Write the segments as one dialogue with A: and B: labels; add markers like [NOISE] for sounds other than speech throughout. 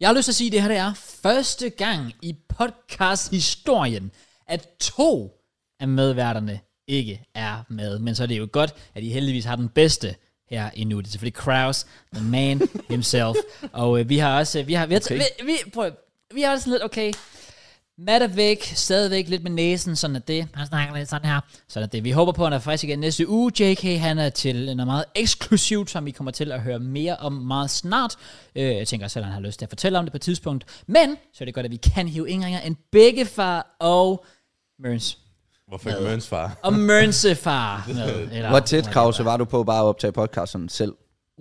A: Jeg har lyst til at sige, at det her det er første gang i podcast-historien, at to af medværterne ikke er med. Men så er det jo godt, at I heldigvis har den bedste her endnu. Det er selvfølgelig Kraus, the man himself. Og øh, vi har også... Vi har, vi har, okay. vi, vi, prøv, vi har også sådan lidt, okay... Matt er væk, stadigvæk lidt med næsen, sådan er det. Han snakker lidt sådan her. Sådan er det. Vi håber på, at han er frisk igen næste uge. JK, han er til noget meget eksklusivt, som I kommer til at høre mere om meget snart. Øh, jeg tænker selv, at han har lyst til at fortælle om det på et tidspunkt. Men, så er det godt, at vi kan hive indringer end begge far og Mørns.
B: Hvorfor ikke Mørns far?
A: Og Mørnse far. med, eller-
C: Hvor tæt, Krause, var du på bare at optage podcasten selv?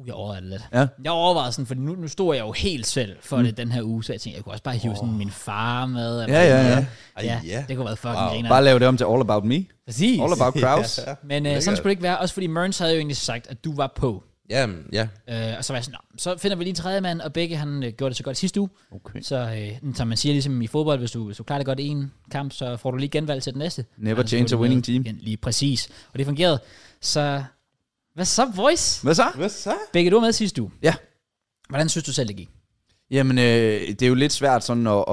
A: Uh, jeg overvejede det lidt.
C: Ja.
A: Jeg overvejede sådan, for nu, nu stod jeg jo helt selv for mm. det den her uge, så jeg tænkte, jeg kunne også bare hive sådan min far med. Eller
C: Ja, ja,
A: sådan
C: ja.
A: noget.
B: Ej,
A: ja.
B: ja.
A: det kunne have været fucking wow. griner.
C: Bare lave det om til All About Me.
A: Præcis.
C: All [LAUGHS] About Kraus.
B: Ja.
A: Men øh, sådan skulle det ikke være, også fordi Mørns havde jo egentlig sagt, at du var på.
B: Jamen, ja.
A: Øh, og så var jeg sådan, "Nå, så finder vi lige en tredje mand, og begge han øh, gjorde det så godt sidste uge.
C: Okay.
A: Så øh, som man siger ligesom i fodbold, hvis du, hvis du klarer det godt i en kamp, så får du lige genvalg til den næste.
C: Never
A: Altså, så
C: change
A: får
C: a
A: du
C: winning
A: med
C: team.
A: Igen, lige præcis. Og det fungerede. Så hvad så, boys?
C: Hvad så?
B: Hvad så?
A: Begge du var med sidste uge.
C: Ja.
A: Hvordan synes du selv, det gik?
C: Jamen, øh, det er jo lidt svært sådan at,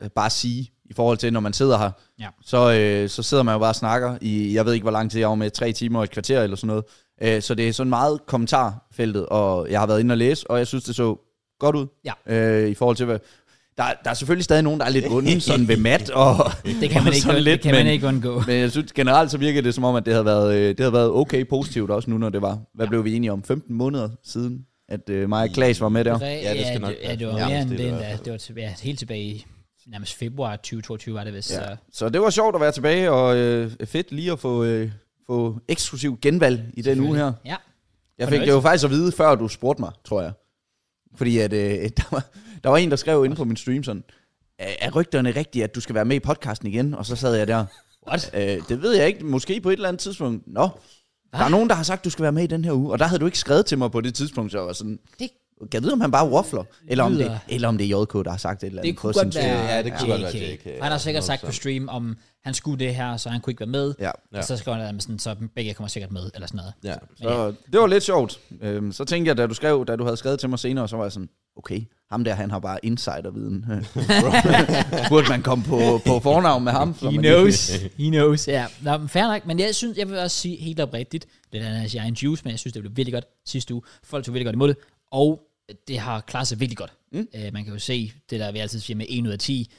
C: at bare sige, i forhold til, når man sidder her.
A: Ja.
C: Så, øh, så sidder man jo bare og snakker i, jeg ved ikke, hvor lang tid jeg var med, tre timer og et kvarter eller sådan noget. Øh, så det er sådan meget kommentarfeltet, og jeg har været inde og læse, og jeg synes, det så godt ud.
A: Ja.
C: Øh, I forhold til, hvad... Der, der er selvfølgelig stadig nogen, der er lidt onde, sådan ved mat, og [LAUGHS]
A: Det kan man
C: og
A: ikke,
C: sådan
A: lidt, det kan man
C: men-
A: ikke undgå.
C: Men jeg synes generelt, så virker det som om, at det havde været, øh, det havde været okay positivt også nu, når det var. Hvad ja. blev vi enige om? 15 måneder siden, at øh, mig og Klaas var med der.
A: Ja,
B: det skal nok
A: ja,
B: være
A: det var
B: nærmest
A: mere end
B: det,
A: det
B: i
A: endda.
B: hvert fald.
A: Det var til, ja, helt tilbage i nærmest februar 2022, var det vist. Ja.
C: Ja. Så det var sjovt at være tilbage, og øh, fedt lige at få, øh, få eksklusiv genvalg i den uge her.
A: Ja.
C: Jeg fik det jo faktisk at vide, før du spurgte mig, tror jeg. Fordi at, øh, [LAUGHS] der, var, der var en, der skrev inde på min stream sådan, "Er- er rygterne rigtige, at du skal være med i podcasten igen? Og så sad jeg der.
A: What?
C: Øh, det ved jeg ikke. Måske på et eller andet tidspunkt. Nå, der er nogen, der har sagt, du skal være med i den her uge. Og der havde du ikke skrevet til mig på det tidspunkt, så jeg var sådan...
A: Det-
C: Det kan vide, om han bare waffler? Eller om,
A: lyder-
C: det, eller om det er JK, der har sagt et eller andet.
A: Det kunne
C: på sin
A: godt
C: stream.
A: være
B: Ja, det kunne
A: JK.
B: godt være JK,
A: For
B: ja.
A: Han har sikkert sagt på
B: 100%.
A: stream, om han skulle det her, så han kunne ikke være med.
C: Ja.
A: Og så skrev han, at sådan, så begge kommer sikkert med, eller sådan noget.
B: Ja.
C: Så det var lidt sjovt. Øhm, så tænkte jeg, da du skrev, da du havde skrevet til mig senere, så var jeg sådan, okay, ham der, han har bare insiderviden. [LAUGHS] Burde man komme på, på fornavn med ham? så man ikke-
A: He knows, ja. Nå, men fair nok, men jeg synes, jeg vil også sige helt oprigtigt, lidt andet jeg er en juice, men jeg synes, det blev virkelig godt sidste uge. Folk tog virkelig godt imod det, og det har klaret sig virkelig godt. Mm. Øh, man kan jo se det der, vi altid siger med 1 ud af 10,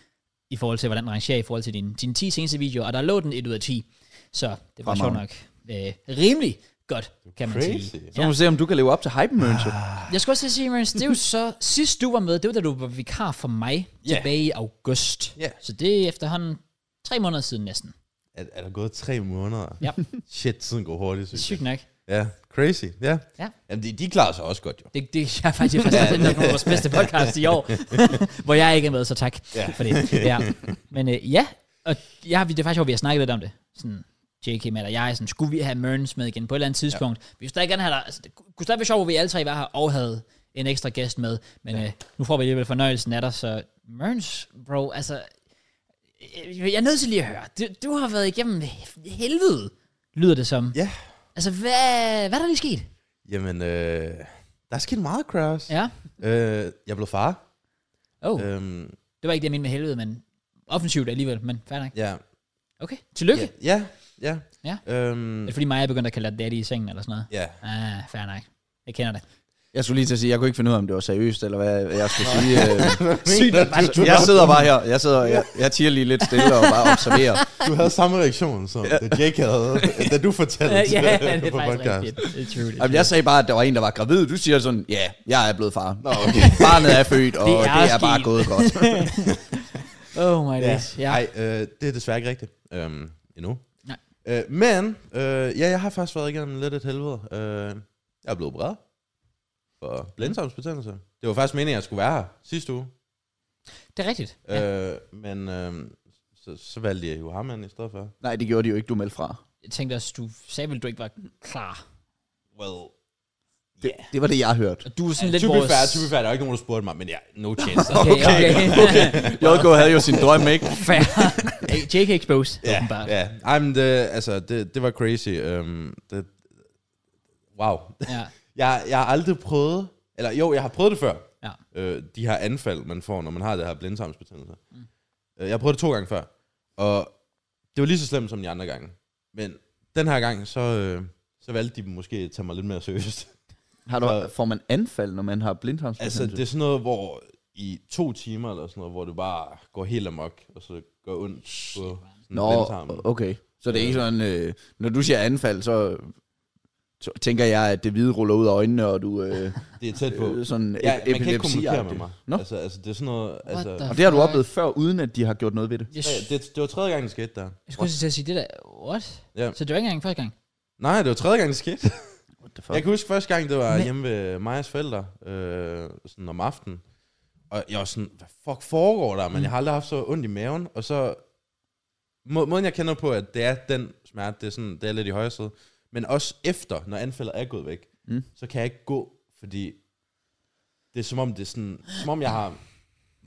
A: i forhold til, hvordan den rangerer i forhold til dine din 10 seneste videoer, og der lå den 1 ud af 10, så det var sjovt nok øh, rimelig godt, kan man
B: Crazy.
A: sige.
C: Så må vi se, om du kan leve op til hype Mørnse.
A: Jeg skulle også til at sige, Mørens,
B: [LAUGHS]
A: det er jo så, sidst du var med, det var da du var vikar for mig
B: Ja.
A: tilbage i august.
B: Ja.
A: Så det er efterhånden tre måneder siden næsten.
B: Er, er der gået tre måneder?
A: Ja.
B: Shit, tiden går hurtigt,
A: Det er
B: synes jeg.
A: sygt nok.
B: Ja, crazy. Ja.
A: Ja.
B: Jamen, de, de klarer sig også godt, jo.
A: Det, det jeg er faktisk faktisk det er nok nogle af vores bedste podcast i [LAUGHS] år, hvor jeg ikke er med, så tak ja. for det. Ja. Men øh, ja, og jeg, har- det er faktisk, hvor vi har snakket lidt om det. Sådan, JK Matt og jeg, sådan, skulle vi have Mørns med igen på et eller andet tidspunkt? Ja. Vi kunne stadig gerne have dig, altså, det kunne stadig være sjovt, hvor vi alle tre var her og havde en ekstra gæst med, men ja. øh, nu får vi alligevel fornøjelsen af dig, så Mørns, bro, altså, øh, jeg er nødt til lige at høre, du, du har været igennem helvede, lyder det som.
B: Ja.
A: Altså, hvad, hvad er der lige sket?
B: Jamen, øh, der er sket meget, Kraus.
A: Ja.
B: Øh, jeg blev far.
A: Oh.
B: Øhm,
A: Det var ikke det, jeg mente med helvede, men offensivt alligevel, men fair nok.
B: ja.
A: Okay, tillykke. Yeah.
B: Ja, ja.
A: Ja.
B: Øhm,
A: Det er fordi mig er begyndt at kalde dig daddy i sengen eller sådan noget.
B: ja.
A: Yeah. Ah, fair nok. Jeg kender
B: [LAUGHS]
A: det.
C: Jeg skulle lige til at sige, jeg kunne ikke finde ud af, om det var seriøst, eller hvad
A: [LAUGHS]
C: jeg skulle sige. Øh,
A: Sygt.
C: jeg sidder bare her, jeg, sidder, jeg, jeg tiger lige lidt stille og bare [LAUGHS] observerer.
B: Du havde samme reaktion, som ja. Jake havde, da du fortalte
A: [LAUGHS] Ja, ja, det
B: det
A: er
B: på
A: faktisk
B: podcast.
A: rigtigt. Det er true, det er
C: Jamen,
A: true.
C: jeg sagde bare, at der var en, der var gravid. Du siger sådan, ja, yeah, jeg er blevet far.
B: Nå, okay.
C: [LAUGHS] Barnet er født, og
A: Det
C: det
A: er
C: er, det er
A: sket.
C: bare gået [LAUGHS] godt.
A: Oh my
B: Ja.
A: days. Ja.
B: Nej, øh, det er desværre ikke rigtigt øhm, endnu.
A: Nej.
B: Øh, men, øh, ja, jeg har faktisk været igennem lidt et helvede. Øh, jeg er blevet bred for blindtarmsbetændelse. Det var faktisk meningen, at jeg skulle være her sidste uge.
A: Det er rigtigt. Ja.
B: Ja. Øh, men øh, så, så valgte jeg jo ham ind i stedet for.
C: Nej, det gjorde de jo ikke, du meldte fra.
A: Jeg tænkte også, du sagde vel, du ikke var klar.
B: Well, øh,
C: Det, det var det, jeg hørte.
A: Og du er sådan lidt
B: to be
A: vores...
B: fair, to be fair, der er ikke nogen, der spurgte mig, men ja, no
A: [LAUGHS]
B: chance.
A: Okay, okay.
B: [LAUGHS]
A: okay.
C: JK havde jo sin drøm, ikke?
A: fair. Hey, JK Exposed, yeah.
B: Ja,
A: åbenbart.
B: ja. Ej, men det, altså, det, det var crazy. Øhm, det, wow.
A: Ja.
B: [LAUGHS] Jeg, jeg har aldrig prøvet, eller jo, jeg har prøvet det før,
A: Ja.
B: Øh, de her anfald, man får, når man har det her blindtarmsbetændelse. Mm. Øh, jeg prøvede det to gange før, og det var lige så slemt som de andre gange. Men den her gang, så, øh, så valgte de måske at tage mig lidt mere
C: [LAUGHS]
B: seriøst.
C: Har du, får man anfald, når man har blindtarmsbetændelse?
B: Altså, det er sådan noget, hvor i to timer eller sådan noget, hvor du bare går helt amok, og så gør ondt på sådan
C: Nå,
B: blindtarmen.
C: okay. Så det er ikke sådan, øh, når du siger anfald, så t- tænker jeg, at det hvide ruller ud af øjnene, og du... Øh,
B: Det er tæt på.
C: øh, sådan
B: Ja, man kan ikke kommunikere med
C: epilepsi-agtig.
B: mig.
C: Nå,
B: Altså, altså, det er sådan noget... Altså,
A: the
C: og det har du
A: fuck?
C: oplevet før, uden at de har gjort noget ved det.
A: Jeg,
B: ja,
A: s-
B: det, det var tredje gang, det skete der.
A: jeg skulle til at sige det der. What?
B: Ja.
A: Så det var ikke engang første gang.
B: Nej, det var tredje gang, det skete.
C: What the
B: Jeg kan huske første gang, det var
A: Men-
B: hjemme ved Majas forældre, øh, sådan om aftenen. Og jeg var sådan, hvad fuck foregår der? Men jeg har aldrig haft så ondt i maven. Og så, må, måden jeg kender på, at det er den smerte, det er, sådan, det er lidt i højre side. Men også efter, når anfaldet er gået væk,
C: Mm.
B: mm. så kan jeg ikke gå, fordi det er som om, det er sådan, som om jeg har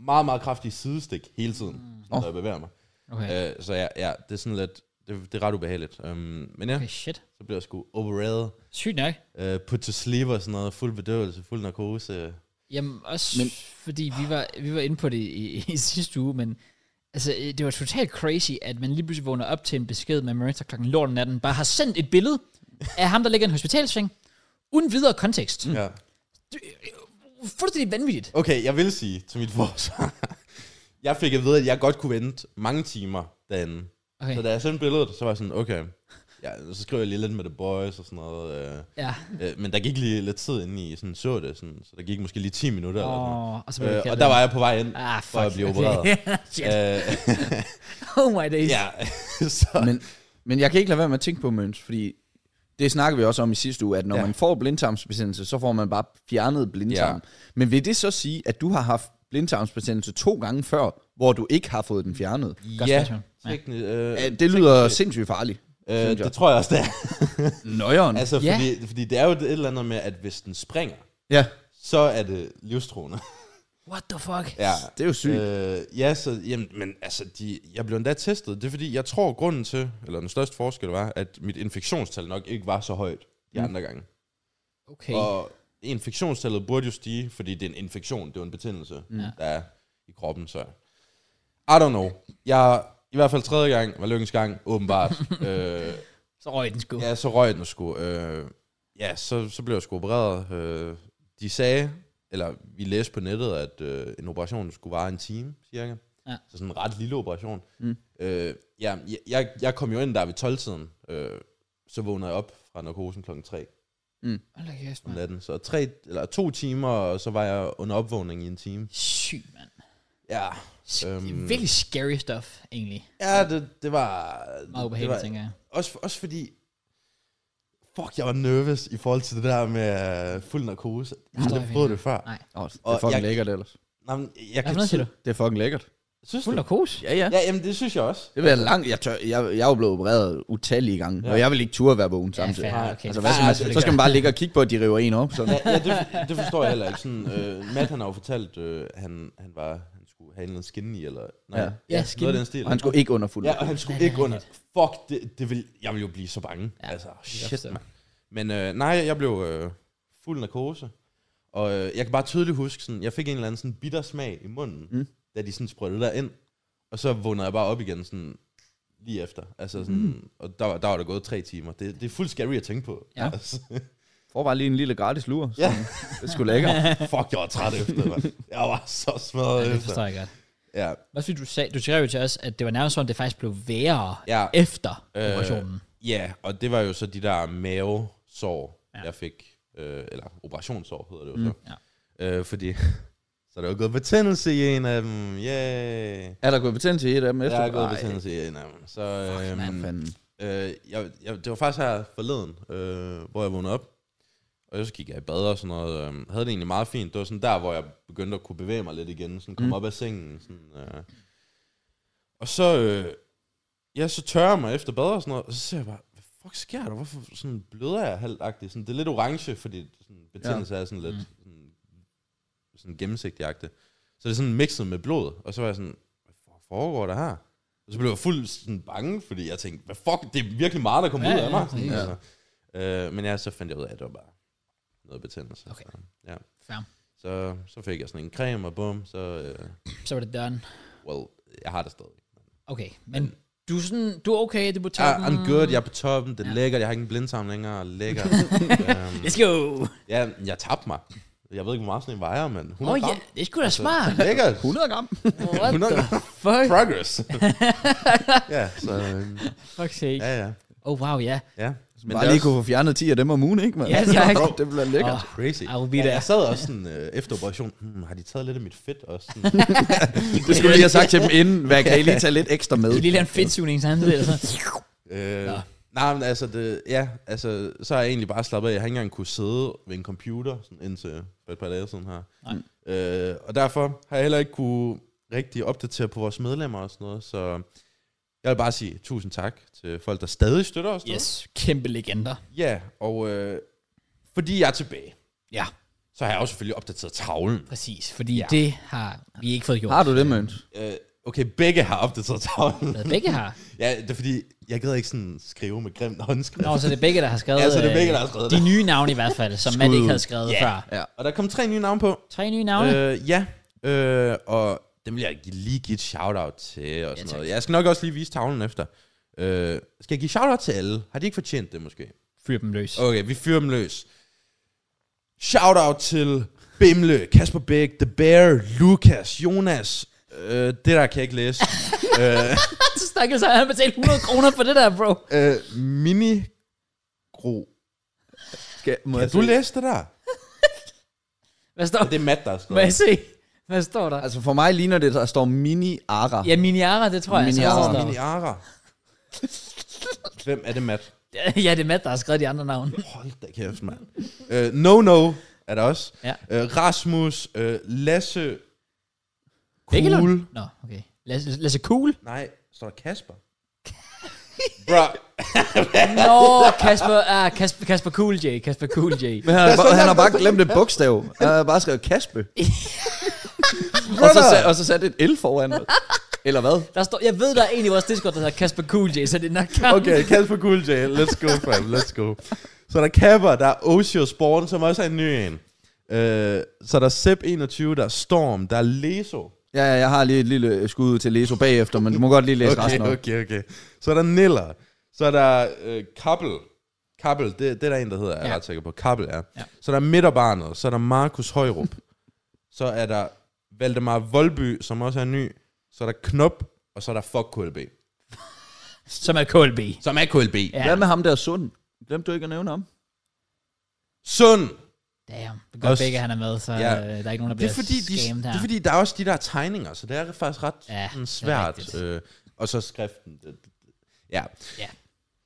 B: meget, meget kraftige sidestik hele tiden, mm. når
C: Åh.
B: jeg bevæger mig.
A: Okay.
B: Øh, så ja, ja, det er sådan lidt, det, det er ret ubehageligt. Um, men ja,
A: Okay, shit.
B: så bliver jeg sgu overrated
A: Sygt nok.
B: øh, put to sleep og sådan noget, fuld bedøvelse, fuld narkose.
A: Jamen også men,
C: Men-
A: fordi vi var, vi var inde på det i, i, i sidste uge, men altså øh, det var totalt crazy, at man lige pludselig vågner op til en besked med Marissa klokken lort om natten, bare har sendt et billede af ham, der ligger i en hospitalseng, uden videre kontekst. Mm.
B: Ja.
A: Fuldstændig vanvittigt.
B: Okay, jeg vil sige til mit forsvar, [LAUGHS] jeg fik at vide, at jeg godt kunne vente mange timer derinde.
A: Okay,
B: Så da jeg sendte billedet, så var jeg sådan, okay, ja, så skrev jeg lige lidt med The Boys og sådan noget. Øh,
A: ja.
B: øh, men der gik lige lidt tid inden i sådan, så det, sådan, så der gik måske lige 10 minutter eller sådan noget.
A: Oh, og, så blev det
B: Øh, og
A: kaldt
B: der
A: ind.
B: var jeg på vej ind,
A: Ah, fuck.
B: for at blive opereret.
A: [LAUGHS] Shit.
B: Øh, [LAUGHS]
A: oh my days.
B: ja, [LAUGHS] så...
C: Men, men jeg kan ikke lade være med at tænke på Møns, fordi det snakker vi også om i sidste uge, at når ja.
B: Ja.
C: man får blindtarmsbetændelse, så får man bare fjernet blindtarm. Ja. Men vil det så sige, at du har haft blindtarmsbetændelse to gange før, hvor du ikke har fået den fjernet?
A: Godt
B: ja,
A: spørgsmål. Ja.
B: teknisk, øh,
C: Ja, det lyder sindssygt farligt.
B: øh,
C: synes jeg.
B: det tror jeg også, det er.
C: Nøjeren. Altså,
B: Altså,
A: Ja.
B: fordi, fordi det er jo et eller andet med, at hvis den springer,
C: ja,
B: så er det livstruende.
A: What the fuck?
B: ja.
C: det er jo sygt. Øh,
B: [LAUGHS] Øh, ja, så, jamen, men altså, de, jeg blev endda testet. Det er fordi, jeg tror, grunden til, eller den største forskel var, at mit infektionstal nok ikke var så højt de
C: Mm.
B: andre gange.
A: Okay.
B: Og infektionstallet burde jo stige, fordi det er en infektion, det er jo en betændelse, mm. der er i kroppen, så... I don't know. Jeg, i hvert fald tredje gang, var lykkens gang, [LAUGHS] åbenbart. øh,
A: Så røg den sgu.
B: Ja, så røg den sgu. Øh, ja, så, så blev jeg sgu opereret. Øh, de sagde, eller vi læste på nettet, at øh, en operation skulle vare en time, cirka.
A: Ja.
B: Så sådan en ret lille operation.
C: Mm.
B: Øh, ja, jeg- jeg, jeg kom jo ind der ved 12-tiden. Øh, så vågnede jeg op fra narkosen klokken 3
A: Hold da kæft,
B: om
A: mand.
B: natten. Så tre, eller to timer, og så var jeg under opvågning i en time.
A: Sygt, mand.
B: Ja,
A: S-
B: Øhm.
A: Virkelig scary stuff, egentlig.
B: ja det, det var...
A: Meget
B: det
A: ubehageligt,
B: var,
A: tænker jeg.
B: Også, også fordi... Fuck, jeg var nervøs i forhold til det der med øh, fuld narkose. Jeg har
A: Forstår
B: aldrig
A: jeg
B: prøvet
A: fint.
B: det før.
A: Nej.
C: oh, det er
B: og
C: fucking jeg...
B: jeg-
C: lækkert ellers.
B: Nej, men jeg
A: Hvad
B: kan
A: for noget siger du?
C: Det er fucking lækkert.
B: Synes
A: Fuld
B: du?
A: narkose?
C: Ja, ja.
B: Ja, jamen det synes jeg også.
C: Det vil jeg langt. Jeg, tør, jeg, jeg er jo blevet opereret utallige gange, ja.
B: Ja.
C: og jeg vil ikke turde være vågen
A: Ja,
C: samtidig.
A: fair.
C: Ja,
B: Nej,
A: Okay.
C: altså,
A: det-
C: hvad skal
B: Ja,
C: man,
B: det er
C: så skal man bare ligge og kigge på, at de river en op. Sådan.
B: Ja, ja det, det forstår jeg heller ikke. Sådan, øh, Matt han har jo fortalt, øh, han, han, var, han skulle have en eller anden skinny, eller... Nej,
C: Ja.
B: ja,
A: Ja,
B: ja
A: skinny.
B: noget af den stil.
C: Og han skulle ikke under fuld.
B: Ja, og han skulle
A: Ja, det
B: ikke
A: er
B: under. Fuck, det, det vil, jeg vil jo blive så bange.
A: Ja,
B: Ja, altså, shit,
A: forstå.
B: man. Men øh, nej, jeg blev øh, fuld narkose. Og øh, jeg kan bare tydeligt huske, sådan, jeg fik en eller anden sådan bitter smag i munden,
C: Mm.
B: mm. da de sådan sprøjtede der ind. Og så vågnede jeg bare op igen sådan, lige efter. Altså, sådan, mm. Og der, var- der var der gået tre timer. Det, det er fuldt scary at tænke på.
A: Ja.
B: [LAUGHS] Altså,
C: Får bare lige en lille gratis lur.
B: ja.
C: Det
B: [LAUGHS]
C: skulle lækkert.
B: Fuck, jeg var træt efter. Man. Jeg var så
A: Ja,
B: smadret
A: det
B: efter.
A: forstår jeg godt.
B: Ja,
A: Også fordi du, sagde, du skrev jo til os, at det var nærmest sådan, det faktisk blev værre ja.
B: ja.
A: efter øh, operationen.
B: Ja, og det var jo så de der mavesår,
A: Ja.
B: ja. jeg fik. Øh, eller operationssår hedder det jo så.
A: Mm,
B: Øh, fordi, [LAUGHS] så der er jo gået betændelse i en af dem. Yeah.
C: Er der gået betændelse i et af dem efter?
B: Der er gået
C: Ej,
B: betændelse i en af dem. Så,
C: for
B: øhm,
C: fanden.
B: øh, jeg, jeg, det var faktisk her forleden, øh, hvor jeg vågnede op. Og så gik jeg i bad og sådan noget. Øh, havde det egentlig meget fint. Det var sådan der, hvor jeg begyndte at kunne bevæge mig lidt igen. Sådan kom
C: Mm.
B: mm. op af sengen. Sådan, øh. Og så, øh, ja, så tørrer jeg mig efter bad og sådan noget. Og så ser jeg bare, hvad fuck sker der? Hvorfor sådan bløder jeg halvagtigt? Sådan, det er lidt orange, fordi sådan, betændelse ja. er sådan lidt
A: Mm.
B: sådan, sådan gennemsigtigagtigt. Så det er sådan mixet med blod. Og så var jeg sådan, hvad fuck foregår der her? Og så blev jeg fuldt sådan bange, fordi jeg tænkte, hvad fuck, det er virkelig meget, der kommer
A: Ja,
B: ud af
A: ja,
B: mig. Sådan,
A: præcis.
B: altså. øh, men ja, så fandt jeg ud af, at det var bare noget betændelse.
A: Okay.
B: Så, ja.
A: Fair.
B: Så, så fik jeg sådan en creme, og bum, så... Øh,
A: Så var det done.
B: well, jeg har det stadig.
A: Okay, men du er, sådan, du er okay, du er på
B: Ja,
A: toppen.
B: Ah, I'm good, jeg er på toppen, det er
A: Ja.
B: lækkert, jeg har ikke en blindtarm længere,
A: [LAUGHS]
B: lækkert. um,
A: Let's go.
B: ja, jeg tabte mig. Jeg ved ikke, hvor meget sådan en vejer, men 100
A: Åh oh, ja,
B: gram.
A: det er sgu da smart.
B: Lækkert.
C: 100 gram.
A: What
B: 100
A: the fuck? [LAUGHS]
B: Progress. ja, så... øhm,
A: Fuck sake.
B: Ja, ja.
A: Oh wow, ja.
B: ja.
C: Men Bare lige
B: også
C: kunne få fjernet 10 af dem om ugen, ikke? Man?
A: Ja, tak.
C: det bliver lækkert.
A: Åh,
B: crazy.
A: I will be
B: ja,
A: there.
B: jeg sad også sådan, øh, efter operationen, hmm, har de taget lidt af mit fedt også? Sådan,
A: [LAUGHS]
C: Det skulle jeg lige have sagt til dem inden. Hvad kan I lige tage lidt ekstra med?
A: Kan vi lige lave en fedtsugning samtidig? Eller sådan?
B: Øh,
A: Nå.
B: nej, men altså, det, ja, altså, så har jeg egentlig bare slappet af. Jeg har ikke engang kunne sidde ved en computer, sådan indtil for et par dage siden her.
A: Mm.
B: Øh, og derfor har jeg heller ikke kunne rigtig opdatere på vores medlemmer og sådan noget, så jeg vil bare sige tusind tak til folk, der stadig støtter os.
A: Yes, kæmpe legender.
B: Ja, og øh, fordi jeg er tilbage,
A: Ja,
B: så har jeg også selvfølgelig opdateret tavlen.
A: præcis. Fordi
B: Ja.
A: ja. det har vi ikke fået gjort.
C: Har du det, Møns?
B: Øh, okay, begge har opdateret
A: [LAUGHS]
B: tavlen.
A: Hvad begge har?
B: ja, det er fordi, jeg gider ikke sådan skrive med grimt håndskrift.
A: Nå, så det er begge, der har skrevet,
B: Ja, så det er begge,
A: øh,
B: der har skrevet
A: de
B: det.
A: nye navne i hvert fald, som Matt ikke havde skrevet
B: Ja.
A: før.
C: Ja.
B: Og der kom tre nye navne på.
A: Tre nye navne.
B: Øh, ja, øh, og dem vil jeg gi- lige give et shout-out til og sådan
A: tak.
B: noget. Jeg skal nok også lige vise tavlen efter. Øh, skal jeg give shout-out til alle? Har de ikke fortjent det måske?
A: Fyr dem løs.
B: Okay, vi fyrer dem løs. Shout-out til Bimle, Kasper Bæk, The Bear, Lukas, Jonas. Øh, det der kan jeg ikke læse.
A: Så stakkels har han betalt 100 kroner for det der, bro.
B: øh, mini Gro.
C: Skal, må
B: Kan du læse det der?
A: Hvad står,
B: Det er Matt, der har
A: må
B: skrevet.
A: jeg se? Hvad står der?
C: Altså for mig ligner det, der står mini Ara.
A: Ja, Miniara, det tror jeg. altså
C: Miniara.
A: også, der
B: Åh,
A: står.
B: Mini Ara. Ah. Hvem er det, Matt?
A: Ja, det er Matt, der har skrevet de andre navne.
B: Hold da kæft, mand. Uh, no No er der også.
A: Ja.
B: Uh, Rasmus, uh, Lasse,
A: Bækkelund?
B: Cool.
A: Nå, okay. Lasse, Lasse Cool?
B: Nej, står der [LAUGHS] Kasper? Bro,
A: Nå, Kasper, ah, Kasper, Kasper Cool J, Kasper Cool J.
C: Men han, har
B: så
C: bare- han har
B: langt
C: bare
B: op.
C: glemt et bogstav. Han har bare skrevet Kaspe.
B: [LAUGHS]
C: og, så sat, og så sat et L
B: [LAUGHS]
C: foran. Eller hvad?
A: Der står, jeg ved, der er en i vores Discord, der hedder Kasper Cool J, så det er nok kamp.
B: okay, Kasper Cool J, let's go fam, let's go. Så er der Kapper, der er Osio Sporten, som også er en ny en. Uh, så er der Zep 21, der er Storm, der er Leso.
C: Ja, ja, jeg har lige et lille skud til Leso bagefter, men du må godt lige læse
B: Okay,
C: resten op.
B: okay, okay. Så er der Niller. Så er der øh, Kappel. Kappel, det, det er der en, der hedder, jeg er
A: Ja.
B: ret sikker på. Kappel, ja.
A: Ja.
B: ja. Så er der Midterbarnet. Så er der Markus Højrup. [LAUGHS] så er der Valdemar Voldby, som også er ny. Så er der Knop, og så er der Fuck KLB.
A: Som er KLB.
B: Som er KLB.
A: Ja.
B: Ja.
C: Hvad med ham der Sund? Glemte du ikke at nævne ham?
B: Sund!
A: Damn, det gør
B: Også-
A: begge, han er med, så
B: Ja.
A: ja. øh, der er ikke nogen, der
B: Det er,
A: bliver
B: fordi, de,
A: scammed
B: det
A: her.
B: er fordi, der er også de der tegninger, så det er faktisk ret
A: Ja, det er
B: ja, svært.
A: rigtigt.
B: Øh, og så skriften. Det- det- Ja.
A: Ja.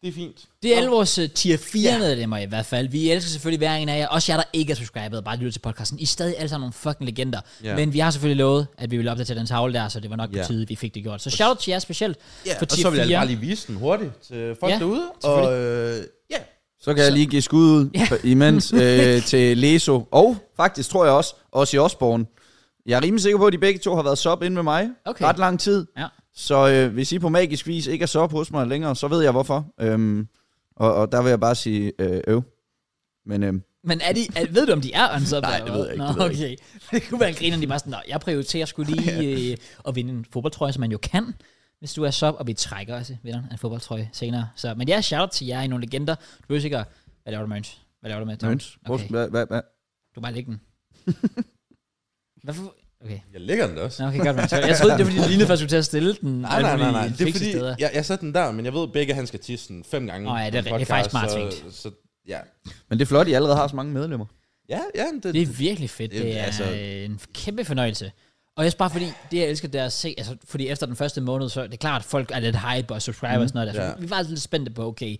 B: Det er fint.
A: Det er alle vores øh, tier 4 medlemmer i hvert fald. Vi elsker selvfølgelig hver en af jer. Også jer, der ikke er subscribet og bare lytter til podcasten. I er stadig alle sammen nogle fucking legender.
B: Ja.
A: Men vi har selvfølgelig lovet, at vi ville opdatere den tavle der, så det var nok på
B: Ja.
A: tide, vi fik det gjort. Så shout out til jer specielt
B: Ja,
A: for
B: og
A: tier
B: så vil jeg
A: 4.
B: bare lige vise den hurtigt til folk
A: Ja,
B: ja, derude. Og øh, ja,
C: Så kan så. jeg lige give skud ud ja. [LAUGHS] imens øh, til Leso. Og faktisk tror jeg også, også i Osborne. Jeg er rimelig sikker på, at de begge to har været sub inde med mig
A: Okay.
C: ret lang tid.
A: Ja.
C: Så øh, hvis I på magisk vis ikke er sub hos mig længere, så ved jeg hvorfor. Øhm, og, og der vil jeg bare sige øh, øv. Men øhm,
A: Men er de, er, ved du, om de er unsub?
C: Nej,
A: eller
C: det
A: hvad?
C: ved jeg ikke, det
A: Nå,
C: ved jeg
A: okay. Det kunne være en griner, de bare sådan, "Nå, jeg prioriterer skulle
C: [LAUGHS]
A: lige øh, at vinde en fodboldtrøje, som man jo kan, hvis du er sub, og vi trækker også vinderen af en fodboldtrøje senere. Så, men ja, shout out til jer i nogle legender. Du behøver sikkert, hvad laver du, Møns? Hvad laver du med? Tom?
C: Møns, okay.
A: Okay,
C: hvad, hvad, hvad?
A: du kan bare lægge
B: [LAUGHS]
A: den. Hvorfor? Okay.
B: jeg lægger den da også.
A: Nå, okay, godt, Møns. Jeg troede, det var fordi, det lignede først, du skulle til at stille den.
B: Nej, nej, nej, nej. Det er fordi,
A: Steder.
B: jeg, jeg satte den der, men jeg ved, at begge han skal tisse den fem gange.
A: Åh, ja, det er
B: på en
A: rigtigt. Det er faktisk
B: podcast,
A: smart
B: så, så, ja.
C: Men det er flot, at I allerede har så mange medlemmer.
B: Ja, ja, det,
A: Det er virkelig fedt.
B: Det-
A: Det er altså,
B: altså-
A: en kæmpe fornøjelse. Og jeg bare fordi, det jeg elsker, det er at se, altså, fordi efter den første måned, så er det klart, at folk er lidt hype og subscriber mm, og sådan noget. Der. Så
B: Mhm. Ja.
A: Vi var altså lidt spændte på, okay,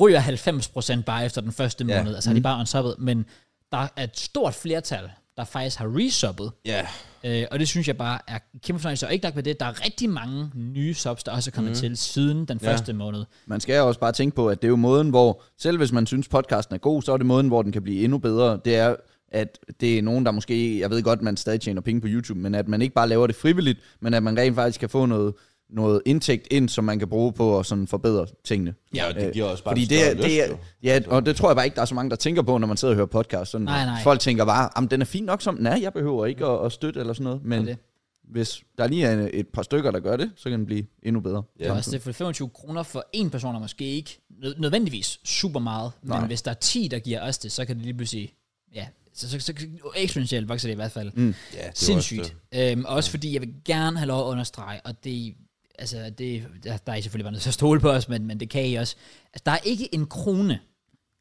A: ryger 90% bare efter den første
B: Ja. Mhm.
A: måned, altså mm. de er bare unsubbet, men der er et stort flertal, der faktisk har resubbet,
B: ja.
A: øh, og det synes jeg bare er en kæmpe fornøjelse. Og ikke nok med det, der er rigtig mange nye subs, der også er kommet mm. til siden den
B: Ja.
A: første måned.
C: Man skal også bare tænke på, at det er jo måden, hvor selv hvis man synes, podcasten er god, så er det måden, hvor den kan blive endnu bedre. Det er, at det er nogen, der måske, jeg ved godt, man stadig tjener penge på YouTube, men at man ikke bare laver det frivilligt, men at man rent faktisk kan få noget noget indtægt ind, som man kan bruge på at sådan forbedre tingene.
A: Ja,
B: Ja, og det giver også bare
C: Fordi
B: en
C: det, er,
B: større lyst,
C: det er,
B: jo.
C: ja, og det tror jeg bare ikke, der er så mange, der tænker på, når man sidder og hører podcast. Sådan,
A: Nej, nej.
C: Folk tænker bare, jamen den er fin nok som den er, jeg behøver ikke at, at støtte eller sådan noget. Men
A: Det er det.
C: det. hvis der lige er en- et par stykker, der gør det, så kan den blive endnu bedre.
A: Ja. Også altså, det, for 25 kroner for en person er måske ikke nød- nødvendigvis super meget, men Nej.
C: Nej.
A: hvis der er 10, der giver os det, så kan det lige pludselig, ja, så, så, så, så eksponentielt vokser det i hvert fald. Mm.
B: Ja, det er jo Også
A: Sindssygt. Øhm, også fordi, jeg vil gerne have lov at understrege, og det, altså, det, der, der er I selvfølgelig bare nødt til at stole på os, men, men det kan I også. Altså, der er ikke en krone,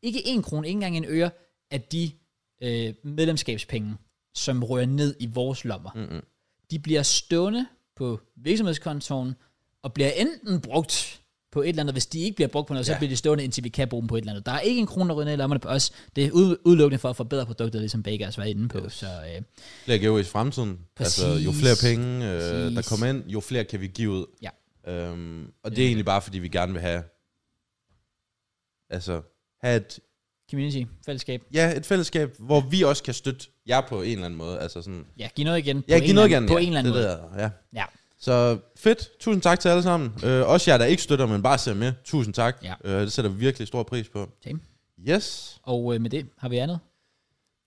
A: ikke en krone, ikke engang en øre, af de øh, medlemskabspenge, som rører ned i vores lommer. Mm-hmm.
B: Mm.
A: De bliver stående på virksomhedskontoen, og bliver enten brugt på et eller andet, hvis de ikke bliver brugt på noget, ja. så
B: Ja.
A: bliver de stående, indtil vi kan bruge dem på et eller andet. Der er ikke en krone, der ryger ned i lommerne på os. Det er ud- udelukkende for at forbedre produktet, ligesom Baker også var inde på. Yes. Så øh,
B: det. Flere giver i fremtiden.
A: Præcis.
B: Altså, jo flere penge,
A: Præcis.
B: øh, der kommer ind, jo flere kan vi give ud.
A: Ja.
B: Øhm, og det er egentlig bare, fordi vi gerne vil have... Altså, have et,
A: community, fællesskab.
B: ja, et fællesskab, hvor vi også kan støtte jer på en eller anden måde. Altså sådan,
A: Ja, giv noget igen. på
B: ja,
A: en
B: giv noget
A: eller
B: gerne.
A: anden- På
B: ja,
A: en eller anden
B: det
A: måde.
B: Der, ja.
A: Ja.
B: Så fedt. Tusind tak til alle sammen. Øh, også jer, der ikke støtter, men bare ser med. Tusind tak.
A: Ja.
B: Øh, det sætter vi virkelig stor pris på.
A: Same.
B: Yes.
A: Og øh, med det har vi andet.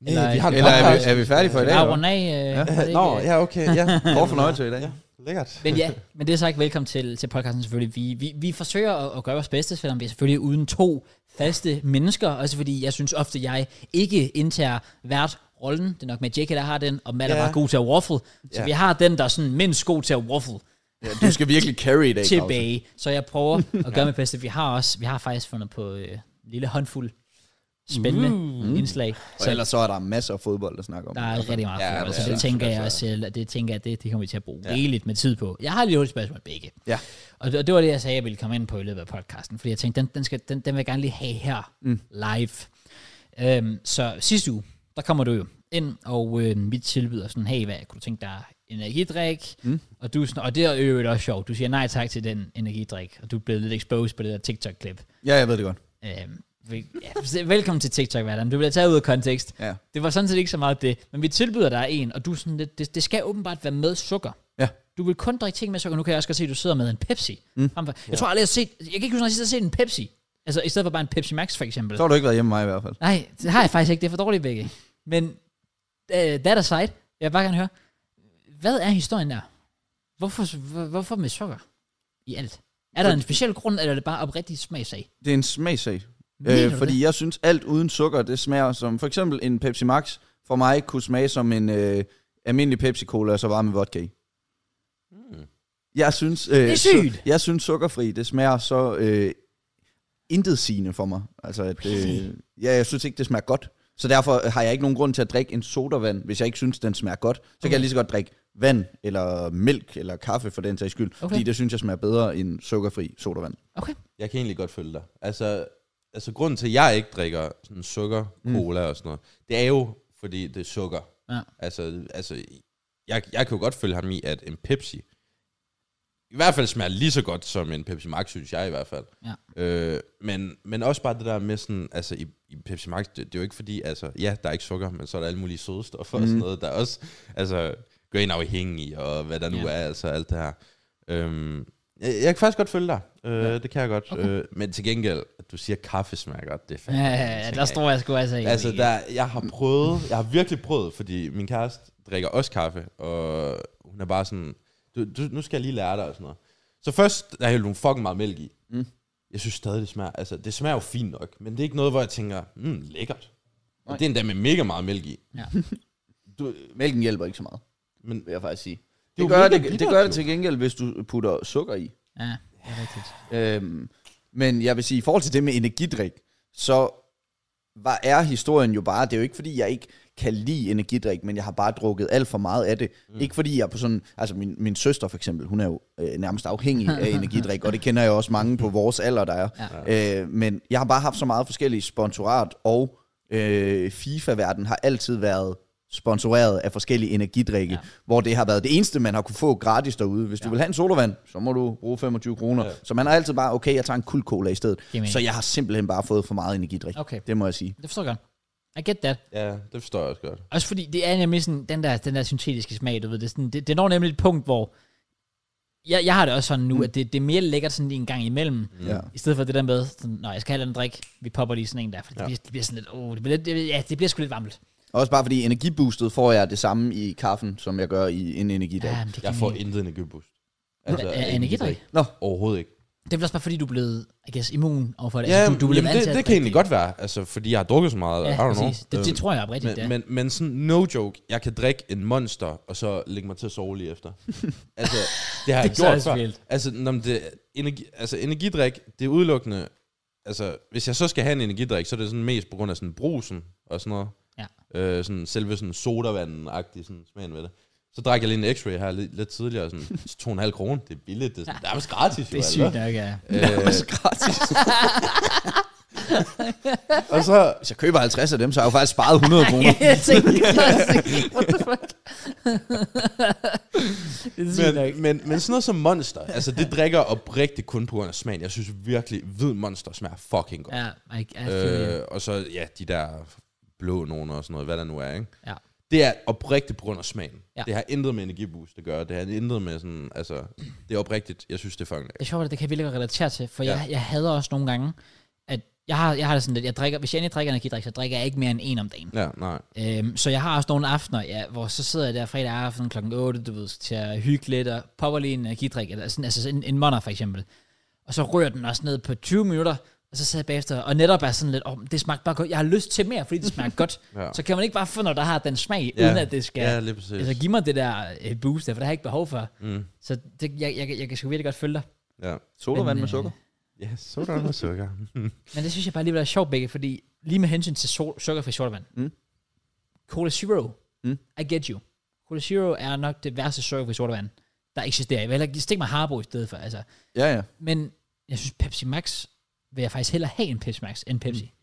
B: Eller, vi har en
C: Eller er vi,
B: podcast.
C: er vi færdige for i
A: Ja,
C: dag?
A: rundt af. Øh, var det ikke,
B: Nå,
A: øh,
B: ja, okay.
C: [LAUGHS]
B: Ja.
C: Kort fornøjelse i dag. Ja.
B: Lækkert.
A: Men ja, men det er så ikke velkommen til, til podcasten selvfølgelig. Vi, vi, vi forsøger at, at gøre vores bedste, selvom vi er selvfølgelig uden to faste mennesker. Også fordi jeg synes ofte, jeg ikke indtager hvert rollen. Det er nok med Jake, der har den, og Matt er
B: Ja.
A: bare god til at waffle. Så
B: Ja.
A: vi har den, der er sådan mindst god til at waffle
C: Ja, du skal virkelig carry i dag, Krause.
A: tilbage. Så jeg
B: [LAUGHS]
A: prøver at gøre mit bedste. Vi har også, vi har faktisk fundet på øh, en lille håndfuld spændende mm. indslag.
C: Og ellers så er der masser af fodbold at snakke om.
A: Der er rigtig meget
B: Ja,
A: ja,
B: der
A: så
B: er
A: det
B: det.
A: tænker jeg
B: Altså-
A: også, det tænker jeg, det, det kommer vi til at bruge ja. rigeligt med tid på. Jeg har lige et spørgsmål begge.
C: Ja.
A: Og det, og det var det, jeg sagde, jeg ville komme ind på i løbet af podcasten, fordi jeg tænkte, den, den, skal, den, den vil jeg gerne lige have her mm. live. Øhm, så sidste uge, der kommer du jo ind, og øh, vi tilbyder sådan, hey, hvad kunne du tænke dig energidrik? Mm. Og, du, er sådan, og det er jo også sjovt. Du siger nej tak til den energidrik, og du er blevet lidt exposed på det der TikTok-klip.
C: Ja, jeg ved det godt.
A: Øhm, vel- ja, se- velkommen til TikTok, hverdagen. Du bliver taget ud af kontekst.
C: Ja.
A: Det var sådan set ikke så meget det. Men vi tilbyder dig en, og du er sådan lidt, det, det skal åbenbart være med sukker.
C: Ja.
A: Du vil kun drikke ting med sukker. Nu kan jeg også godt se, at du sidder med en Pepsi. Mm. Jeg tror aldrig, jeg har set... Jeg kan ikke huske, når jeg sidst har set en Pepsi. Altså, i stedet for bare en Pepsi Max, for eksempel.
C: Så har du ikke været hjemme med mig i hvert fald.
A: Nej, det har jeg faktisk ikke. Det er for dårligt begge. Men uh, that aside, jeg vil bare gerne høre, hvad er historien der? Hvorfor, hvor- hvorfor med sukker i alt? Er der en speciel grund, eller er det bare oprigtig smagsag?
C: Det er en smagsag.
A: Mener du
C: Øh, fordi jeg synes, alt uden sukker, det smager som... For eksempel en Pepsi Max for mig kunne smage som en øh, almindelig Pepsi-Cola, og så bare med vodka i. Jeg synes, øh,
A: er sygt!
C: Su- jeg synes sukkerfri, det smager så øh, intet sigende for mig. Altså, at, øh, ja, jeg synes ikke, det smager godt. Så derfor har jeg ikke nogen grund til at drikke en sodavand, hvis jeg ikke synes, den smager godt. Så kan jeg lige så godt drikke vand, eller mælk, eller kaffe for den sags skyld.
A: Okay.
C: Okay. Fordi det synes jeg smager bedre end sukkerfri sodavand.
A: Okay.
B: Jeg kan egentlig godt følge dig. Altså, altså grunden til, at jeg ikke drikker sådan sukker, cola og sådan noget, det er jo, fordi det er sukker.
A: Ja.
B: Altså, altså jeg, jeg kan jo godt følge ham i, at en Pepsi, i hvert fald smager lige så godt som en Pepsi Max, synes jeg i hvert fald. Ja. Øh, men, men også bare det der med sådan, altså i, i Pepsi Max, det, det er jo ikke fordi, altså ja, der er ikke sukker, men så er der alle mulige sødestoffer mm. og sådan noget, der også, altså gør en afhængig i, og hvad der nu
A: Ja.
B: ja. er, altså alt det her. Øhm, jeg, jeg kan faktisk godt følge dig, øh, ja. det kan jeg godt. Okay. Øh, men til gengæld, at du siger, at kaffe smager godt, det er fandme...
A: Ja,
B: en
A: ja, ja,
B: ting,
A: der
B: jeg
A: står jeg sgu altså ikke.
B: Altså, der, jeg har prøvet, jeg har virkelig prøvet, fordi min kæreste drikker også kaffe, og hun er bare sådan, du, du, nu skal jeg lige lære dig og sådan noget. Så først, der hældte hun fucking meget mælk i. Mm. Jeg synes stadig, det smager, altså, det smager jo fint nok, men det er ikke noget, hvor jeg tænker, mm, lækkert. Og det er endda med mega meget mælk i.
A: Ja.
B: Du,
C: Mælken hjælper ikke så meget.
B: men
C: vil jeg faktisk sige.
B: er jo
C: Det gør
B: virkelig
C: det, det,
B: bittert,
C: gør det
B: jo.
C: til gengæld, hvis du putter sukker i.
A: Ja, det er rigtigt.
C: Øhm, men jeg vil sige, i forhold til det med energidrik, så var, er historien jo bare, det er jo ikke fordi, jeg ikke kan lide energidrik, men jeg har bare drukket alt for meget af det. Mm. Ikke fordi jeg på sådan, altså min, min søster for eksempel, hun er jo øh, nærmest afhængig af [LAUGHS] energidrik, og det kender jeg også mange på vores alder, der er. Mm. Ja. Øh, men jeg har bare haft så meget forskellige sponsorat, og øh, FIFA-verden har altid været sponsoreret af forskellige energidrikke, ja. hvor det har været det eneste, man har kunne få gratis derude. Hvis ja. du vil have en sodavand, så må du bruge 25 kroner. Ja. Så man har altid bare, okay, jeg tager en kul cola i stedet.
A: Giver mening.
C: Så jeg har simpelthen bare fået for meget energidrik.
A: Okay.
C: Det må jeg sige.
A: Det forstår jeg godt. I get that.
B: ja, det forstår jeg også godt.
A: Også fordi det er nemlig sådan, den der, den der syntetiske smag, du ved, det, er sådan, det, det når nemlig et punkt, hvor jeg, jeg har det også sådan nu, mm. at det, det er mere lækkert sådan lige en gang imellem, mm.
C: Ja.
A: i stedet for det der med, sådan, nå, jeg skal have en drik, vi popper lige sådan en der, for det,
B: Ja.
A: bliver, det bliver sådan lidt, oh, det bliver, lidt, det, ja, det bliver sgu lidt varmt.
C: Også bare fordi energiboostet får jeg det samme i kaffen, som jeg gør i en energidag.
A: Ja, men det
B: Jeg
A: kan
B: får
A: ikke.
B: intet Altså, energiboost.
A: Er- er energidrik?
C: Nå,
B: Overhovedet ikke.
A: Det er vel også bare fordi, du er blevet, I guess, immun overfor det.
B: Ja,
A: altså, du, du er blevet
B: jamen,
A: vant
B: det,
A: til at
B: det kan
A: drikke
B: egentlig godt være, altså, fordi jeg har drukket så meget. I
A: Ja,
B: don't know.
A: præcis. Det, det,
B: Øhm,
A: tror jeg oprigtigt, det
B: men,
A: er.
B: men, men sådan, no joke, jeg kan drikke en monster, og så lægge mig til at sove lige
A: [LAUGHS]
B: efter. altså, det har jeg
A: Det er
B: gjort
A: så
B: før.
A: vildt.
B: Altså, når det, energi, altså, energidrik, det er udelukkende... Altså, hvis jeg så skal have en energidrik, så er det sådan mest på grund af sådan brusen og sådan noget.
A: Ja.
B: Øh, sådan selve sådan sodavanden-agtig sådan smagen ved det. Så drak jeg lige en x-ray her lidt, lidt
A: [LAUGHS]
B: tidligere, sådan til to og en halv krone. Det er billigt, det er sådan, nærmest gratis. altså.
A: det er sygt nok, ja.
B: Øh,
C: også [LAUGHS] gratis.
B: og så,
C: Hvis jeg køber 50 af dem, så har jeg jo faktisk sparet 100 kroner.
A: jeg
B: [LAUGHS]
A: tænkte, what the fuck? [LAUGHS] det er sygt nok.
B: men, men, men sådan noget som Monster, altså det drikker jeg oprigtigt kun på grund af smagen. Jeg synes virkelig, hvid Monster smager fucking godt.
A: Ja, I, I feel you.
B: øh, og så, ja, de der blå nogen og sådan noget, hvad der nu er, ikke?
A: Ja.
B: Det er oprigtigt på grund af smagen.
A: Ja.
B: Ja. Det har intet med energiboost at gøre. Det har intet med sådan, altså, det er oprigtigt. Jeg synes, det er fucking
A: Det
B: lækkert.
A: er sjovt, at det kan jeg virkelig godt relatere til, for ja.
B: Ja.
A: jeg, jeg hader også nogle gange, at jeg har, jeg har det sådan lidt, jeg drikker, hvis jeg endelig drikker energidrik, så drikker jeg ikke mere end en om dagen.
B: Ja, nej.
A: Øhm, så jeg har også nogle aftener, ja, hvor så sidder jeg der fredag aften kl. 8, du ved, til at hygge lidt og popper lige en energidrik, eller sådan, altså sådan en, en monner for eksempel. Og så rører den også ned på 20 minutter, og så sidder jeg bagefter, og netop er sådan lidt, oh, det smagte bare godt, jeg har lyst til mere, fordi det smager godt.
B: Ja.
A: Så kan man ikke bare få noget, der har den smag,
B: Ja.
A: uden at det skal
B: Ja, lige præcis.
A: altså, give mig det der øh, boost der, for det har jeg ikke behov for.
B: Mm.
A: Så det, jeg, jeg, jeg kan sgu virkelig godt følge dig.
B: Ja.
C: Sodavand
A: Men,
C: med
A: øh,
C: sukker.
B: Ja, sådan og sukker.
A: Men det synes jeg bare alligevel er sjovt begge, fordi lige med hensyn til sol- sukkerfri sodavand.
C: Mm.
A: Cola Zero.
C: Mm.
A: I get you. Cola Zero er nok det værste sukkerfri sodavand, der eksisterer. Jeg vil heller ikke stikke mig Harbo i stedet for. Altså.
C: Ja, ja.
A: Men jeg synes Pepsi Max, vil jeg faktisk hellere have en Pepsi Max end Pepsi. Mm.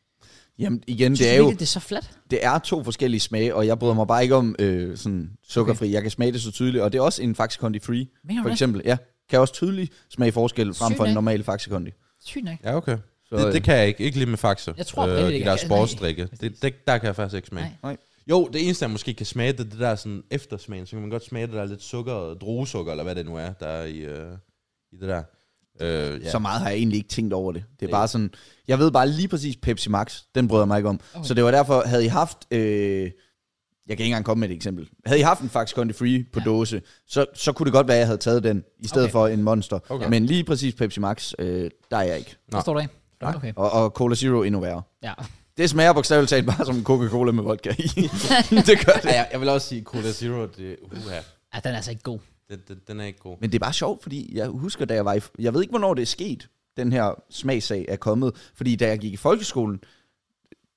C: Jamen igen,
A: Synes
C: det er
A: du
C: jo
A: virkelig, det er så fladt.
C: det er to forskellige smage, og jeg bryder mig bare ikke om øh, sådan sukkerfri. Okay. Jeg kan smage det så tydeligt, og det er også en Faxe Kondi Free,
A: Mener du
C: for
A: det?
C: eksempel. Ja, kan også tydeligt smage forskel frem
A: Sygt
C: for en
A: nok.
C: normal Faxe Kondi.
A: Sygt nok.
B: Ja, okay.
C: Så, øh,
B: det, det kan jeg ikke. Ikke lige med faxer.
A: Jeg tror oprigtigt
B: de
A: ikke,
B: der
A: jeg kan- altså-
B: sportsdrikke.
A: nej.
B: Det, det, der kan jeg faktisk ikke smage.
A: Nej.
C: Nej.
B: Jo, det eneste, jeg måske kan smage, det er det der sådan eftersmagen. Så kan man godt smage det der lidt sukker, druesukker, eller hvad det nu er, der er i, øh, i det der. Øh,
C: Ja.
B: ja. [LAUGHS]
C: Så meget har jeg egentlig ikke tænkt over det. Det er
B: Nej.
C: bare sådan, jeg ved bare lige præcis Pepsi Max, den bryder jeg mig ikke om.
A: Okay.
C: Okay. Så det var derfor, havde I haft, øh, jeg kan ikke engang komme med et eksempel. Havde I haft en Faxe Kondi Free på
A: Ja.
C: ja. dåse, så, så kunne det godt være, at jeg havde taget den, i
A: Okay.
C: stedet okay. for en Monster.
B: Okay.
C: Okay. Men lige præcis Pepsi Max, øh, der er jeg ikke.
A: Hvad står der af?
B: Nej.
A: Okay.
C: Og, og Cola Zero endnu værre.
A: Ja.
C: Det smager bogstaveligt talt bare som Coca-Cola med vodka i. det gør det.
B: Ej, jeg, jeg vil også sige, Cola Zero, det, uha,
A: ja, den er altså ikke god.
B: det, det, den er ikke god.
C: Men det er bare sjovt, fordi jeg husker, da jeg var i... Jeg ved ikke, hvornår det er sket, den her smagsag er kommet. Fordi da jeg gik i folkeskolen,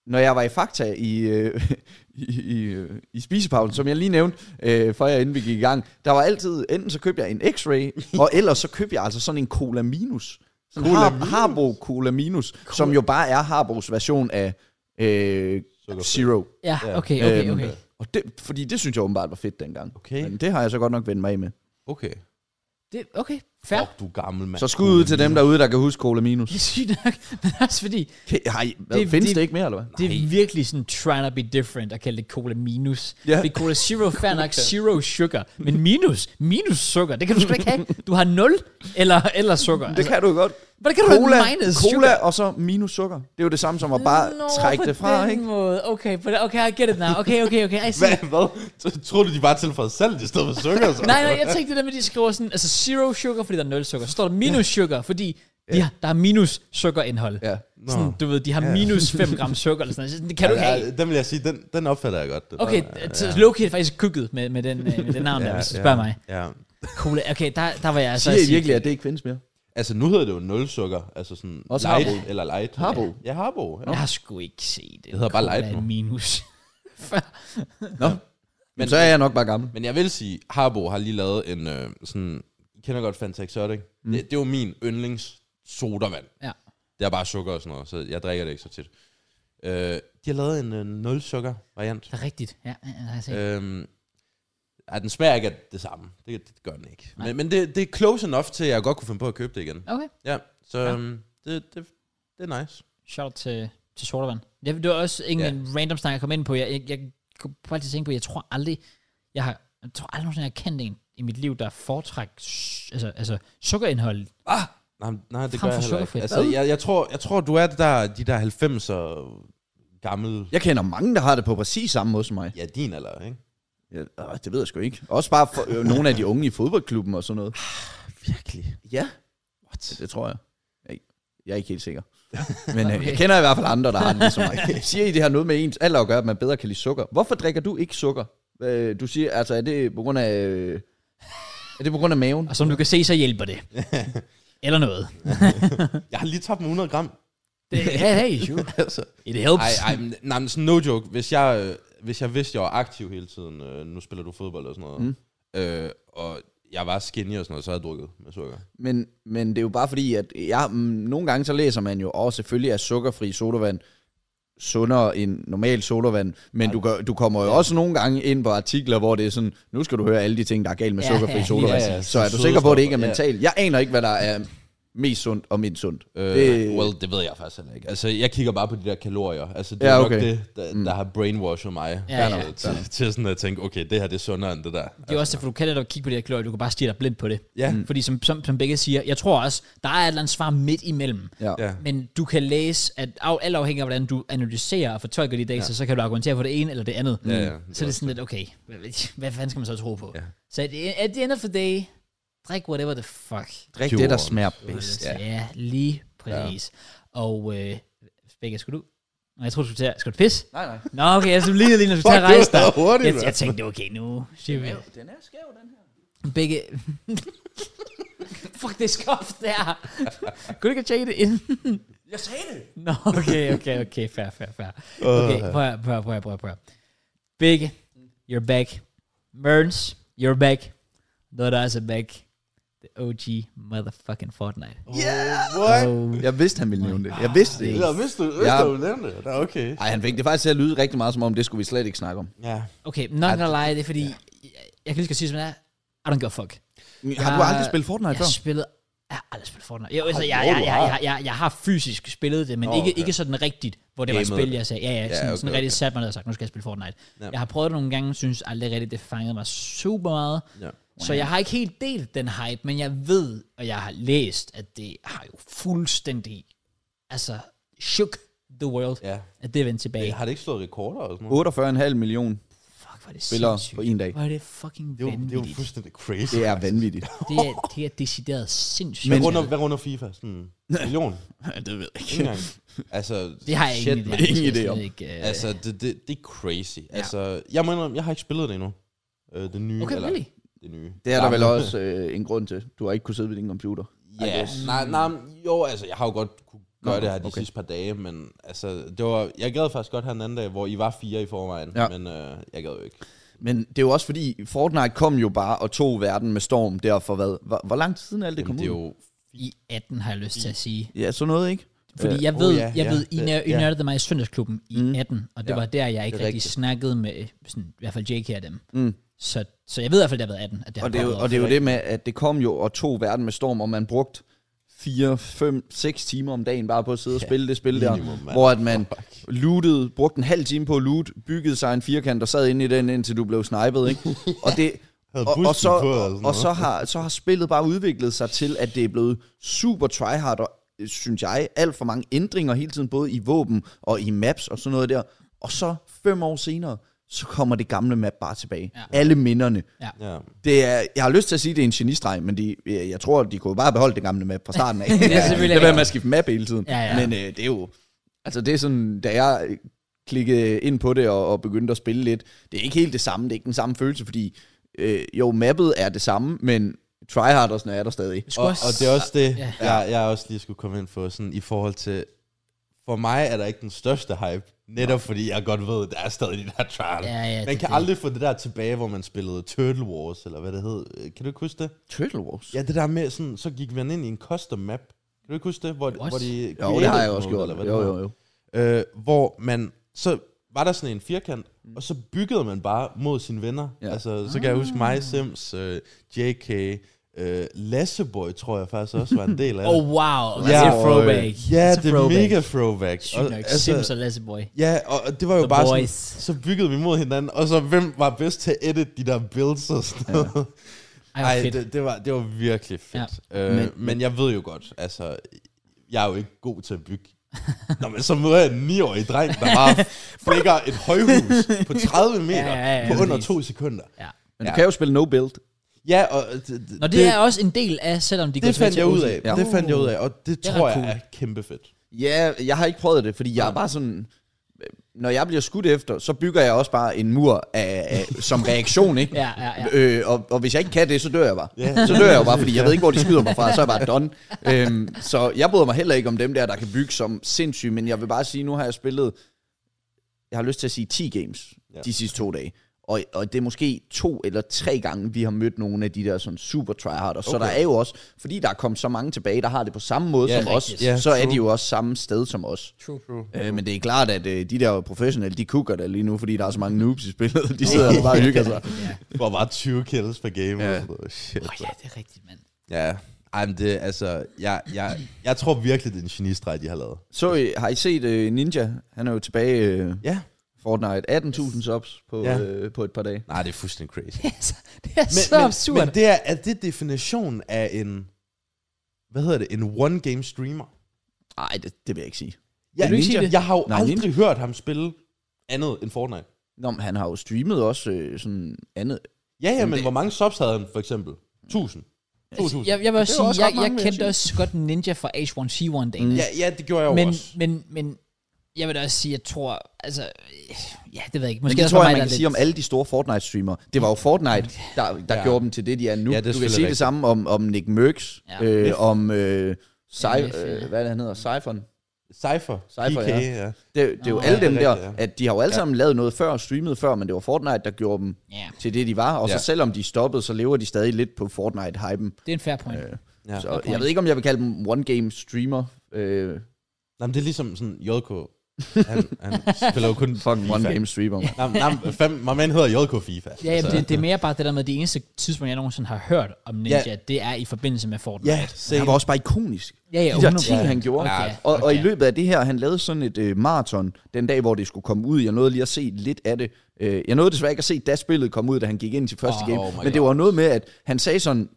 C: når jeg var i Fakta i, øh, [LAUGHS] i, i, øh, i spisepausen, som jeg lige nævnte, øh, før jeg inden vi gik i gang, der var altid, enten så købte jeg en X-Ray, og ellers så købte jeg altså sådan en Cola Minus. Sådan
B: Cola
C: Cola Har,
B: Minus?
C: Harbo Cola Minus, Cola. som jo bare er Harbos version af øh,
B: Sukkerfri.
C: Zero.
A: Ja,
B: Ja.
A: okay, okay,
C: Øhm,
A: okay.
C: Og det, fordi det synes jeg åbenbart var fedt dengang.
B: Okay.
C: Men det har jeg så godt nok vendt mig af med.
B: Okay.
A: Det, okay, fair.
B: Fuck, du er gammel, mand.
C: Så skud ud til dem derude, der kan huske Cola Minus.
A: Det er sygt nok, [LAUGHS] men også fordi,
C: Kan- Har I, hvad,
A: Det-
C: det,
A: det-
C: findes det, det ikke mere, eller hvad?
A: Det er virkelig sådan trying to be different at kalde det cola minus.
C: Ja.
A: Fordi cola zero, fair
C: [LAUGHS]
A: nok, zero sugar. Men minus, minus sukker, det kan du sgu da ikke have. Du har nul eller, eller sukker. Altså,
C: Det kan du jo godt.
A: Hvordan kan du
C: Cola,
A: have minus
C: cola
A: sugar?
C: og så minus sukker. Det er jo det samme som at bare
A: Nå,
C: trække
A: på
C: det fra,
A: den
C: ikke?
A: Måde. Okay, på den, okay, I get it now. Okay, okay, okay,
C: [LAUGHS]
A: I see.
B: [LAUGHS] Hvad? hvad? Så Tror du, de bare tilføjede salt i stedet for sukker? Så?
A: Nej, nej, jeg tænkte det der med, at de skriver sådan, altså zero sugar, fordi der er nul sukker. Så står der minus sugar, fordi de har, der er minus sukkerindhold.
C: Ja.
B: Nå.
A: Sådan, du ved, de har minus 5 gram sukker eller sådan noget. Det kan du ikke have.
B: Ja, den vil jeg sige, den, den opfatter jeg godt. Den
A: Okay,
B: er-
A: så Loki er faktisk kukket med, med den, øh, med den
C: [LAUGHS]
A: navn der, hvis du spørger mig.
B: Ja.
A: Cola, okay, der, der var jeg altså...
C: Siger I
A: sige-
C: virkelig, at det ikke findes mere?
B: Altså, nu hedder det jo nul sukker. Altså sådan
C: Også
B: light
C: Harbo.
B: eller light.
C: Harbo.
B: Ja, Harbo. Ja.
A: Jeg har sgu ikke set det.
B: hedder bare Light nu.
A: minus. [LAUGHS] Før-
C: Nå. Men så er jeg nok bare gammel.
B: Men jeg vil sige, Harbo har lige lavet en øh, sådan... I kender godt Fanta Exotic. Mm. Det, det er jo min yndlings sodavand.
A: ja.
B: Det er bare sukker og sådan noget, så jeg drikker det ikke så tit. Øh, de har lavet en øh, nul sukker variant.
A: Det er rigtigt. Ja, ja, ja, har jeg set.
B: Øhm, ej, den smager ikke af det samme. Det, det gør den ikke. Men, men det, det er close enough til, at jeg godt kunne finde på at købe det igen.
C: Øh.
A: Okay.
B: Ja, så
A: Ja.
B: ja. Øhm, det, det, det er nice.
A: Shout out til, til sodavand. Jeg, det var også en
B: Ja.
A: yeah. random snak, jeg kom ind på. Jeg, jeg, jeg kunne prøve altid tænke på, jeg tror aldrig, jeg har, jeg tror aldrig nogensinde, jeg har kendt en i mit liv, der foretræk altså, altså sukkerindhold.
B: Ah! Nej, nej det
A: Frem for
B: gør jeg heller ikke.
A: sukkerfri.
B: Altså,
A: Hvad?
B: jeg, jeg, tror, jeg tror, du er det der, de der 90'er gamle...
C: Jeg kender mange, der har det på præcis samme måde som mig.
B: Ja, din alder, ikke?
C: Ja, øh, det ved jeg sgu ikke. Også bare for, øh, nogle af de unge i fodboldklubben og sådan noget.
B: Virkelig.
C: Ja.
B: What?
C: Det, det tror jeg. Jeg, er ikke- jeg er ikke helt sikker. [LAUGHS] Men øh, jeg kender i hvert fald andre, der har det
A: [LAUGHS]
C: ligesom mig. Siger I, det har noget med ens alder at gøre, at man bedre kan lide sukker? Hvorfor drikker du ikke sukker? Øh, du siger, altså er det på grund af... Øh, er det på grund af maven?
A: Og som du kan se, så hjælper
C: [LAUGHS]
A: det. Eller noget.
B: Jeg har lige tabt mig 100 gram.
A: Det,
C: [LAUGHS]
A: hey, hey, sure.
B: altså.
A: It helps.
B: Ej, ej, men, nej, men sådan no joke. Hvis jeg, øh, hvis jeg vidste, jeg var aktiv hele tiden, øh, nu spiller du fodbold og sådan noget, mm. øh, og jeg var skinny og sådan noget, så havde jeg drukket med sukker.
C: Men, men det er jo bare fordi, at jeg, mm, nogle gange så læser man jo, og selvfølgelig er sukkerfri sodavand sundere end normal sodavand, men du, gør, du kommer jo også nogle gange ind på artikler, hvor det er sådan, nu skal du høre alle de ting, der er galt med
A: Ja,
C: sukkerfri
A: ja,
C: sodavand.
B: lige præcis.
C: Så er du sikker på, at det ikke er
B: Ja.
C: mentalt? Jeg aner ikke, hvad der er mest sundt og mindst sundt.
B: Øh,
C: Det-
B: det... Well, det ved jeg faktisk heller ikke. Altså, jeg kigger bare på de der kalorier. Altså, det
C: Ja,
B: er ja,
C: okay.
B: okay. nok det, der, der har brainwashed mig
A: Ja,
B: øh,
A: ja.
B: Til, til sådan at tænke, okay, det her det er sundere end det der.
A: Det er også derfor, du kan netop kigge på det her kalorier, du kan bare stige dig blind på det.
B: Ja. Mm.
A: Fordi som, som, som begge siger, jeg tror også, der er et eller andet svar midt imellem.
C: Ja.
B: Ja.
A: Men du kan læse, at af, alt afhængig af, hvordan du analyserer og fortolker de data, ja. så, så kan du argumentere for det ene eller det andet.
B: Ja, ja, det er
A: så det er
B: også
A: sådan lidt, okay, hvad- hvad fanden skal man så tro på?
B: Ja.
A: Så at the- at the end of the day, drik whatever the fuck.
C: Drik
B: Cure.
C: det, der smager bedst.
A: Ja, ja lige præcis. Ja. Og øh, begge, skulle du? Nå, jeg tror du skulle tage, skal du pisse?
C: Nej, nej.
A: Nå, okay, jeg skulle lige lige, når du skulle tage
B: det
A: rejse
B: var
A: dig.
B: hurtigt,
A: Jeg,
B: mand.
A: jeg tænkte, okay, nu siger vi.
C: Den er skæv, den her.
A: Begge... Fuck, det er skoft der. Kunne du ikke tjekke det inden?
C: Jeg sagde det!
A: Nå, okay, okay, okay, fair, fair, fair. Okay, prøv at, prøv at, prøv at, prøv at, prøv at. Big, you're back. Merns, you're back. Lotta is altså back. The OG motherfucking Fortnite.
B: Yeah! What?
A: Oh,
C: Jeg vidste, han ville nævne det. Jeg vidste det.
B: Ja, hvis du, hvis
C: Ja.
B: ja. du nævnte det, da okay.
C: Ej, han fik det faktisk til at lyde rigtig meget, som om det skulle vi slet ikke snakke om.
B: Ja.
A: okay, not gonna lie, det er fordi, jeg, jeg kan lige skal sige, som det er. I don't give a fuck.
C: Har du aldrig spillet Fortnite
A: Jeg
C: før?
A: spillede jeg har aldrig spillet Fortnite. Jo, altså,
B: Hold
A: jeg,
B: da,
A: jeg,
B: du
A: jeg,
B: har.
A: jeg, jeg, jeg, har fysisk spillet det, men
B: Nå,
A: oh, okay. ikke,
B: okay.
A: ikke sådan rigtigt, hvor det var et
B: Gamet.
A: spil, jeg sagde, ja, ja, sådan,
B: okay,
A: sådan rigtig
B: okay.
A: sat mig ned og sagt, nu skal jeg spille Fortnite.
B: Ja.
A: Jeg har prøvet det nogle gange, synes aldrig rigtigt, det fangede mig super meget.
B: ja.
A: Så jeg har ikke helt delt den hype, men jeg ved, og jeg har læst, at det har jo fuldstændig, altså, shook the world,
B: ja.
A: at det er vendt tilbage.
B: Øh, Har det ikke slået rekorder og sådan noget?
C: 48,5 million
A: Fuck, hvor er det
C: spillere
A: sindssygt.
C: på en dag.
A: Hvor er det fucking
B: Det er, jo, det er jo
A: vanvittigt.
B: [LAUGHS] fuldstændig crazy.
C: Det er vanvittigt.
A: Det er, det er decideret sindssygt.
B: Hvad, runder, hvad runder FIFA? Sådan
C: [LAUGHS]
B: en million?
C: det ved jeg
B: Ingen gang.
C: [LAUGHS]
B: Altså,
A: Det har jeg
B: shit,
A: ingen idé om.
B: mand.
A: Det skal jeg
C: ingen idé
A: slet
C: om.
A: Ikke, øh,
B: Altså, det, det, det er crazy. Ja. Altså, jeg må indrømme, jeg har ikke spillet det endnu. Øh, det nye,
A: okay,
B: eller
A: really?
B: det nye.
C: Det er der vel
B: Gamle. [LAUGHS]
C: også øh, en grund til. Du har ikke kunnet sidde ved din computer.
B: Ja,
C: guess.
B: nej, nej, men jo, altså, jeg har jo godt kunne gøre
C: Nå,
B: det her de
C: okay.
B: sidste par dage, men altså, det var, jeg gad faktisk godt her den anden dag, hvor I var fire i forvejen,
C: Ja.
B: ja. men øh, jeg gad jo ikke.
C: Men det er jo også fordi, Fortnite kom jo bare og tog verden med storm der for hvad? Hvor, hvor lang tid siden er alt det
B: Jamen,
C: kom
B: det er
C: ud?
B: jo...
A: I 18 har jeg lyst til at sige.
C: Ja, sådan noget, ikke?
A: Fordi jeg
B: oh
A: ved,
B: ja,
A: jeg
B: ja,
A: ved I,
B: det-
A: nør- I
B: ja. Mm.
A: nørdede mig i Søndagsklubben i 18, og det
B: Ja,
A: var der, jeg ikke
B: det
A: rigtig
B: er rigtigt. Mm.
A: snakkede med, sådan, i hvert fald JK og dem. Så, så jeg ved i hvert fald, at det har været 18, at det har
C: Og det, er jo,
A: poppet
C: og
A: op.
C: det er jo det med, at det kom jo og tog verden med storm, og man brugte 4, 5, 6 timer om dagen bare på at sidde og spille det spil der,
B: minimum, mand.
C: hvor at man lootede, brugte en halv time på at loot, byggede sig en firkant og sad inde i den, indtil du blev snipet,
B: [LAUGHS]
C: ikke? Og det...
B: Havde
C: Og, og,
B: busken
C: så,
B: på og sådan
C: og, og
B: noget.
C: så, har, så har spillet bare udviklet sig til, at det er blevet super tryhard, og øh, synes jeg, alt for mange ændringer hele tiden, både i våben og i maps og sådan noget der. Og så fem år senere, så kommer det gamle map bare tilbage.
A: Ja.
C: Ja. Alle minderne.
B: Ja.
C: Det er, jeg har lyst til at sige, at det er en genistreg, men de, jeg tror, de kunne bare have beholdt det gamle map fra starten
A: [LAUGHS]
C: af. det
A: selvfølgelig rigtigt.
C: Det er med at skifte map hele tiden.
A: Ja, ja.
C: Men øh, det er jo... Altså det er sådan, da jeg øh, klikkede ind på det og, og begyndte at spille lidt, det er ikke helt det samme, det er ikke den samme følelse, fordi øh, jo, mappet er det samme, men tryhardersne er der stadig.
A: Jeg
B: Og,
A: skulle
B: og det er også det,
A: Ja.
B: ja. jeg, jeg også lige skulle komme ind på, sådan i forhold til... For mig er der ikke den største hype, netop fordi jeg godt ved, at der er stadig de der trial.
A: Ja, ja, det er
B: man kan
A: det.
B: aldrig få det der tilbage, hvor man spillede Turtle Wars, eller hvad det hed. Øh, Kan du ikke huske det?
C: Turtle Wars?
B: Ja, det der med, sådan, så gik man ind i en custom map. Kan du ikke huske det? Hvor,
A: What?
B: hvor de
C: Jo, det har jeg
B: creative
C: også
B: mode,
C: gjort.
B: eller
C: Jo,
B: hvad det
C: jo,
B: var.
C: jo.
B: Øh, hvor man, så var der sådan en firkant,
A: Mm.
B: og så byggede man bare mod sine venner.
C: Ja.
B: Ja. Altså, så kan jeg huske
A: Ah.
B: mig, Sims, øh, JK, øh, Lasseboy, tror jeg faktisk også var
A: [LAUGHS]
B: en del af
A: Oh
B: det.
A: wow, ja,
B: Ja,
A: det er
B: og, øh,
A: throwback.
B: Ja,
A: a
B: det er
A: throwback.
B: mega throwback. altså,
A: Sygt nok, Sims og Lasse Boy.
B: Ja, og og det var jo
A: The
B: bare sådan,
A: boys.
B: så byggede vi mod hinanden, og så hvem var bedst til at edit de der builds og sådan noget.
A: I Ej, hvor
B: Ej,
A: fedt. Det,
B: det, det, var, det var virkelig fedt. Ja. Øh, men, men jeg ved jo godt, altså, jeg er jo ikke god til at
A: [LAUGHS]
B: bygge. Nå, men så møder jeg en 9-årig dreng, der bare flækker et højhus på 30 meter
A: Ja, ja, ja,
B: på under
A: præcis.
B: to sekunder.
A: ja.
C: Men
B: Ja.
C: ja. du kan jo spille no build.
B: Ja, og det, det,
A: Nå, det, det, er også en del af, selvom de går
B: det fandt
A: til
B: jeg ud
A: Odense.
B: af. Ja. Det fandt jeg ud af, og det,
A: Det er
B: tror
A: ret
B: jeg
A: cool.
B: er kæmpe fedt.
C: Ja, jeg har ikke prøvet det, fordi jeg er bare sådan... øh, Når jeg bliver skudt efter, så bygger jeg også bare en mur af, af, som reaktion, ikke?
A: [LAUGHS] Ja, ja, ja.
C: Øh, og, og hvis jeg ikke kan det, så dør jeg bare.
B: Ja.
C: Så dør jeg jo bare, fordi jeg ved ikke, hvor de skyder mig fra, så er jeg bare done. Øhm, så jeg bryder mig heller ikke om dem der, der kan bygge som sindssyge, men jeg vil bare sige, nu har jeg spillet, jeg har lyst til at sige 10 games
B: Ja.
C: de sidste to dage. Og, og det er måske to eller tre gange, vi har mødt nogle af de der sådan super tryhard. Og så
B: Okay.
C: der er jo også, fordi der er kommet så mange tilbage, der har det på samme måde
B: Ja,
C: som os,
A: rigtigt.
B: Ja,
C: så er
B: true.
C: de jo også samme sted som os.
A: True.
C: Øh, men det er klart, at øh, de der professionelle, de kukker der lige nu, fordi der er så mange noobs i spillet. De sidder og bare og hygger sig.
A: Ja.
B: Hvor var 20 kills per game.
C: Ja.
B: Ja. Shit.
A: Oh, ja, det er rigtigt, mand. [LAUGHS]
B: Ja, Ej, men det, altså, jeg, jeg, jeg tror virkelig, det er en genistreg, de har lavet.
C: Så I, har I set øh, Ninja? Han er jo tilbage i øh,
B: Ja.
C: Fortnite. 18.000 subs på,
B: Ja.
C: øh, på et par dage.
B: Nej, det er fuldstændig crazy.
A: Det er så, det er men, så men, absurd. Altså,
B: Men det er, er det definitionen af en, hvad hedder det, en one-game streamer?
C: Nej, det, det vil jeg ikke sige.
B: Ja,
A: Vil du ikke sige det?
B: jeg har jo
C: Nej,
B: Nej, aldrig ninja. hørt ham spille andet end Fortnite.
C: Nå, men han har jo streamet også øh, sådan andet.
B: Ja, ja, men,
C: det-
B: hvor mange subs havde han for eksempel? 1000. 2000.
A: Altså, jeg, jeg vil også
C: Det er
A: sige,
C: også
A: jeg,
C: ret mange,
A: jeg
C: vil jeg
A: kendte
C: sige.
A: også godt Ninja fra H1C1 dagen.
B: ja, ja, det gjorde jeg jo
A: men,
B: også.
A: men, men jeg vil da også sige, jeg tror, altså, øh, ja, det ved jeg ikke.
C: Men
A: Måske
C: det
A: også
C: tror
A: for
C: jeg,
A: mig,
C: man
A: der
C: kan
A: er
C: sige om alle de store Fortnite-streamere. Det var jo Fortnite, der, der ja.
B: Ja.
C: gjorde dem til det, de er nu.
B: Ja, det er
C: du kan
B: selvfølgelig
C: sige det
B: rigtigt.
C: samme om, om Nick Merckx,
A: Ja.
C: ja. øh, om øh,
A: NF,
C: Cy,
A: ja.
C: øh, hvad er det, han hedder? Cyphon.
B: Cypher,
C: Cypher,
B: PK,
C: ja.
B: ja. ja.
C: Det, det er jo
A: Nå,
C: alle
B: ja,
C: dem
B: det er
C: der,
B: rigtigt, ja.
C: at de har jo alle sammen lavet noget før, streamet før, men det var Fortnite, der gjorde dem
A: Ja,
C: til det, de var. Og ja.
B: Ja.
C: så selvom de stoppede, så lever de stadig lidt på Fortnite-hypen.
A: det er en fair point. Øh,
B: ja.
C: Så jeg ved ikke, om jeg vil kalde dem one-game streamer. Øh,
B: Nej, men det er ligesom sådan JK. Han,
A: [LAUGHS]
B: han spiller jo kun
C: fucking
B: FIFA.
C: one-game streamer.
B: Nej, nej, fem, my man hedder JK FIFA.
A: ja,
C: altså-
A: jamen, det, det er mere bare det der med, de eneste tidspunkter, jeg nogensinde har hørt om Ninja, det er i forbindelse med Fortnite.
B: ja,
C: Men
B: same.
C: Han var også bare ikonisk.
A: ja, ja
C: De der
A: 100%.
C: ting, han gjorde.
A: Okay,
C: Okay. Og, og i
A: okay.
C: løbet af det her, han lavede sådan et øh, maraton den dag, hvor det skulle komme ud. Jeg nåede lige at se lidt af det. Øh, jeg nåede desværre ikke at se, da spillet kom ud, da han gik ind til første
A: Åh,
C: game.
B: oh my
C: men det var noget med, at han sagde sådan...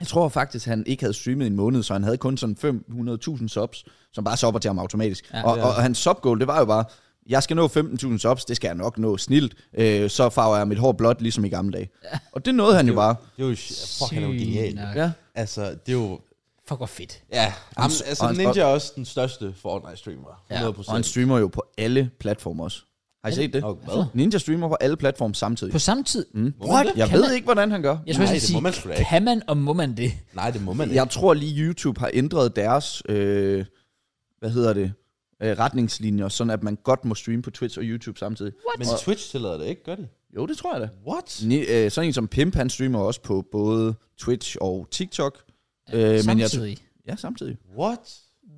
C: Jeg tror faktisk, han ikke havde streamet i en måned, så han havde kun sådan 500.000 subs, som bare subber til ham automatisk. Ja, og,
B: Ja.
C: og, og hans subgoal, det var jo bare, jeg skal nå 15.000 subs, det skal jeg nok nå snilt, øh, så farver jeg mit hår blåt, ligesom i gamle dage. Ja. Og det nåede han jo bare.
B: Det er jo, fuck, han er jo
A: Sygt
B: genial.
A: nok.
C: Ja.
B: Altså, det er jo
A: Fuck, hvor fedt.
B: Ja, jamen, altså
C: og-
B: Ninja er også den største Fortnite-streamer. 100%.
C: Og han streamer jo på alle platforme også. Har I set det?
B: Og hvad?
C: Ninja streamer på alle platforme samtidig.
A: På samme tid. Mm.
B: man
C: Jeg
A: Kan
C: ved
A: man-
C: ikke, hvordan han gør.
A: Jeg tror,
B: Nej,
A: jeg
B: det
A: skal
B: må man sgu da
A: sige,
B: ikke.
A: kan man og må man det?
B: Nej, det må man ikke.
C: Jeg tror lige, YouTube har ændret deres, øh, hvad hedder det, øh, retningslinjer, sådan at man godt må streame på Twitch og YouTube samtidig.
B: Men Twitch tillader det ikke, gør de?
C: Jo, det tror jeg da.
B: What?
C: Ni, øh, sådan en som Pimp, han streamer også på både Twitch og TikTok. Øh, men jeg,
A: Samtidig.
C: ja, samtidig.
B: What?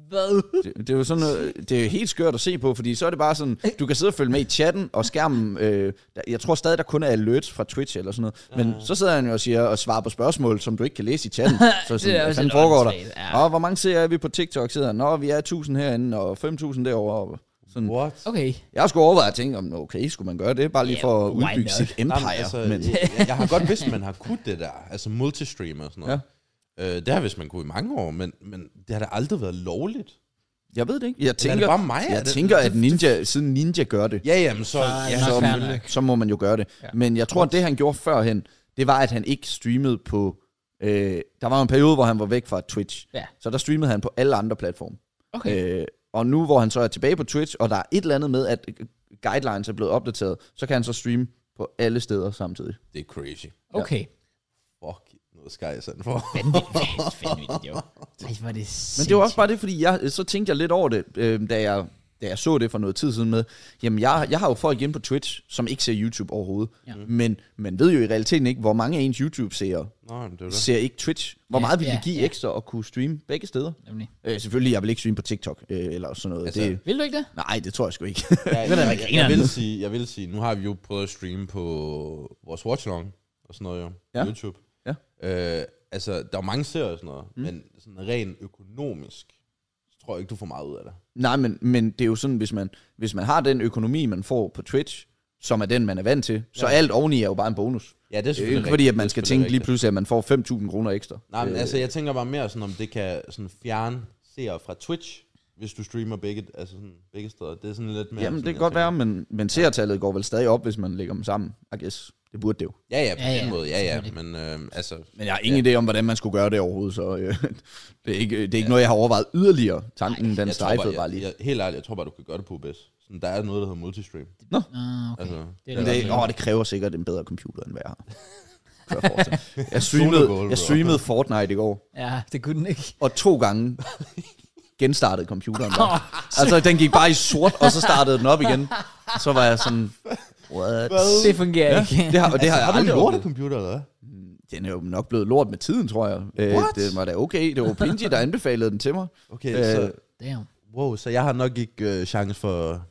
A: Hvad?
C: Det, det, er jo sådan noget, det er jo helt skørt at se på, fordi så er det bare sådan, du kan sidde og følge med i chatten, og skærmen, øh, der, jeg tror stadig, der kun er alerts fra Twitch eller sådan noget, men så sidder han jo og siger, og svarer på spørgsmål, som du ikke kan læse i chatten, så
A: Det er
C: sådan, hvad
A: også
C: fanden
A: lidt
C: foregår der?
A: åndssvagt, ja.
C: Ja. Og hvor mange ser er vi på TikTok, sidder han, Nå, vi er 1000 herinde, og 5000 derovre. Sådan.
B: What?
A: Okay.
C: Jeg skulle overveje at tænke, om okay, skulle man gøre det, bare lige
A: Ja,
C: for at
A: why
C: udbygge
A: not?
C: sit
B: Jamen,
C: empire.
B: altså,
C: men,
B: jeg, jeg har godt vidst, man har kunnet det der. Altså multistreamer og sådan noget. Ja. Øh, det har jeg vidst, man kunne i mange år, men, men det har da aldrig været lovligt.
C: jeg ved det ikke. Jeg
B: er
C: tænker,
B: det bare mig? Er
C: jeg
B: det-
C: tænker at Ninja, siden Ninja gør det,
B: Ja, jamen så...
A: Nej,
B: ja,
A: nok
B: så
A: fair
B: selvfølgelig.
A: nok.
C: Altså, så må man jo gøre det. Ja. Men jeg tror, at det han gjorde førhen, det var, at han ikke streamede på... Øh, der var en periode, hvor han var væk fra Twitch.
A: Ja.
C: Så der streamede han på alle andre platforme.
A: Okay.
C: Øh, og nu, hvor han så er tilbage på Twitch, og der er et eller andet med, at øh, guidelines er blevet opdateret, så kan han så streame på alle steder samtidig.
B: det er crazy.
A: Okay.
B: Fuck noget Sky sådan for.
A: Vanvittigt. Vanvittigt, jo. Ej, hvor er det
C: Men det var også bare det, fordi jeg, så tænkte jeg lidt over det, øh, da, jeg, da jeg så det for noget tid siden med, jamen jeg, jeg har jo folk inde på Twitch, som ikke ser YouTube overhovedet,
A: Ja.
C: ja. men man ved jo i realiteten ikke, hvor mange af ens YouTube-seere
B: Nå, men det er jo det.
C: ser ikke Twitch. Hvor
A: Ja,
C: meget vil
A: ja,
C: det give
A: ja.
C: ekstra at kunne streame begge steder?
A: Nemlig.
C: Øh, selvfølgelig, jeg vil ikke streame på TikTok øh, eller sådan noget. Altså,
B: Altså,
C: det,
A: Vil du ikke det?
C: nej, det tror jeg sgu ikke. [LAUGHS]
B: Ja, jeg, jeg, jeg,
A: griner
B: jeg, vil
A: den.
B: sige, jeg vil sige, nu har vi jo prøvet at streame på vores watchalong og sådan noget jo,
C: Ja.
B: ja. YouTube.
C: Ja.
B: Øh, altså, der er jo mange serier og sådan noget, mm. men sådan rent økonomisk, så tror jeg ikke, du får meget ud af det.
C: nej, men, men det er jo sådan, hvis man, hvis man har den økonomi, man får på Twitch, som er den, man er vant til, så alt oveni er jo bare en bonus.
B: Ja, det er
C: Det er jo
B: selvfølgelig
C: ikke fordi, at
B: rigtigt,
C: man
B: det er
C: skal
B: selvfølgelig
C: tænke lige
B: rigtigt.
C: pludselig, at man får 5.000 kroner ekstra.
B: Nej, men
C: Øh,
B: altså, jeg tænker bare mere sådan, om det kan sådan fjerne seere fra Twitch, hvis du streamer begge, altså sådan, begge steder. Det er sådan lidt mere... sådan,
C: Jamen, det kan
B: jeg
C: godt
B: tænker.
C: være, men, men seertallet går vel stadig op, hvis man lægger dem sammen, I guess. Det burde det jo.
B: Ja, ja, på
A: Ja,
B: ja,
A: ja,
B: den måde. Ja, ja,
A: selvfølgelig.
B: men øh, altså...
C: Men jeg har ingen ja. idé om, hvordan man skulle gøre det overhovedet, så øh, [LAUGHS] det er ikke, det er ikke ja. noget, jeg har overvejet yderligere. Tanken, Ej, den
B: Jeg tror
C: strejfede
B: bare,
C: bare
B: jeg,
C: lige.
B: jeg, helt ærligt, jeg tror bare, du kan gøre det på bedst. Sådan, der er noget, der hedder multistream.
A: Ah, okay.
B: Altså,
A: det
C: Men
A: da
C: det,
A: også-
C: åh, det kræver sikkert en bedre computer, end hvad jeg [LAUGHS] har. Kan jeg forestille mig. Jeg
B: Goal,
C: streamede,
B: bro.
C: jeg streamede Fortnite i går,
A: Ja, det kunne den ikke.
C: og to gange genstartede computeren
A: Åh,
C: bare. [LAUGHS] Altså, den gik bare i sort, og så startede den op igen. Så var jeg sådan, what?
A: det fungerer
C: Ja,
A: ikke.
C: det har, det har jeg
B: Altså, Har du
C: aldrig
B: en
C: gjort.
B: lortecomputer, eller hvad?
C: Den er jo nok blevet lort med tiden, tror jeg. Øh,
B: What?
C: det var da okay. Det var Pinji, der anbefalede den til mig.
B: Okay,
C: Øh,
B: øh, så...
A: Damn.
B: Wow, så jeg har nok ikke øh, chance for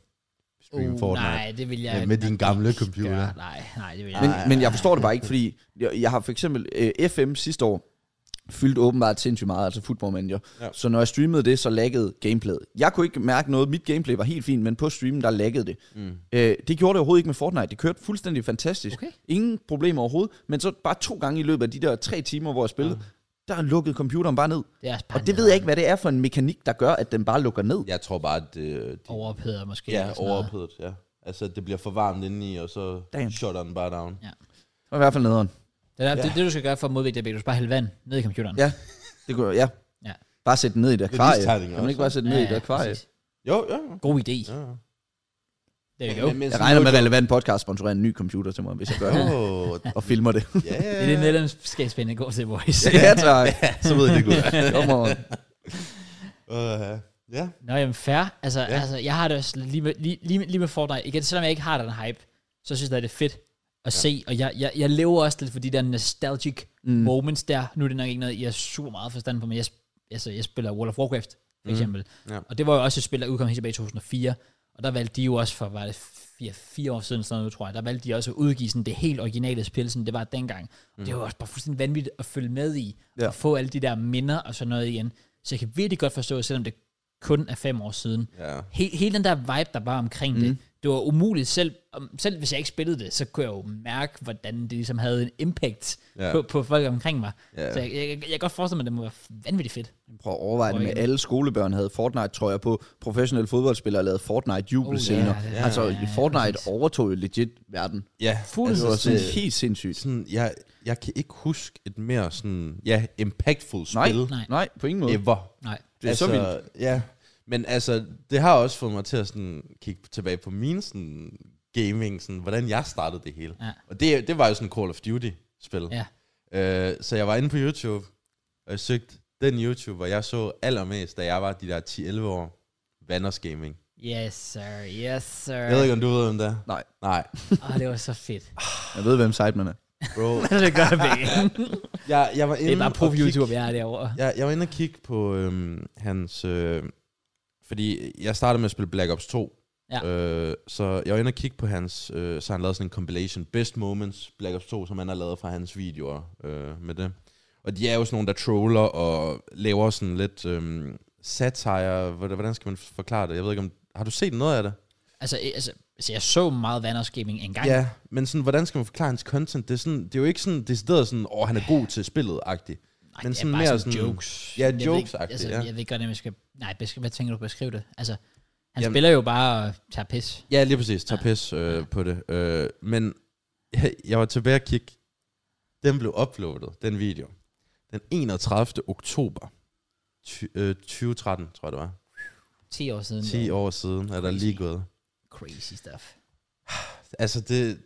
B: stream
A: Uh,
B: Fortnite.
A: nej, det vil jeg
B: Med- med din
A: nok
B: gamle
A: ikke
B: computer.
A: gøre. Nej, nej, det vil jeg
C: Men,
A: ikke.
C: men jeg forstår det bare ikke, fordi jeg, jeg har for eksempel øh, FM sidste år fyldt åbenbart sindssygt meget, altså football manager.
B: Ja.
C: Ja. Så når jeg streamede det, så laggede gameplayet. Jeg kunne ikke mærke noget. Mit gameplay var helt fint, men på streamen, der laggede det.
B: Mm.
C: Øh, det gjorde det overhovedet ikke med Fortnite. Det kørte fuldstændig fantastisk.
A: Okay.
C: Ingen problemer overhovedet. Men så bare to gange i løbet af de der tre timer, hvor jeg spillede, der lukkede computeren bare ned.
A: Det er også bare
C: Og det ved jeg ikke, hvad det er for en mekanik, der gør, at den bare lukker ned.
B: Jeg tror bare, at det, de,
A: Overpæder måske.
B: ja,
A: eller sådan noget.
B: overophedet, ja. Altså, det bliver for varmt indeni, og så
C: Damn.
B: shutter den bare down.
C: Det var i hvert fald nederen.
A: Det, er, ja.
B: Ja.
A: det, det, du skal gøre for at modvægte det, Bæk, du skal bare hælde vand ned i computeren.
C: Ja. Det kunne, ja.
A: Ja.
C: Bare sætte den ned i et akvarie.
B: istegninger
C: Kan man
B: også.
C: ikke bare sætte den ned i et akvarie?
A: præcis.
B: Jo, ja. ja.
A: God idé.
B: ja, ja.
A: There you go.
B: men
C: Jeg
B: sådan
C: regner med,
B: noget-
C: at relevant podcast sponsorerer en ny computer til mig, hvis jeg gør det.
B: Åh,
C: [LAUGHS] Og filmer
A: [LAUGHS]
C: det.
B: ja.
A: Det er det medlemskabsspænd, der går til, boys.
C: ja, tak. [LAUGHS]
B: Så ved jeg det godt. [LAUGHS]
C: Kom on.
B: Uh, ja.
A: Nå, jamen fair. Altså, ja.
B: Ja.
A: altså jeg har det også lige med, lige, lige, med- lige med Fortnite. Igen, selvom jeg ikke har den hype, så synes jeg, at det er fedt at ja. se. Og jeg, jeg, jeg lever også lidt for de der nostalgic mm. moments der. Nu er det nok ikke noget, jeg er super meget forstand på, men jeg, sp- altså, jeg spiller World of Warcraft, for
C: Mhm.
A: eksempel.
B: Ja.
A: Og det var jo også et spil, der udkom helt tilbage i 2004. Og der valgte de jo også for, var det fire, fire år siden, sådan noget, tror jeg, der valgte de også at udgive sådan det helt originale spil, sådan det var dengang. Mm. Det var også bare fuldstændig vanvittigt at følge med i, ja.
C: Ja.
A: og få alle de der minder og sådan noget igen. Så jeg kan virkelig godt forstå, selvom det kun er fem år siden.
B: ja.
A: He, hele den der vibe, der var omkring mm. det, det var umuligt. Selv, om- selv hvis jeg ikke spillede det, så kunne jeg jo mærke, hvordan det ligesom havde en impact
B: Ja.
A: på, på folk omkring mig.
B: Ja.
A: Så jeg, jeg, jeg kan godt forestille mig, at det må være vanvittigt fedt.
C: Prøv at overveje det med, alle skolebørn havde Fortnite, tror jeg, på professionelle fodboldspillere lavede Fortnite
A: Oh,
C: jubelscener.
A: ja,
C: Oh,
A: det er
C: yeah,
A: det.
C: altså,
A: Ja, ja, ja,
C: Fortnite
A: præcis.
C: overtog jo legit verden. Altså,
B: ja.
A: Fuldstændig.
C: Det var sådan
B: det-
C: helt sindssygt.
B: sådan, jeg, jeg kan ikke huske et mere sådan, ja, impactful
C: Nej,
B: spil
A: Nej.
C: nej, på ingen måde.
B: ever.
A: Nej.
C: Det er så
B: Ja, men altså, det har også fået mig til at sådan, kigge tilbage på min sådan, gaming, sådan, hvordan jeg startede det hele.
A: Ja.
B: Og det, det var jo sådan Call of Duty-spil.
A: Ja.
B: Øh, så jeg var inde på YouTube, og jeg søgte den YouTuber, jeg så allermest, da jeg var de der 10-11 år. Vanders Gaming.
A: Yes, sir. Yes, sir.
B: Jeg ved ikke, om du ved, hvem det er?
C: Nej.
B: Nej,
A: Åh, det var så
B: [LAUGHS]
A: fedt.
C: Jeg ved, hvem site man er.
B: bro.
A: det gør vi ikke.
B: jeg, jeg var inde
A: Det er bare
B: og
A: på
B: kigge-
A: YouTube, jeg er derovre.
B: Jeg, jeg var inde og kigge på øhm, hans... Øh, fordi jeg startede med at spille Black Ops 2.
A: Ja.
B: Øh, så jeg var inde og kigge på hans... Øh, så han lavede sådan en compilation, Best Moments Black Ops 2, som han har lavet fra hans videoer øh, med det. Og de er jo sådan nogle, der troller og laver sådan lidt øhm, satire. Hvordan hvordan skal man forklare det? Jeg ved ikke om... Har du set noget af det?
A: Altså, eh, altså, altså jeg så meget Vanders Gaming engang.
B: Ja, men sådan, hvordan skal man forklare hans content? Det er, sådan, det er jo ikke sådan decideret sådan, åh, oh, han er god til spillet-agtigt.
A: Nej,
B: men
A: det er
B: sådan
A: bare
B: mere
A: sådan
B: sådan-
A: jokes.
B: Ja,
A: Jeg ved ikke-
B: jokes-agtigt,
A: altså,
B: ja.
A: Jeg ved ikke godt, om jeg skal... Nej, besk- hvad tænker du på at beskrive det? Altså, han
B: Jamen-
A: spiller jo bare og tager pis.
B: Ja, lige præcis. Tag pis øh, på det. Øh, men jeg, jeg var tilbage og kigge. Den blev uploadet, den video. Den 31. oktober ty, øh, 2013, tror jeg det var.
A: 10 år siden.
B: 10 år siden er der
A: Crazy.
B: lige gået.
A: Crazy stuff.
B: Altså det...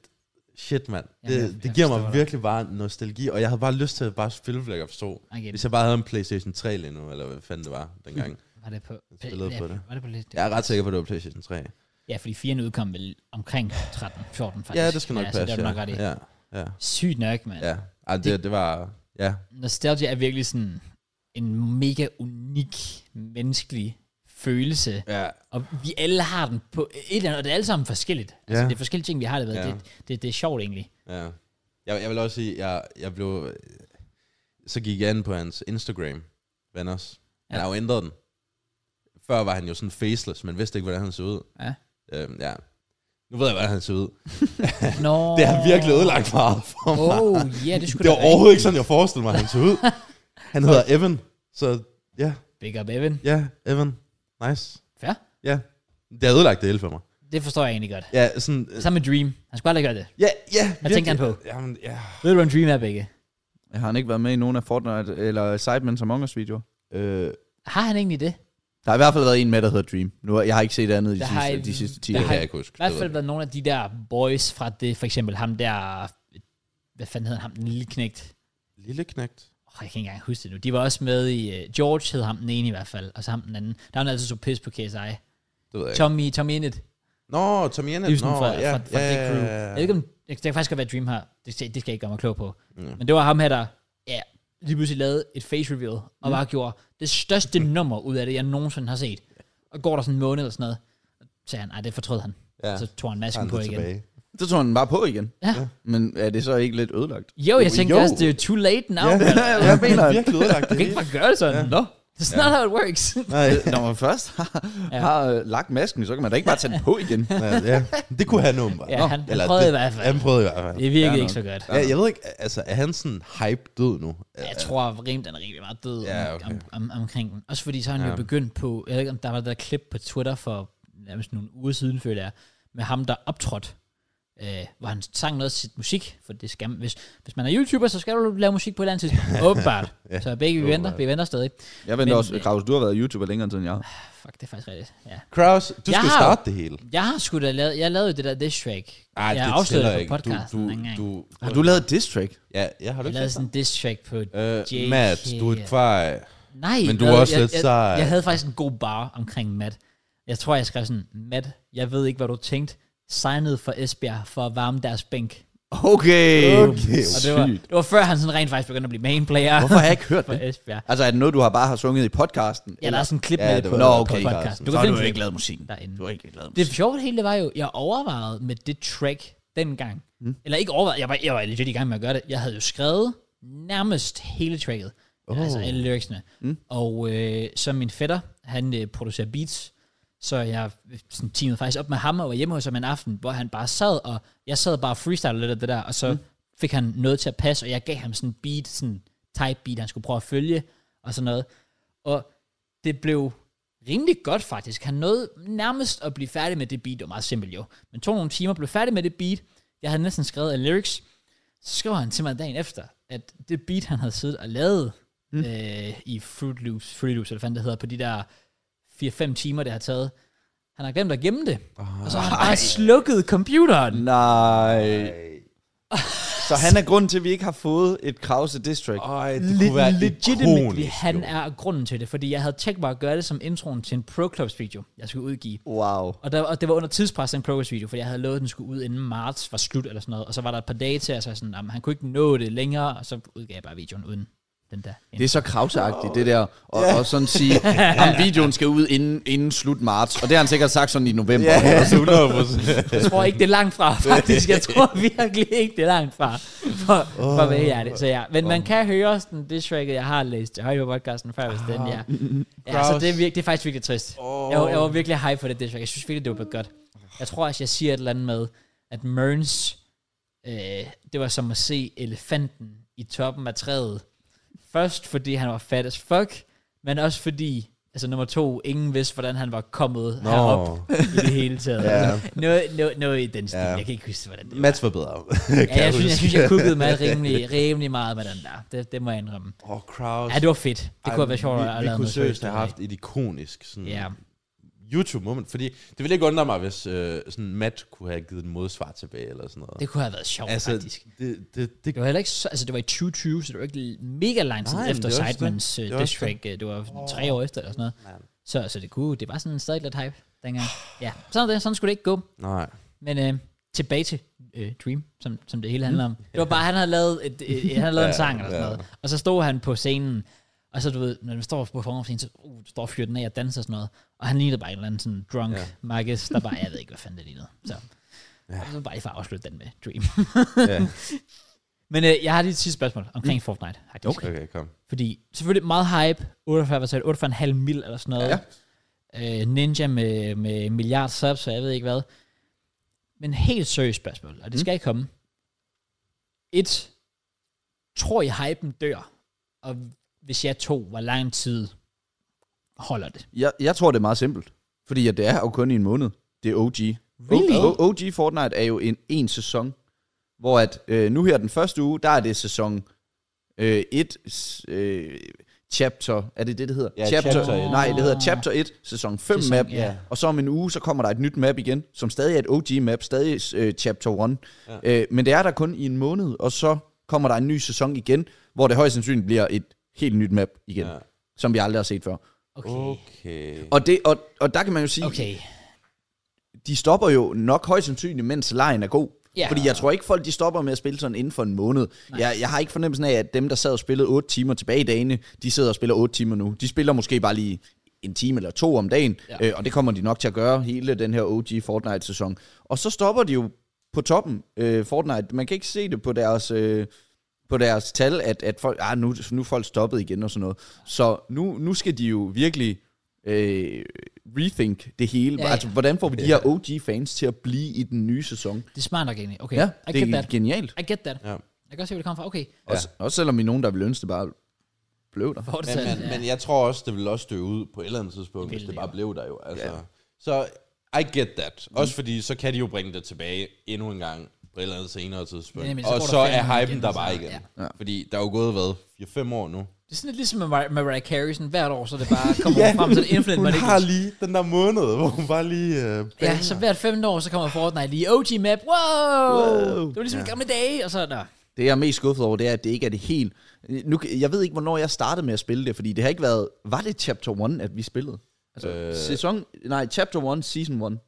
B: Shit, mand. Det,
A: Jamen, jeg- jeg
B: det giver
A: forstår
B: mig
A: dig.
B: virkelig bare nostalgi, og jeg havde bare lyst til at bare spille Black Ops 2.
A: Okay,
B: Hvis jeg bare havde en Playstation 3 lige nu, eller hvad fanden det var dengang.
A: var det på...
B: spillede
A: ja,
B: på det.
A: Var det på lidt...
B: Jeg er ret sikker på, at det var Playstation 3.
A: Ja, fordi 4'erne udkom vel omkring 13-14, faktisk.
B: Ja, det skal nok
A: ja, så
B: passe.
A: det er du nok ret i.
B: ja, ja,
A: Sygt nok, mand.
B: ja. Ej, det, det var... Ja,
A: nostalgia er virkelig sådan en mega unik menneskelig følelse.
B: ja
A: Og vi alle har den på et eller andet, og det er alle sammen forskelligt. Altså,
B: Ja.
A: det er forskellige ting, vi har det ved.
B: Ja.
A: Det, det, det, er sjovt egentlig.
B: Ja. Jeg, jeg vil også sige, jeg, jeg blev... Så gik jeg ind på hans Instagram, Vanders. Han
A: Ja.
B: ja. har jo ændret den. Før var han jo sådan faceless, men vidste ikke, hvordan han så ud.
A: Ja.
B: Øhm, ja. Nu Nu ved jeg, hvordan han ser ud.
A: Nå.
B: [LAUGHS] Det har virkelig ødelagt meget for mig.
A: Oh, ja, yeah, det skulle
B: det
A: da
B: var
A: være.
B: overhovedet ikke sådan, jeg forestillede mig, han så ud. Han hedder
A: [LAUGHS]
B: Evan, så ja,
A: Big up, Evan.
B: ja, Evan. Nice.
A: Fair.
B: Ja, det har ødelagt det hele for mig.
A: Det forstår jeg egentlig godt.
B: Ja, sådan... øh,
A: Samme med Dream. Han skulle aldrig gøre det.
B: Ja, ja,
A: Hvad tænker han på?
B: Jamen, ja.
A: Ved du, hvad en Dream er, begge?
C: Har han ikke været med i nogen af Fortnite eller Sidemen Among Us videoer?
B: Øh,
A: Har han egentlig det?
C: Der har i hvert fald været en med, der hedder Dream. Nu, jeg har ikke set andet i de,
A: Der har
C: sidste,
A: en-
C: de sidste 10
A: der
C: år.
B: det
A: har-
B: kan jeg ikke huske.
A: I hvert
B: Det ved
A: fald
B: jeg
A: været nogle af de der boys fra det, for eksempel ham der, hvad fanden hedder ham, den lille knægt.
B: ikke. Lille knægt.
A: Oh, jeg kan ikke engang huske det nu. De var også med i, uh, George hed ham den ene i hvert fald, og så ham den anden. Der var han altid så pis på KSI.
B: Det ved jeg ikke.
A: Tommy, Tommy Innit,
B: Øh. Nå, Tom Jennett.
A: Livsen
B: Nå,
A: fra,
B: ja,
A: fra, fra
B: ja,
A: det crew.
B: ja,
A: Jeg
B: ja.
A: ved ikke, om, det kan faktisk godt være Dream her. Det, skal- det skal jeg ikke gøre mig klog på.
B: Ja.
A: Men det var ham her, der ja, lige pludselig lavede et face reveal, og
B: Mm.
A: bare gjorde det største nummer ud af det, jeg nogensinde har set. Og går der sådan en måned eller sådan noget, så sagde han, nej, det fortrød han.
B: Ja,
A: Ja. Så tog han
B: så er
A: masken
B: han
A: på
B: så
A: igen.
B: tilbage.
C: Så tog han bare på igen.
A: Ja.
C: Men er det så ikke lidt ødelagt?
A: Jo, jeg tænkte
B: jo.
A: også, det er too late now.
B: Ja.
A: mand.
C: Hvad mener
B: Han
C: han?
B: virkelig ødelagt
A: Du
B: det
A: kan ikke
B: hele.
A: bare gøre det sådan. Nå, that's not how it works.
B: Nej,
C: Når man først har,
A: Ja.
C: har øh, lagt masken, så kan man da ikke bare tage den på igen.
B: nej,
A: [LAUGHS]
B: ja. Det kunne han åbenbart.
A: Ja,
B: Nå,
A: han- han
B: eller
A: prøvede
B: det-
A: i hvert fald.
B: Han prøvede i hvert fald.
A: Det virkede
C: Ja,
A: ikke så godt.
B: Ja, jeg ved ikke, altså, er han sådan hype død nu?
A: Jeg tror, Rim, den er rigtig meget død
B: Ja,
A: ja, okay.
B: okay.
A: om, om, omkring den. Også fordi så har han ja.
B: Ja.
A: jo begyndt på, jeg ved ikke om der var det der klip på Twitter for nærmest nogle uger siden, føler jeg, med ham, der optrådte, øh, hvor han sang noget af sit musik, for det skal man, hvis, hvis man er YouTuber, så skal du lave musik på et eller andet
B: [LAUGHS]
A: tidspunkt. Åbenbart.
B: Ja,
A: ja, så begge vi venter,
B: åbenbart.
A: vi venter stadig.
C: Jeg venter
A: Men,
C: også,
A: øh,
C: Kraus, du har været YouTuber længere end jeg har.
A: Fuck, det er faktisk rigtigt. Ja.
B: Kraus, du
A: Jeg
B: skal
A: har jo-
B: starte det hele.
A: Jeg har sgu da lavet, jeg lavede jo det der diss track.
B: Ej,
A: jeg
B: det tæller
A: på
B: ikke. Du,
A: podcasten
B: du,
A: dengang.
B: du,
C: Har du lavet diss track?
B: ja, ja, har
A: Jeg
B: du
A: lavede
B: ikke
A: sådan
B: sådan?
A: en diss track på
B: Øh,
A: JK.
B: Mads, du er et kvej.
A: Nej,
B: Men du
A: hvad?
B: er også
A: jeg,
B: lidt
A: jeg,
B: sej.
A: Jeg havde faktisk en god bar omkring Matt. Jeg tror, jeg skrev sådan, Matt, jeg ved ikke, hvad du tænkte. Signede for Esbjerg for at varme deres bænk.
C: Okay.
B: Okay.
A: Og det var,
C: Sygt.
A: det var før han sådan rent faktisk begyndte at blive main player
C: Hvorfor har jeg ikke
A: [LAUGHS]
C: hørt
A: for
C: det?
A: Esbjerg.
C: Altså, er det noget, du har bare har sunget i podcasten?
A: Ja, der er sådan en klip
B: Ja,
A: ja, med
B: det
A: det på,
B: var-
A: Nå,
C: Nå,
A: okay,
C: okay.
A: på podcast.
C: så har du
A: finde
C: ikke
A: klippet
C: lavet musikken.
A: derinde.
C: Du har ikke lavet
A: Det
C: musikken.
A: sjove ved det hele, det var jo, jeg overvejede med det track dengang. Mm. Eller ikke overvejede, jeg var, jeg var legit i gang med at gøre det. Jeg havde jo skrevet nærmest hele tracket. Oh. Altså alle lyricsene. Mm. Og øh, så min fætter, han øh, producerer beats. Så jeg øh, sådan, teamede faktisk op med ham og var hjemme hos ham en aften, hvor han bare sad, og jeg sad bare og freestylede lidt af det der, og så mm. fik han noget til at passe, og jeg gav ham sådan en beat, sådan en type beat, han skulle prøve at følge, og sådan noget. Og det blev rimelig godt faktisk. Han nåede nærmest at blive færdig med det beat. Det var meget simpelt jo. Men tog nogle timer, blev færdig med det beat. Jeg havde næsten skrevet af lyrics. Så skrev han til mig dagen efter, at det beat, han havde siddet og lavet mm. øh, i Fruit Loops, Fruit Loops, eller hvad fanden det hedder, på de der 4-5 timer, det har taget. Han har glemt at gemme det.
B: Ah.
A: Og så har han bare slukket computeren.
C: Nej. Så han er grunden til, at vi ikke har fået et Krause diss track.
B: Ej, det kunne være
A: legitimately,
B: ikonisk,
A: han
B: jo.
A: er grunden til det, fordi jeg havde tænkt mig at gøre det som introen til en Pro Clubs video, jeg skulle udgive.
C: Wow.
A: Og, der, og det var under tidspres, den progress video, for jeg havde lovet, at den skulle ud inden marts var slut eller sådan noget. Og så var der et par dage til, og så er jeg sådan, jamen, han kunne ikke nå det længere, og så udgav jeg bare videoen uden den der.
C: Det er så krauseagtigt, det der. Og, og sådan sige,
B: [LAUGHS]
C: om videoen skal ud inden, inden slut marts. Og det har han sikkert sagt sådan i november.
B: Ja, altså 100 procent.
A: Jeg tror ikke, det er langt fra, faktisk. Jeg tror virkelig ikke, det er langt fra, for, for at være helt ærlig. Så ja, men man kan høre sådan det tracket, jeg har læst. Jeg har jo podcasten før, hvis den ja. Ja, så det er, virke, det er faktisk virkelig trist. Jeg, var- jeg var virkelig high for det diss track. Jeg synes virkelig, det var blevet godt. Jeg tror også, jeg siger et eller andet med, at Mørns, øh, det var som at se elefanten i toppen af træet. Først fordi han var fat as fuck, men også fordi, altså nummer to, ingen vidste, hvordan han var kommet
B: Nå.
A: herop i det hele taget.
B: Ja.
A: Noget, noget, noget i den stil.
B: Ja.
A: Jeg kan ikke huske, hvordan det var.
B: Mats var bedre.
A: Ja, jeg, synes, jeg synes, jeg kukkede mig
B: [LAUGHS]
A: rimelig, rimelig meget med den der. Det, det må jeg indrømme.
B: Åh, oh, Kraus.
A: Ja, det var fedt. Det kunne have været sjovt at
B: at Vi
A: lave
B: kunne
A: noget
B: seriøst have
A: med.
B: haft et ikonisk sådan
A: Ja,
B: YouTube-moment, fordi det ville ikke undre mig, hvis øh, sådan Matt kunne have givet en modsvar tilbage eller sådan noget.
A: det kunne have været sjovt, altså,
B: altså,
A: faktisk.
B: det, det, det,
A: Det var heller ikke så, altså det var i 2020, så det var ikke mega lang tid
B: Nej,
A: Nej,
B: men
A: efter
B: det er også det.
A: Sidemans
B: Det
A: uh,
B: er
A: diss
B: også det.
A: track. øh, Det var oh. tre år efter eller sådan noget.
B: Man.
A: Så, så det kunne, det var sådan stadig lidt hype dengang. Ja, sådan er det, sådan skulle det ikke gå. [LAUGHS]
B: nej.
A: Men øh, tilbage til øh, Dream, som, som det hele handler om. Det var bare, han havde lavet, et, et, han havde lavet en
B: Mm. Ja,
A: sang eller sådan
B: ja.
A: noget. Og så stod han på scenen, og så du ved, når man står på formscenen, så uh, står og fyrer den af og danser og sådan noget. Og han lignede bare en eller anden sådan drunk
B: Ja.
A: ja. Marcus, der bare, jeg ved ikke, hvad fanden det lignede. Så, ja. så bare lige for at afslutte den med Dream. [LAUGHS]
B: Ja.
A: Men øh, jeg har lige et sidste spørgsmål omkring Fortnite, faktisk.
B: Mm. Okay, kom.
A: Fordi selvfølgelig meget hype, 48, hvad sagde du, 8,5 mil eller sådan noget. Ja. Øh, Ninja med, med milliard subs, og jeg ved ikke hvad. Men helt seriøst spørgsmål,
C: Mm.
A: og det skal ikke komme. Et, tror I hypen dør? Og hvis jeg to, hvor lang tid holder det?
C: Jeg, jeg tror, det er meget simpelt. Fordi at det er jo kun i en måned. Det er OG.
A: Really?
C: O- O- OG Fortnite er jo en, en sæson, hvor at øh, nu her den første uge, der er det sæson 1 øh, chapter. Er det det, det hedder?
B: Ja, chapter et.
C: Nej, det hedder chapter 1, sæson 5
A: Sæson,
C: map.
A: ja.
C: Og så om en uge, så kommer der et nyt map igen, som stadig er et OG map, stadig øh, chapter 1. Ja. Øh, men det er der kun i en måned, og så kommer der en ny sæson igen, hvor det højst sandsynligt bliver et helt nyt map igen, ja.
B: Ja.
C: som vi aldrig har set før. Oh.
A: Okay.
B: Okay.
C: Og, det, og, og der kan man jo sige, okay.
A: Okay.
C: de stopper jo nok højst sandsynligt, mens lejen er god.
A: Ja.
C: Ja. Fordi jeg tror ikke, folk de stopper med at spille sådan inden for en måned. Jeg, jeg har ikke fornemmelsen af, at dem, der sad og spillede 8 timer tilbage i dagene, de sidder og spiller 8 timer nu. De spiller måske bare lige en time eller to om dagen,
A: Ja.
C: ja. øh, og det kommer de nok til at gøre hele den her OG Fortnite-sæson. Og så stopper de jo på toppen, øh, Fortnite. Man kan ikke se det på deres... Øh, på deres tal, at, at folk, ah, nu, nu er folk stoppet igen og sådan noget. Så nu, nu skal de jo virkelig øh, rethink det hele.
A: Ja,
C: Ja,
A: ja.
C: ja. Altså, hvordan får vi de her OG-fans til at blive i den nye sæson?
A: Det er smart nok egentlig. Okay,
C: Ja,
A: I
C: det
A: get
C: er
A: that.
C: genialt.
A: I get that.
B: Ja.
A: Jeg kan godt se, hvor det kommer fra. Okay,
C: Ja. Også, også selvom vi er nogen, der vil ønske det bare blev der.
A: hvor er det
B: Men,
A: sandt?
B: men, men jeg tror også, det vil også dø ud på et eller andet tidspunkt, hvis
A: vil
B: det
A: det
B: bare
A: jo. Mm.
B: blev der jo. Altså. Ja. Så I get that. Også fordi, så kan de jo bringe det tilbage endnu en gang på et eller andet senere tidspunkt.
A: Ja, men så
B: og
A: går der
B: så
A: fem
B: er
A: år
B: hypen
A: igen,
B: der
A: så-
B: bare igen. Ja. Fordi der er jo gået, hvad, 4-5 år nu.
A: Det er sådan lidt ligesom med Mar- Mariah Carey, sådan hvert år, så det bare
C: [LAUGHS]
A: kommer ja, frem, så det er infinite,
B: hun
A: men
B: har
A: ikke...
B: lige den der måned, hvor hun bare lige... Øh,
A: Ja, så hvert femte år, så kommer Fortnite lige OG map. Wow! wow.
C: Wow.
A: Det var ligesom ja. gamle dage, og så der.
C: Det, jeg er mest skuffet over, det er, at det ikke er det helt... Nu, jeg ved ikke, hvornår jeg startede med at spille det, fordi det har ikke været... Var det chapter 1, at vi spillede? Altså, øh. sæson... Nej, chapter 1, season 1.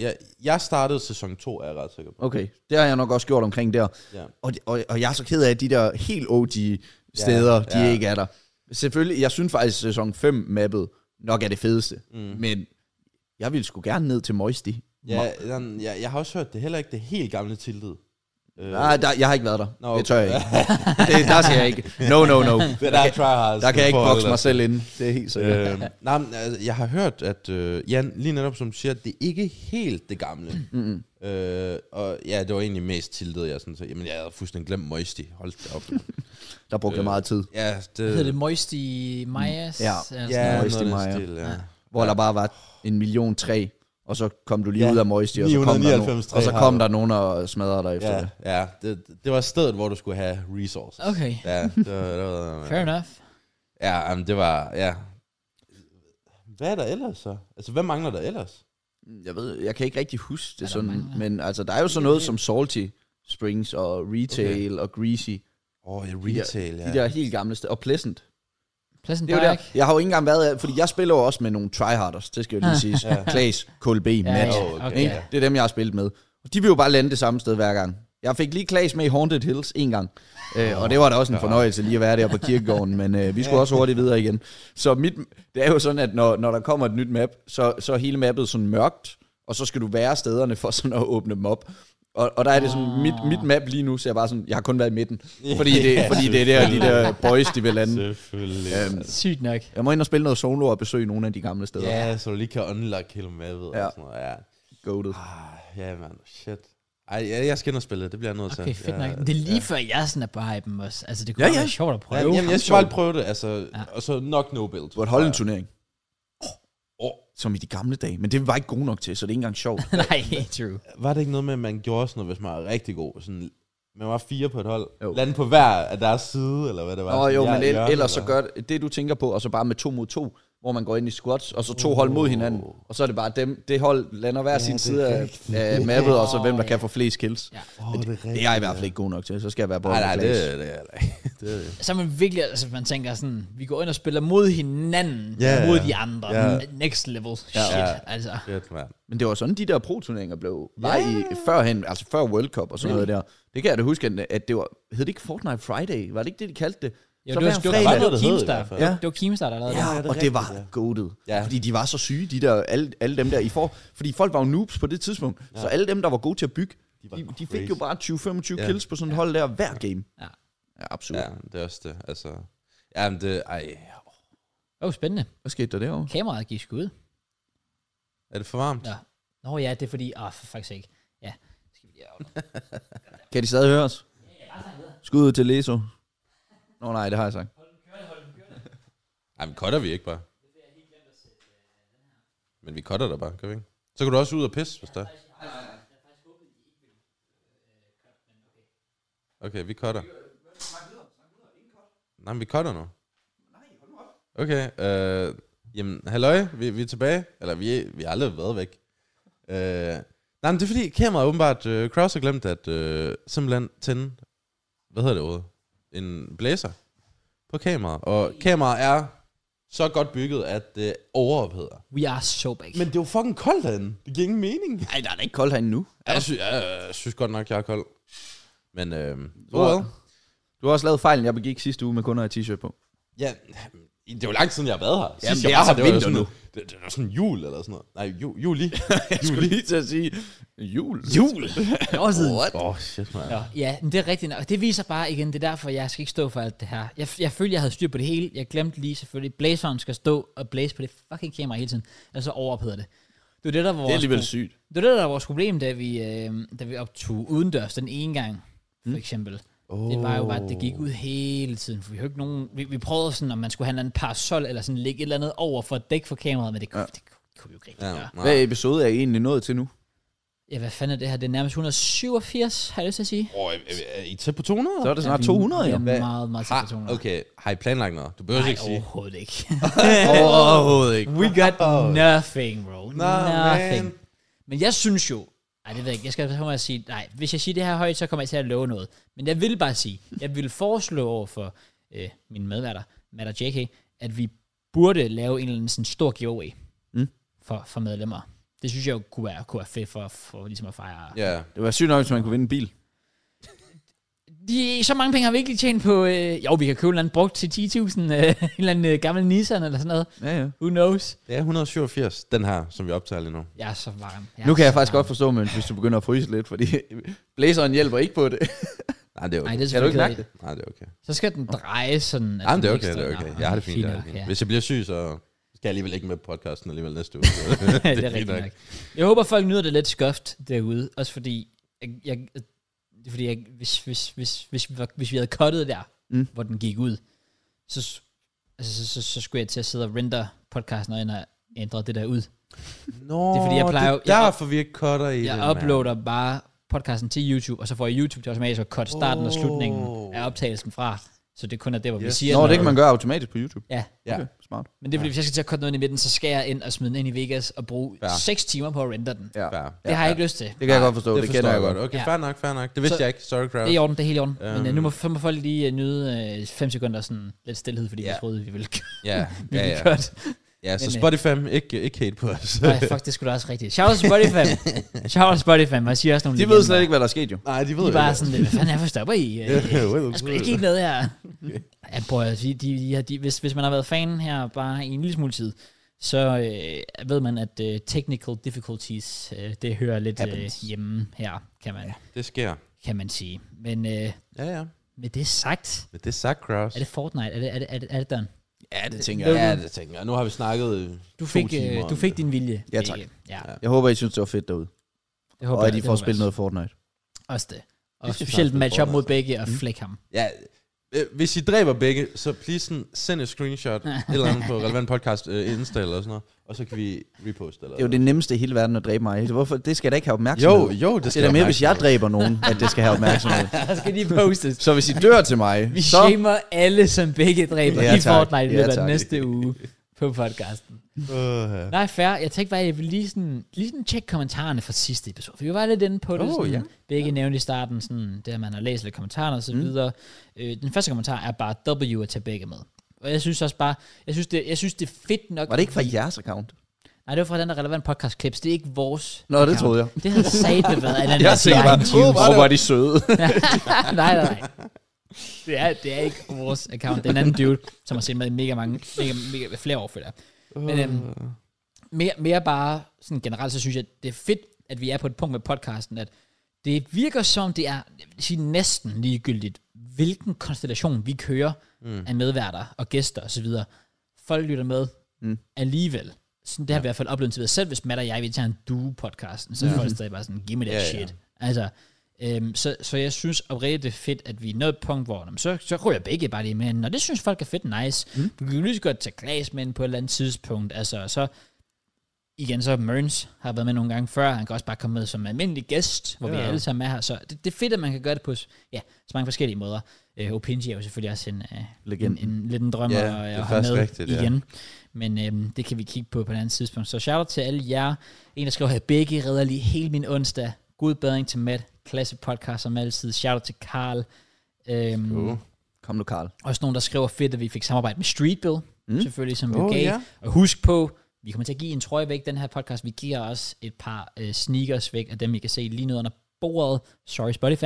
B: jeg, jeg startede sæson 2, er jeg ret sikker på.
C: Okay, det har jeg nok også gjort omkring der.
B: Ja.
C: Og, og, og jeg er så ked af, at de der helt OG-steder, ja, de
B: ja.
C: ja. ikke er der. Selvfølgelig, jeg synes faktisk, at sæson 5-mappet nok er det fedeste. Mm. Men jeg ville sgu gerne ned til Moisty.
B: Ja, jeg, jeg, jeg har også hørt, det er heller ikke det helt gamle tilted. Øh,
C: Nej, der, jeg har ikke været der.
B: Nå,
C: No, det tør jeg
B: [LAUGHS]
C: ikke. det, der siger jeg ikke. No, no, no.
B: det der, okay,
C: Der kan jeg ikke bokse mig selv ind. Det er helt sikkert.
B: Øh, nej, men, altså, jeg har hørt, at øh, Jan, lige netop som du siger, det er ikke helt det gamle. Mm-hmm. Øh, og ja, det var egentlig mest tiltet, jeg sådan, så, jamen jeg havde fuldstændig glemt Moisty, hold da op.
C: Der brugte jeg meget tid.
B: ja,
A: Hedder det
B: det,
A: Moisty Majas?
C: Ja.
A: Eller sådan
B: Øh.
A: noget?
B: ja, noget
C: Moisty
B: af den
C: Maja.
B: stil, ja.
C: Hvor der bare var en million træ, og så kom du lige
B: Ja,
C: ud af Moisty, og så kom, der nogen,
B: 999 træ
C: og så
B: har
C: kom
B: du.
C: der nogen og smadrede dig efter
B: Ja,
C: det.
B: ja det, det var stedet, hvor du skulle have resources.
A: Okay,
B: Ja, det var, det var,
A: fair enough.
B: ja, jamen, det var, ja. Hvad er der ellers så? Altså, hvad mangler der ellers?
C: Jeg ved, jeg kan ikke rigtig huske det
A: der
C: sådan,
A: mange?
C: men altså, der er jo sådan noget som Salty Springs og Retail og Greasy.
B: Åh, oh, ja,
C: der-
B: retail, ja.
C: De der helt gamle steder. Og Pleasant.
A: Pladsen
C: Det er jo der.
A: Park.
C: Jeg har jo ikke engang været af, fordi jeg spiller jo også med nogle tryharders, det skal jo
A: [LAUGHS]
C: lige siges. Klaas, KLB, Matt.
A: ja,
B: okay,
A: okay.
C: Ikke?
A: Ja.
C: Det er dem, jeg har spillet med. Og de vil jo bare lande det samme sted hver gang. Jeg fik lige Klaas med i Haunted Hills en gang. Øh, og det var da også en fornøjelse lige at være der på kirkegården, men øh, vi skulle også hurtigt videre igen. Så mit, det er jo sådan, at når, når der kommer et nyt map, så, så er hele mappet sådan mørkt, og så skal du være stederne for sådan at åbne dem op. Og, og der er det sådan, mit, mit map lige nu ser bare sådan, jeg har kun været i midten, fordi det, fordi det er der, de der boys, de vil lande.
B: Selvfølgelig.
C: Øhm,
A: Sygt nok.
C: jeg må ind og spille noget solo og besøge nogle af de gamle steder.
B: Ja, så du lige kan unlock hele mappet ja.
C: Ja.
B: og sådan noget, ja.
C: Goated.
B: Ah, ja, man. Shit. Ej, jeg, jeg skal ind og spille det. Det bliver jeg nødt til.
A: Okay, fedt
B: ja,
A: nok. Det er lige før, jeg sådan er på hypen også. Altså, det kunne
C: Ja,
A: ja, ja.
C: ja.
A: være sjovt at
B: Ja,
A: prøve.
B: jamen, jeg skal bare lige prøve det, altså. Ja. Og så nok no build.
C: Du burde holde en turnering,
B: Oh,
C: som i de gamle dage, men det var ikke gode nok til, så det er ikke engang
A: [LAUGHS]
C: sjovt.
A: Nej, true.
B: var det ikke noget med, at man gjorde sådan noget, hvis man var rigtig god? Sådan, man var fire på et hold. Jo.
C: Jo.
B: Lande på hver af deres side, eller hvad det var.
C: Nå
B: Sådan,
C: jo,
B: jeg-
C: men el-
B: Jørgen,
C: ellers så
B: eller-
C: gør det, det, du tænker på, og så bare med to mod to, hvor man går ind i squats, og så to hold mod hinanden, og så er det bare dem, det hold lander hver ja, sin side af, af mappet, og så hvem, der kan få flest kills.
A: Ja.
C: Ja. det, det er jeg i hvert fald ikke god nok til, så skal jeg være på
B: Nej, nej, det, det, er [LAUGHS] det, det, er det.
A: Så er man virkelig, altså man tænker sådan, vi går ind og spiller mod hinanden,
B: Ja,
A: mod
B: ja.
A: de andre.
B: Ja.
A: Next level shit,
B: Ja.
A: altså.
B: Fedt, mand.
C: Men det var sådan, de der pro-turneringer blev, var i, førhen, altså før World Cup og sådan noget der. Det kan jeg da huske, at- at det var, hed det ikke Fortnite Friday? Var det ikke det, de kaldte det?
A: Jo,
C: så
A: det var,
C: hver
A: det
B: Der
A: var,
B: var
A: det
B: noget,
A: var
B: der hed i
A: Keemstar.
B: hvert fald.
A: Ja. Det var Keemstar, der lavede det.
C: Ja, og det var ja. goated.
B: Ja.
C: Ja. Fordi de var så syge, de der, alle, alle dem der i for... Fordi folk var jo noobs på det tidspunkt. Ja. Så alle dem, der var gode til at bygge,
B: var
C: de, de,
B: crazy.
C: fik jo bare 20-25
B: Ja.
C: ja. kills på sådan et hold der hver game.
A: Ja.
C: ja absolut.
B: Ja,
C: Ja.
B: det er også det. Altså, ja, men det, ej,
A: Åh, oh, spændende.
C: Hvad skete der derovre?
A: Kameraet gik sgu ud.
B: er det for varmt?
A: Nå ja, det er fordi, ah, for faktisk ikke. Ja, skal vi lige have
C: Kan de stadig høre os? Skud ud til Leso. Nå nej, det har jeg sagt.
B: Ej, men cutter vi ikke bare. Men vi cutter der bare, gør vi ikke? Så kan du også ud og pisse, hvis der øh, Okay, vi cutter. Nej, men vi cutter nu. Okay, øh, jamen, halløj, vi, vi er tilbage. Eller, vi, vi har aldrig været væk. Øh, nej, men det er fordi, kameraet åbenbart, øh, Kraus har glemt at øh, simpelthen tænde, hvad hedder det ordet? En blæser på kameraet. Og kameraet er så godt bygget, at det overopheder.
A: We are so big.
B: Men det var fucking koldt derinde. Det giver ingen mening.
C: Nej, der er da ikke koldt herinde nu.
B: Ja, jeg, synes, jeg, jeg synes godt nok, jeg er kold. Men øh,
C: Du har, du har også lavet fejlen, jeg begik sidste uge med kun at have t-shirt [LAUGHS] på.
B: Ja, det er jo lang tid siden, jeg har været her.
C: Jamen,
B: Sidst
C: det
B: jeg var
C: er
B: her,
C: så
B: var jo
C: vinter
B: sådan,
C: nu.
B: Det, det var sådan jul eller sådan noget. Nej, ju, juli.
C: Jeg skulle lige til at sige jul.
A: Jul! Det er også siden.
B: Åh, oh, shit, man.
A: Nå, ja, men det er rigtigt nok. Det viser bare igen, det er derfor, jeg skal ikke stå for alt det her. Jeg, jeg følte, jeg havde styr på det hele. Jeg glemte lige selvfølgelig, blazeren skal stå og blaze på det fucking kamera hele tiden. Ellers så overopheder det. Det var det, der var vores, det
C: sygt.
A: var det, der var vores problem, da vi, øh, da vi optog udendørs den ene gang, for eksempel. Oh. Det var jo bare, at det gik ud hele tiden, for vi havde ikke nogen... Vi, vi prøvede sådan, om man skulle have en parasol, eller sådan lægge et eller andet over for at dække for kameraet, men det kunne, ja. det kunne, det kunne vi jo ikke rigtig
B: Ja,
A: ja. gøre.
B: nej.
C: Hvad episode er I egentlig nået til nu?
A: Ja, hvad fanden er det her? Det er nærmest 187, har jeg lyst til at sige.
B: Åh, er, er- er I tæt på 200?
C: Så er det
A: Ja,
C: snart
A: vi-
C: 200,
A: vi
C: ja.
A: er
B: Hvad?
A: meget, meget tæt på 200.
B: Har, okay, har I planlagt noget? Du behøver
A: Nej,
B: ikke sige.
A: overhovedet
B: [LAUGHS]
A: ikke.
C: Overhovedet ikke.
A: We got nothing, bro. nothing.
B: man.
A: Men jeg synes jo, nej, det ved jeg ikke, jeg skal passe på med at sige, nej, hvis jeg siger det her højt, så kommer jeg til at love noget. Men jeg vil bare sige, jeg vil foreslå over for øh, mine medværter, Matt og JK, at vi burde lave en eller anden sådan stor giveaway
C: Mm.
A: for, for medlemmer. Det synes jeg jo kunne være, kunne være fedt for, for ligesom at fejre.
B: Ja,
C: Det var sygt nok, hvis man kunne vinde en bil.
A: De, så mange penge har vi ikke lige tjent på, øh, jo, vi kan købe en eller anden brugt til 10.000, øh, [LAUGHS] en eller anden øh, gammel Nissan eller sådan noget.
C: Ja, ja.
A: Who knows?
B: det er 187, den her, som vi optager lige nu.
A: Jeg er så varm. er
C: Nu kan jeg
A: så
C: faktisk
A: varm.
C: godt forstå, men hvis du begynder at fryse lidt, fordi [LAUGHS] blæseren hjælper ikke
A: [LAUGHS]
C: på det.
B: Nej, det er okay.
A: Nej, det er
C: Kan du
A: selvfølgelig
C: ikke mærke
A: kedeligt.
C: det?
B: Nej, det er okay.
A: Så skal den dreje sådan... at
B: Nej, men det er
A: den
B: okay,
A: ikke
B: det er
A: står-
B: okay.
A: Nå,
B: Jeg har det fint. Jeg har [LAUGHS] det
A: nok,
B: fint.
A: ja.
B: Hvis jeg bliver syg, så skal jeg alligevel ikke med på podcasten alligevel
A: [LAUGHS]
B: næste uge. Så
A: det, er rigtigt nok. Jeg håber, folk nyder det lidt skøft derude, også fordi, jeg, jeg, det er fordi jeg, hvis, hvis, hvis, hvis, vi var- hvis vi havde cuttet der,
C: Mm.
A: mm. hvor den gik ud, så, s- altså, så, så, så, skulle jeg til at sidde og render podcasten og ind og ændre det der ud.
B: Nå,
A: Det er fordi, jeg plejer
B: det
A: jo-
B: er
A: jeg-
B: derfor, vi ikke cutter i det,
A: Jeg
B: mand.
A: uploader bare podcasten til YouTube, og så får jeg YouTube til automatisk at cut starten og slutningen
B: Oh.
A: af optagelsen fra, så det kun er der, hvor vi
B: Yes.
A: siger
C: Nå, det
A: noget.
C: kan man gøre automatisk på YouTube.
A: Ja,
B: Ja.
C: Okay, smart.
A: men det er fordi, hvis jeg skal til at cutte noget ind i midten, så skal jeg ind og smide den ind i Vegas og bruge
B: Fair.
A: 6 timer på at render den.
C: Ja.
B: Fair.
A: Det har jeg ikke lyst til.
C: Det kan jeg godt forstå, det,
B: det
C: kender
B: forstår jeg godt.
C: godt.
B: Okay,
A: Ja.
B: fair nok, fair nok. Det vidste
A: Så-
B: jeg ikke. Sorry, Kraus.
A: Det er i orden, det er helt i orden. Men
B: Øhm.
A: øh, nu må, f- må folk lige øh, nyde øh, fem sekunder sådan lidt stillhed, fordi
B: Ja.
A: yeah. vi troede, vi ville [LAUGHS] gøre
B: Ja, ja, ja.
A: det.
B: Ja, så
A: Men, øh,
B: Spotify ikke, ikke hate på os.
A: Nej, fuck, det skulle da også rigtigt. Shout out
C: [LAUGHS]
A: Spotify. Shout out Spotify, man siger også nogle
C: De ved slet ikke, hvad der er sket jo.
B: [LAUGHS] Nej, de ved
A: De er bare sådan lidt, hvad fanden er for stopper
B: [LAUGHS]
A: I? Øh, Der skal ikke
B: ikke.
A: ikke noget
C: [LAUGHS]
A: her. Ja, prøv at sige, de, de, de, de, hvis, hvis man har været fan her bare i en lille smule tid, så øh, ved man, at øh, technical difficulties, øh, det hører lidt øh,
C: Happens.
A: hjemme her, kan man,
B: Det sker.
A: kan man sige. Men øh,
B: Ja, ja.
A: med det sagt,
B: Men det er sagt, Kraus.
A: er det Fortnite? Er det, er det, er det, er det done? Øh,
C: Ja, det tænker jeg.
B: Ja, det tænker jeg. Nu har vi snakket øh,
A: Du
B: to
A: fik,
B: timer
A: øh,
B: om
A: du fik din vilje.
C: Ja,
A: Rikke.
C: tak.
A: Ja,
B: Ja.
C: Jeg håber, I synes, det var fedt derude.
A: det håber
C: Og at
A: jeg.
C: I
A: det
C: får
A: håber
C: spillet
A: jeg
C: noget Fortnite.
A: Også det. Og
B: Vi skal
A: specielt
B: snart
A: match
B: spille
A: op mod begge og
C: Mm.
A: flække
C: [LAUGHS]
A: ham.
B: det. Ja, øh, hvis I dræber begge, så please sådan, send et screenshot et eller andet på relevant podcast øh, Insta eller sådan noget, og så kan vi reposte eller
C: Det er jo det nemmeste i hele verden at dræbe mig. Altså, Hvorfor? Det skal jeg da ikke have opmærksomhed.
B: Jo, jo, det
C: det er
B: skal
C: da mere,
B: jeg
C: hvis jeg dræber nogen, at det skal have opmærksomhed.
A: Der skal de postes.
C: [LAUGHS] Så hvis I dør til mig,
A: Vi
C: så...
A: shamer alle, som begge dræber
C: Ja,
A: i
C: tak.
A: Fortnite i
C: Ja,
A: løbet af
C: tak.
A: næste uge på podcasten.
B: mærke. Øh,
A: Nej, fair. Jeg tænkte bare, at jeg ville lige, sådan, lige sådan tjekke kommentarerne fra sidste episode. For vi var lidt inde på det.
B: Oh,
A: sådan,
B: ja.
A: Begge nævnte i starten, sådan, det at man har læst lidt kommentarer og så
C: Mm.
A: videre. Øh, den første kommentar er bare, W er til begge med. Og jeg synes også bare, jeg synes det, jeg synes det er fedt nok.
C: Var det ikke fra jeres account?
A: Nej, det var fra den der relevant podcast clips. Det er ikke vores.
C: Nå, det
A: account.
C: troede jeg.
A: Det
C: [LAUGHS]
A: havde satme været af den
C: Jeg
A: der
C: tænkte bare,
A: Flying Tubes.
C: åh, hvor er de søde.
A: [LAUGHS] nej, nej, nej. Det er, det er ikke vores account. Den anden dude, som har set med i mega mange, mega, mega, flere år, føler jeg. Men øhm, mere, mere bare sådan generelt, så synes jeg, det er fedt, at vi er på et punkt med podcasten, at det virker som, det er jeg vil sige, næsten ligegyldigt, hvilken konstellation vi kører mm. af medværter og gæster osv. Folk lytter med
C: Mm.
A: mm. alligevel. Mm. Sådan, det har vi i hvert fald oplevet til videre. Selv hvis Matt og jeg, vi tager en duo-podcasten, så er folk stadig bare sådan, give me that
B: Ja, ja.
A: shit. Altså, øhm, så, så jeg synes oprigtigt, det er fedt, at vi er nået et punkt, hvor jamen, så, så ryger begge bare lige med hinanden, og det synes folk er fedt nice. Mm. Du kan jo lige så godt tage Klaas med ind på et eller andet tidspunkt. Altså, så igen, så Mørns har været med nogle gange før, han kan også bare komme med som almindelig gæst, hvor ja. vi
B: Ja.
A: alle sammen er her, så det, det er fedt, at man kan gøre det på s- ja, så mange forskellige måder. Øh, Opinji er jo selvfølgelig også en, øh, en,
C: Legenden.
A: en, lidt en drøm
B: Ja,
A: ja,
B: det
A: og,
B: er
A: og have
B: faktisk
A: med rigtigt,
B: rigtigt, ja.
A: igen. Men øhm, det kan vi kigge på på et andet tidspunkt. Så shout out til alle jer. En, der skriver her, begge redder lige hele min onsdag. God bedring til Matt. Klasse podcast som altid. Shout out til Karl. Øhm,
B: Uh.
C: Kom nu, Karl.
A: Også nogen, der skriver fedt, at vi fik samarbejde med Streetbill. Mm.
C: Mm.
A: Selvfølgelig, som vi
B: Åh,
A: gav.
B: ja.
A: Og husk på, vi kommer til at give en trøje væk den her podcast. Vi giver også et par øh, sneakers væk af dem, I kan se lige nede under bordet. Sorry, Spotify.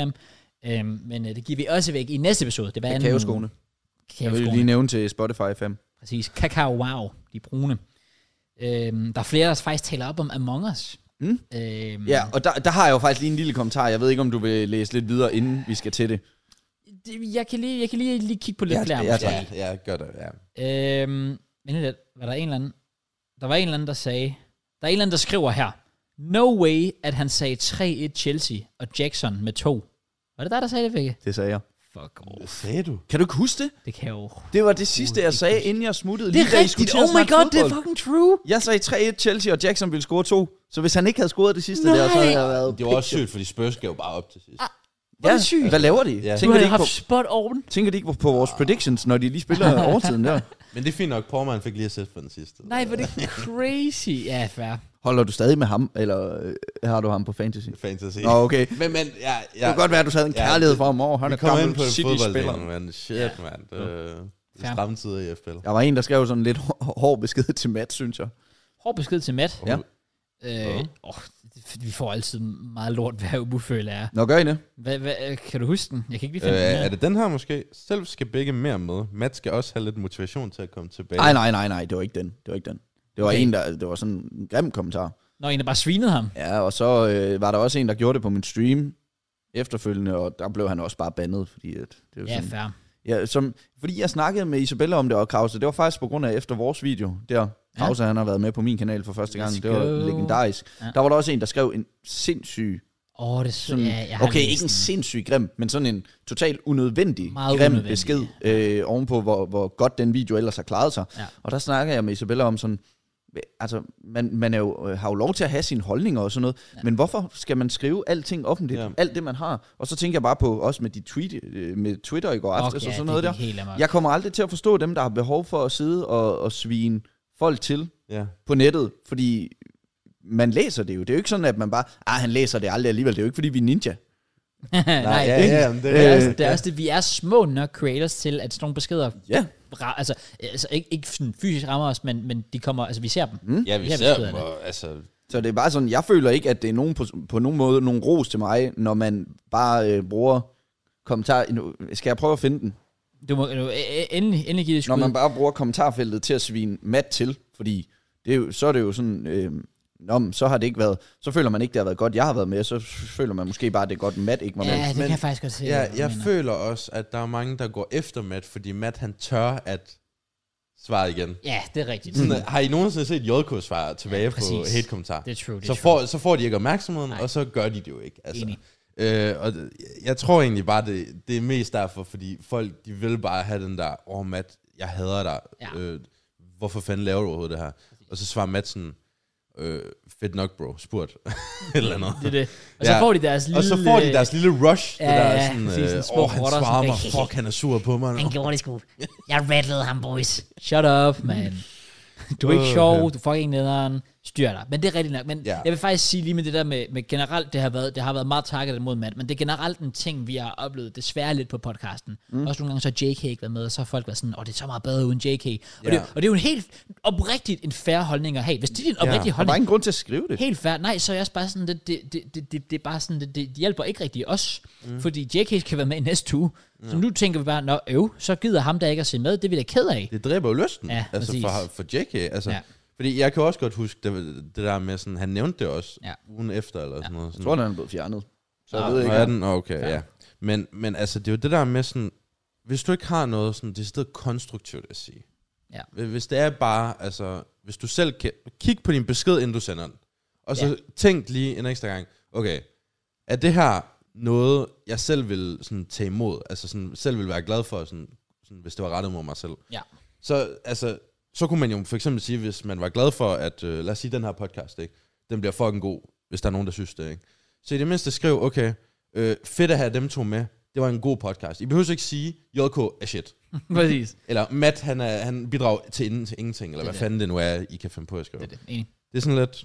A: Øhm, men øh, det giver vi også væk i næste episode. Det var anden-
C: Kakaoskoene. Jeg vil
A: Kakaoskoene.
C: lige nævne til Spotify 5.
A: Præcis. Kakao Wow, de brune. Øhm, der er flere, der faktisk taler op om Among Us.
C: Mm.
A: Øhm,
C: Ja, og der, der har jeg jo faktisk lige en lille kommentar. Jeg ved ikke, om du vil læse lidt videre, inden vi skal til det.
A: det, jeg, kan lige, jeg kan lige, lige kigge på lidt
C: Ja,
A: flere.
C: ja,
A: måske.
C: tak.
B: Ja, ja, gør det, ja.
A: Øhm, men lidt, var der en eller anden, der var en eller anden, der sagde, der er en eller anden, der skriver her, no way, at han sagde 3-1 Chelsea og Jackson med to. Var det dig, der sagde det, Vicky?
C: Det sagde jeg.
A: Fuck off.
B: Sagde du?
C: Kan du ikke huske det?
A: Det kan jeg jo.
C: Det var det sidste, jeg sagde, inden jeg smuttede.
A: Det er
C: da I skulle
A: rigtigt.
C: til at
A: Oh my
C: snakke
A: god, det
C: fodbold.
A: er fucking true.
C: Jeg sagde 3-1 Chelsea, og Jackson ville score to. Så hvis han ikke havde scoret det sidste der, så havde
A: Nej.
C: jeg været...
B: Det var også sygt, fordi Spurs gav jo bare op til sidst.
C: Ah.
A: Hvor er det sygt.
C: Hvad laver de?
B: Ja.
A: Du
C: Tænker,
A: har
C: de ikke
A: haft Ah.
C: på,
A: spot on.
C: tænker de ikke på- på vores predictions, når de lige
A: [LAUGHS]
C: spiller overtiden der?
B: Men det er fint nok, Porman fik lige assist på den sidste.
A: Nej,
C: [LAUGHS]
A: hvor er det crazy. Ja, fair.
C: Holder du stadig med ham, eller øh, har du ham på fantasy?
B: Fantasy.
C: Nå, okay.
B: Men, men, ja, ja.
C: Det kunne godt være, at du havde en
B: Ja,
C: kærlighed for ham over. Han
B: Vi
C: er
B: kommer ind
C: gammel
B: på en
C: City-spiller.
B: fodbolddel, men shit, ja. mand. Øh, Det, det
A: Fair.
B: er stramme tider i FPL.
C: Der var en, der skrev sådan lidt hår- hård besked til Matt, synes jeg.
A: Hård besked til Matt.
C: Ja.
A: Øh, oh, vi får altid meget lort, hvad ubuføl er.
C: Nå, gør I det?
A: Hvad, hvad, øh, kan du huske den? Jeg kan ikke lige finde øh, den.
B: Øh, er
A: her.
B: det den her måske? Selv skal begge mere med. Matt skal også have lidt motivation til at komme tilbage.
C: Nej, nej, nej, nej, det var ikke den. Det var ikke den. Det var
A: Okay.
C: okay. en, der, det var sådan en grim kommentar.
A: Når en der bare svinede ham.
C: Ja, og så øh, var der også en, der gjorde det på min stream efterfølgende, og der blev han også bare bandet, fordi at, det var
A: Ja,
C: sådan,
A: fair.
C: ja, som, fordi jeg snakkede med Isabella om det, og Krause, det var faktisk på grund af efter vores video, der
A: Ja.
C: Krause, han har været med på min kanal for første gang,
A: Let's
C: det var
A: go.
C: legendarisk.
A: Ja.
C: Ja. Der var der også en, der skrev en sindssyg,
A: Åh, oh, det er sådan,
C: sådan,
A: ja, jeg har
C: okay,
A: læst
C: ikke
A: den.
C: en sindssyg grim, men sådan en totalt
A: Meget
C: unødvendig Meget grim
A: unødvendig,
C: unødvendig. besked øh, ovenpå, hvor, hvor godt den video ellers har klaret sig.
A: Ja.
C: Og der snakker jeg med Isabella om sådan, altså man, man er jo, øh, har jo lov til at have sine holdninger og sådan noget, ja. men hvorfor skal man skrive alting offentligt,
B: Ja.
C: ja. alt det man har? Og så tænker jeg bare på, også med de tweet, øh, med Twitter i går
A: Fuck,
C: aftes
B: altså,
C: okay,
A: ja, det
C: og sådan noget
A: gik
C: der.
A: Helt amok.
C: Jeg kommer aldrig til at forstå dem, der har behov for at sidde og, og svine folk til
B: Ja.
C: på nettet, fordi man læser det jo. Det er jo ikke sådan, at man bare, ah, han læser det aldrig alligevel. Det er jo ikke, fordi vi er ninja.
A: [LAUGHS] Nej,
B: ja, Øh,
A: det,
B: ja, men det,
A: det,
C: Øh,
A: er
B: er,
A: også, det er også det, vi er små nok creators til, at sådan nogle beskeder,
C: Ja.
A: ra- altså, altså ikke, ikke sådan fysisk rammer os, men, men de kommer, altså vi ser dem. Mm.
B: ja, vi
A: Ja, vi
B: ser
A: sidder
B: dem,
A: der.
B: og altså,
C: Så det er bare sådan, jeg føler ikke, at det er nogen på, på nogen måde nogen ros til mig, når man bare øh, bruger kommentar... Nu Skal jeg prøve at finde den?
A: Du må du, øh, øh, endelig, endelig give det
C: Når
A: skud.
C: man bare bruger kommentarfeltet til at svine mat til, fordi det er jo, så er det jo sådan... Øh, Nå, men så har det ikke været... Så føler man ikke, det har været godt, jeg har været med, så føler man måske bare, at det er godt, Matt ikke var med.
A: ja, det
B: men-
A: kan jeg faktisk godt se. hvad
B: ja,
A: du
B: jeg
A: mener.
B: føler også, at der er mange, der går efter Matt, fordi Matt han tør at svare igen.
A: Ja, det er rigtigt.
B: Sådan, har I nogensinde set JK svare tilbage
A: Hmm. Ja,
B: ja,
A: præcis.
B: på hate-kommentar?
A: Det er true, det er
B: så, får, så får de ikke opmærksomheden, og så gør de det jo ikke. Altså.
A: Enig.
B: Øh, og det- jeg tror egentlig bare, det, det er mest derfor, fordi folk de vil bare have den der, åh oh, Matt, jeg hader dig.
A: Ja.
B: Øh, hvorfor fanden laver du overhovedet det her? Og så svarer Matt sådan, øh, fedt nok bro, spurt. [LAUGHS] Eller noget.
A: Det er det. Og så
B: Ja.
A: får de deres lille... øh,
B: Og så får de deres lille rush,
A: Ja,
B: det der
A: ja,
B: sådan,
A: præcis, en
B: øh,
A: små
B: åh, han
A: rotter,
B: svarer mig,
A: sådan,
B: fuck, han er sur på mig.
D: Han gjorde det sgu. Jeg rattlede ham, boys.
A: Shut up, [LAUGHS] man. Du er ikke
B: Øh,
A: sjov,
B: ja.
A: du er fucking nederen, styr dig. Men det er rigtigt nok. Men ja.
B: Ja.
A: jeg vil faktisk sige lige med det der med, med generelt, det har, været, det har været meget takket mod mand, men det er generelt en ting, vi har oplevet desværre lidt på podcasten. Mm. Også nogle gange så har JK ikke været med, og så har folk været sådan, åh, det er så meget bedre uden JK. Og, ja. det, og det er jo en helt oprigtigt en færre holdning at have. Hvis det er din oprigtige
C: Der var
A: holdning,
C: ingen grund til at skrive det.
A: Helt fair. Nej, så er jeg også bare sådan, det, det, det, det, det, det er bare sådan, det, det hjælper ikke rigtig os. Mm. Fordi JK kan være med i næste uge. Så nu tænker vi bare, nå øv, så gider ham der ikke at se med. Det er vi da ked
B: [LAUGHS]
A: af.
B: Det dræber jo lysten,
A: Ja,
B: ja, altså
A: præcis.
B: for, for JK. Altså,
A: Ja.
B: ja. Fordi jeg kan også godt huske det, det der med, sådan, han nævnte det også
A: Ja.
B: ja. ugen efter, eller sådan noget.
C: Jeg
B: Sådan.
C: tror, den er blevet fjernet. Så jeg
A: Nå,
C: ved
B: Nå,
C: ikke,
B: er
C: om-
B: den? Nå, Okay, ja. Men, men altså, det er jo det der med sådan, hvis du ikke har noget sådan, det er konstruktivt at sige.
A: Ja.
B: Hvis- Hvis det er bare, altså, hvis du selv kan, kig på din besked, inden du sender den. Og så
A: Ja.
B: tænk lige en ekstra gang, okay, er det her noget, jeg selv vil sådan, tage imod? Altså sådan, selv vil være glad for, sådan, sådan, hvis det var rettet mod mig selv?
A: Ja.
B: Så, altså, så kunne man jo for eksempel sige, hvis man var glad for, at øh, lad os sige, den her podcast, ikke? den bliver fucking god, hvis der er nogen, der synes det. Ikke? Så i det mindste skriv, okay, øh, fedt at have dem to med. Det var en god podcast. I behøver ikke sige, JK er shit.
A: Præcis.
B: Eller Matt, han, er, han bidrager til ingen- til ingenting, eller
A: Det er
B: hvad
A: det.
B: fanden det nu er, I kan finde på at skrive.
A: Det er det. Enig.
B: Det er sådan lidt...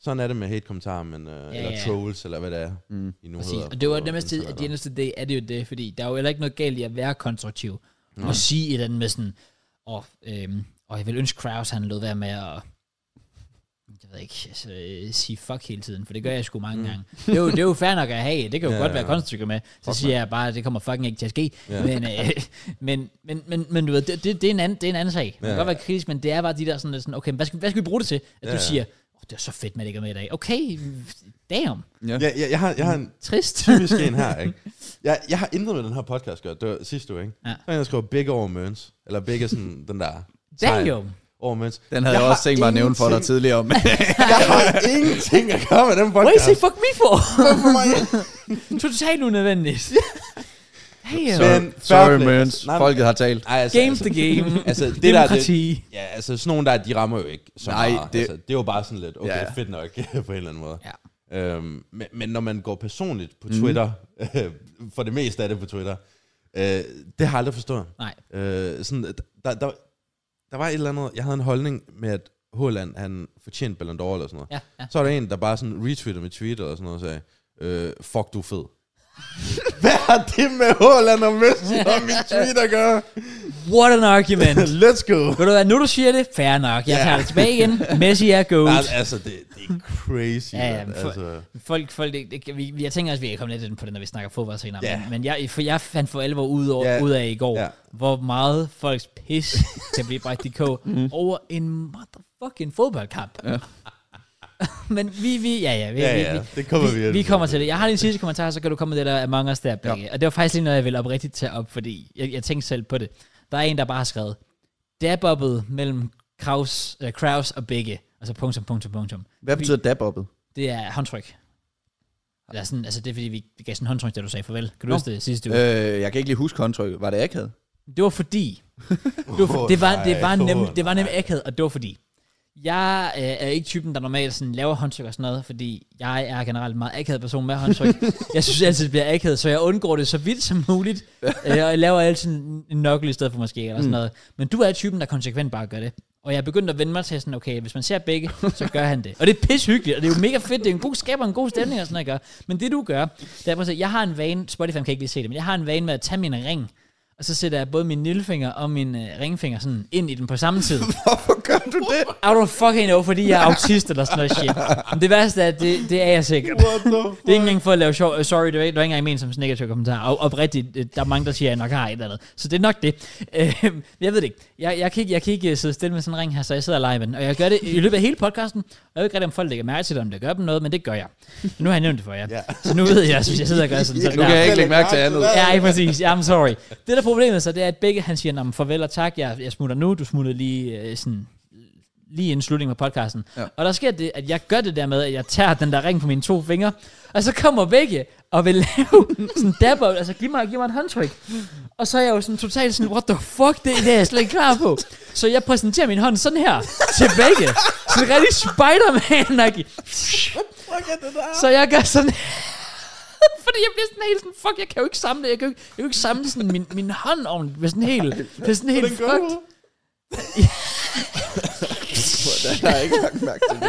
B: Sådan er det med hate-kommentarer, men, øh, ja, eller
A: ja.
B: trolls, eller hvad det er,
C: Mm.
B: I nu
A: Præcis.
B: hedder.
A: Og det var
B: på
A: det mest til, at
B: internettet.
A: the end of the day er det jo det, fordi der er jo heller ikke noget galt i at være konstruktiv. Og sige et eller andet med sådan, og, øhm, og jeg vil ønske Kraus, han lød være med at jeg ved ikke, altså, øh, sige fuck hele tiden, for det gør jeg sgu mange mm. gange. Det er, jo, det er jo fair nok at have, det kan jo
B: Ja,
A: godt
B: ja,
A: være
B: ja.
A: konstruktiv med. Så
B: Fuck,
A: siger jeg bare, at det kommer fucking ikke til at ske.
B: Ja.
A: Men, øh, [LAUGHS] men, men, men, men du ved, det, det, det, er en anden, det er en anden sag. Man kan
B: Ja,
A: godt være kritisk, men det er bare de der sådan, lidt sådan okay, hvad skal, hvad skal vi bruge det til? At
B: Ja,
A: ja, du
B: ja.
A: siger, oh, det er så fedt, man ikke er med i dag. Okay, damn,
B: Ja, ja, jeg, har, jeg har en
A: trist.
B: typisk en her, ikke? Jeg, jeg har intet med den her podcast gjort. Det var sidste uge, ikke?
A: Ja.
B: Ja. Så var en, der skrev Big over Mørns. Eller Big er sådan
A: [LAUGHS]
B: den der... tegn.
A: Damn.
B: Over
A: [LAUGHS]
B: Mørns.
C: Den havde jeg, jeg
B: har
C: også tænkt mig at nævne for dig
B: ingenting-
C: tidligere [LAUGHS] om.
B: Jeg har ingenting at gøre med den
A: What
B: podcast.
A: is he fuck me for? [LAUGHS]
B: [LAUGHS]
A: Totalt unødvendigt. Damn.
B: Men
C: Sorry,
B: fair
C: sorry
B: play.
C: Mørns.
B: Nej, men-
C: Folket har talt.
B: Ej, altså,
A: Games the [LAUGHS] game.
B: [LAUGHS] Altså, det der, det,
A: Demokrati.
B: Ja, altså sådan nogle der, de rammer jo ikke så
C: Nej,
B: meget.
C: det-
B: Det... Altså, det er jo bare sådan lidt, okay,
C: Ja, ja.
B: ja. fedt nok, [LAUGHS] på en eller anden måde.
A: Ja.
B: Øhm, men, men når man går personligt
C: Mhm.
B: på Twitter, [LAUGHS] mm. for det meste er det på Twitter, øh, det har jeg aldrig forstået.
A: Nej.
B: Øh, sådan, der, der, der var et eller andet, jeg havde en holdning med, at Haaland, han fortjente Ballon d'Or eller sådan noget.
A: Ja, ja.
B: Så var der en, der bare sådan retweetede mit tweet eller sådan noget, og sagde, øh, fuck, du er fed. [LAUGHS] Hvad har det med Haaland og Messi og mit tweet at gøre?
A: What an argument.
B: [LAUGHS]
A: [LAUGHS]
B: Let's go!
A: Ved du hvad, nu du siger det, fair nok. Jeg tager det tilbage igen. Messi er
B: Nej,
A: goat.
B: altså, det, det er crazy.
A: Ja, ja,
B: mand.
A: men for-
B: altså,
A: Folk, folk, det, det, vi, vi- jeg tænker også, vi kan komme lidt ind på det, når vi snakker fodbold senere.
B: Ja.
A: Men, men jeg, for jeg fandt for alvor ud, over,
B: Ja.
A: ud af i går,
B: Ja.
A: hvor meget folks
B: [LAUGHS]
A: pis kan blive bragt i kog
B: Mm.
A: over en motherfucking fodboldkamp. Ja. [LAUGHS] men vi, vi, ja, ja, vi,
B: ja,
A: vi,
B: ja,
A: vi,
B: det kommer vi,
A: vi, vi kommer til det. Jeg har lige en sidste kommentar, så kan du komme med det der Among Us der, ja. Og det var faktisk lige noget, jeg ville oprigtigt tage op, fordi jeg, jeg tænkte selv på det. Der er en, der bare har skrevet, dabbobbet mellem Kraus, äh, Kraus og Begge. Altså punktum, punktum, punktum.
C: Hvad betyder dab-uppet?
A: Det er håndtryk. Eller sådan, altså det er fordi, vi, vi gav sådan en håndtryk, da du sagde farvel. Kan du
C: Nå.
A: huske det sidste uge? Øh.
C: Øh, jeg kan ikke lige huske håndtrykket. Var det akavet?
A: Det var fordi, det var, det var, det var,
B: nej,
A: nem,
B: åh,
A: det var
B: nej.
A: nem akavet, og det var fordi. Jeg øh, er ikke typen, der normalt sådan laver håndtryk og sådan noget, fordi jeg er generelt en meget akavet person med håndtryk. jeg synes altid, det bliver akavet, så jeg undgår det så vidt som muligt. Øh, og jeg laver altid en en nøgle i stedet for måske, eller sådan noget. Men du er typen, der konsekvent bare gør det. Og jeg er begyndt at vende mig til sådan, okay, hvis man ser begge, så gør han det. Og det er pishyggeligt, og det er jo mega fedt, det er en god, skaber en god stemning og sådan noget, jeg gør. Men det du gør, det er bare at jeg har en vane, Spotify kan ikke lige se det, men jeg har en vane med at tage min ring, og så sætter jeg både min lillefinger og min øh, ringfinger sådan ind i den på samme tid.
C: Hvorfor gør du det?
A: I don't fucking know, fordi jeg er autist eller sådan noget shit. Men det værste er, at det, det er jeg sikkert.
B: What the
A: Det er ikke engang for at lave sjov. Øh, Sorry, det var, ikke- det var ikke engang ment som sådan en negativ kommentar. Og oprigtigt, øh, der er mange, der siger, at jeg nok har et eller andet. Så det er nok det. Øh, jeg ved det ikke. Jeg, jeg, kan ikke. jeg kan ikke øh, sidde stille med sådan en ring her, så jeg sidder og leger med den. Og jeg gør det i løbet af hele podcasten. Og jeg ved ikke rigtig, om folk lægger mærke til det, om det gør dem noget, men det gør jeg. Så nu har jeg nævnt det for jer.
B: Ja.
A: Så nu ved jeg, at hvis jeg sidder og gør sådan, så er det
C: Nu
A: der.
C: kan jeg ikke lægge mærke til andet.
A: Ja, ikke præcis. Ja, I'm sorry. Det der er problemet så, det er, at begge han siger, "Nå, men farvel og tak, jeg, jeg smutter nu, du smutter lige øh, sådan lige inden slutningen af podcasten. Ja. Og der sker det, at jeg gør det der med, at jeg tager den der ring på mine to fingre, og så kommer begge og vil [LAUGHS] lave sådan dapper, altså giv mig, giv mig et håndtryk. Og så er jeg jo sådan totalt sådan, what the fuck, det, det er jeg slet ikke klar på. Så jeg præsenterer min hånd sådan her til begge. Sådan rigtig Spider-Man-agtig. Så jeg gør sådan Fordi jeg bliver sådan helt sådan, fuck, jeg kan jo ikke samle, jeg kan jo ikke, jeg kan jo ikke samle sådan min, min hånd om, det bliver sådan helt, det er sådan helt fucked.
C: Jeg har ikke lagt mærke til det.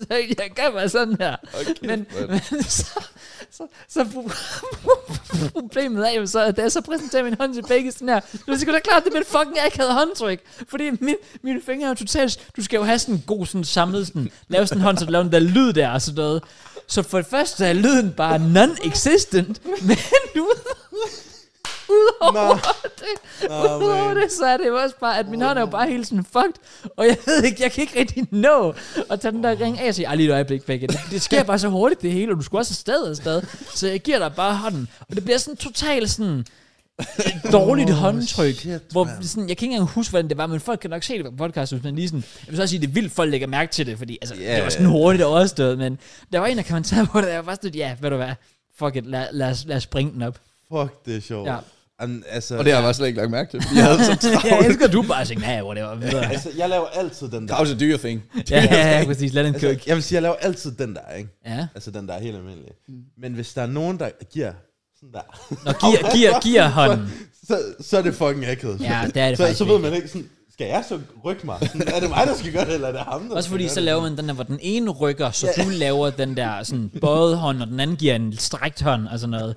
A: Så jeg gør bare sådan her. Okay, men, men [LAUGHS] så, så, så pro- [LAUGHS] problemet er jo så, at da jeg så præsenterer min hånd til begge sådan her, så er det sgu da klart, det er mit fucking akavet håndtryk. Fordi min, mine fingre er jo totalt, du skal jo have sådan en god sådan samlet, sådan, lave sådan en hånd, så du laver den der lyd der og sådan noget. Så for det første er lyden bare non-existent, [LAUGHS] men du Udover det,
B: Nå,
A: udover
B: man.
A: det, så er det jo også bare, at min hånd er jo bare helt sådan fucked, og jeg ved ikke, jeg kan ikke rigtig nå at tage den der ring af og sige, "Ej, lige et øjeblik, begge. Det- Det sker bare så [LAUGHS] hurtigt det hele, og du skulle også afsted og afsted, så jeg giver dig bare hånden, og det bliver sådan totalt sådan, dårligt håndtryk, shit, hvor sådan, jeg kan ikke engang huske, hvordan det var, men folk kan nok se det på podcast, hvis man lige sådan, jeg vil så også sige, det er vildt, folk lægger mærke til det, fordi altså, yeah. det var sådan hurtigt og overstået, men der var en, der kommenterede på det, og jeg var bare sådan, ja, ved du hvad, fuck it, lad, lad, os, lad os springe den [LAUGHS] op.
B: Fuck, det er sjovt.
A: Ja.
B: Ja. Jamen, altså,
C: Og det har jeg bare slet ikke lagt mærke til. fordi Jeg havde så
A: Jeg
C: travlt.
A: elsker, at du bare tænkte, nej, whatever, videre.
B: altså, jeg laver altid den der.
C: That was a dyr thing.
A: ja, ja, ja, [LAUGHS] præcis, lad den køre.
B: Altså, jeg vil sige, jeg laver altid den der, ikke?
A: Ja. Mm.
B: Altså den der er helt almindelig. Men hvis der er nogen, der giver sådan der,
A: Nå, gear,
B: [LAUGHS]
A: gear, gear hånden.
B: så, så er det fucking akavet.
A: Ja, det er det
B: så,
A: faktisk
B: så ved
A: virkelig.
B: man ikke sådan, skal jeg så rykke mig? Sådan, er det mig, der skal gøre det, eller er det ham, der
A: Også
B: skal
A: fordi
B: gøre
A: så
B: det?
A: laver man den der, hvor den ene rykker, så du laver den der sådan bøjet hånd, og den anden giver en strækt hånd og sådan noget.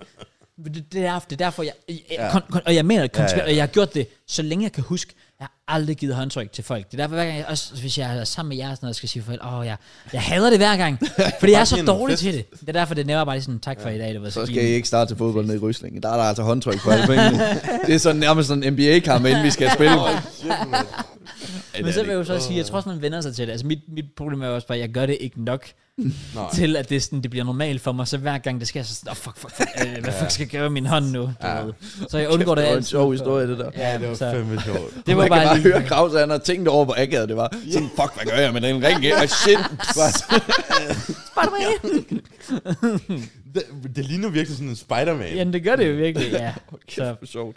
A: Men Det, det, er, det er derfor, jeg, jeg ja. kon, kon, og jeg mener det konsekvent, ja, ja. og jeg har gjort det, så længe jeg kan huske, jeg har aldrig givet håndtryk til folk. Det er derfor, hver gang jeg, også hvis jeg er sammen med jer, og sådan noget, skal jeg sige forældre, åh, jeg, jeg hader det hver [LAUGHS] gang, fordi jeg er så
B: Bare en
A: dårlig
B: fest.
A: til det. Det er derfor, det er nemmere bare lige sådan, tak for i dag, det var
C: Så
A: så
C: skal I ikke starte til fodbold nede i Ryslinge. Der er der altså håndtryk på alle pengene. Det er sådan nærmest sådan en NBA-kamp, inden vi skal spille.
B: Shit, mand.
A: Men så vil jeg jo så sige, jeg tror også, man vender sig til det. Altså mit, mit problem er jo også bare, at jeg gør det ikke nok.
B: [LAUGHS] Nej.
A: til at det, sådan, det bliver normalt for mig, så hver gang det sker, så sådan, oh, fuck, fuck, fuck, øh, hvad fuck skal jeg gøre med min hånd nu? Du ved. Så jeg undgår det
C: Det var en
A: altid.
C: sjov historie, det der.
B: Ja, det var
A: så-
B: fandme sjovt.
A: Det var
C: Man kan
A: bare
C: bare
A: lige,
C: høre Kraus, at han har tænkt over, hvor akavet det var. Sådan, fuck, hvad gør jeg med den ring? Og shit.
A: bare mig ind.
B: [LAUGHS] Det, det ligner virkelig sådan en
A: [LAUGHS]
B: Spider-Man.
A: Ja, det gør det jo virkelig,
B: [LAUGHS]
A: ja. Så,
C: Hvor sjovt.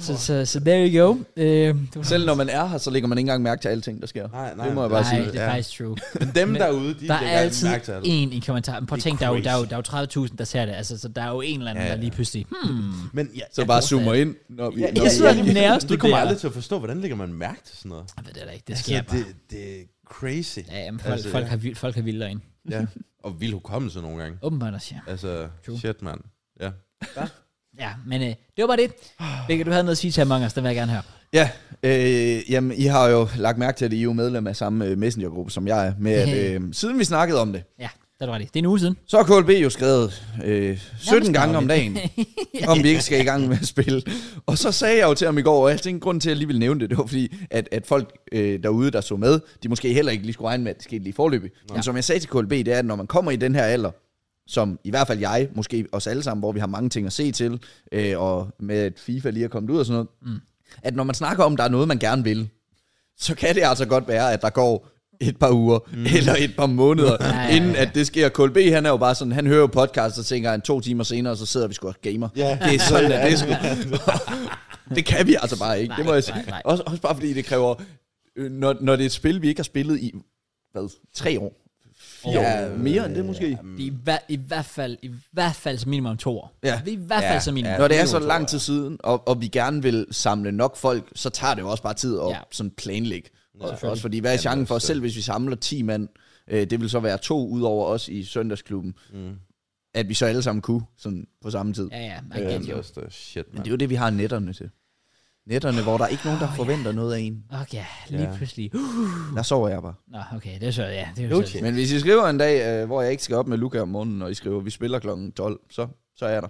A: så, så, så there you go. Øh, det var-
C: Selv når man er her, så lægger man ikke engang mærke til alting, der sker.
B: Nej, nej.
C: det må jeg bare
A: Nej,
C: sige.
A: det er
B: ja.
A: faktisk
B: [LAUGHS]
A: true.
B: Men dem derude, de
A: Der
B: lægger
A: er altid
B: mærke til alt.
A: en i kommentaren. Prøv at
B: Det er
A: tænk, der er jo, der er jo,
B: crazy.
A: der er jo 30.000, der ser det. Altså, så der er jo en eller anden,
B: Ja,
A: der
B: ja.
A: lige pludselig... Hmm.
B: Men ja,
C: Så bare zoomer ind, når vi...
B: Ja, ja,
C: når
A: Jeg
C: vi-
A: sidder
B: ja,
A: lige
B: men
A: nær og
B: Det kommer
A: studerer.
B: jeg aldrig til at forstå, hvordan lægger man mærke til sådan noget?
A: Jeg ved det da ikke, det
B: Altså,
A: sker bare.
B: det, det er crazy.
A: Ja, jamen, folk,
B: Altså,
A: folk,
B: ja.
A: har, vild- folk har vildt løgn.
B: Ja. Og vild hukommelse nogle gange.
A: Åbenbart også, ja.
B: Altså,
A: True.
B: shit, mand. Ja.
A: Ja, men øh, det var bare det. Hvilket du havde noget at sige til Among Us, det vil jeg gerne høre.
C: Ja, øh, jamen, I har jo lagt mærke til, at I er jo medlem af samme øh, messengergruppe, som jeg er. Med at, øh, siden vi snakkede om det,
A: Ja, det var det. Det er en uge siden.
C: så har KLB jo skrevet øh, 17
A: Nærmest
C: gange om dagen,
A: dagligt.
C: om vi ikke skal i gang med at spille. Og så sagde jeg jo til ham i går, og jeg tænkte, grunden til, at jeg lige ville nævne det, det var fordi, at, at folk øh, derude, der så med, de måske heller ikke lige skulle regne med, at det skete lige forløbig. Men som jeg sagde til KLB, det er, at når man kommer i den her alder, som i hvert fald jeg, måske os alle sammen, hvor vi har mange ting at se til, øh, og med at FIFA lige er kommet ud og sådan noget, mm. at når man snakker om, at der er noget, man gerne vil, så kan det altså godt være, at der går et par uger mm. eller et par måneder, [LAUGHS] ja, ja,
A: ja,
C: ja. inden at det sker. KLB, han er jo bare sådan, han hører jo podcast, og tænker han to timer senere, så sidder vi sgu og gamer.
B: Ja.
C: Det er sådan, at det er sgu. [LAUGHS] det kan vi altså bare ikke, det må
A: Nej,
C: jeg sige.
A: nej, nej.
C: Også, også bare fordi det kræver, øh, når, når det er et spil, vi ikke har spillet i, hvad, tre år? Fire
A: Ja,
C: år? Mere end det måske?
A: Det er i, hver, i hvert fald, i hvert fald som minimum to år.
C: Ja.
A: Det er i hvert fald
B: Ja,
A: som minimum.
B: ja.
C: Når det er så
B: minimum to år,
C: lang tid siden, og, og vi gerne vil samle nok folk, så tager det jo også bare tid at
A: Ja.
C: ja. sådan planlægge. Og,
A: selvfølgelig.
C: også fordi, hvad er chancen for,
B: forstå.
C: selv hvis vi samler 10 mand, øh, det vil så være to ud over os i søndagsklubben,
B: Mm.
C: at vi så alle sammen kunne sådan på samme tid.
A: Ja, ja. I
B: Ja,
A: get
B: det er
A: you.
B: også det. Shit,
C: Men
B: mand.
C: det er jo det, vi har netterne til. Netterne, hvor der er ikke nogen, der forventer noget af en.
A: Okay, lige
B: Ja.
A: pludselig.
C: Der sover jeg bare.
A: Nå, okay, det er så, ja. Det er jo
B: Jo,
A: så.
B: tjek.
C: Men hvis I skriver en dag, øh, hvor jeg ikke skal op med Luca om morgenen, og I skriver, vi spiller klokken 12, så, så er jeg der.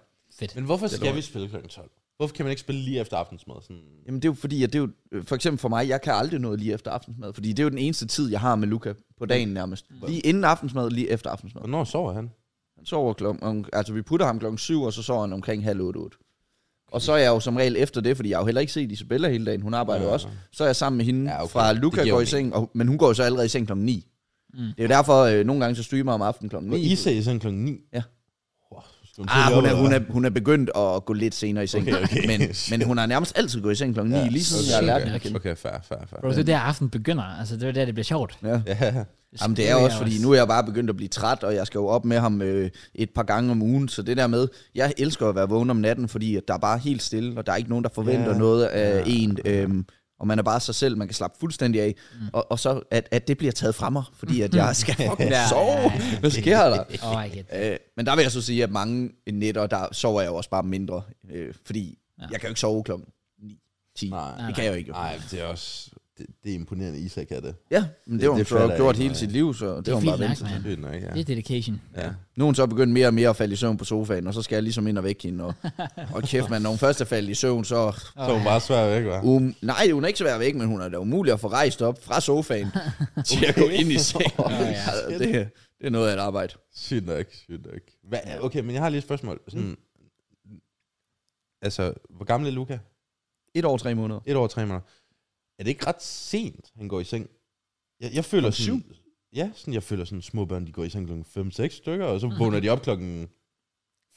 B: Men hvorfor
C: er
B: skal vi
C: dårligt.
B: spille kl. 12? Hvorfor kan man ikke spille lige efter aftensmad? Sådan,
C: Jamen det er jo fordi, at det er jo, øh, for eksempel for mig, jeg kan aldrig noget lige efter aftensmad, fordi det er jo den eneste tid, jeg har med Luca på
B: Mm.
C: dagen nærmest. Lige inden aftensmad, lige efter aftensmad.
B: hvornår sover han?
C: Han sover klokken, om- altså vi putter ham klokken 7, og så sover han omkring halv otte, otte. Og så er jeg jo som regel efter det, fordi jeg har jo heller ikke set Isabella hele dagen, hun arbejder ja,
B: Ja.
C: også. Så er jeg sammen med
B: Ja,
C: hende ja,
B: okay.
C: okay. fra
B: Det giver
C: Luca går i
B: jo mening.
C: seng, og, men hun går jo så allerede i seng klokken 9. Mm. Det er jo derfor, øh, nogle gange så streamer jeg om aftenen klokken 9.
B: I sagde sådan kl. 9?
C: Ja.
B: Wow, skal man
C: Ah,
B: tidligere
C: hun er,
B: op,
C: hun,
B: eller
C: er, hun er begyndt at gå lidt senere i seng,
B: Okay, okay.
C: Men, men hun har nærmest altid gået i seng klokken 9, ja, lige siden jeg lærte hende at
B: Okay,
C: kende.
B: okay, fair, fair, fair.
A: Bro, det er der aften begynder. Altså, det er der, det bliver sjovt.
C: Ja.
B: Ja.
C: Jamen det er
A: Det er
C: også, fordi nu er jeg bare begyndt at blive træt, og jeg skal jo op med ham øh, et par gange om ugen, så det der med, jeg elsker at være vågen om natten, fordi at der er bare helt stille, og der er ikke nogen, der forventer
B: Ja.
C: noget af en, øh, og man er bare sig selv, man kan slappe fuldstændig af, og, og så at, at det bliver taget fra mig, fordi at jeg skal fucking
A: Ja.
C: sove, hvad sker der?
A: Åh, I get it.
C: Øh, men der vil jeg så sige, at mange nætter, der sover jeg jo også bare mindre, øh, fordi ja. jeg kan jo ikke sove klokken 9, 10,
B: Nej.
C: det kan jeg jo ikke.
B: Nej, det er også... Det, det er imponerende, Isak er det.
C: Ja,
B: Det-
C: men det, det var hun
B: det
C: så
B: fatter jeg
C: gjort
B: ikke,
C: hele
B: nej.
C: sit liv, så det,
A: Det
C: var
A: er
C: hun bare
A: fint
C: vant
A: nok,
C: til.
A: man.
B: Det er nok, ja.
A: Det er dedication.
B: ja.
C: Nu er hun så begyndt mere og mere at falde i søvn på sofaen, og så skal jeg ligesom ind og vække hende. [LAUGHS] Og, og kæft, man, når hun først er faldet i søvn, så...
B: Så er hun bare svær væk, [LAUGHS] hva'?
C: Um, nej, hun er ikke svær at vække, men hun er da umulig at få rejst op fra sofaen til at gå ind i sengen. [LAUGHS]
B: [LAUGHS]
C: ja, det, det er noget af et arbejde.
B: Mm. Sygt nok, sygt nok. Hva, okay, men jeg har lige et spørgsmål. Sådan, altså, hvor gammel er Luca?
C: Et år og tre måneder.
B: Et år og tre måneder. Er det ikke ret sent, han går i seng? Jeg, jeg føler
C: Klokken
B: sådan... Ja, sådan, jeg føler sådan, små børn, de går i seng klokken 5-6 stykker, og
C: Mm.
B: så vågner de op klokken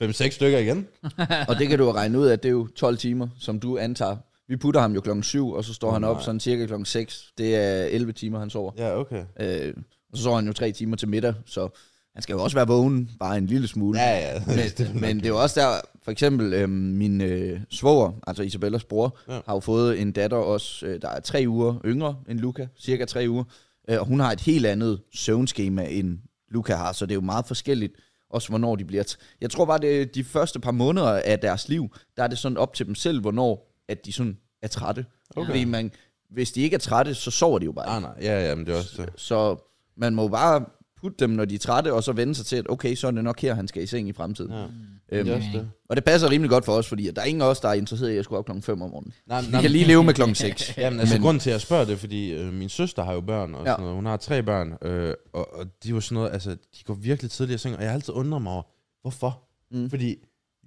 B: 5-6 stykker igen.
C: [LAUGHS] Og det kan du jo regne ud, at det er jo 12 timer, som du antager. Vi putter ham jo klokken 7, og så står
B: Åh,
C: han op
B: nej.
C: sådan cirka klokken 6. Det er 11 timer, han sover.
B: Ja, okay.
C: Øh, og så sover han jo 3 timer til middag, så han skal jo også være vågen, bare en lille smule.
B: Ja, ja.
C: Men, men det er jo også der, for eksempel øh, min øh, svoger, altså Isabellas bror,
B: Ja.
C: ja. har jo fået en datter også, øh, der er tre uger yngre end Luca, cirka tre uger, øh, og hun har et helt andet søvnskema end Luca har, så det er jo meget forskelligt, også hvornår de bliver... T- jeg tror bare, det er de første par måneder af deres liv, der er det sådan op til dem selv, hvornår at de sådan er trætte. Okay. Fordi man, hvis de ikke er trætte, så sover de jo bare.
B: Nej, Ah, nej. Ja, ja, men det er også det.
C: Så man må jo bare putte dem, når de er trætte, og så vende sig til, at okay, så er det nok her, han skal i seng i fremtiden.
B: Ja.
C: Øhm,
B: Det er også det.
C: og det passer rimelig godt for os, fordi at der er ingen af os, der er interesseret i, at jeg skulle op klokken 5 om morgenen.
B: Nej,
C: [LAUGHS] Vi kan lige leve med klokken 6.
B: Jamen, altså, men... grunden til, at jeg spørger det, er, fordi øh, min søster har jo børn, og
C: Ja.
B: ja. sådan noget. hun har tre børn, øh, og, og de er jo sådan noget, altså, de går virkelig tidligere i seng, og jeg har altid undret mig over, hvorfor? Mm. Fordi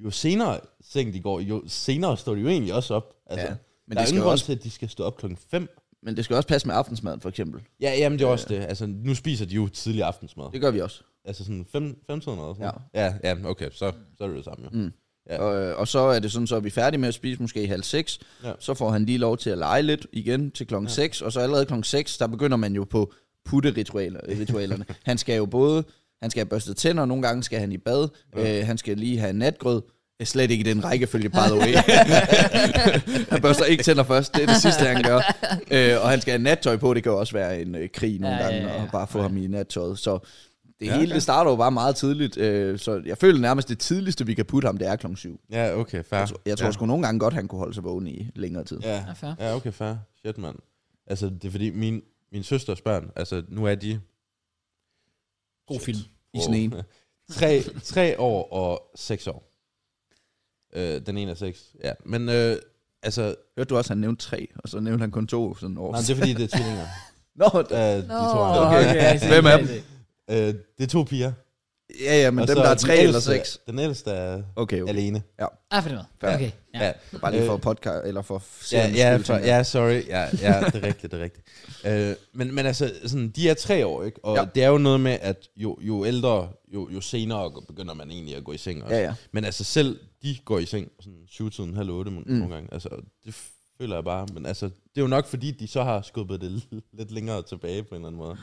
B: jo senere seng de går, jo senere står de jo egentlig også op. Altså,
C: Ja,
B: ja.
C: men det
B: Men der er
C: skal
B: ingen
C: jo
B: grund
C: også-
B: til, at de skal stå op klokken 5.
C: Men det skal også passe med aftensmaden, for eksempel.
B: Ja, jamen det er også det. Altså, nu spiser de jo tidlig aftensmad.
C: Det gør vi også.
B: Altså sådan 5 fem, tiden eller sådan noget. Ja, ja, okay, så, så er det det samme jo. Mm. Ja.
C: Og, øh, og så er det sådan, så er vi færdige med at spise måske i halv seks.
B: Ja.
C: Så får han lige lov til at lege lidt igen til klokken 6. Og så allerede klokken 6, der begynder man jo på putteritualerne. han skal jo både... Han skal have børstet tænder, nogle gange skal han i bad. Ja. Øh, han skal lige have natgrød. Det er slet ikke i den rækkefølge, by the way. han børster ikke tænder først. Det er det sidste, han gør. Øh, og han skal have nattøj på. Det kan jo også være en øh, krig nogle
A: Ja,
C: ja,
A: ja,
C: gange,
A: ja.
C: og bare få ham i nattøjet. Så det
B: Ja,
C: hele,
B: ja.
C: det starter jo bare meget tidligt. Øh, så jeg føler nærmest, det tidligste, vi kan putte ham, det er klokken 7.
B: Ja, okay, fair.
C: Jeg tror- Jeg tror
B: ja.
C: sgu nogle gange godt, han kunne holde sig vågen i længere tid. Ja.
B: Ja,
A: Ja, fair.
B: ja okay, fair. Shit, mand. Altså, det er fordi, min, min søsters børn, altså, nu er de...
A: God
B: Shit.
A: film.
C: I sådan en.
B: [LAUGHS] tre, tre år og seks år. Øh, den ene er seks, ja. Men øh, altså,
C: Hørte du også, han nævnte tre, og så nævnte han kun to sådan år.
B: nej, det er fordi, det er tvillinger.
C: [LAUGHS] Nå, da.
B: Øh, de to er.
A: okay.
C: [LAUGHS] Hvem er
A: dem?
B: [LAUGHS] Øh, det er to piger.
C: ja, ja, men
B: Og
C: dem,
B: så
C: der er
B: den
C: tre eller
B: ældste-
C: seks.
B: Den ældste er
C: Okay,
B: okay.
C: okay.
B: alene.
A: Ah, for det med.
C: Fair.
A: Okay. Ja.
B: Ja,
C: Bare lige for
B: Øh,
C: podcast, eller for
B: ja,
C: serien.
B: ja, for, ja sorry. Ja, ja, det er rigtigt, det er
C: [LAUGHS]
B: rigtigt. Øh, men, men altså, sådan, de er tre år, ikke? Og
C: Ja.
B: ja. det er jo noget med, at jo, jo ældre, jo, jo senere begynder man egentlig at gå i seng. Også.
C: Ja, ja.
B: Men altså selv, de går i seng sådan syvtiden, halv otte mm. nogle gange. Altså, det føler jeg bare. Men altså, det er jo nok fordi, de så har skubbet det l- [LAUGHS] lidt længere tilbage på en eller anden måde.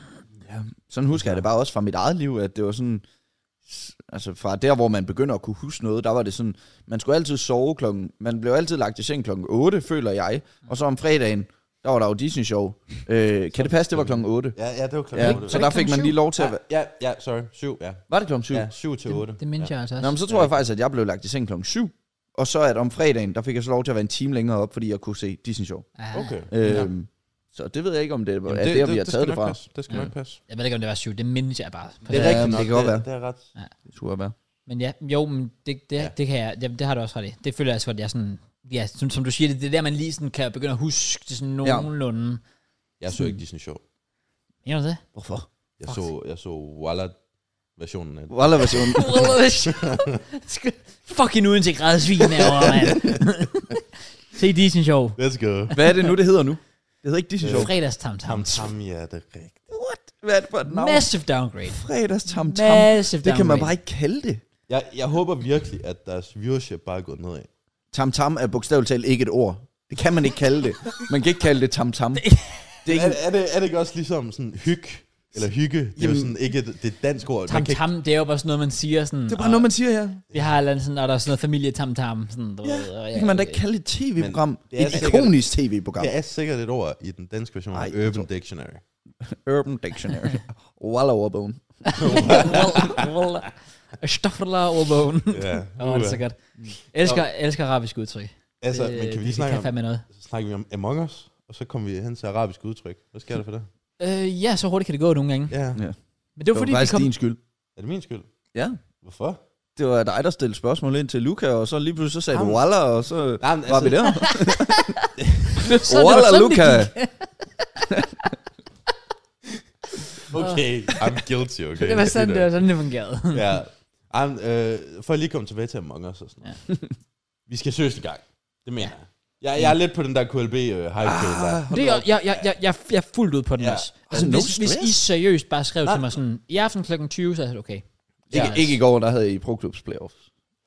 C: Ja, sådan husker jeg det bare også fra mit eget liv, at det var sådan, altså fra der, hvor man begynder at kunne huske noget, der var det sådan, man skulle altid sove klokken, man blev altid lagt i seng klokken 8, føler jeg, og så om fredagen, der var der jo Disney-show. Øh, kan det passe, det var klokken 8?
B: Ja, ja det var klokken
C: Ja, så der fik man lige lov til at være...
B: Ja, ja, sorry. Syv, ja.
C: Var det klokken 7?
B: Ja, syv til otte.
A: Det mindes jeg altså også.
C: Nå, men så tror jeg faktisk, at jeg blev lagt i seng klokken 7, og så at om fredagen, der fik jeg så lov til at være en time længere op, fordi jeg kunne se Disney-show.
A: Ah,
B: Okay.
C: Øhm, Så det ved jeg ikke, om det, Jamen, er det, der, vi har
B: skal
C: taget det
B: nok
C: fra.
B: Passe. Det skal
A: Ja.
B: nok passe.
A: Jeg ved ikke, om det var syv. Det mindes jeg bare.
C: Det er Ja, rigtigt men nok. det kan godt
B: det,
C: være.
B: Det er ret.
C: Det skulle være.
A: Men ja, jo, men det, det, ja.
B: Ja.
A: det kan jeg, det, det har du også ret i. Det føler jeg også, at jeg sådan, ja, som, som du siger, det, det er der, man lige sådan kan begynde at huske det sådan
C: Ja.
A: nogenlunde.
B: Jeg så ikke Disney Show.
A: Ja.
C: [LAUGHS]
A: du det? [LAUGHS]
C: Hvorfor?
B: Jeg så, jeg så Walla-versionen af det. [LAUGHS]
C: Walla-versionen.
A: Fucking uden til grædsvin herovre, mand.
C: [LAUGHS]
A: Se Disney Show.
B: Let's go.
C: Hvad er det nu, det hedder nu? Det hedder ikke
B: Øh,
C: Disney-show.
A: Fredagstam tam.
B: Ham, tam, ja, det er rigtigt.
C: What? Hvad er det for et navn?
A: Massive downgrade.
C: Fredags tam tam.
A: Massive downgrade.
C: Det kan man bare ikke kalde det.
B: Jeg, jeg håber virkelig, at deres viewership bare er gået nedad.
C: Tam tam er bogstaveligt talt ikke et ord. Det kan man ikke kalde det. Man kan ikke kalde det tam tam. Det er
B: Er, [LAUGHS]
C: ikke,
B: er, det, er det ikke også ligesom sådan hyg eller hygge? Det er jo
C: Jamen-
B: sådan ikke et, det er et dansk ord.
A: Tam tam, det er jo bare sådan noget, man siger sådan.
C: det er bare noget, man siger her.
A: Vi har et eller andet sådan, og der er sådan noget familie tam tam. Sådan, du ved, og
C: Det kan man da ikke kalde et tv-program.
B: Men det er
C: Et
B: sikkert-
C: ikonisk tv-program.
B: Det er sikkert et ord i den danske version af
C: Ej, jeg
B: Urban
A: [LAUGHS]
B: Dictionary.
C: Urban
B: [LAUGHS]
C: Dictionary. Walla overbone.
A: Wallah, wallah. [LAUGHS] Astaghfirullah wa bone.
B: Ja.
A: Åh, det er så godt. Elsker, elsker arabisk udtryk.
B: Altså,
A: Det-
B: men kan vi
A: det
B: lige snakke
A: kan
B: om,
A: fandme noget.
B: så snakker vi om Among Us, og så kommer vi hen til arabisk udtryk. Hvad sker der for det?
A: Øh, ja, så hurtigt kan det gå nogle gange.
B: Ja.
A: Men det var,
C: Det var
A: fordi, vi
C: faktisk
A: kom...
C: din skyld.
B: Er det min skyld?
C: Ja.
B: Hvorfor?
C: Det var dig, der stillede spørgsmål ind til Luca, og så lige pludselig så sagde du
B: Jamen.
C: Walla, og så
B: Jamen,
A: altså-
C: var vi [LAUGHS] der.
A: [LAUGHS] Så det var
C: Walla
A: sådan, det
C: Luca.
A: gik. [LAUGHS]
B: Okay, I'm guilty, okay.
A: Det var sådan, det var sådan, det fungerede.
B: Ja. Ej, men, øh, for at lige komme tilbage til Among Us og sådan noget. Ja. Vi skal søges i gang. Det mener jeg. Jeg, jeg er lidt på den der KLB øh, hype ah, der.
A: Det er, jeg, jeg, jeg, jeg, jeg er fuldt ud på den
B: Ja.
A: ja. også. Altså,
C: no
A: hvis, hvis I
C: stress.
A: seriøst bare skrev Nej. til mig sådan, i aften kl. 20, så havde jeg okay.
C: Ikke,
A: Ja.
C: ikke i går, der havde I Pro Clubs playoffs.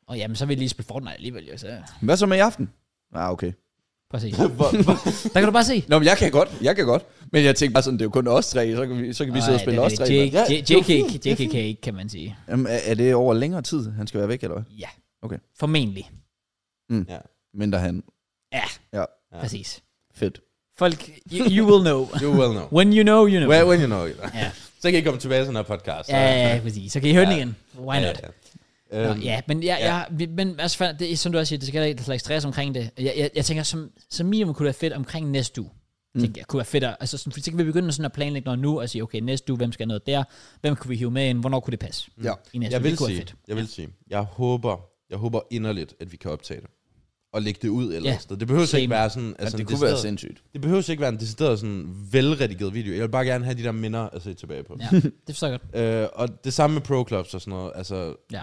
A: Og jamen, så vil jeg lige spille Fortnite alligevel, jo, så...
C: Hvad så med i aften? Ah, okay. [LAUGHS]
A: Præcis.
B: Hvor, hvor,
A: Der kan du bare se.
C: Nå, men jeg kan godt, jeg kan godt. Men jeg tænkte bare sådan, det er jo kun os tre, så kan vi, så kan vi sidde og spille os tre. mand.
A: J-
C: det er jo
A: JK,
C: fint, det er
A: JK kan ikke, kan man sige.
C: Jamen, er, er det over længere tid, han skal være væk, eller hvad?
A: Ja.
C: Okay.
A: Formentlig.
B: ja.
C: Mindre han.
A: Ja,
C: Ja,
A: ja. præcis.
C: fedt.
A: Folk, you, you will know.
B: You will know.
A: When you know, you know.
B: Well, when you know it.
A: Ja.
B: Så kan I komme tilbage til den her podcast.
A: Ja, ja, ja, præcis. Så kan I høre den
B: Ja.
A: igen. Why not?
B: ja. Øhm,
A: Nå, ja, men, jeg, jeg, vi- men altså, fa- det, er, som du også siger, det skal der ikke slags stress omkring det. Jeg, jeg, jeg tænker, som, som minimum kunne det være fedt omkring næste uge. Mm. Tænker, jeg, kunne være fedt at, altså, sådan, fordi så kan vi begynde sådan at planlægge noget nu og sige, okay, næste uge, hvem skal noget der? Hvem kunne vi hive med ind? Hvornår kunne det passe?
C: Ja.
A: I næste
B: Jeg
A: uge.
B: vil
A: det kunne være
B: sige,
A: fedt.
B: jeg vil sige, jeg håber, jeg håber inderligt, at vi kan optage det. Og lægge det ud eller
A: Ja.
B: ja. sted. Det behøver
A: Same.
B: ikke være sådan...
C: Altså,
B: en
C: det kunne
B: decideret-
C: være sindssygt.
B: Det behøver ikke være en decideret sådan velredigeret video. Jeg vil bare gerne have de der minder at se tilbage på.
A: Ja, det forstår jeg godt.
B: Øh, og det samme med Pro Clubs og sådan noget. Altså,
A: Ja.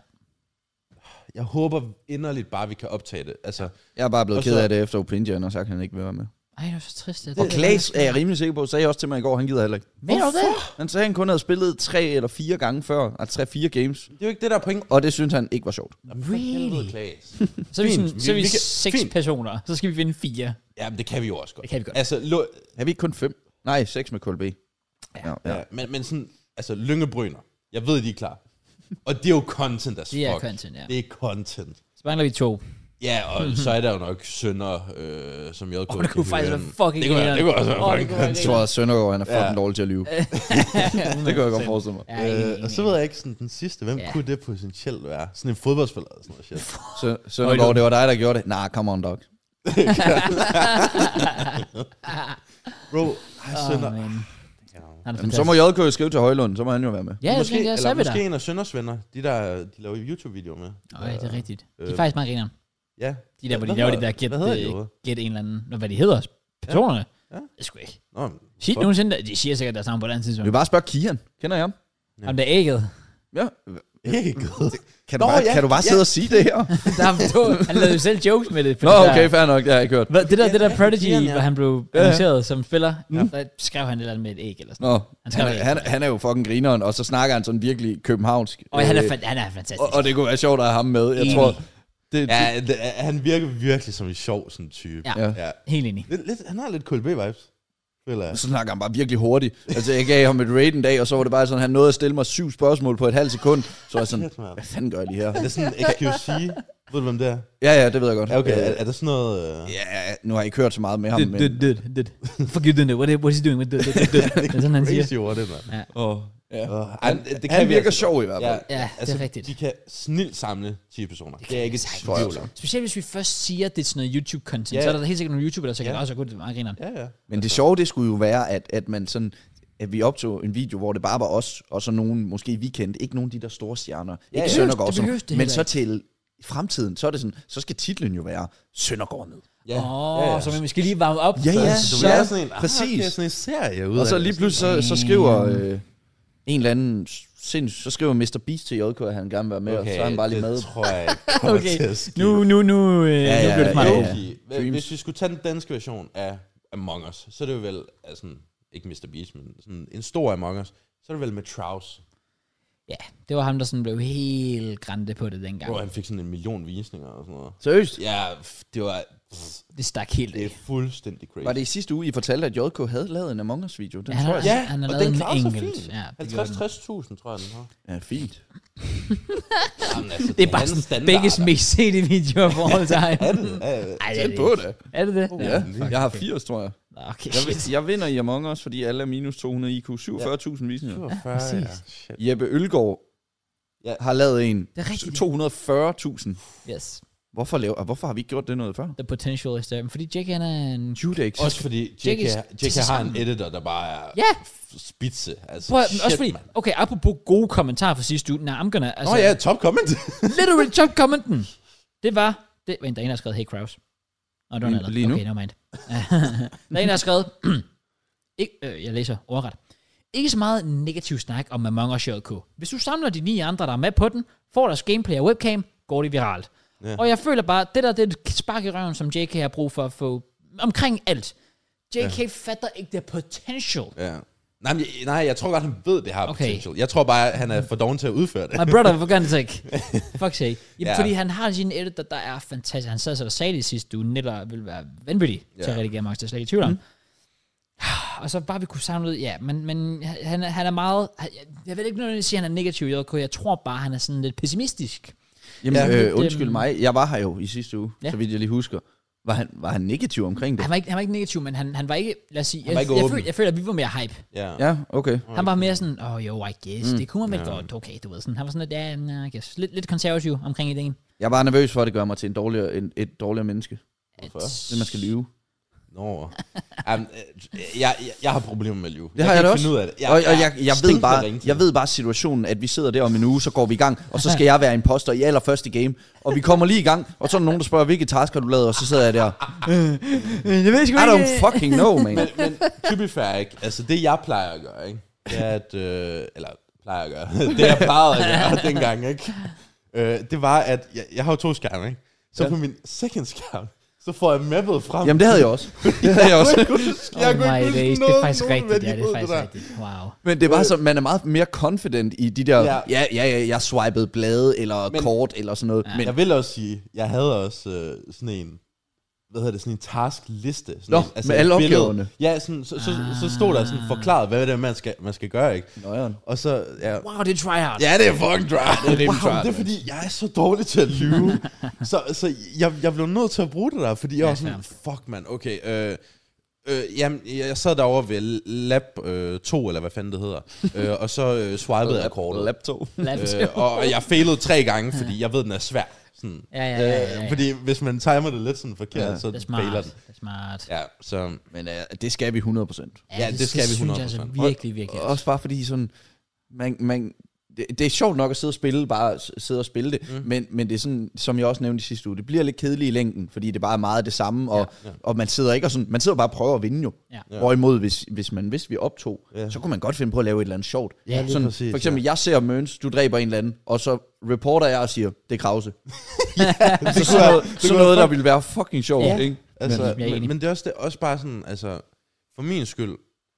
B: jeg håber inderligt bare, at vi kan optage det. Altså,
C: Jeg er bare blevet
B: Og
C: ked
B: så-
C: af det, efter Opinjian har sagt, at han ikke vil være med.
A: Ej, det er så trist. Det,
C: Og Klaas er jeg rimelig sikker på, sagde også til mig i går, han gider heller ikke.
A: Mener du det?
C: Han sagde, at han kun havde spillet tre eller fire gange før, altså tre-fire games,
B: det er jo ikke det, der er pointen.
C: og det synes han ikke var sjovt.
A: Really?
B: Klaas. [LAUGHS]
A: Så er vi, sådan,
B: Fint.
A: så er vi,
B: Vi- vi kan-
A: seks
B: fint.
A: personer. Så skal vi vinde fire.
B: Ja, men det kan vi jo også godt.
A: Det kan vi godt.
B: Altså, lo-
C: Er vi ikke kun fem? Nej, seks med KLB. Ja,
B: ja. Ja, men, men sådan, altså, Lyngebryner. Jeg ved, de er klar. Og det er jo content as fuck.
A: Det er content, ja.
B: Det er content.
A: Så mangler vi to.
B: Ja, og
A: [LAUGHS]
B: så er der jo nok sønder, øh, som jeg kunne...
A: det kunne faktisk være fucking
B: det kunne, være- det kunne også være
A: Åh, det
B: fucking
A: kunne være
B: content.
C: Jeg tror, at Søndergaard han er fucking
B: Ja.
C: dårlig til at lyve. det kan jeg godt forestille mig.
A: Ja, enig,
B: Øh, og så
A: enig.
B: ved jeg ikke, sådan den sidste, hvem
A: Ja.
B: kunne det potentielt være? Sådan en fodboldspiller eller sådan noget shit.
A: [LAUGHS]
C: Så, Søndergaard, det var dig, der gjorde det. Nah, come on, dog.
B: Bro, ej, sønder.
A: Åh, man. Han er
C: Jamen, så må
A: fantastisk.
C: JK jo skrive til Højlund, så må han jo være med.
A: Ja,
B: måske,
A: måske, jeg, så
B: eller
A: er vi der.
B: måske en af Sønders venner, de der, de laver YouTube-videoer med.
A: Nej, det er rigtigt. De er
B: øh,
A: faktisk meget grineren.
B: Ja.
A: De der, hvor de
B: Hvad
A: laver det
B: hedder-
A: der gæt,
B: Hvad hedder de?
A: øh,
B: overhovedet?
A: gæt en eller anden, Nå, hvad de hedder, personerne. Ja.
B: Ja.
A: Det sgu ikke.
B: Nå, men
A: Sig
B: fuck.
A: nogensinde, de siger sikkert deres navn på et andet
C: Vi
A: tidspunkt.
C: kan bare spørge Kian. Kender jeg ham?
A: Ja. Om det er ægget.
C: Ja.
B: Ægget.
C: [LAUGHS] Kan du,
B: Nå,
C: bare,
B: ja,
C: kan du bare
B: ja.
C: sidde og sige det her?
A: [LAUGHS] Der
B: [LAUGHS]
A: er, han lavede jo selv jokes med det. for
C: Nå,
A: det der-
C: okay, fair nok. Det har jeg ikke hørt.
A: Hvad, det der, det der
B: Ja,
A: Prodigy,
B: Kian, ja.
A: hvor han blev annonceret som spiller, der skrev han et eller andet med et æg eller sådan
C: Nå,
A: noget. Han
C: han,
A: skrev
C: er-
A: det.
C: han, han er jo fucking grineren, og så snakker han sådan virkelig københavnsk.
A: Og han er,
C: Øh,
A: fan- han er fantastisk.
C: og, og det kunne være sjovt at have ham med. Jeg
A: Enig.
C: tror, det,
B: Ja, det, han virker virkelig som en sjov sådan type.
A: Ja.
C: Ja.
B: ja.
A: Helt enig.
B: Lidt, lidt, han har lidt KLB-vibes. Føler jeg.
C: Så snakker han bare virkelig hurtigt. Altså, jeg gav ham et raid en dag, og så var det bare sådan, han nåede at stille mig syv spørgsmål på et halvt sekund. Så var jeg sådan,
B: Kæft, mand.
C: hvad fanden gør de her?
B: Er det sådan en XQC? Ved du, hvem det er?
C: Ja, ja, det ved jeg godt.
B: Ja, okay.
C: Øh,
B: Er, er det sådan noget... Øh...
C: Ja, nu har jeg ikke hørt så meget med ham,
A: Did,
C: men...
A: did, did, did. Fuck you, did, did. What, what is he doing? What, did, did,
B: [LAUGHS]
A: did. Det er sådan, han siger.
B: Crazy over det, mand.
A: Ja.
B: Oh.
C: Ja.
B: Oh.
C: Han, det kan han
B: vi
C: virker
B: altså
C: sjov i
B: godt.
C: hvert
B: Ja,
C: fald.
A: Ja, det er rigtigt.
B: Altså, De kan snilt samle 10 personer. Det, det er ikke et
A: sagtens.
B: tvivl om.
A: Specielt hvis vi først siger, at det er sådan noget YouTube-content,
B: Ja.
A: så er der helt sikkert nogle YouTubere, der så kan
B: Ja.
A: også gå det er meget grineren.
B: Ja, ja.
C: Men det sjove, det skulle jo være, at, at man sådan at vi optog en video, hvor det bare var os, og så nogen, måske vi kendte, ikke nogen af de der store stjerner, ja,
A: ja.
C: ikke Søndergaard,
A: Det
C: og sådan
A: behøves
C: noget.
A: det
C: men
A: heller
C: så til fremtiden, så er det sådan, så skal titlen jo være Søndergaard med.
B: Ja.
A: Åh, oh, så vi måske lige varme op.
C: Ja, ja.
A: Så,
B: Så du er
C: Ja,
B: sådan en, ah,
C: præcis.
B: okay, sådan en serie ud
C: Og
B: af
C: så
B: det.
C: lige pludselig, så, så skriver øh, en eller anden sinds, så skriver Mr. Beast til JK, at han gerne vil være med, okay, og så er han bare lige
B: det
C: med.
B: tror jeg ikke kommer
A: okay,
B: til at ske.
A: nu, nu, nu, øh, ja, ja, nu bliver det for
B: Ja,
A: meget.
C: Jo.
A: Ja,
B: okay. Hva-
C: Dreams.
B: Hvis vi skulle tage den danske version af Among Us, så er det jo vel, altså, ikke Mr. Beast, men sådan en stor Among Us, så er det vel med Traus,
A: det var ham, der sådan blev helt grænte på det dengang.
B: hvor han fik sådan en million visninger og sådan noget.
C: Seriøst?
B: Ja, pff, det var pff,
A: Det stak helt
B: det er
A: af.
B: fuldstændig crazy.
C: Var det i sidste uge, I fortalte, at JK havde lavet en Among Us-video? Den
A: Ja, han
C: tror
A: har-
C: jeg.
B: Ja,
A: Han har
B: og
A: lavet
B: den
A: en
B: klarer sig
A: enkelt.
B: fint.
A: Ja, det gjorde den.
B: 50-60.000, tror jeg, den har.
C: Ja, fint.
B: Jamen, altså,
A: Det er bare
B: hans
A: sådan,
B: standard
A: begge
B: er-
A: mest sete videoer i forhold til ham.
B: Er det? Oh, Ja, ja.
A: Ej, det
C: Tæt
A: er det
C: på
A: ikke.
C: det.
A: Er det det?
C: Ja, jeg har 80, tror jeg.
A: Nå, Okay.
C: Jeg, vi- jeg vinder i Among Us, fordi alle er minus 200 IQ. 47.000 visninger.
B: 42, ja.
A: præcis.
B: Shit.
C: Jeppe Ølgaard
B: Ja.
C: har lavet en.
A: Det er rigtigt, ja.
C: 240.000.
A: Yes.
C: Hvorfor, laver, og hvorfor har vi ikke gjort det noget før?
A: The potential is there. Fordi Jake, han er en...
C: Judex.
B: Også fordi JK,
A: Jackie
B: JK har en
A: sammen.
B: editor, der bare er
A: Ja.
B: f- spidse. Altså,
A: Prøv, at-
B: shit,
A: også fordi,
B: mand.
A: okay, apropos gode kommentarer fra sidste uge, nej, I'm gonna,
B: Nå
A: altså,
B: ja, top comment.
A: literally top commenten, det var, det var en, der er en, der har skrevet, hey Kraus. Nå, det var en
C: Lige-
A: anden.
C: lige nu.
A: Okay, never mind. [LAUGHS] der er en, der har skrevet, [CLEARS THROAT] ikke, øh, jeg læser ordret, ikke så meget negativ snak om Among Us JK. Hvis du samler de ni andre, der er med på den, får deres gameplay og webcam, går det viralt. Yeah. Og jeg føler bare, det der det er et spark i røven, som JK har brug for at få omkring alt. JK yeah. fatter ikke det potential.
B: Ja. Nej, men, jeg- nej, jeg tror godt, han ved, det har
A: Okay.
B: okay. potential. Jeg tror bare, han er for doven til at udføre det.
A: [LAUGHS] My brother, for God's sake. Fuck sake. Jamen, yeah.
B: Ja.
A: Fordi han har sin editor, der er fantastisk. Han sad så der sagde det i sidste uge, Niller ville være vanvittig yeah. til at
B: Ja.
A: redigere Max, det er slet ikke i tvivl om. Mm. [SIGHS] Og så bare vi kunne samle ud, ja, men, men han, er- han er meget, han- jeg, jeg vil ikke nødvendigvis sige, at han er negativ i JK, jeg tror bare, han er sådan lidt pessimistisk.
C: Jamen,
B: Ja.
C: ja,
A: Lidt,
C: øh, undskyld
A: øhm,
C: mig. Jeg var her jo i sidste uge,
A: Ja.
C: ja. så vidt jeg lige husker. Var han, var han negativ omkring det?
A: Han var ikke, han var ikke negativ, men han, han var ikke, lad os sige,
B: var
A: jeg,
B: ikke
A: jeg,
B: åben.
A: føler, jeg føler, at vi var mere hype.
B: Ja.
C: Ja, okay.
A: Han var mere sådan, åh oh, jo, I guess, mm. det kunne man vel godt, okay, du ved sådan. Han var sådan lidt, ja, nah, I guess. Lidt, lidt konservativ omkring ideen.
C: Jeg var nervøs for, at det gør mig til en dårligere, en, et dårligere menneske. Det, man skal lyve.
B: Nå. Jamen, øh, jeg, jeg, jeg har problemer med at lyve.
C: Det har jeg,
B: kan
C: da
B: ikke
C: også.
B: Finde ud af det.
C: og, og jeg, jeg, ved
B: stinkende
C: bare,
B: ringtid.
C: jeg ved bare situationen, at vi sidder der om en uge, så går vi i gang, og så skal jeg være imposter i allerførste game. Og vi kommer lige i gang, og så er der nogen, der spørger, hvilke task har du lavet, og så sidder jeg
B: [LAUGHS]
C: der.
A: Jeg ved sgu øh,
C: I don't fucking know, man.
B: Men to be fair, ikke? Altså, det jeg plejer at gøre, ikke? Det er at... Øh, eller plejer at gøre. [LAUGHS] det jeg plejede at
A: [LAUGHS]
B: gøre dengang, ikke? Øh, det var, at jeg, jeg har jo to skærme, ikke? Så ja. på min second skærm, så får jeg mappet frem.
C: Jamen, det havde jeg også. Det havde jeg også.
B: Jeg kunne ikke huske- jeg
A: Oh
B: kunne
A: my
B: ikke huske
A: days, det
B: noget-
A: er faktisk
B: nogen
A: rigtigt, ja, det er
B: værdi ud af
A: faktisk
B: der.
A: rigtigt. Wow.
C: Men det var så, man er meget mere confident i de der, ja,
B: Ja.
C: ja, ja, jeg swipede blade, eller men, kort, eller sådan noget. Ja. Men
B: Jeg vil også sige, jeg havde også øh, sådan en, hvad hedder det, sådan en taskliste. Sådan
C: Nå,
B: en, altså
C: med
B: et
C: alle
B: billede.
C: opgaverne.
B: Ja, sådan, så, så, så, så stod der sådan forklaret, hvad det er, man skal, man skal gøre, ikke?
C: Nøjeren.
B: Og så, ja.
A: Wow, det er tryhard.
B: Ja, det er fucking dry. altså. Det er
C: rimelig
B: wow,
C: dry,
B: det er fordi, jeg er så dårlig til at [LAUGHS] lyve. så så jeg, jeg blev nødt til at bruge det der, fordi jeg var sådan, fuck man, okay. Øh, øh, jamen, jeg sad derovre ved lab øh, 2, eller hvad fanden det hedder, [LAUGHS] øh, og så øh, swipede jeg kortet.
C: laptop.
B: Øh, og jeg failede tre gange, fordi jeg ved, den er svær. Sådan.
A: Ja, ja, ja, ja, ja.
B: Øh, Fordi hvis man timer det lidt sådan forkert,
C: Ja.
B: så
A: Det er
B: failer
A: smart.
B: den.
A: Det er smart.
B: Ja, så...
C: Men uh, det skal vi 100%.
B: Ja, det skal vi
A: synes jeg altså
B: 100%.
A: virkelig, virkelig.
C: Også bare fordi sådan, man, man, det, det er sjovt nok at sidde og spille, bare s- sidde og spille det, mm. men, men det er sådan, som jeg også nævnte i sidste uge, det bliver lidt kedeligt i længden, fordi det bare er meget det samme, og, ja, ja. og man sidder ikke og sådan, man sidder bare og prøver at vinde jo.
A: Ja.
C: Ja. Hvorimod, hvis, hvis man vidste, vi optog, ja.
B: Ja.
C: så kunne man godt finde på at lave et eller andet sjovt.
B: Ja, lige
C: sådan,
B: præcis,
C: for eksempel, ja. jeg ser Møns, du dræber en eller anden, og så reporter jeg og siger, det er Krause. ja, så sådan noget, sådan noget der ville være fucking sjovt,
A: Ja.
C: ja. ikke?
A: Men-
B: Altså,
A: Jeg er
B: men,
A: enig.
B: men, det er også, det, er også bare sådan, altså, for min skyld,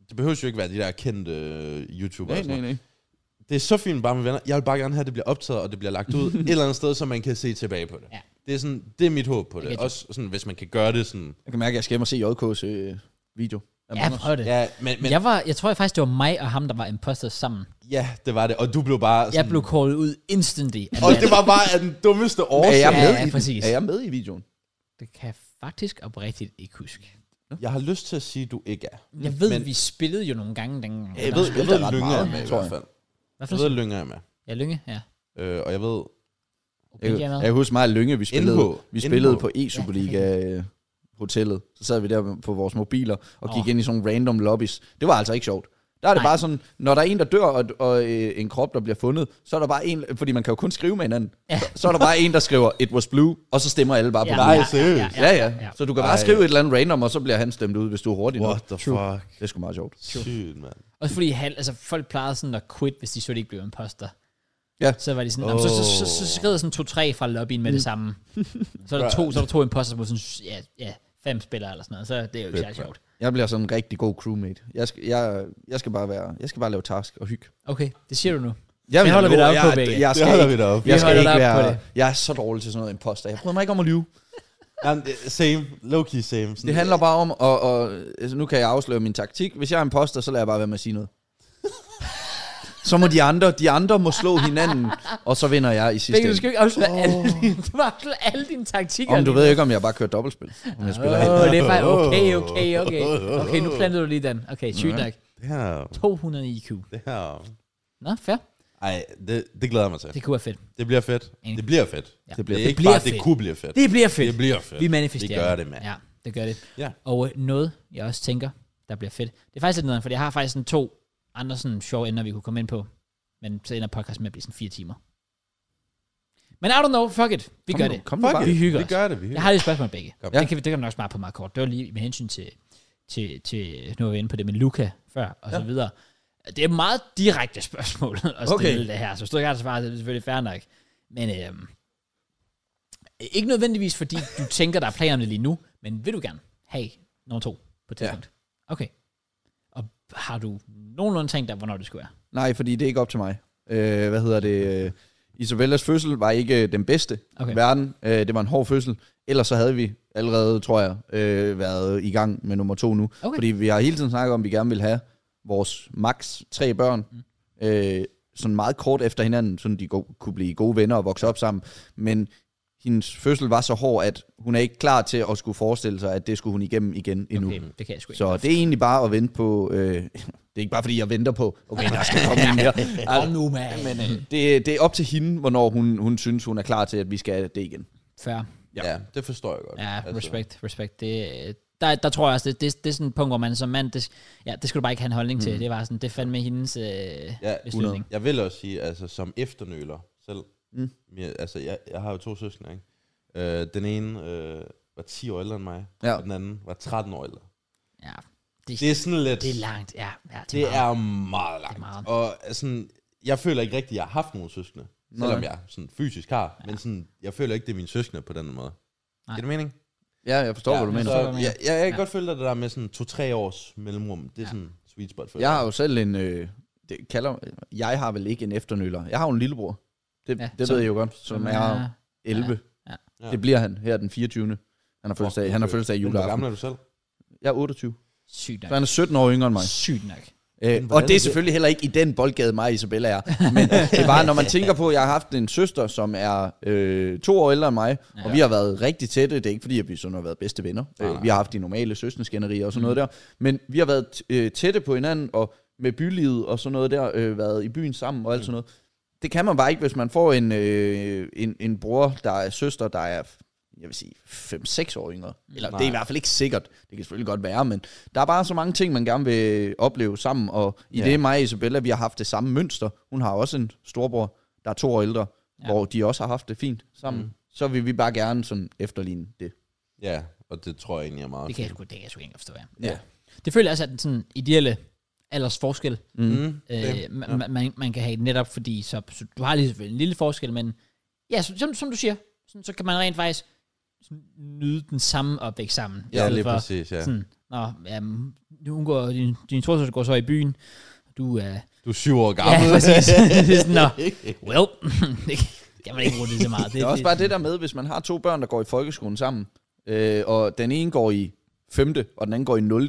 B: det behøver jo ikke være de der kendte øh, YouTubere.
C: Nej,
B: og sådan
C: nej, nej.
B: noget. Det er så fint bare med venner. Jeg vil bare gerne have, at det bliver optaget, og det bliver lagt
C: [LAUGHS]
B: ud et eller andet sted, så man kan se tilbage på det.
A: Ja.
B: Det er, sådan, det er mit håb på det.
A: get you.
B: Også sådan, hvis man kan gøre det sådan.
C: Jeg kan mærke, at jeg skal hjem og se JK's øh, video. af
A: Ja,
C: Magnus.
A: prøv det.
B: Ja, men, men
A: Jeg, var, jeg tror faktisk, det var mig og ham, der var imposter sammen.
B: ja, det var det. Og du blev bare sådan,
A: Jeg blev callet ud instantly. af
B: Mm. Og
A: Matt.
B: det var bare af den dummeste
C: Er
B: årsag.
C: jeg
A: Ja,
C: med
A: ja,
C: i den?
A: præcis.
C: Er jeg med i videoen?
A: Det kan jeg faktisk oprigtigt ikke huske.
B: Jeg har lyst til at sige, at du ikke er.
A: Jeg ved,
B: Mm, Men-
A: vi spillede jo nogle gange dengang.
B: Jeg ved, jeg
C: spiller
B: ved
C: ret
B: Lyngge er
C: meget,
B: med i
C: tror
B: hvert
C: jeg.
B: fald.
A: Hvad for
B: Jeg ved, Lyngge er med.
A: Ja, Lynge, ja.
B: Øh, og jeg ved...
A: Okay,
C: Jeg,
A: jeg er
C: jeg
A: med.
C: kan huske mig og Lynge, vi spillede, vi
B: NH.
C: spillede på E-Superliga-hotellet. Så sad vi der på vores mobiler og gik
A: Åh.
C: ind i sådan nogle random lobbies. Det var altså ikke sjovt. Der er det
A: Nej.
C: bare sådan, når der er en, der dør, og, og øh, en krop, der bliver fundet, så er der bare en, fordi man kan jo kun skrive med hinanden, ja. så, så er der bare en, der skriver, it was blue, og så stemmer alle bare på blue.
B: Nej, seriøst.
C: Ja, ja. Så du kan bare
B: Ej.
C: skrive et eller andet random, og så bliver han stemt ud, hvis du er hurtig nok.
B: What the fuck?
C: Det er sgu meget sjovt.
B: Sygt, mand.
A: Også fordi han, altså, folk plejede sådan at quit, hvis de så, de ikke blev imposter.
C: Ja.
A: Så var de sådan, oh. så, så, så, så skred der sådan to-tre fra lobbyen med det [LAUGHS] samme. så er der to, så er der to imposter på sådan, ja, ja, fem spillere eller sådan noget. Så det er jo ikke særlig sjovt.
C: Jeg bliver sådan en rigtig god crewmate. Jeg skal, jeg, jeg skal bare være, jeg skal bare lave task og hygge.
A: Okay, det siger du nu.
C: Jeg
A: Det holder vi dig op på,
C: jeg,
A: begge.
C: jeg, jeg
B: Det
C: skal
B: holder
C: ikke,
B: vi dig op på.
C: Jeg,
A: Vi
C: skal
A: holder
C: ikke
A: dig op på
C: være,
A: det.
C: jeg er så dårlig til sådan noget imposter. Jeg bryder mig ikke om at lyve.
B: Jamen, det- same. Low-key same. Sådan,
C: Det handler bare om, og, og altså, nu kan jeg afsløre min taktik. Hvis jeg er imposter, så lader jeg bare være med at sige
A: [LAUGHS]
C: noget. Så må de andre, de andre må slå hinanden, og så vinder jeg i sidste
A: Begge, du skal
C: ende.
A: jo ikke afsløre oh. alle, dine, du må afsløre alle dine taktikker.
C: Om du ved ikke, om jeg bare kører dobbeltspil. Om jeg spiller
A: Åh, oh, det er faktisk, okay,
C: [LAUGHS]
A: okay, okay. Okay, nu plantede du lige den. Okay, sygt nok.
B: Damn.
A: 200 IQ.
B: Damn.
A: Nå, fair.
B: Ej, det, det glæder jeg mig til.
A: Det kunne være fedt.
B: Det bliver fedt.
A: Enig.
B: Det bliver fedt.
A: Ja.
B: Det, bliver
A: Det
B: ikke
A: bliver
B: bare,
A: fedt.
B: det kunne blive fedt.
A: Det bliver fedt.
B: Det bliver fedt.
A: Vi manifesterer
B: Vi gør det, mand.
A: Ja, det gør det.
B: Ja.
A: Og øh, noget, jeg også tænker, der bliver fedt. Det er faktisk lidt nederen, for jeg har faktisk sådan to andre sådan sjove emner, vi kunne komme ind på. Men så ender podcasten med at blive sådan fire timer. Men I don't know, fuck it. Vi
C: Kom
A: gør
C: nu,
A: det.
C: kom nu
B: Fuck
C: bare.
B: it.
A: Vi hygger
B: Vi
A: os.
B: gør det, vi hygger
A: Jeg har lige et spørgsmål begge.
B: Kom.
A: Ja. Det, kan vi, det kan vi nok svare på meget kort. Det var lige med hensyn til, til, til nu var vi inde på det med Luca før, og ja. så videre. Det er et meget direkte spørgsmål [LAUGHS] at stille
C: Okay.
A: det her, så hvis du ikke har et svar, så er det selvfølgelig fair nok. Men øhm, Ikke nødvendigvis, fordi du [LAUGHS] tænker, der er planer om det lige nu, men vil du gerne have nummer to på et tidspunkt? Ja. Okay. Og har du nogenlunde tænkt dig, hvornår det skulle være?
C: Nej, fordi det er ikke op til mig. Øh, hvad hedder det? Øh, Isabellas fødsel var ikke øh, den bedste
A: Okay.
C: okay. i verden. Øh, det var en hård fødsel. Ellers så havde vi allerede, tror jeg, øh, været i gang med nummer to nu.
A: Okay.
C: Fordi vi har hele tiden snakket om, at vi gerne vil have vores max tre børn. Mm. Øh, sådan meget kort efter hinanden, så de go- kunne blive gode venner og vokse op sammen. Men hendes fødsel var så hård, at hun er ikke klar til at skulle forestille sig, at det skulle hun igennem igen endnu.
A: Okay, det kan jeg sgu ikke.
C: Så det er egentlig bare at vente på... Øh, [LAUGHS] det er ikke bare, fordi jeg venter på, okay, der skal komme en mere.
A: Kom
C: Altså,
A: nu, mand.
C: det, det er op til hende, hvornår hun, hun synes, hun er klar til, at vi skal det igen.
A: Fair.
B: Ja. ja, det forstår jeg godt.
A: Ja, respekt, respekt. Det, øh, der, der tror jeg også, det, det, det er sådan et punkt, hvor man som mand, det, ja, det skal du bare ikke have en holdning til. Det var sådan, det fandt med hendes øh, ja, beslutning.
B: Jeg vil også sige, altså som efternøler selv, mm. jeg, altså jeg, jeg har jo to søskende, ikke? Øh, den ene øh, var 10 år ældre end mig,
C: Ja.
B: og den anden var 13 år ældre.
A: Ja,
B: Det er sådan lidt,
A: det er langt. Ja, ja det,
B: det
A: er, meget.
B: er meget langt.
A: meget.
B: Og øh, sådan, jeg føler ikke rigtigt, at jeg har haft nogen søskende, Nej. selvom jeg sådan fysisk har, ja. men sådan, jeg føler ikke, det er mine søskende på den måde.
A: Nej.
B: Giver det mening?
C: Ja, jeg forstår, ja, hvad du mener.
B: Så,
A: du
B: jeg,
A: mener.
B: jeg, jeg kan ja. godt føle dig det der med sådan to-tre års mellemrum. Det er ja. sådan sweet spot for
C: Jeg har jo selv en... Øh, det kalder, jeg har vel ikke en efternøller. Jeg har jo en lillebror. Det,
A: Ja,
C: ja, det
A: som-
C: ved jeg jo godt, som,
A: som
C: som
A: er-
C: er 11.
A: ja,
C: Ja,
B: ja.
C: ja. Det bliver han her den 24. Han har fødselsdag, han har fødselsdag i
B: Hvor gammel
C: juleaften.
B: er du selv?
C: Jeg er 28.
A: Sygt nok.
C: Så han er 17 år yngre end mig.
A: Sygt nok.
C: Øh,
B: hvordan
C: og det
B: er
C: er
B: det?
C: selvfølgelig heller ikke i den boldgade, mig og Isabella er. Men det er bare, når man tænker på, at jeg har haft en søster, som er øh, to år ældre end mig, og vi har været rigtig tætte. Det er ikke fordi, at vi sådan har været bedste venner. Øh, vi har haft de normale søskenskænderier og sådan
B: Mm.
C: noget der. Men vi har været øh, tætte på hinanden, og med bylivet og sådan noget der, øh, været i byen sammen og alt sådan noget. Det kan man bare ikke, hvis man får en, øh, en, en bror, der er søster, der er jeg vil sige, 5-6 år yngre. Eller Nej. det er i hvert fald ikke sikkert. Det kan selvfølgelig godt være, men der er bare så mange ting, man gerne vil opleve sammen. Og i
B: Ja.
C: ja. det mig og Isabella, vi har haft det samme mønster. Hun har også en storbror, der er to år ældre,
A: Ja.
C: ja. hvor de også har haft det fint sammen. Mm. Så vil vi bare gerne sådan efterligne det.
B: Ja, og det tror jeg egentlig er meget
A: Det kan jeg sgu, det kan jeg sgu ikke engang forstå, ja.
C: Ja.
A: Det føler jeg også er den sådan ideelle aldersforskel,
B: Mm. Mm.
A: øh, man, man, man kan have, netop fordi, så, så du har lige selvfølgelig en lille forskel, men ja, så, som, som du siger, sådan, så kan man rent faktisk sådan, nyde den samme opvækst sammen. i
B: Ja,
A: stedet
B: lige
A: for
B: præcis, ja.
A: Sådan, Nå, jamen, hun går, din, din storsøster går så i byen, du er... Øh,
B: Du er syv år gammel.
A: ja, præcis. Det er sådan, Nå, well, [LAUGHS] det kan man ikke bruge det så meget.
C: [LAUGHS] Det er også bare det der med, hvis man har to børn, der går i folkeskolen sammen, øh, og den ene går i 5. og den anden går i 0.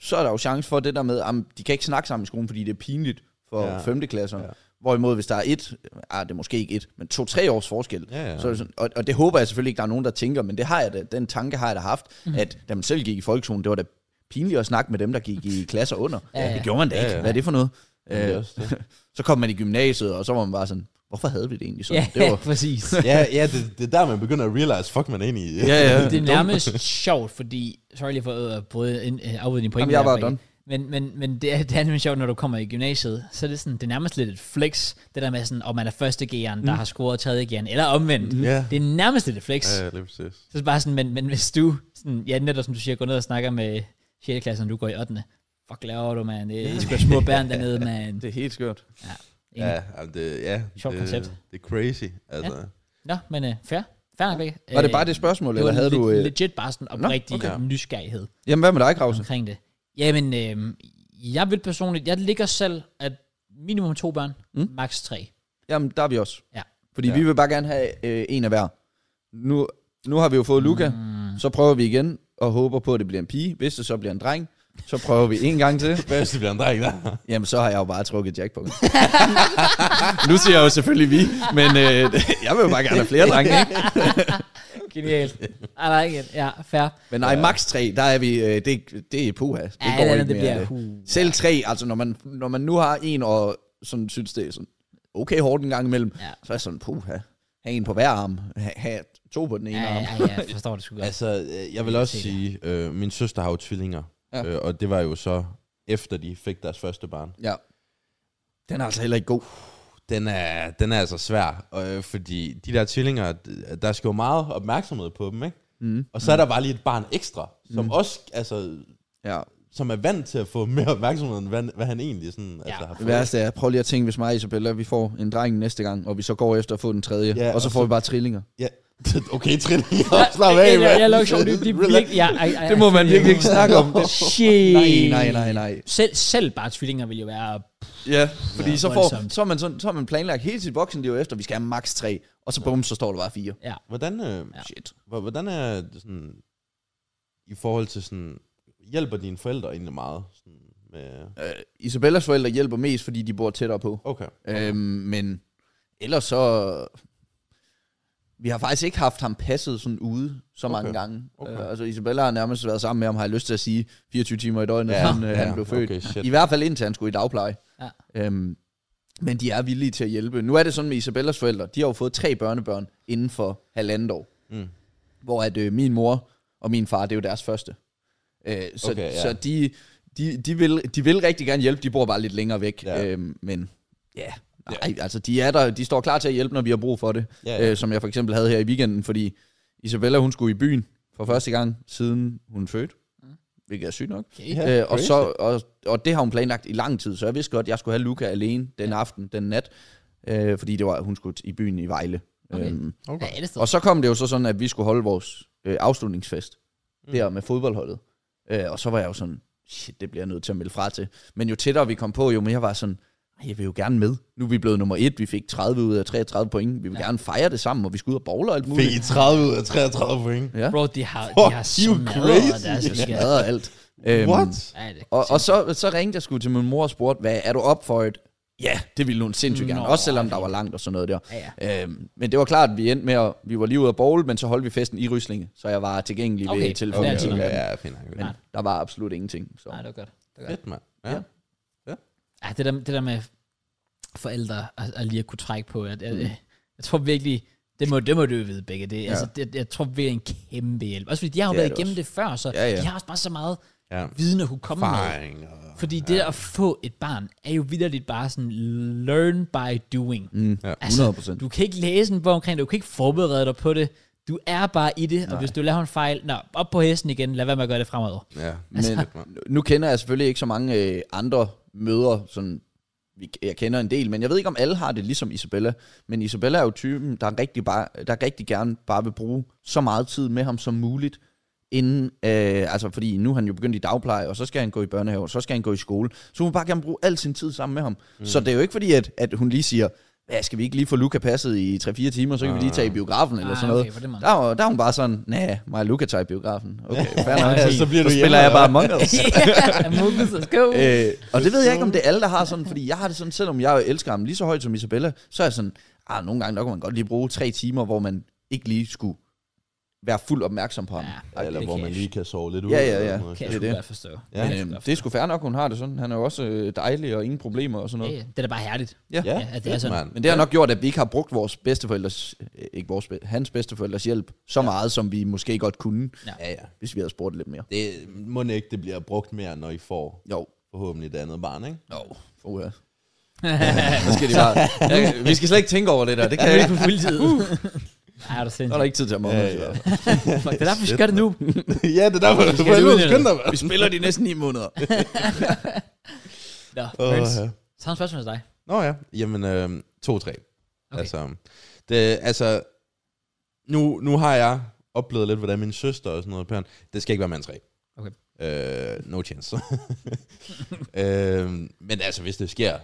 C: Så er der jo chance for det der med, at de kan ikke snakke sammen i skolen, fordi det er pinligt for
B: Ja.
C: ja. 5. klasser. Ja. Hvorimod hvis der er et, ah, det er måske ikke et, men to-tre års forskel,
B: Ja, ja.
C: Så er det sådan, og, og det håber jeg selvfølgelig ikke, der er nogen, der tænker, men det har jeg da, den tanke har jeg da haft,
A: Mhm.
C: mm. at da man selv gik i folkeskolen, det var da pinligt at snakke med dem, der gik i klasser under.
A: Ja,
C: Ja,
A: ja.
C: ja. Det gjorde man da ikke.
B: Ja,
C: Ja,
B: ja.
C: ja. Hvad er det for noget?
B: Ja, det er
C: Øh,
B: også det.
C: så kom man i gymnasiet, og så var man bare sådan, hvorfor havde vi det egentlig sådan?
A: Ja,
C: Det var,
A: [LAUGHS] præcis.
B: [LAUGHS] ja, ja det, det er der, man begynder at realize, fuck, man er inde i.
C: ja, ja.
A: det er nærmest sjovt, fordi... Sorry lige for at bryde ind, øh, afbryde din pointe.
C: Jamen, jeg
A: der,
C: var
A: Rikke.
C: done.
A: Men, men, men det, er, [LAUGHS] det er nemlig sjovt, når du kommer i gymnasiet, så er det, sådan, det er nærmest lidt et flex, det der med, sådan, om man er første G'eren,
C: Mm.
A: der har scoret tredje G'eren, eller omvendt. Mm.
B: Ja.
A: Det er nærmest lidt et flex.
B: Ja, lige præcis.
A: Så er det bare sådan, men, men hvis du, sådan, ja, netop som du siger, går ned og snakker med 6. klasse, når du går i 8. Fuck laver du, mand? Det er sgu da små børn dernede, mand.
C: Det er helt skørt.
A: Enig.
B: Ja, jamen, det, ja
A: Sjovt
B: det,
A: koncept.
B: Det er crazy. Altså, ja.
A: Nå, men uh, fair. Fair nok, ikke?
C: Var det bare det spørgsmål,
A: Øh, det var
C: eller havde
A: le-
C: du... Øh...
A: legit bare sådan oprigtig
B: okay.
A: nysgerrighed.
C: Jamen, hvad med dig, Krause?
A: omkring det? Jamen, øh, jeg vil personligt, jeg ligger selv, at minimum to børn, mm. maks tre.
C: Jamen, der er vi også.
A: Ja.
C: Fordi ja. vi vil bare gerne have øh, en af hver. Nu, nu har vi jo fået Luca, mm. så prøver vi igen, og håber på, at det bliver en pige. Hvis det så bliver en dreng, så prøver vi en
A: [LAUGHS]
C: gang til.
B: [LAUGHS] Hvad hvis det bliver en dreng der?
C: Jamen, så har jeg jo bare trukket jackpot. [LAUGHS] nu siger jeg jo selvfølgelig vi, men øh, [LAUGHS] jeg vil jo bare gerne have flere drenge. Ikke?
A: Genialt. Ej, nej, ikke. Ja, fair.
C: Men nej, max 3, der er vi, øh, det, det er puha. Det
A: Ja,
C: går
A: eller
C: ikke
A: andet, det
C: mere
A: bliver- uh,
C: af
A: Puh.
C: Selv tre, altså når man, når man nu har en og sådan synes, det er sådan okay hårdt en gang imellem,
A: Ja.
C: ja. så er jeg sådan, puha, have en på hver arm, have, have to på den ene
A: Ja,
C: arm.
A: ja, ja, jeg forstår det sgu godt.
B: Altså, øh, jeg vil også sige, øh, min søster har jo tvillinger, ja.
C: Ja.
B: øh, og det var jo så efter de fik deres første barn.
C: Ja. Den er altså heller ikke god.
B: Den er, den er altså svær, øh, fordi de der tvillinger, d- der skal jo meget opmærksomhed på dem, ikke? Mm. Og så er der bare lige et barn ekstra, som mm. også, altså,
C: Ja.
B: som er vant til at få mere opmærksomhed, end hvad, hvad han egentlig sådan, ja. altså, har
C: Det
B: fået.
C: værste er, prøv lige at tænke, hvis mig og Isabella, vi får en dreng næste gang, og vi så går efter at få den tredje,
B: Ja,
C: ja, og så
B: og
C: får
B: så-
C: vi bare trillinger.
B: Ja, [LAUGHS]
A: [LAUGHS]
B: Okay, Trine, jeg slap af,
A: jeg, jeg,
B: mand.
A: jeg, jeg, sjovt. Det, det, er virkelig, jeg, jeg, jeg,
C: Det må man
A: jeg-
C: virkelig ikke snakke om.
A: Shit.
C: Nej, nej, nej, nej.
A: Selv, selv bare tvillinger vil jo være...
C: Ja, fordi ja, så, får,
A: voldsomt.
C: så, har man sådan, så har man planlagt hele sit voksenliv efter, vi skal have maks 3, og så bum, så står der bare 4.
A: Ja.
B: Hvordan, øh,
A: Ja.
C: Shit.
B: hvor- hvordan er det sådan, i forhold til sådan, hjælper dine forældre egentlig meget? Sådan, med,
C: Øh, Isabellas forældre hjælper mest, fordi de bor tættere på.
B: okay.
C: Øhm, men ellers så... Vi har faktisk ikke haft ham passet sådan ude så mange
B: Okay.
C: gange.
B: Okay.
C: Øh, altså Isabella har nærmest været sammen med ham, har jeg lyst til at sige, 24 timer i døgnet, ja. siden øh, han blev født.
B: Okay, shit.
C: I hvert fald indtil han skulle i dagpleje.
A: Ja.
C: Øhm, men de er villige til at hjælpe. Nu er det sådan med Isabellas forældre, de har jo fået tre børnebørn inden for halvandet år.
B: Mm.
C: Hvor at øh, min mor og min far, det er jo deres første. Øh, så
B: Okay,
C: okay,
B: ja.
C: ja. så de, de, de, vil, de vil rigtig gerne hjælpe, de bor bare lidt længere væk.
B: Ja.
C: Ja. Øhm, men ja, nej, altså de er der, de står klar til at hjælpe, når vi har brug for det.
B: Ja, ja.
C: Øh, som jeg for eksempel havde her i weekenden, fordi Isabella, hun skulle i byen for første gang, siden hun fødte. Hvilket er sygt nok.
A: Okay.
B: Mm. Ja.
C: Øh, og,
B: crazy.
C: så, og, og det har hun planlagt i lang tid, så jeg vidste godt, at jeg skulle have Luca alene den aften, den nat, øh, fordi det var, hun skulle i byen i Vejle.
A: Okay.
C: Øhm,
A: Ja, et sted.
C: og så kom det jo så sådan, at vi skulle holde vores øh, afslutningsfest mm. der med fodboldholdet. Øh, og så var jeg jo sådan, shit, det bliver jeg nødt til at melde fra til. Men jo tættere vi kom på, jo mere var jeg sådan, "Ej, jeg vil jo gerne med. Nu er vi blevet nummer et, vi fik 30 ud af 33 point. Vi vil ja. gerne fejre det sammen, og vi skal ud og bowle og alt muligt.
B: Fik I 30 ud af 33 point?
C: ja.
A: Bro, de har,
B: Fuck
A: de har
B: you,
A: smadret
B: crazy.
A: deres [LAUGHS]
C: Jeg
A: skat.
C: smadrede Altså, alt. Øhm,
B: What?
A: Ja, det er
C: Og, og så, så ringte jeg sgu til min mor og spurgte, hvad er du op for et? Ja, det ville hun sindssygt gerne.
A: Nå,
C: Også selvom der var langt og sådan noget der.
A: Ja,
C: Øhm, men det var klart, at vi endte med at, vi var lige ude at bowl, men så holdt vi festen i Ryslinge, så jeg var tilgængelig okay.
A: Okay,
C: ved telefonen.
B: Okay,
A: Ja,
B: okay,
A: sådan.
B: ja, ja, fint. nok.
C: Men der var absolut ingenting. Så.
A: Nej, det var godt. Det var godt.
B: Fedt, mand. Ja.
C: Ja.
A: Ja, det der, det der med forældre at, at lige at kunne trække på, at, at, jeg, jeg tror virkelig, det må, det må du jo vide begge det. Ja. Altså, det, jeg tror virkelig en kæmpe hjælp. Også fordi de har jo
C: Det
A: ja,
C: er
A: været
C: det
A: igennem
C: også.
A: det før, så
C: Ja, ja.
A: de har også bare så meget
B: Ja.
A: viden at kunne komme med.
B: Erfaring og...
A: Fordi det at få et barn, er jo vidderligt bare sådan, learn by doing. Mm,
B: ja,
C: 100%.
A: du kan ikke læse en bog omkring det, du kan ikke forberede dig på det. Du er bare i det, Nej. og hvis du laver en fejl, nå, op på hesten igen, lad være med at gøre det fremover. Altså-
B: Ja.
C: Men nu- nu kender jeg selvfølgelig ikke så mange øh, andre møder, sådan, vi, jeg kender en del, men jeg ved ikke, om alle har det ligesom Isabella. Men Isabella er jo typen, der rigtig, bare, der rigtig gerne bare vil bruge så meget tid med ham som muligt, inden, øh, altså fordi nu er han jo begyndt i dagpleje, og så skal han gå i børnehave, og så skal han gå i skole. Så hun vil bare gerne bruge al sin tid sammen med ham. Mm. Så det er jo ikke fordi, at, at hun lige siger, ja, skal vi ikke lige få Luca passet i 3-4 timer, så kan vi lige tage i biografen eller
A: Ah,
C: sådan
A: okay,
C: noget.
A: på den
C: [LAUGHS]
A: måde.
C: der, var, der er hun bare sådan, nej, mig og Luca tager i biografen. Okay, fair nok.
A: Ja,
B: så bliver
C: så
B: du
C: spiller
B: hjemme,
C: jeg
B: eller
C: bare Among
B: [LAUGHS]
C: Us.
A: Ja, Mugus, let's go.
C: Øh, og det ved jeg ikke, om det er alle, der har sådan, fordi jeg har det sådan, selvom jeg elsker ham lige så højt som Isabella, så er jeg sådan, ah, nogle gange, der kan man godt lige bruge tre timer, hvor man ikke lige skulle være fuld opmærksom på ham.
A: Ja,
B: Eller
A: det
B: hvor
A: kan
B: man
A: jeg-
B: lige kan sove lidt ud.
C: Ja, ja,
B: eller
C: ja.
B: sådan noget.
A: Kan jeg sgu
C: det er det.
A: godt forstå.
B: Ja.
A: Det
C: Men,
A: kan
C: øhm,
A: jeg
C: det er sgu fair nok, hun har det sådan. Han er jo også øh, dejlig og ingen problemer og sådan
A: Ja,
C: noget.
A: ja. det er da bare herligt.
B: Ja,
A: Ja, at
B: det er sådan. Man.
C: Men det har nok gjort, at vi ikke har brugt vores bedsteforældres, øh, ikke vores, be- hans bedsteforældres hjælp så meget, som vi måske godt kunne,
B: Ja, ja.
C: hvis vi havde spurgt lidt mere.
B: Det må ikke, det bliver brugt mere, når I får
C: Jo,
B: forhåbentlig det andet barn, ikke?
C: jo, for [LAUGHS] ja. Så skal de [LAUGHS] bare, ja, vi skal slet ikke tænke over det der, det kan jeg ikke.
A: på
C: [LAUGHS]
A: fuldtid.
C: Uh.
A: Ej, er du
C: Så er der
A: sindssygt.
C: ikke tid til at måle.
B: Ja, ja.
A: Fuck, Det er derfor, vi skal gøre det nu.
B: ja, det er
C: [LAUGHS]
B: derfor, du
A: skal udnytte det.
B: dig, mand.
C: Vi spiller de næsten ni måneder.
A: Nå,
B: Åh,
A: Burns.
B: ja.
A: Så har jeg et spørgsmål til dig.
B: Nå ja, jamen øh, 2-3. Okay.
A: Okay.
B: Altså, det, altså nu, nu har jeg oplevet lidt, hvordan min søster og sådan noget, Bjørn, det skal ikke være med en 3.
A: Okay.
B: Øh, no chance. [LAUGHS] øh, men altså, hvis det sker,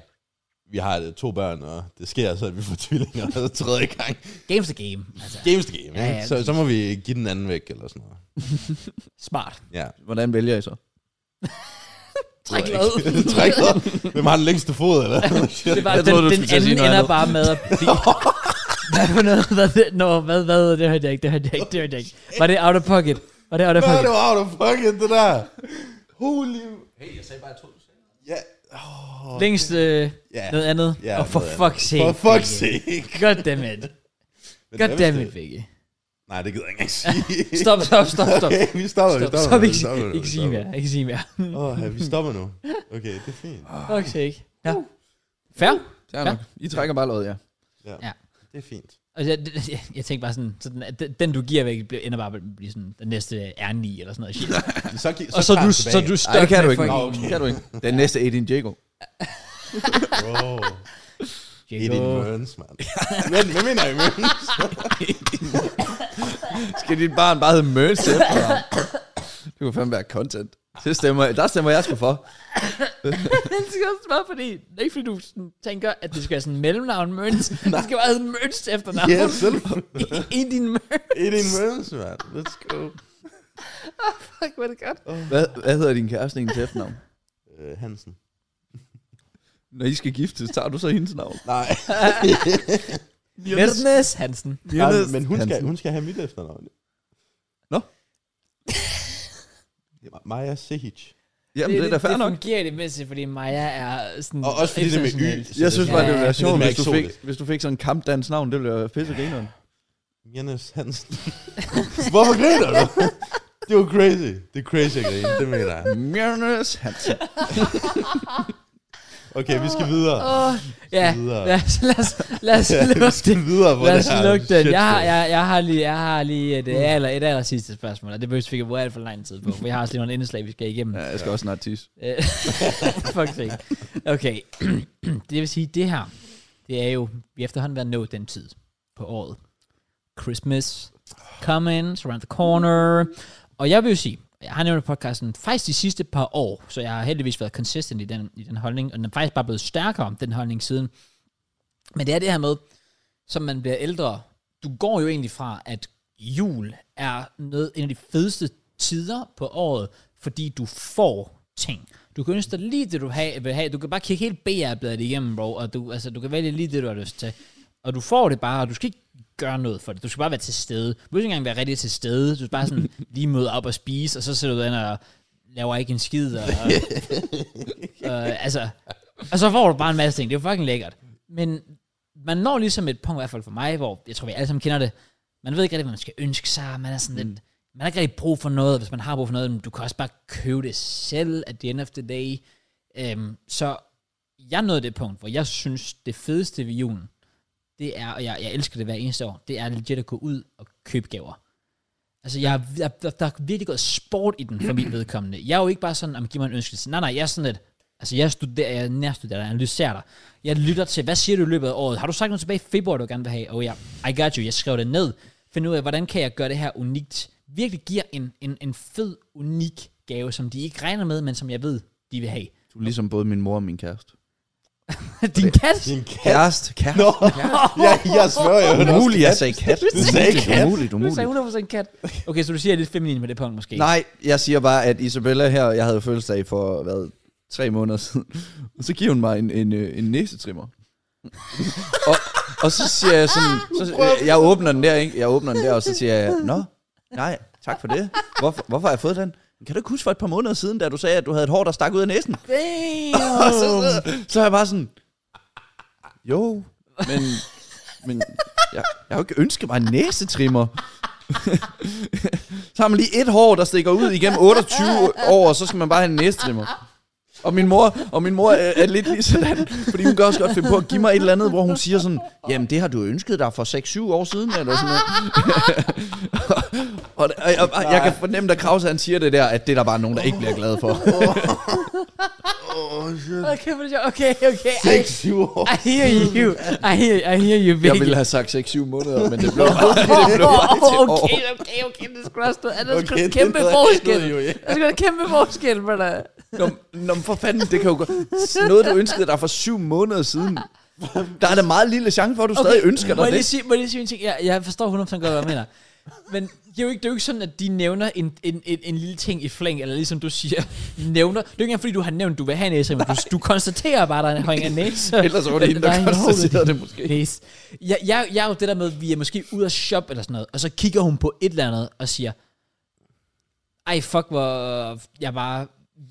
B: vi har øh, to børn, og det sker, så at vi får tvillinger altså, tredje gang.
A: Games the game. Altså,
B: Games the game,
A: Ja,
B: ja,
A: ja,
B: ja, så, så må vi give den anden væk, eller sådan noget.
A: smart.
B: Ja.
C: Hvordan vælger I så?
A: Træk noget.
C: [LAUGHS]
B: [LAUGHS] Træk noget. Hvem har den længste fod,
A: [LAUGHS]
B: eller?
A: Det var,
C: Jeg
A: den,
C: troede, du
A: den
C: skulle til at sige
A: anden ender
C: noget andet.
A: bare med at blive... Hvad for noget? Hvad, det- Nå, hvad, hvad, det hørte jeg ikke, det hørte jeg ikke, det hørte jeg ikke. Var det out of pocket? Var det out of
B: Hvad er
A: pocket?
B: det out of pocket, det der? Holy... Hey, jeg sagde bare, jeg troede, du sagde Ja. Oh.
A: Længst øh,
B: Ja.
A: noget andet.
B: Ja,
A: Og for
B: noget andet.
A: fuck's sake.
B: For fuck's
A: Vigge. [LAUGHS]
B: sake.
A: Goddammit. Goddammit, Vicky.
B: Nej, det gider jeg
A: [LAUGHS]
B: ikke engang sige.
A: Stop, stop, stop, stop.
B: Okay, [LAUGHS] vi stopper, vi
A: Stop,
B: stopper.
A: stop,
B: nu,
A: ikke,
B: vi stopper nu,
A: ikke
B: vi
A: sige
B: stopper
A: mere, ikke sige mere.
B: nu. Åh, ja, vi stopper nu. Okay, det er fint.
A: Fuck's sake. Ja. Fair.
C: Det er nok. I trækker bare lod, ja.
B: Det er fint.
A: Altså, jeg, jeg, jeg tænkte bare sådan, så den, den, den du giver væk, bliver- ender bare med at blive sådan, den næste er 9 eller sådan noget shit.
B: Så, gi-
A: og så
B: tager
A: du,
B: han
A: så
B: tilbage.
A: du
C: Ej, det kan du ikke.
A: med
C: Nå,
A: fucking-
C: okay. Det kan du ikke. Den næste Edin Diego.
B: Bro.
A: Diego.
B: Edith Mørns, mand. Men, hvad mener I,
A: [LAUGHS]
B: Mørns?
C: Skal dit barn bare hedde Møns efter ham? [LAUGHS] Det kunne fandme være content. Det stemmer, der stemmer jeg sgu for.
A: Det skal også bare fordi, det er ikke fordi du sådan, tænker, at det skal være sådan en mellemnavn
B: [LAUGHS]
A: Mørns. det skal bare hedde Mørns efternavn.
B: Ja, selv.
A: I din Mørns.
B: Edith Mørns, mand. Let's go.
A: Fuck, hvor er det godt.
C: Hvad, hvad hedder din kæreste egentlig til efternavn?
B: Øh, Hansen.
C: Når I skal giftes, tager du så hendes navn?
B: Nej,
A: Mørnes Hansen.
B: nej men hun skal,
C: Hansen.
B: hun skal have mit efternavn. [LAUGHS]
C: Nå.
B: Det er Maja Sehic.
C: Jamen, det, det er da fair
A: det
C: nok.
A: fungerer det mæssigt, fordi Maja er sådan...
B: Og også fordi det er med Y.
A: international.
C: Jeg synes bare, det ville
A: Ja,
C: være sjovt,
B: lidt mere
C: hvis du, fik,
B: eksotisk.
C: hvis du fik sådan en kampdans navn. Det ville være pisse grineren.
B: Jens Hansen. [LAUGHS] Hvorfor griner du? [LAUGHS] Det var crazy. Det er crazy at grine, det mener jeg.
C: Mjørnes Hansen.
B: Okay, vi skal videre.
A: Åh, ja,
B: videre.
A: lad os, lad os, lad os
B: Ja, [LAUGHS] vi
A: lukke
B: skal
A: det.
B: videre på
A: Lad
B: det
A: os
B: her
A: lukke den.
B: shit
A: Jeg har,
B: show.
A: jeg, jeg har lige, jeg har lige et, aller, et aller sidste spørgsmål, og det behøver vi ikke at bruge alt for lang tid på, for vi har også lige nogle indslag, vi skal igennem.
C: Ja, jeg skal også snart tisse.
A: Øh, [LAUGHS] Fuck sake. Okay, [CLEARS THROAT] det vil sige, det her, det er jo, vi er efterhånden været nået den tid på året. Christmas, coming, around the corner. Og jeg vil jo sige, jeg har nævnt i podcasten faktisk de sidste par år, så jeg har heldigvis været consistent i den, i den holdning, og den er faktisk bare blevet stærkere om den holdning siden. Men det er det her med, som man bliver ældre, du går jo egentlig fra, at jul er noget, en af de fedeste tider på året, fordi du får ting. Du kan ønske dig lige det, du ha- vil have. Du kan bare kigge helt BR-bladet igennem, bro, og du, altså, du kan vælge lige det, du har lyst til. Og du får det bare, og du skal ikke gøre noget for det. Du skal bare være til stede. Du behøver ikke engang være rigtig til stede. Du skal bare sådan lige møde op og spise, og så sidder du ind og laver ikke en skid. Og, øh, altså, og så får du bare en masse ting. Det er jo fucking lækkert. Men man når ligesom et punkt, i hvert fald for mig, hvor jeg tror, vi alle sammen kender det. Man ved ikke rigtig, hvad man skal ønske sig. Man er sådan lidt... Man har ikke rigtig brug for noget. Hvis man har brug for noget, men du kan også bare købe det selv at the end of the day. Øhm, så jeg nåede det punkt, hvor jeg synes, det fedeste ved julen, det er, og jeg, jeg elsker det hver eneste år, det er legit at gå ud og købe gaver. Altså, jeg, har- jeg, der, der er virkelig gået sport i den for mit vedkommende. Jeg er jo ikke bare sådan, om giver mig en ønskelse. Nej, nej, jeg er sådan lidt, altså jeg studerer, jeg nærstuderer, jeg analyserer dig. Jeg lytter til, hvad siger du i løbet af året? Har du sagt noget tilbage i februar, du gerne vil have? Oh ja, I got you, jeg skrev det ned. Find ud af, hvordan kan jeg gøre det her unikt? Virkelig giver en, en, en fed, unik gave, som de ikke regner med, men som jeg ved, de vil have. [LAUGHS]
C: Du er ligesom både min mor og min kæreste.
A: Din kat?
B: Din kat. [LAUGHS]
C: Kæreste? Kæreste?
B: Nå, ja, jeg sværger jo.
C: Umuligt, jeg sagde kat.
A: Du sagde
C: Umuligt,
B: kat.
C: Umuligt,
A: Du sagde
C: umuligt.
A: 100% kat. Okay, så du siger, at jeg er lidt feminin med det punkt, måske.
C: Nej, jeg siger bare, at Isabella her, jeg havde fødselsdag for, hvad, tre måneder siden. Og så giver hun mig en, en, øh, en næsetrimmer. og, og så siger jeg sådan, så, jeg, jeg åbner den der, ikke? Jeg åbner den der, og så siger jeg, nå, nej, tak for det. Hvorfor, hvorfor har jeg fået den? Kan du ikke huske for et par måneder siden, da du sagde, at du havde et hår, der stak ud af næsen? [LAUGHS] Og så,
A: Damn.
C: så, så er jeg bare sådan, jo, men, men jeg, jeg har jo ikke ønsket mig en næsetrimmer. [LAUGHS] så har man lige et hår, der stikker ud igennem 28 år, og så skal man bare have en næsetrimmer. Og min mor, og min mor er, er lidt lige sådan, fordi hun kan også godt finde på at give mig et eller andet, hvor hun siger sådan, jamen det har du ønsket dig for 6-7 år siden, eller sådan noget. [LAUGHS] og, og, og, og jeg kan fornemme, da Krause han siger det der, at det er der bare nogen, der ikke bliver glad for.
A: Okay, hvor er det sjovt. okay, okay. I,
B: 6-7 år.
A: I hear you. I hear, I hear you,
C: Jeg
A: Vicky.
C: ville have sagt 6-7 måneder, men det
A: [LAUGHS]
C: blev bare
A: Åh,
C: det blev bare
A: åh,
C: til år.
A: Okay, okay, okay, det skulle også stå. Der
B: Okay,
A: skulle
B: det
A: kæmpe
B: er noget
A: forskel.
B: andet jo, ja.
A: Der skulle kæmpe forskel, men der.
C: Nå, nå, men for fanden, det kan jo godt... Noget, du ønskede dig for 7 måneder siden. Der er da meget lille chance for, at du stadig ønsker
A: må
C: dig
A: jeg lige
C: det.
A: sige, må jeg lige sige en ting? Jeg, jeg forstår 100% godt, hvad jeg mener. Men det er, jo ikke, det er jo ikke sådan, at de nævner en, en, en, en lille ting i flæng, eller ligesom du siger, nævner. Det er jo ikke engang, fordi du har nævnt, du vil have en næse, men du, du konstaterer bare, at der er en højere næse.
C: Ellers var det hende, der
A: er en hov-
C: konstaterede det måske.
A: Please. Jeg, jeg, jeg er jo det der med, at vi er måske ude at shoppe eller sådan noget, og så kigger hun på et eller andet og siger, ej fuck, hvor jeg bare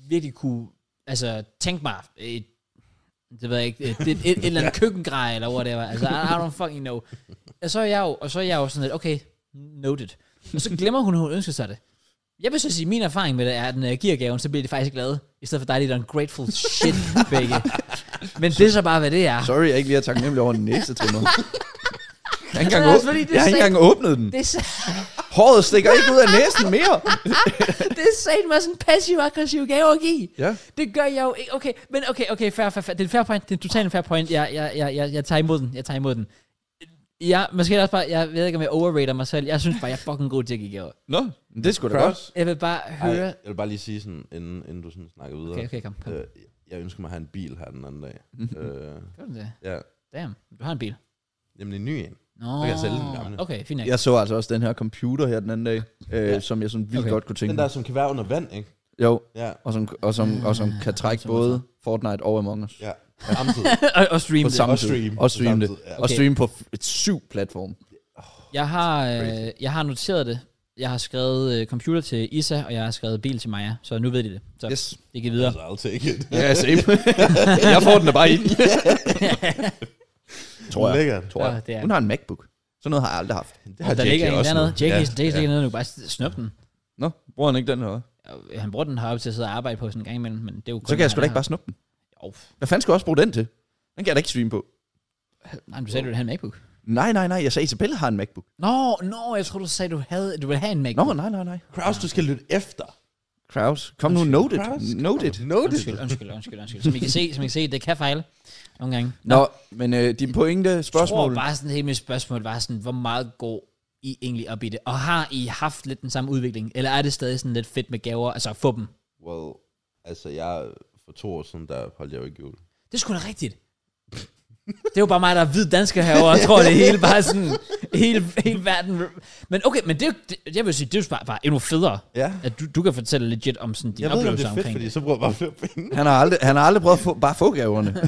A: virkelig kunne, altså tænk mig, et, det ved jeg ikke, et, et, et eller andet køkkengrej eller whatever, altså I, I don't fucking know. Og så er jeg jo, og så er jeg jo sådan lidt, okay, noted. Og så glemmer hun, at hun ønsker sig det. Jeg vil så sige, at min erfaring med det er, at når jeg giver gaven, så bliver de faktisk glade. I stedet for dig, det er ungrateful shit, begge. Men det er så bare, hvad det er.
C: Sorry, jeg ikke lige har takket nemlig over den næste trimmer. Jeg har ikke engang,
A: Det er også
C: åb-
A: fordi, det
C: jeg har ikke
A: er
C: engang åbnet den.
A: Det er så...
C: Håret stikker ikke ud af næsen
A: [LAUGHS]
C: mere.
A: det er satan med sådan en passiv-aggressiv gave at give.
C: Ja.
A: Det gør jeg jo ikke. Okay, men okay, okay, fair, fair, fair. Det er en fair point. Det er en totalt en fair point. Jeg, jeg, jeg, jeg, jeg tager imod den. Jeg tager imod den. Jeg, måske også bare, jeg ved ikke, om jeg overrater mig selv. Jeg synes bare, jeg er fucking god til at give gaver.
C: Nå, men det skulle da godt.
B: Cross?
A: Jeg vil bare
B: Ej,
A: høre...
B: jeg vil bare lige sige sådan, inden, inden du sådan snakker videre.
A: Okay, okay, Mhm. kom. kom.
B: Øh, jeg ønsker mig at have en bil her den anden dag. øh,
A: Gør du det?
B: ja,
A: Damn, du har en bil.
B: nemlig en ny en.
A: Nå,
B: kan jeg sælge den gamle.
A: Okay, fint. nok.
C: Jeg så altså også den her computer her den anden dag, øh, ja. som jeg sådan vildt
A: Okay.
C: okay. godt kunne tænke
B: Den der, som kan være under vand, ikke?
C: mig. Jo,
B: Ja,
C: og som, og som, og som kan trække
A: Ah, som
C: både Fortnite og Among Us.
B: ja. Samtidig.
A: [LAUGHS]
B: [LAUGHS]
A: og, og stream
C: På
A: det.
C: samme
B: Og
C: tid.
B: stream.
C: Og stream det.
B: På samme tid, ja.
C: Og stream på f- et syv platform.
A: Jeg har, øh, jeg har noteret det. Jeg har skrevet øh, computer til Isa, og jeg har skrevet bil til Maja. Så nu ved de det. Så yes.
C: Yes.
A: det kan videre.
B: Altså, I'll take [LAUGHS] it.
C: [LAUGHS] Ja, same. jeg får den da bare i. tror jeg.
B: Lækkert.
C: Tror
A: Ja,
C: jeg.
A: det er-
C: Hun har en MacBook. Sådan noget har jeg aldrig haft.
B: Det
A: Og der
B: JK
A: ligger en
B: også
A: dernede.
B: nu.
A: Jake
B: Ja,
A: ja, ligger ja. nede nu. Bare snøp den.
C: Nå, bruger han ikke den her?
A: Og Han bruger den heroppe til at sidde og arbejde på sådan en gang imellem, men det er jo kun,
C: Så kan jeg sgu da ikke bare snuppe den.
A: Oh,
C: Hvad fanden skal jeg også bruge den til? Den kan jeg da ikke streame på.
A: nej, men du sagde, du ville have en MacBook.
C: Nej, nej, nej. Jeg sagde, Isabella har en MacBook.
A: Nå, nå, jeg tror du sagde, du, havde, du ville have en MacBook.
C: Nå, nej, nej, nej.
B: Kraus, du skal lytte efter.
C: Kraus. Kom nu, note it.
B: Kraus.
C: Note it.
B: Noted.
A: undskyld, undskyld, undskyld, undskyld. Som I kan se, som I kan se, det kan fejle nogle gange.
C: Nå, men øh, din pointe, spørgsmål.
A: Jeg tror bare sådan helt mit spørgsmål var sådan, hvor meget går I egentlig op i det? Og har I haft lidt den samme udvikling? Eller er det stadig sådan lidt fedt med gaver? Altså at få dem?
B: Well, altså, jeg for to år siden, der holdt jeg jo ikke jul.
A: Det er sgu da rigtigt. Det er jo bare mig, der er hvid dansker herovre, og tror det hele bare sådan, hele, hele verden. Men okay, men det, er jo- det jeg vil sige, det er jo bare, bare endnu federe,
B: Ja.
A: at du, du kan fortælle legit om sådan dine
B: Jeg ved ikke, om det
A: oplevelser
B: er fedt,
A: omkring
B: fordi
A: det.
B: så bruger jeg bare flere penge.
C: Han har aldrig, han har aldrig prøvet at få, bare få gaverne.
A: Nej,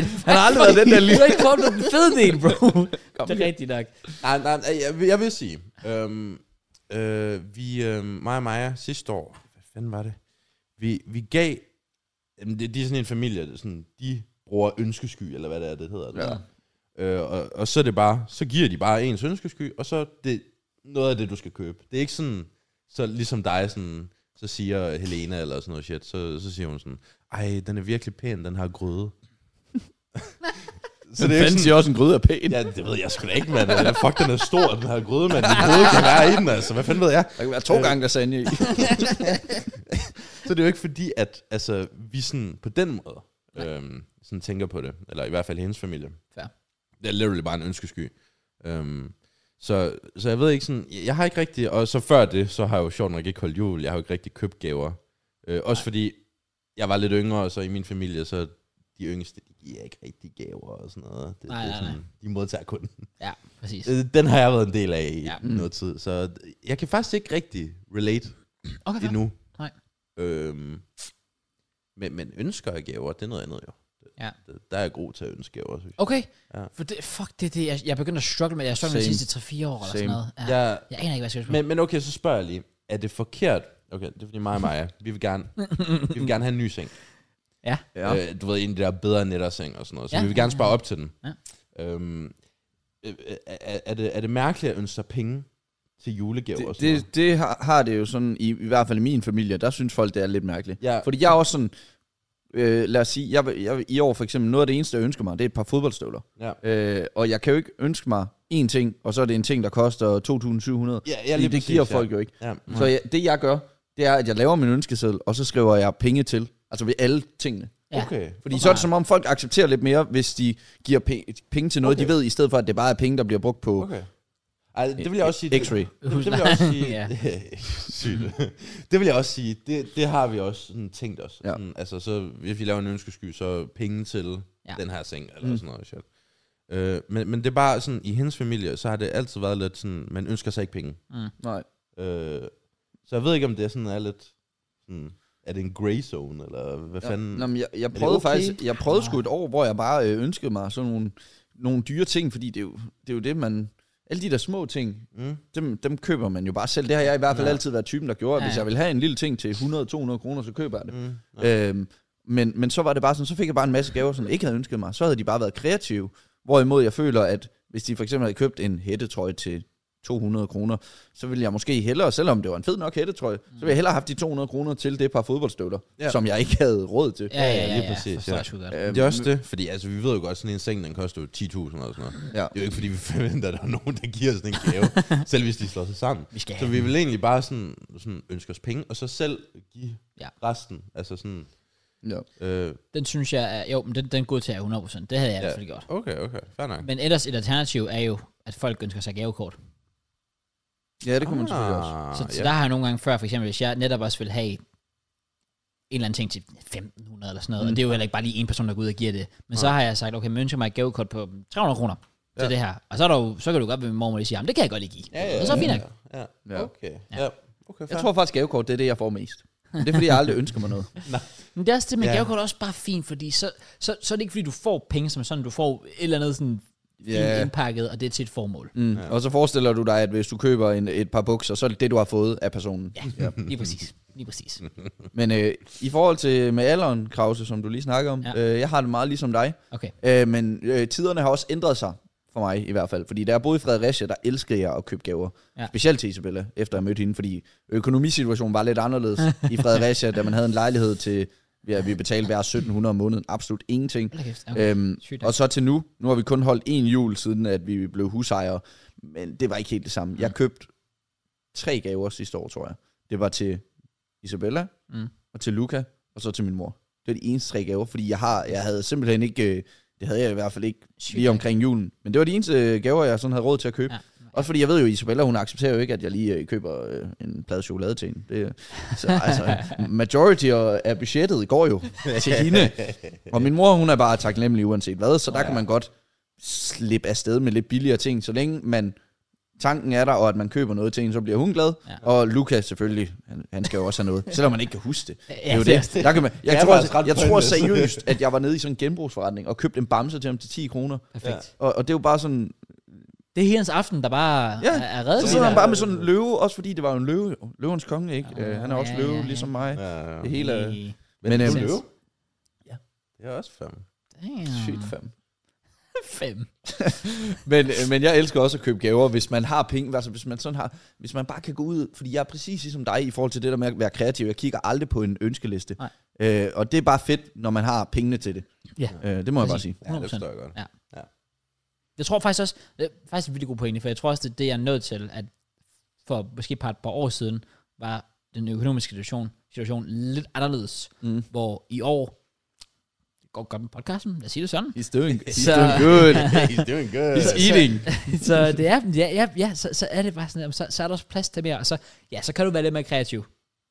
C: Han har
A: [LAUGHS]
C: aldrig været den der
A: Du
C: lille...
A: har ikke prøvet den fede del,
B: [LAUGHS]
A: bro. det er rigtigt nok.
B: Nej, nej, nej, jeg, vil- jeg vil sige, øhm, øh, vi, øhm, mig og Maja sidste år, hvad fanden var det? Vi, vi gav, jamen det, de er sådan en familie, det er sådan, de bruger ønskesky, eller hvad det er, det hedder. Det. Ja. Øh, og, og så er det bare, så giver de bare ens ønskesky, og så er det noget af det, du skal købe. Det er ikke sådan, så ligesom dig sådan, så siger Helena eller sådan noget shit, så, så siger hun sådan, ej, den er virkelig pæn, den har [LAUGHS] grøde.
C: [LAUGHS] Så det er
B: sådan-
C: fanden siger også en gryde af pæn.
B: Ja, det ved jeg sgu da ikke, mand. Eller, Fuck, den er stor, den her gryde, mand. Min gryde kan være i den, altså. Hvad fanden ved jeg?
C: Der kan være to gange lasagne i.
B: Så det er jo ikke fordi, at altså, vi sådan på den måde øhm, sådan tænker på det. Eller i hvert fald hendes familie.
A: Fair.
B: Det er literally bare en ønskesky. Øhm, så, så jeg ved ikke sådan... Jeg, jeg har ikke rigtig... Og så før det, så har jeg jo sjovt nok ikke holdt jul. Jeg har jo ikke rigtig købt gaver. Øh, også fordi jeg var lidt yngre, og så i min familie, så de yngste, de giver ikke rigtig gaver og sådan noget. Det,
A: Nej,
B: det er
A: nej, nej.
B: De modtager kun
A: Ja, præcis.
B: Øh, Den har jeg været en del af i
A: Ja.
B: ja. noget tid, så d- jeg kan faktisk ikke rigtig relate
A: Okay, fair.
B: endnu.
A: Nej.
B: Øhm, men, men ønsker og gaver, det er noget andet jo.
A: Ja.
B: Det- Der er jeg god til at ønske gaver, synes jeg.
A: Okay,
B: Ja.
A: for det, fuck, det er det, jeg, jeg begynder at struggle med. Jeg struggler med de
C: Same.
A: sidste 3-4 år eller sådan
C: Same.
A: noget. Ja.
B: Jeg,
A: Jeg aner ikke, hvad jeg skal spørge.
B: men, men okay, så spørger jeg lige, er det forkert? Okay, det er fordi mig og Maja, vi vil gerne, vi vil gerne have en ny seng.
A: Ja.
B: Ja. Øh, du ved, en af de der bedre nætterseng og sådan noget, så
A: Ja,
B: ja. vi vil
A: ja,
B: gerne
A: ja,
B: spare op til den.
A: Ja.
B: Øhm, øh, øh, er, er, det, er det mærkeligt at ønske sig penge til julegaver og
C: Det,
B: sådan noget?
C: det, det har, har det jo sådan, i, i hvert fald i min familie, der synes folk, det er lidt mærkeligt.
B: Ja.
C: Fordi jeg er også sådan, øh, lad os sige, jeg, vil- jeg, vil- i år for eksempel, noget af det eneste, jeg ønsker mig, det er et par fodboldstøvler.
B: Ja.
C: Øh, og jeg kan jo ikke ønske mig én ting, og så er det en ting, der koster 2.700.
B: Ja, ja,
C: Fordi
B: lige
C: det
B: præcis,
C: giver
B: ja.
C: folk jo ikke.
B: Ja.
C: Så jeg, det jeg gør, det er, at jeg laver min ønskeseddel, og så skriver jeg penge til. Altså ved alle tingene.
A: Ja.
B: Okay.
C: Fordi så er det som om, folk accepterer lidt mere, hvis de giver pe- penge til noget,
B: Okay.
C: de ved, i stedet for, at det bare er penge, der bliver brugt på
B: Okay. Ej, det vil jeg også sige... det-
C: x-ray.
B: Det, det vil jeg også sige...
A: Ja.
B: ja. [LAUGHS] Sygt. Det vil jeg også sige, det, det har vi også sådan, tænkt os.
C: Ja.
B: Sådan, altså, så, hvis vi laver en ønskesky, så penge til
A: Ja.
B: ja. den her seng, eller mm. sådan noget. Shit. Øh, men, men det er bare sådan, i hendes familie, så har det altid været lidt sådan, man ønsker sig ikke penge.
C: Nej.
B: Øh, så jeg ved ikke, om det er sådan er lidt... Sådan, er det en gray zone, eller hvad ja.
C: Ja.
B: fanden?
C: Nå, men jeg, jeg
B: det
C: prøvede
B: okay?
C: faktisk, jeg prøvede sgu et år, hvor jeg bare øh, ønskede mig sådan nogle, nogle dyre ting, fordi det er, jo, det er jo det, man... Alle de der små ting,
B: Mm.
C: dem, dem køber man jo bare selv. Det har jeg i hvert fald
B: Ja.
C: altid været typen, der gjorde. at
A: Ja,
C: Hvis
A: ja.
C: jeg vil have en lille ting til 100-200 kroner, så køber jeg det.
B: Mm.
C: Øhm, men, men så var det bare sådan, så fik jeg bare en masse gaver, som jeg ikke havde ønsket mig. Så havde de bare været kreative. Hvorimod jeg føler, at hvis de for eksempel havde købt en hættetrøje til 200 kroner, så ville jeg måske hellere, selvom det var en fed nok hættetrøje, så ville jeg hellere have haft de 200 kroner til det par fodboldstøvler,
B: Ja.
C: ja. som jeg ikke havde råd til.
A: Ja, ja, ja,
B: lige
A: ja, ja.
B: præcis,
A: Forstår
B: ja.
A: jeg sgu godt.
B: Det er også det, fordi altså, vi ved jo godt, sådan en seng, den koster jo 10.000 eller sådan noget. Det
C: Ja.
B: er jo ikke, fordi vi [LAUGHS] forventer, at der er nogen, der giver sådan en gave, selv hvis de slår sig sammen.
A: Vi skal
B: så
A: have
B: vi vil egentlig bare sådan, sådan ønske os penge, og så selv give
A: Ja.
B: ja. resten. Altså sådan,
C: Ja.
B: øh,
A: Den synes jeg, er, jo, men den, den godtager jeg 100%. Det havde jeg i hvert fald gjort.
B: okay, okay, fair nok.
A: Men ellers et alternativ er jo, at folk ønsker sig gavekort.
C: ja, det kunne man selvfølgelig også.
B: Ah,
A: Så, så der har jeg nogle gange før, for eksempel, hvis jeg netop også vil have en eller anden ting til 1.500 eller sådan noget, mm. og det er jo heller ikke bare lige en person, der går ud og giver det. Men så har jeg sagt, okay, men ønsker mig et gavekort på 300 kroner til
B: Ja.
A: det her. Og så, er der jo, så kan du godt ved min mormor lige sige, jamen det kan jeg godt lige give.
B: Ja, ja,
A: og så er det
B: ja,
A: fint nok.
B: Ja,
C: Ja.
B: ja. Okay, ja. Okay, fair.
C: Jeg tror faktisk, gavekort det er det, jeg får mest. Men det er, fordi jeg aldrig ønsker mig noget.
A: Men det er også det med
B: Ja.
A: yeah. gavekort er også bare fint, fordi så, så, så er det ikke, fordi du får penge som sådan, du får et eller andet sådan [LAUGHS] fint
C: Ja.
A: indpakket, og det er til et formål.
C: Mm. Ja. Og så forestiller du dig, at hvis du køber en, et par bukser, så er det det, du har fået af personen.
A: Ja, ja. lige præcis. Lige præcis.
C: Men øh, i forhold til med alderen, Krause, som du lige snakker om,
A: Ja.
C: ja. øh, jeg har det meget ligesom dig.
A: Okay.
C: Øh, men øh, tiderne har også ændret sig, for mig i hvert fald. Fordi da jeg boede i Fredericia, der elskede jeg at købe gaver.
A: Ja.
C: Ja. Specielt til Isabella, efter jeg mødte hende, fordi økonomisituationen var lidt anderledes [LAUGHS] i Fredericia, da man havde en lejlighed til, ja, vi betalte hver 1700 om måneden, absolut ingenting.
A: Hold da kæft. Okay.
C: Øhm,
A: Sygt nok.
C: og så til nu, nu har vi kun holdt en jul siden, at vi blev husejere, men det var ikke helt det samme. Jeg købte tre gaver sidste år, tror jeg. Det var til Isabella,
A: Mm.
C: mm. og til Luca, og så til min mor. Det var de eneste tre gaver, fordi jeg, har, jeg havde simpelthen ikke, øh, det havde jeg i hvert fald ikke
A: Sygt
C: lige omkring julen, men det var de eneste øh, gaver, jeg sådan havde råd til at købe.
A: Ja.
C: Ja. Også fordi jeg ved jo, Isabella, hun accepterer jo ikke, at jeg lige øh, køber øh, en plade chokolade til hende. Det, så altså, majority af- af budgettet går jo
A: [LAUGHS]
C: til hende. Og min mor, hun er bare taknemmelig uanset hvad, så der kan man godt slippe afsted med lidt billigere ting, så længe man tanken er der, og at man køber noget til en, så bliver hun glad.
A: Ja.
C: Ja. Og Lukas selvfølgelig, han, han skal jo også have noget, selvom man ikke kan huske det. det, er jo
A: det er
C: det. Der kan man, jeg,
B: Det er
C: tror,
B: faktisk ret
C: jeg, jeg tror
B: pointless.
C: seriøst, at jeg var nede i sådan en genbrugsforretning og købte en bamse til ham til 10 kroner.
A: Perfekt.
C: Og, og det er jo bare sådan,
A: Det er hendes aften, der bare
C: Ja,
A: ja. er reddet.
C: så
A: lige
C: sidder han
A: der.
C: bare med sådan en løve, også fordi det var jo en løve, jo. løvens konge, ikke?
A: Ja,
C: Øh, han er også
A: ja,
C: løve,
A: ja, ja.
C: ligesom mig.
B: Ja, ja.
C: Det hele er...
A: Hey.
B: Men,
C: Men,
B: men
C: øhm,
B: løve?
C: Ja.
B: Det er også fem.
A: Damn.
C: Sygt fem.
A: Fem.
C: Men, øh, men jeg elsker også at købe gaver, hvis man har penge, altså hvis man, sådan har, hvis man bare kan gå ud, fordi jeg er præcis ligesom dig i forhold til det der med at være kreativ. Jeg kigger aldrig på en ønskeliste.
A: Nej.
C: Øh, og det er bare fedt, når man har pengene til det.
A: Ja.
C: Øh, det må jeg bare sige.
B: Ja, det
A: 100%.
B: forstår jeg godt. [LAUGHS]
A: Jeg tror faktisk også, det er faktisk en vildt god pointe, for jeg tror også, det er det, jeg er nødt til, at for måske bare et par år siden, var den økonomiske situation, situation lidt anderledes, mm. hvor i år, det går godt med podcasten, lad os sige det sådan,
C: He's doing,
A: Så-
C: he's doing good.
A: [LAUGHS]
B: He's doing good.
C: He's eating.
A: så det er, ja, ja, ja så, så er det bare sådan, jamen, så, så er der også plads til mere, og så, ja, så kan du være lidt mere kreativ.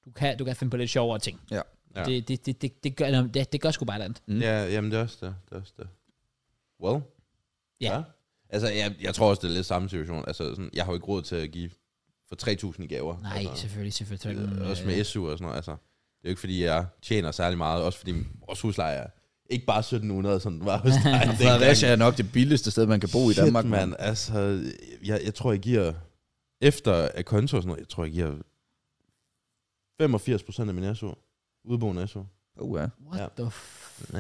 A: Du kan, du kan finde på lidt sjovere ting.
C: Ja.
B: Ja.
A: Det, det, det, det, det, gør, det, det gør sgu bare et eller andet.
C: Mm.
B: Ja, jamen det er også det. Det er også det. Well.
A: Ja.
B: Altså, jeg, jeg tror også, det er lidt samme situation. Altså, sådan, jeg har jo ikke råd til at give for 3.000 i gaver.
A: Nej,
B: altså,
A: selvfølgelig, selvfølgelig.
B: øh,
A: Men,
B: Også
A: øh,
B: med SU og sådan noget. Altså, det er jo ikke, fordi jeg tjener særlig meget. Også fordi vores husleje er ikke bare 1.700, som
C: [LAUGHS]
B: den var hos dig. dengang.
C: Fredericia er nok det billigste sted, man kan bo i
B: Shit,
C: Danmark.
B: mand. Altså, jeg, jeg tror, jeg giver... Efter at konto og sådan noget, jeg tror, jeg giver 85 procent af min SU. Udboende SU.
C: Uh, ja.
A: What
B: Ja.
A: the fuck?
B: Ja,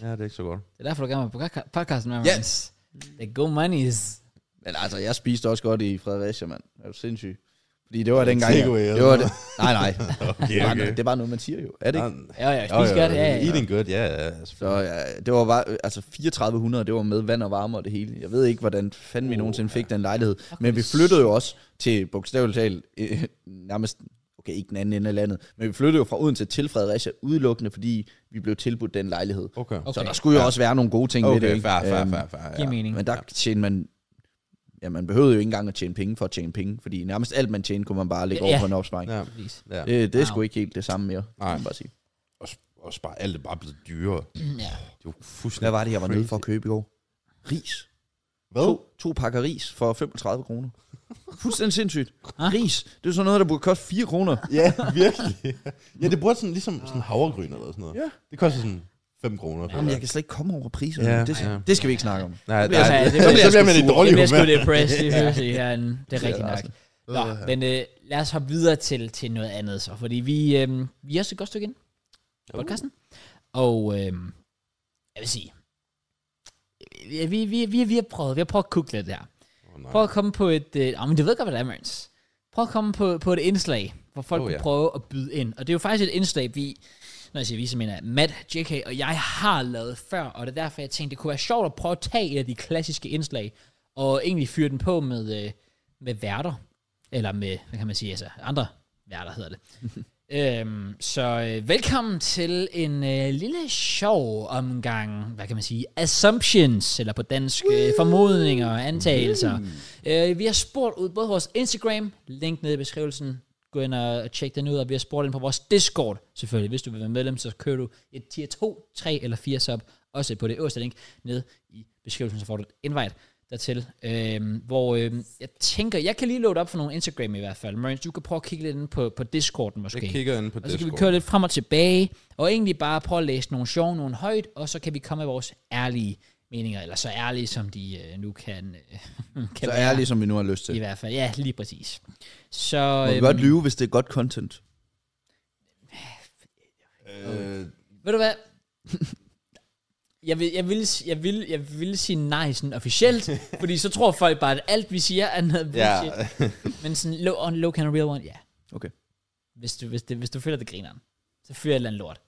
B: ja, det er ikke så godt.
A: Det er derfor, du gerne vil på podca- podcasten med mig.
C: Yes.
A: The go monies.
C: Men altså, jeg spiste også godt i Fredericia, mand. Det er jo sindssygt. Fordi det var dengang...
B: Takeaway
C: jeg, det
B: eller
C: var det, nej, [LAUGHS]
B: [LAUGHS]
C: nej. Det er
B: Okay,
C: bare- Det er bare noget, man siger jo. Er det ikke?
A: Ja, ja, spis godt. Ja, ja, ja.
B: Eating good, ja, ja.
C: Så ja, det var bare, øh, altså 3400, det var med vand og varme og det hele. Jeg ved ikke, hvordan fanden vi nogensinde fik den lejlighed. Men vi flyttede jo også til, bogstaveligt talt, øh, nærmest, okay, ikke den anden ende af landet, men vi flyttede jo fra Odense til Fredericia udelukkende, fordi vi blev tilbudt den lejlighed.
B: Okay.
A: Okay.
C: Så der skulle jo også være nogle gode ting ved det,
B: Okay,
C: ikke?
B: fair, fair,
C: Øhm,
B: fair, fair.
A: Giver mening.
C: Men der tjente man, ja, man behøvede jo ikke engang at tjene penge for at tjene penge, fordi nærmest alt, man tjente, kunne man bare lægge
A: Ja.
C: over på en opsparing.
B: Ja,
A: Præcis.
B: ja. ja.
C: Det, det er sgu ikke helt det samme mere, kan
B: Nej.
C: man bare sige.
A: Øh.
B: Og, sp- og spare alt er bare blevet dyrere.
A: Ja.
B: Det var fuldstændig
C: Hvad var det, jeg var nede for at
B: crazy.
C: købe i går? Ris.
B: Hvad?
C: To, to pakker ris for 35 kroner.
B: [LAUGHS]
C: Fuldstændig sindssygt.
A: Ah.
C: Ris, det er sådan noget, der burde koste 4 kroner.
B: Ja, [LAUGHS] virkelig. Ja, det burde sådan ligesom sådan havregryn eller sådan noget.
C: Ja.
B: Det koster sådan 5 kroner. føler
C: Jamen, jeg
B: jeg.
C: kan slet ikke komme over priser.
B: Ja,
C: det,
B: ja.
C: det skal vi ikke snakke om.
B: Nej,
C: bliver
B: nej,
A: jeg- det
B: så
A: bliver
B: bliver,
A: jeg
B: så bliver man i dårlig
A: Det er sgu
B: humør.
A: depressed,
B: [LAUGHS]
A: det vil jeg sige herinde. Det er
C: Ja,
A: rigtigt nok.
C: altså.
A: Nå, men øh, lad os hoppe videre til, til noget andet så, fordi vi, øh, vi er også et godt stykke ind i podcasten. Og øh, jeg vil sige, ja, vi, vi, vi, vi har prøvet, vi har prøvet at kugle lidt her.
B: Åh, nej.
A: Prøv at komme på et... Øh, ah, men det ved godt, hvad det er, Mørens. Prøv at komme på, på et indslag, hvor folk
B: Oh,
A: oh,
B: ja.
A: kunne prøve at byde ind. Og det er jo faktisk et indslag, vi... Når jeg siger vi, så mener jeg Matt, JK og jeg har lavet før, og det er derfor, jeg tænkte, det kunne være sjovt at prøve at tage et af de klassiske indslag, og egentlig fyre den på med, øh, med værter. Eller med, hvad kan man sige, altså andre værter hedder det. Øhm, så øh, velkommen til en øh, lille sjov omgang, hvad kan man sige, assumptions, eller på dansk, øh, formodninger og antagelser. Øh, vi har spurgt ud både vores Instagram, link nede i beskrivelsen, gå ind og og tjek den ud, og vi har spurgt ind på vores Discord, selvfølgelig. Hvis du vil være medlem, så kører du et tier 2, 3 eller 4 sub, også på det øverste link nede i beskrivelsen, så får du et invite dertil, øhm, hvor øhm, jeg tænker, jeg kan lige load op for nogle Instagram i hvert fald. Marins, du kan prøve at kigge lidt inde på, på Discorden måske.
B: Jeg kigger inde på
A: Og så kan vi
B: Discord.
A: køre lidt frem og tilbage, og egentlig bare prøve at læse nogle sjove, nogle højt, og så kan vi komme med vores ærlige meninger, eller så ærlige, som de øh, nu kan, øh, [LAUGHS] kan
C: Så
A: være,
C: ærlig, som vi nu har lyst til.
A: i hvert fald. Ja, lige præcis. Så,
C: Må vi
A: øhm,
C: godt lyve, hvis det er godt content.
B: Øh,
A: ved du hvad? [LAUGHS] Jeg vil, jeg, vil, jeg, vil, jeg vil sige nej sådan
C: [LAUGHS]
A: officielt, fordi så tror folk bare, at alt vi siger er noget
B: ja,
A: bullshit. Yeah. Men sådan low, on low can a real one, ja. Yeah.
C: Okay.
A: Hvis du, hvis, det, hvis du føler, det griner, så fyrer jeg et eller andet lort.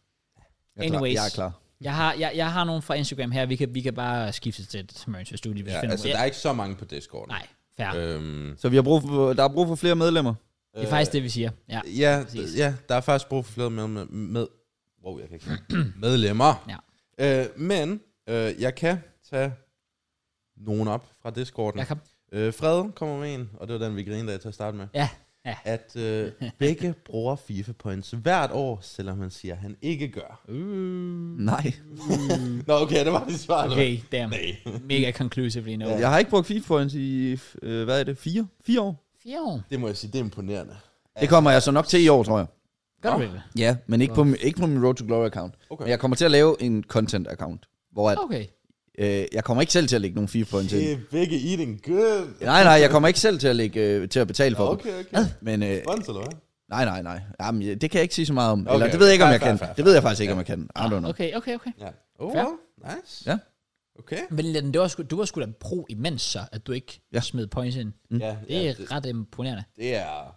C: Jeg er klar.
A: Anyways.
C: Jeg er klar.
A: Jeg har, jeg, jeg har nogen fra Instagram her, vi kan, vi kan bare skifte til et Mørens studie, hvis
B: ja
A: vi finder
B: altså,
A: ud af-
B: der er ikke så mange på Discord.
A: Nej, fair. Øh,
B: Øhm,
C: Så vi har brug for, der er brug for flere medlemmer.
A: det er faktisk det, vi siger. Ja.
B: ja,
A: præcis.
B: d- ja, der er faktisk brug for flere med, med, med wow, jeg kan ikke [CLEARS THROAT] medlemmer.
A: Ja.
B: Øh, men øh, jeg kan tage nogen op fra Discorden.
A: Jeg kan,
B: Øh, Fred kommer med en, og det var den, vi grinede af til at starte med.
A: ja, ja.
B: At øh, begge bruger FIFA points hvert år, selvom han siger, at han ikke gør.
C: Nej.
B: Nå, okay, det var det svar. eller hvad?
A: Okay, damn. Mega conclusive lige nu.
C: Jeg har ikke brugt FIFA points i, øh, hvad er det, fire? Fire år?
A: Fire år.
B: Det må jeg sige, det er imponerende.
C: Det kommer jeg så nok til i år, tror jeg.
A: Gør
B: Nå.
A: du det?
C: Ja, men ikke, på, min- ikke på min Road to Glory account.
B: Okay.
C: Men jeg kommer til at lave en content account, hvor at,
A: Okay.
C: øh, jeg kommer ikke selv til at lægge nogen FIFA points ind.
B: Det er begge eating good.
C: Nej, nej, jeg kommer ikke selv til at, lægge, øh, til at betale for okay.
B: Okay, okay.
C: dem. Men øh,
B: Spons, eller hvad?
C: nej, nej, nej. Jamen, ja, det kan jeg ikke sige så meget om. Okay. Eller
B: Okay.
C: det ved jeg ikke, om
B: Fair,
C: jeg
B: fair,
C: kan.
B: fair,
C: Det ved jeg faktisk ikke, om jeg kan. I don't know.
A: Okay, okay, okay.
B: Ja. Oh,
A: Fair.
B: well, nice.
C: Ja.
B: Okay.
A: Men Lennon, det var sgu, du var sgu da pro imens så, at du ikke ja.
C: Ja.
A: smed points ind.
B: Mm. Ja,
A: Det er
B: ja,
A: ja, ret imponerende.
B: det er...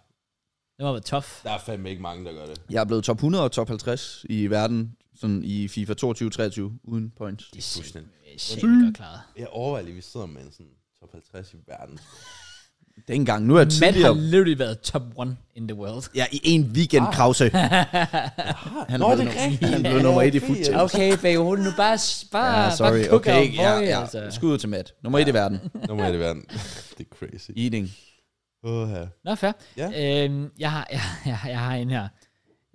A: Det må have været tough.
B: Der er fandme ikke mange, der gør det.
C: Jeg er blevet top 100 og top 50 i verden, sådan i FIFA 22-23, uden points.
A: Det er
B: fuldstændig.
A: simpelthen sindssygt godt klaret.
B: Jeg overvejer lige, at vi sidder med en sådan top 50 i verden.
C: Det er ikke engang. Nu er jeg
A: Matt har
C: tidligere...
A: literally været top one in the world.
C: Ja, i en weekend,
A: Ah.
C: Krause.
A: [LAUGHS]
C: Han
B: Nå,
C: blev
B: det er
C: nu-
B: rigtigt.
C: Han blev nummer 1 i
B: Ja,
C: foot.
A: Okay, baby, hun nu bare, bare,
C: Ja, sorry.
A: bare kukker
C: Okay,
A: og
C: ja,
A: boy,
B: øh,
C: ja.
A: altså.
C: Skud ud til Matt. Nummer 1 i
B: [LAUGHS]
C: verden.
B: Nummer et i verden. det er crazy.
C: Eating.
B: Oh, ja.
A: Nå, fair.
B: Ja.
A: Øhm, jeg, har, jeg, jeg, jeg har en her.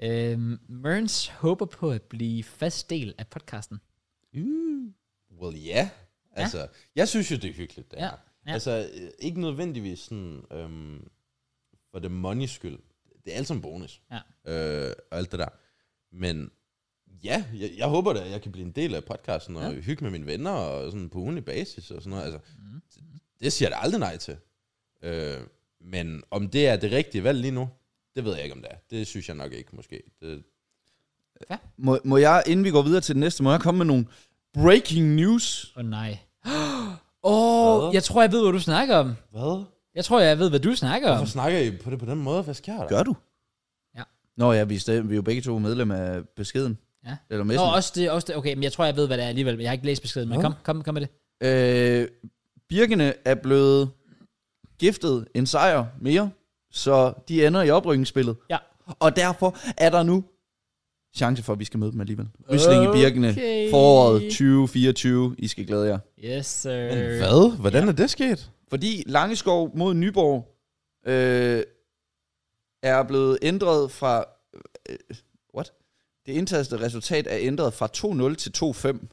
A: Øhm, Mørns håber på at blive fast del af podcasten.
B: Well, ja. Altså, jeg synes jo, det er hyggeligt, det
A: Ja,
B: her.
A: ja.
B: Altså, øh, ikke nødvendigvis sådan, øhm, for det money skyld. Det er alt som bonus.
A: Ja.
B: Øh, og alt det der. Men ja, jeg, jeg håber da, at jeg kan blive en del af podcasten og hygge med mine venner og sådan på ugenlig basis og sådan noget. Altså,
A: Mhm.
B: det, det siger jeg da aldrig nej til. Øh, men om det er det rigtige valg lige nu, det ved jeg ikke, om det er. Det synes jeg nok ikke, måske. Det,
C: Må, må jeg, inden vi går videre til det næste, må jeg komme med nogle breaking news?
A: Åh oh, nej. [GASPS] Åh, oh, jeg tror, jeg ved, hvad du snakker om.
B: hvad?
A: Jeg tror, jeg ved, hvad du snakker om.
B: Hvorfor snakker I på det på den måde? Hvad sker der?
C: Gør du?
A: Ja.
C: Nå ja, vi er, stadig, vi er jo begge to medlem af beskeden.
A: Ja.
C: Eller
A: Nå,
C: messen.
A: også det, også det. Okay, men jeg tror, jeg ved, hvad det er alligevel. men Jeg har ikke læst beskeden, men kom, kom, kom med det.
C: Øh, Birkene er blevet giftet en sejr mere, så de ender i oprykningsspillet.
A: Ja.
C: Og derfor er der nu chance for, at vi skal møde dem alligevel. Rysling i Birkene,
A: Okay.
C: foråret 2024. I skal glæde jer.
A: Yes, sir.
B: Hvad? Hvordan er det sket?
C: Fordi Langeskov mod Nyborg øh, er blevet ændret fra... Øh, what? Det indtastede resultat er ændret fra 2-0 til 2-5.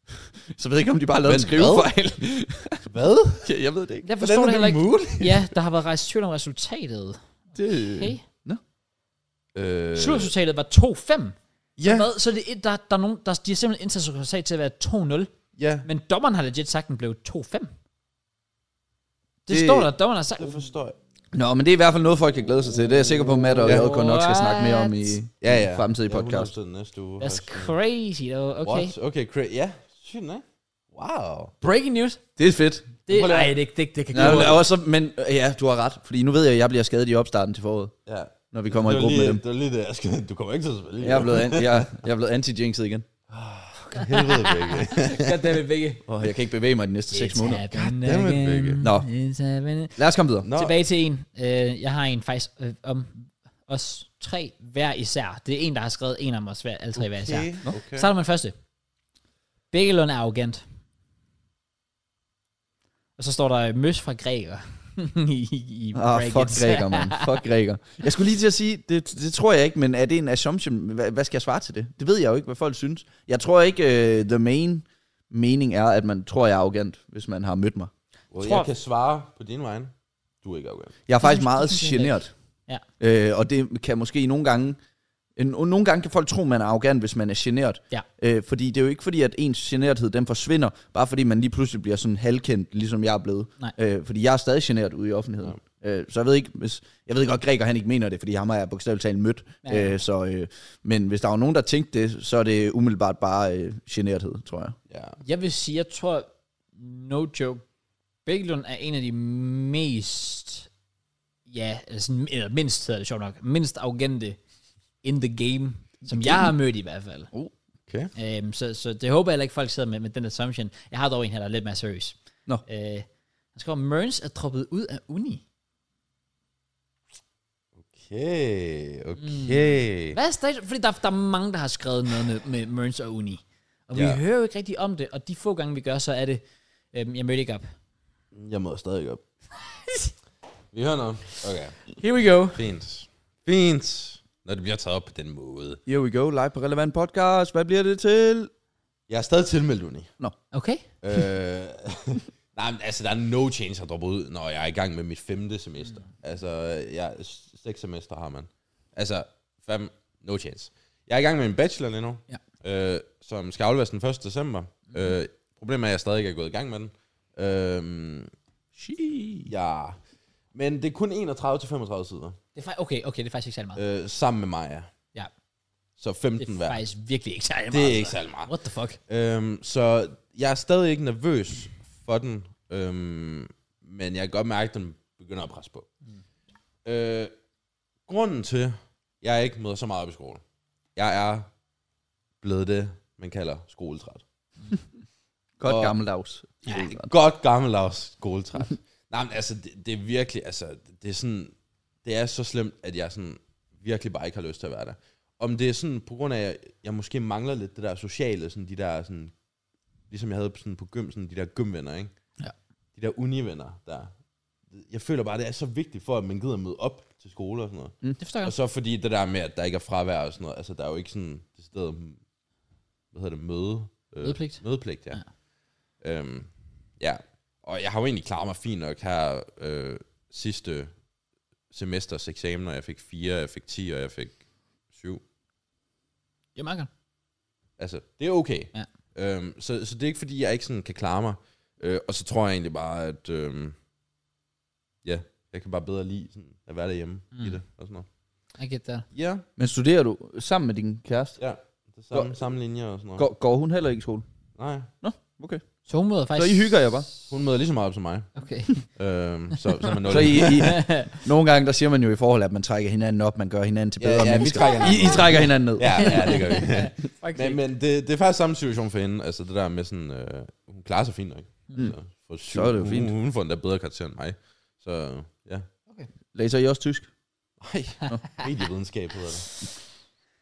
C: [LAUGHS] Så ved jeg ikke, om de bare lavede en
B: Men hvad?
C: skrivefejl.
B: Hvad?
C: [LAUGHS] Ja, jeg ved det ikke.
A: Jeg forstår det heller ikke.
B: muligt?
A: Ja, der har været rejst tvivl om resultatet.
C: Det,
A: Okay.
B: Øh,
A: Slutresultatet var 2-5.
B: ja,
A: Hvad? Så er det et, der, der er nogen, der, de har simpelthen indsat resultat til at være 2-0.
B: ja.
A: Men dommeren har legit sagt, den blev 2-5. Det,
C: Det-
A: står der, dommeren har sagt.
B: Det forstår jeg.
C: Nå, men det er i hvert fald noget, folk kan glæde sig til. Det er jeg sikker på, at Matt og
B: Ja.
C: jeg ja. nok skal snakke mere om i,
B: Ja, ja.
C: i fremtidige
B: Ja,
C: podcast.
B: 100% næste uge.
A: That's
B: Har jeg sådan-
A: crazy, though. Okay.
B: What? Okay, cra- ja. Sygt, nej? Wow.
A: Breaking news.
C: Det er fedt.
A: Det,
B: Prøv lige at-
A: nej, det, det, det kan
C: Nej,
A: gå.
C: men, også, men ja, du har ret. Fordi nu ved jeg, at jeg bliver skadet i opstarten til foråret,
B: Ja.
C: når vi kommer i
B: det var
C: gruppen
B: lige,
C: med dem.
B: det var lige det, jeg skal. Du kommer ikke til at spille.
C: Jeg er blevet, an, jeg, jeg er blevet anti-jinxet igen.
B: Helvede, Begge.
A: Goddammit, Vigge.
C: Og jeg kan ikke bevæge mig de næste 6 måneder.
B: Goddammit, Vigge.
A: Nå.
C: Nå.
A: It's happening.
C: Lad os komme videre.
B: Nå,
A: Tilbage til en. Øh, jeg har en faktisk øh, om os tre hver især. Det er en, der har skrevet en om os hver, alle tre okay. hver især.
B: okay. okay.
A: Så er der den første. Bækkelund er arrogant. Og så står der øh, møs fra græker. [LAUGHS] I, i
C: Ah,
A: brackets.
C: oh, fuck græker, mand. Fuck græker. Jeg skulle lige til at sige, det, det tror jeg ikke, men er det en assumption? Hvad, hvad skal jeg svare til det? Det ved jeg jo ikke, hvad folk synes. Jeg tror ikke, uh, the main mening er, at man tror, jeg er arrogant, hvis man har mødt mig.
B: Well,
A: Tror-
B: jeg kan svare på din vej. Du er ikke arrogant.
C: Jeg er faktisk
A: synes-
C: meget
A: det synes jeg
C: generet.
A: ikke.
C: Øh, og det kan måske nogle gange... en- Nogle gange kan folk tro, man er arrogant, hvis man er generet.
A: Ja.
C: Øh, fordi det er jo ikke fordi, at ens generthed den forsvinder, bare fordi man lige pludselig bliver sådan halvkendt, ligesom jeg er blevet.
A: Nej.
C: Øh, fordi jeg er stadig generet ude i offentligheden. Øh, så jeg ved ikke, hvis, jeg ved godt, Græker han ikke mener det, fordi ham har jeg bogstaveligt talt mødt.
A: Ja, ja.
C: Øh, så, øh, men hvis der var nogen, der tænkte det, så er det umiddelbart bare øh, generthed, tror jeg.
B: Ja.
A: Jeg vil sige, jeg tror, no joke, Bækkelund er en af de mest, ja, eller, sådan, eller mindst hedder det sjovt nok, mindst arrogante in the game, som jeg har mødt i hvert fald.
B: Okay.
A: Øhm, så, så det håber jeg heller ikke, folk sidder med, med den assumption. Jeg har dog en her, der er lidt mere seriøs.
C: Nå.
A: Øh, han skriver, Mørns er droppet ud af uni.
B: Okay, okay.
A: Hvad er status? Fordi der, der er mange, der har skrevet noget med, med Mørns og uni. Og vi
B: Ja.
A: hører jo ikke rigtig om det, og de få gange, vi gør, så er det, øhm, jeg mødte ikke op.
B: Jeg møder stadig op. Vi hører noget. Okay.
A: Here we go.
B: Fint. Fint. Når det bliver taget op på den måde.
C: Here we go, live på Relevant Podcast. Hvad bliver det til?
B: Jeg er stadig tilmeldt uni.
A: Okay.
B: øh, [LAUGHS] nej, men altså, der er no chance at droppe ud, når jeg er i gang med mit femte semester. Mm. Altså, jeg, s- seks semester har man. Altså, fem, no chance. Jeg er i gang med min bachelor lige nu, ja. øh, som skal afleveres den 1. december. Mm.
A: Mm-hmm.
B: Øh, problemet er, at jeg stadig ikke er gået i gang med den. Øh, ja. Men det er kun 31-35 sider,
A: Det er fa- okay, okay, det er faktisk ikke særlig meget.
B: øh, sammen med Maja.
A: Ja.
B: Så
A: Det
B: 15
A: er
B: hver.
A: faktisk virkelig ikke særlig meget. altså.
B: Det er ikke særlig meget.
A: What the fuck?
B: Øhm, så jeg er stadig ikke nervøs for den, øhm, men jeg kan godt mærke, at den begynder at presse på. Mm. Øh, grunden til, at jeg ikke møder så meget op i skole, jeg er blevet det, man kalder skoletræt.
C: Godt
B: Og-
C: gammeldags.
B: Ja, godt gammeldags skoletræt. Nej, men altså, det, det er virkelig, altså, det er sådan, det er så slemt, at jeg sådan virkelig bare ikke har lyst til at være der. Om det er sådan, på grund af, at jeg måske mangler lidt det der sociale, sådan de der sådan, ligesom jeg havde sådan på gym, sådan de der gymvenner, ikke?
A: Ja.
B: De der univenner, der. Jeg føler bare, det er så vigtigt for, at man gider møde op til skole og sådan noget.
A: Det forstår jeg.
B: Og så fordi det der med, at der ikke er fravær og sådan noget, altså der er jo ikke sådan det sted, hvad hedder det, møde? Øh,
A: Mødepligt.
B: Mødepligt, ja. Ja. Øhm, ja. Og jeg har jo egentlig klaret mig fint nok her øh, sidste semesters eksamener. Jeg fik 4, jeg fik 10, og jeg fik 7.
A: Jeg mangler.
B: Altså, det er okay.
A: Ja.
B: Øhm, så, så det er ikke fordi, jeg ikke sådan kan klare mig. Øh, og så tror jeg egentlig bare, at øhm, ja, jeg kan bare bedre lide sådan, at være derhjemme mm. i det og sådan noget.
A: I get that.
B: Ja,
C: Men studerer du sammen med din kæreste?
B: ja. Det er samme, samme linjer og sådan noget.
C: Går, går hun heller ikke i skole?
B: Nej,
C: Nå, okay.
A: Så hun møder
C: Så
A: faktisk...
C: I hygger jer bare?
B: hun møder lige så meget op som mig.
A: Okay.
B: Øhm, så, så er man nul.
C: [LAUGHS] Så I,
B: [LAUGHS]
C: I, nogle gange, der siger man jo i forhold, at man trækker hinanden op, man gør hinanden til
B: Ja,
C: bedre
B: ja, vi
C: mennesker.
B: trækker
C: I, I trækker hinanden ned.
B: Ja, ja, det gør vi.
C: [LAUGHS]
B: Ja.
A: [LAUGHS] Fuck
B: Men, men det, det er faktisk samme situation for hende. Altså det der med sådan, øh, hun klarer sig fint nok. Mm. Så, for syv,
C: Så er det jo
B: hun-
C: fint.
B: Hun, hun får en der bedre karakter end mig. Så ja.
C: Læser I også tysk?
B: Ej, medievidenskab hedder det.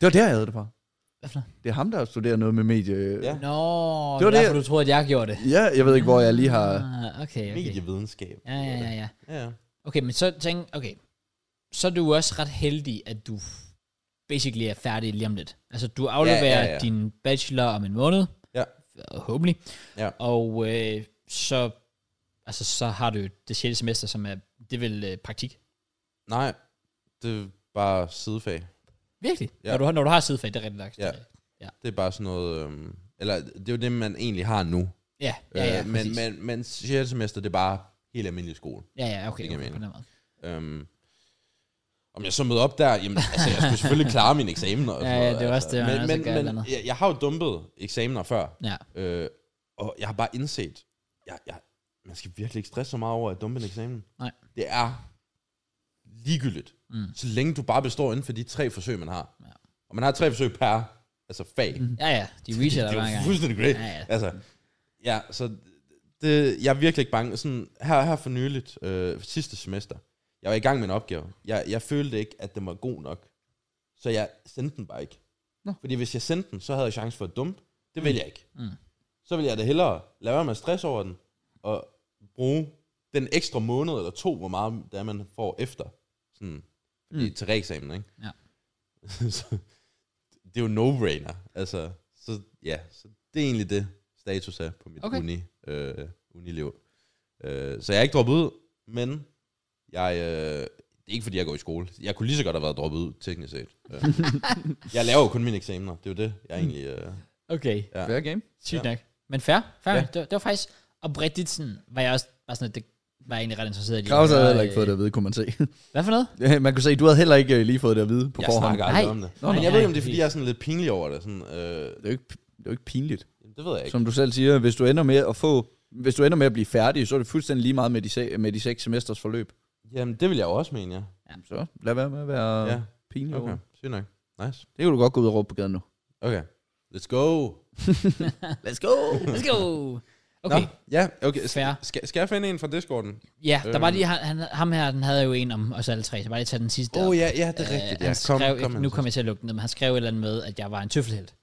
C: Det var der, jeg havde det fra.
A: Hvad for noget?
C: Det er ham, der studerer noget med medie...
A: Nå,
B: Ja.
C: Det
A: det var
C: var det.
A: derfor, du troede, at jeg gjorde det.
C: ja jeg ved ikke, hvor jeg lige har...
A: Ah, okay, okay.
B: Medievidenskab.
A: Ja, ja, ja, ja.
B: ja. ja.
A: Okay, men så tænk, okay. Så er du jo også ret heldig, at du basically er færdig lige om lidt. Altså, du afleverer ja, ja,
B: ja.
A: ja. din bachelor om en måned.
B: Ja.
A: Håbentlig.
B: Ja.
A: Og øh, så, altså, så har du jo det 6. semester, som er, det er vel øh, praktik.
B: Nej, det er bare sidefag.
A: Virkelig? Ja.
B: Ja.
A: Når, du, har- når du har sidefag, det er rigtig nok.
B: Ja. Det er bare sådan noget... Øhm, eller det er jo det, man egentlig har nu.
A: Ja, ja, ja,
B: øh,
A: præcis.
B: men, men, men 6. semester, det er bare helt almindelig skole.
A: ja, ja, okay,
B: Det giver
A: okay på
B: mening.
A: den måde.
B: Øhm, om jeg så møder op der, jamen, altså, jeg skulle
A: [LAUGHS]
B: selvfølgelig klare mine eksamener. Og
A: Ja,
B: sådan
A: ja,
B: noget,
A: det er jo også
B: altså.
A: det, man også
B: Men,
A: gør et
B: men,
A: eller
B: men
A: andet.
B: jeg, jeg har jo dumpet eksamener før,
A: Ja,
B: øh, og jeg har bare indset, jeg, jeg, man skal virkelig ikke stresse så meget over at dumpe en eksamen.
A: Nej.
B: Det er ligegyldigt, mm. så længe du bare består inden for de tre forsøg, man har. Ja. Og man har tre forsøg per altså fag. Mm.
A: Ja, ja, de reacher der
B: det
A: hver
B: er jo
A: gang.
B: fuldstændig great.
A: Ja, ja.
B: Altså, ja, så det, jeg er virkelig ikke bange. Sådan, her, her for nyligt, øh, sidste semester, jeg var i gang med en opgave. Jeg, jeg følte ikke, at den var god nok. Så jeg sendte den bare ikke.
C: Nå.
B: Fordi hvis jeg sendte den, så havde jeg chance for at dumpe. Det vil jeg ikke. Mm. Så vil jeg da hellere lade være med at stress over den, og bruge den ekstra måned eller to, hvor meget det er, man får efter. Sådan, mm. til reeksamen, ikke?
A: Ja.
B: [LAUGHS] så, det er jo no-brainer. Altså, så ja, så det er egentlig det status er på mit
A: Okay.
B: okay. uni, øh, uniliv. Øh, så jeg er ikke droppet ud, men jeg, øh, det er ikke fordi, jeg går i skole. Jeg kunne lige så godt have været droppet ud, teknisk set.
A: [LAUGHS]
B: Øh. jeg laver jo kun mine eksamener. Det er jo det, jeg
A: Mm.
B: egentlig... Øh,
A: Okay,
B: Ja.
C: Fair game.
A: sygt
B: Ja.
A: nok. Men fair, fair.
B: Ja.
A: Ja. Det, var- det, var faktisk oprigtigt sådan, var jeg også bare sådan, at det var jeg egentlig ret interesseret i. at
C: Claus havde
A: høre,
C: heller ikke
A: øh,
C: fået det at vide, kunne man se. [LAUGHS]
A: Hvad for noget?
C: Ja, man kunne se, du havde heller ikke øh, lige fået det at vide på
B: jeg
C: forhånd.
B: snakker aldrig
A: Nej.
B: om det.
A: Nå,
B: men
A: nej,
B: jeg ved ikke, om
A: nej,
B: det er, fordi
A: præcis.
B: jeg er sådan lidt pinlig over det. Sådan, øh,
C: Det er jo ikke, det er jo ikke pinligt.
B: det ved jeg ikke.
C: Som du selv siger, hvis du ender med at få hvis du ender med at blive færdig, så er det fuldstændig lige meget med de, se, med de seks semesters forløb.
B: Jamen, det vil jeg jo også mene, ja.
C: Så lad være med at være
B: Ja.
C: ja. pinlig okay.
B: Okay, sygt nok. Nice.
C: Det kan du godt gå ud og råbe på gaden nu.
B: Okay, let's go.
A: [LAUGHS] Let's go! Let's go! Okay, Nå.
B: ja, okay.
A: Fair.
B: Skal, skal jeg finde en fra Discorden?
A: ja, der
B: Øhm.
A: var lige, han, han- ham her, den havde jo en om os alle tre, så bare lige tage den sidste.
B: Åh oh, ja, ja, det er
A: Øh,
B: rigtigt.
A: han
B: Ja.
A: skrev, nu
B: Hans.
A: kommer jeg til at lukke den ned, men han skrev et eller andet med, at jeg var en tøffelhelt.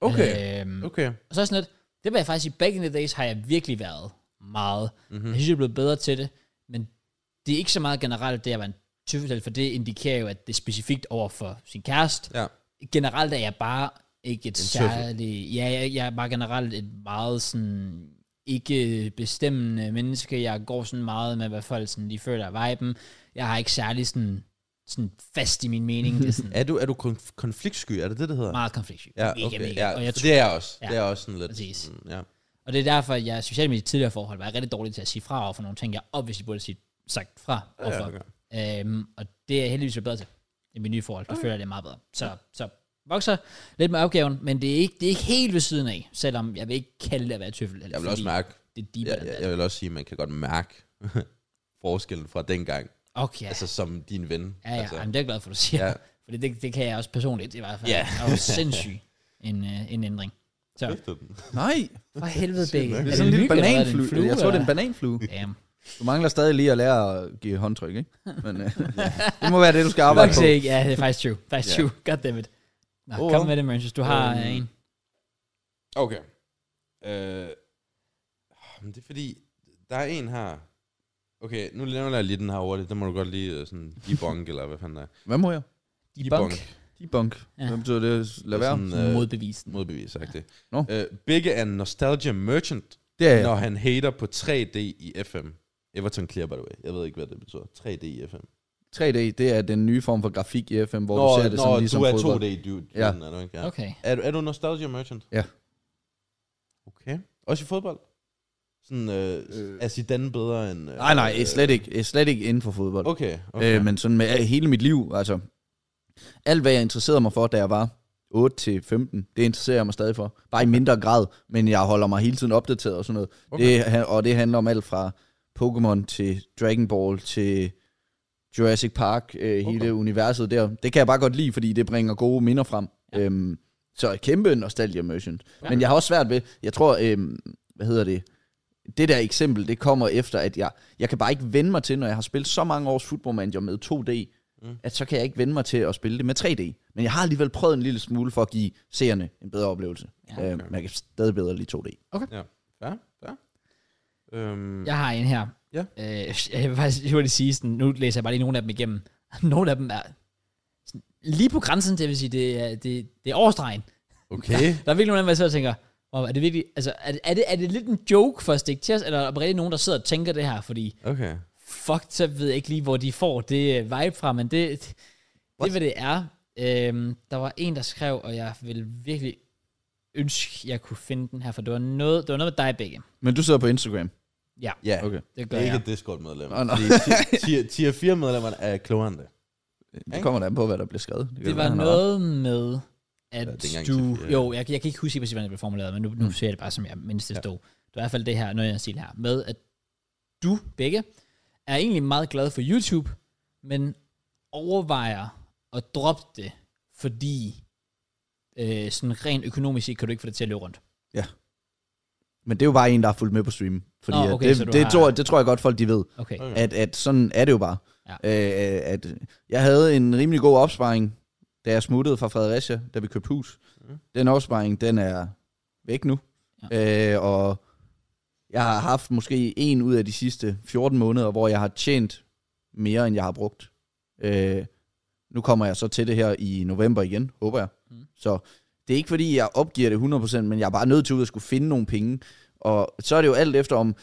B: Okay,
A: Øhm,
B: okay.
A: Og så er jeg sådan lidt, det var jeg faktisk i back in the days, har jeg virkelig været meget.
B: Mhm.
A: Mm-hmm. Jeg synes, jeg er blevet bedre til det, men det er ikke så meget generelt, det at være en tyffelhelt, for det indikerer jo, at det er specifikt over for sin kæreste.
B: Ja.
A: Generelt er jeg bare ikke et
B: tøffel.
A: særligt... Ja, jeg, jeg er bare generelt et meget sådan ikke bestemmende menneske. Jeg går sådan meget med, hvad folk sådan, de føler er viben. Jeg har ikke særlig sådan, sådan fast i min mening. Det er
B: [LAUGHS]
A: sådan
B: Er du, er du konf- konfliktsky? Er det det, det hedder?
A: meget konfliktsky.
B: ja,
A: Mega,
B: okay.
A: mega.
B: Ja,
A: Og jeg
B: for det er jeg også.
A: Ja,
B: Ja. Det er også sådan lidt.
A: præcis.
B: sådan, Ja.
A: Og det er derfor, at jeg specielt i mit tidligere forhold var jeg rigtig dårlig til at sige fra over for nogle ting, jeg obviously burde sige sagt fra
B: Ja,
A: overfor.
B: okay.
A: Ja, øhm, og det er jeg heldigvis blevet bedre til i mit nye forhold. Der føler jeg det er meget bedre. Så, så vokser lidt med opgaven, men det er, ikke, det er ikke helt ved siden af, selvom jeg vil ikke kalde det at være tøffel.
B: Jeg vil også mærke,
A: Det er deeper
B: jeg,
A: end
B: jeg,
A: det.
B: jeg vil også sige, at man kan godt mærke [LAUGHS] forskellen fra dengang.
A: Okay,
B: Altså som din ven.
A: ja, ja.
B: Altså,
A: Jamen, det er jeg glad for, du siger.
B: Ja.
A: Fordi det, det kan jeg også personligt i hvert fald.
B: Ja.
A: Det er jo sindssygt en, øh, en ændring. Så
C: Nej, [LAUGHS]
A: for helvede begge.
C: det er sådan en lille
A: myg, eller hvad? Er det en
C: bananflue. Jeg tror, det er en
A: eller?
B: [LAUGHS]
C: bananflue. [LAUGHS]
A: Damn.
C: Du mangler stadig lige at lære at give håndtryk, ikke? Men øh, det må være [LAUGHS] det, du skal arbejde
A: Fuck
C: på.
A: sake, ja, det er faktisk true. Faktisk
B: Ja.
A: true. God damn it. Nå,
B: Oh,
A: oh, kom med det, Merchants. Du har
B: Øhm,
A: øh, en.
B: Okay. Øh, men det er fordi, der er en her. Okay, nu laver jeg lige den her hurtigt. Den må du godt lige øh, sådan debunk, eller hvad fanden det er.
C: Hvad må jeg?
A: Debunk.
C: Debunk.
A: Ja.
C: Hvad betyder det? Lad
B: Det er
C: være.
B: sådan, øh,
A: Modbevisen.
B: modbevis, sagt det.
C: Nå.
B: Øh, Bigge er en nostalgia merchant,
C: Det er
B: ja.
C: jeg.
B: når han hater på 3D i FM. Everton Clear, by the way. Jeg ved ikke, hvad det betyder. 3D i FM.
C: 3D, det er den nye form for grafik i FM, hvor du ser det
B: når
C: sådan ligesom
B: du er
C: fodbold.
B: 2D, du,
C: Ja.
B: ja. er du ikke? Ja.
A: Okay.
B: Er, du- er du nostalgia merchant?
C: Ja.
B: Okay. Også i fodbold? Sådan, øh, øh.
C: Øh.
B: er Zidane bedre end... Øh,
C: Nej, nej, øh, slet ikke. øh, Slet ikke inden for fodbold.
B: Okay, okay.
C: Okay. Øh, men sådan med øh, hele mit liv, altså. Alt, hvad jeg interesserede mig for, da jeg var 8-15, det interesserer jeg mig stadig for. Bare i mindre grad, men jeg holder mig hele tiden opdateret og sådan noget.
B: Okay.
C: Okay. Det, han- og det handler om alt fra Pokémon til Dragon Ball til Jurassic Park, øh, okay. hele universet der. Det kan jeg bare godt lide, fordi det bringer gode minder frem. Ja. Øhm, så et kæmpe nostalgia merchant. Ja. Men jeg har også svært ved, jeg tror, øhm, hvad hedder det, det der eksempel, det kommer efter, at jeg, jeg kan bare ikke vende mig til, når jeg har spillet så mange års Football Manager med 2D, mm. at så kan jeg ikke vende mig til at spille det med 3D. Men jeg har alligevel prøvet en lille smule for at give seerne en bedre oplevelse. Ja, okay. øhm, man kan stadig bedre lide 2D.
B: Ja, ja, ja. Øhm, ja.
A: Jeg har en her.
B: Ja.
A: Øh, jeg vil faktisk hurtigt sige, sådan, nu læser jeg bare lige nogle af dem igennem. [LAUGHS] Nogle af dem er sådan, lige på grænsen, det vil sige, det er, det, det er overstregen.
B: Okay.
A: Der er virkelig nogle af dem, hvor jeg sidder og tænker, wow, er det virkelig, altså, er, det- er, det, er det lidt en joke for at stikke til os, eller er der rigtig nogen, der sidder og tænker det her, fordi
B: Okay.
A: fuck, så ved jeg ikke lige, hvor de får det øh, vibe fra, men det, det er, hvad det er. Øhm, der var en, der skrev, og jeg ville virkelig ønske, jeg kunne finde den her, for det var noget, det var noget med dig begge.
C: Men du sidder på Instagram.
A: Ja,
B: Ja, okay.
C: Okay.
A: det gør
B: Det er ikke
A: jeg.
B: et Discord-medlem.
C: Nå, nå.
B: Fordi tier- tier- Tier 4-medlemmerne er klogere end det.
C: Det kommer da an på, hvad der bliver skrevet. kan
A: Det
C: være,
A: var
C: han har
A: noget med,
B: Ja, det
A: at
B: er ikke engang
A: du...
B: til- ja.
A: Jo, jeg, jeg kan ikke huske, præcis, hvordan det blev formuleret, men nu, nu ser jeg det bare, som jeg mindst det stod. Det var i hvert fald det her, noget jeg siger her, med at du begge, er egentlig meget glad for YouTube, men overvejer at droppe det, fordi øh, sådan rent økonomisk set kan du ikke få det til at løbe rundt.
C: Men det er jo bare en, der har fulgt med på streamen. Fordi
A: Nå,
C: at
A: okay, så
C: det,
A: du
C: det,
A: har-
C: tror, det tror jeg godt, folk de ved.
A: Okay.
B: Okay.
C: At, at sådan er det jo bare.
A: Ja.
C: Øh, at jeg havde en rimelig god opsparing, da jeg smuttede fra Fredericia, da vi købte hus.
B: Mm.
C: Den opsparing, den er væk nu. Ja. Øh, og jeg har haft måske en ud af de sidste 14 måneder, hvor jeg har tjent mere, end jeg har brugt. Øh, nu kommer jeg så til det her i november igen, håber jeg. Mm. Så det er ikke fordi, jeg opgiver det 100%, men jeg er bare nødt til ud at skulle finde nogle penge. Og så er det jo alt efter om...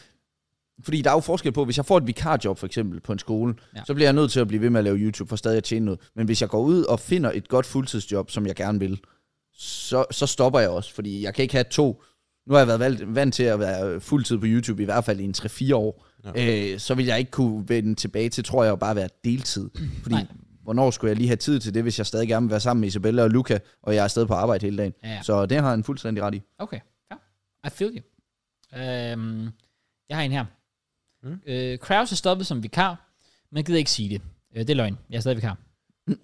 C: Fordi der er jo forskel på, hvis jeg får et vikarjob for eksempel på en skole,
A: Ja.
C: ja. så bliver jeg nødt til at blive ved med at lave YouTube for stadig at tjene noget. Men hvis jeg går ud og finder et godt fuldtidsjob, som jeg gerne vil, så, så stopper jeg også, fordi jeg kan ikke have to. Nu har jeg været valgt, vant til at være fuldtid på YouTube, i hvert fald i en 3-4 år. Ja. Øh, så vil jeg ikke kunne vende tilbage til, tror jeg, at bare være deltid. Fordi,
A: Nej.
C: Nej. hvornår skulle jeg lige have tid til det, hvis jeg stadig gerne vil være sammen med Isabella og Luca, og jeg er afsted på arbejde hele dagen.
A: Ja, ja.
C: Så det har han fuldstændig ret i.
A: Okay, ja. I feel you. Øhm, jeg har en her. Mm.
B: Mm.
A: Øh, Kraus er stoppet som vikar, men gider ikke sige det. Øh, det er løgn. Jeg er stadig vikar.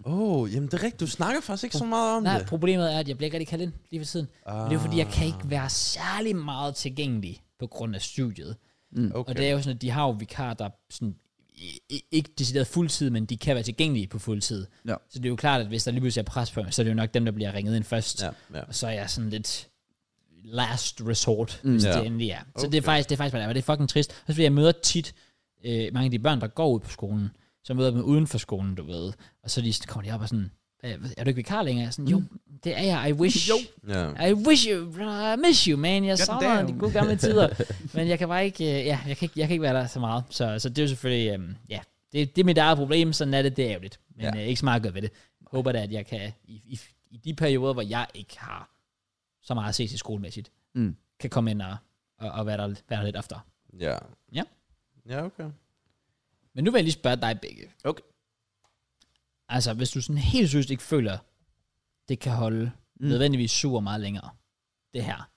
B: Åh, oh, jamen det er rigtigt. Du snakker faktisk ikke så meget om
A: Nej,
B: det.
A: problemet er, at jeg bliver ikke rigtig kaldt ind lige for tiden. Men det er jo fordi, jeg kan ikke være særlig meget tilgængelig på grund af studiet.
B: Okay.
A: Og det er jo sådan, at de har jo vikarer, der sådan, i- i- ikke decideret fuldtid, men de kan være tilgængelige på fuldtid.
C: Ja.
A: Så det er jo klart, at hvis der lige pludselig er pres på mig, så er det jo nok dem, der bliver ringet ind først.
B: Ja, ja.
A: Og så er jeg sådan lidt last resort, mm, hvis
B: Ja.
A: det endelig er. Så det er
B: Okay.
A: faktisk, det er faktisk bare det, er. det er fucking trist. Og så fordi jeg møder tit øh, mange af de børn, der går ud på skolen, så møder jeg dem uden for skolen, du ved. Og så lige sådan, kommer de op og sådan, "Øh, er du ikke vikar længere? Jeg er Sådan,
B: Mm.
A: jo, det er jeg, I wish. Jo.
B: ja.
A: I wish you, I miss you, man. Jeg
C: God
A: savner
C: damn.
A: de gode gamle tider. [LAUGHS] Men jeg kan bare ikke, øh, ja, jeg kan ikke, jeg kan ikke være der så meget. Så, så det er jo selvfølgelig, øhm, ja, det, det er mit eget problem, sådan er det, det er ærgerligt. Men ja.
C: Ja.
A: øh, ikke så meget at gøre ved det. Jeg håber da, at jeg kan, i, i, i de perioder, hvor jeg ikke har så meget at se til skolemæssigt,
C: Mm.
A: kan komme ind og, og, og være, der, være der lidt oftere.
B: Ja.
A: Ja.
B: Ja, okay.
A: Men nu vil jeg lige spørge dig begge.
C: Okay.
A: Altså, hvis du sådan helt seriøst ikke føler, det kan holde mm.
C: Mm.
A: nødvendigvis super meget længere, det her.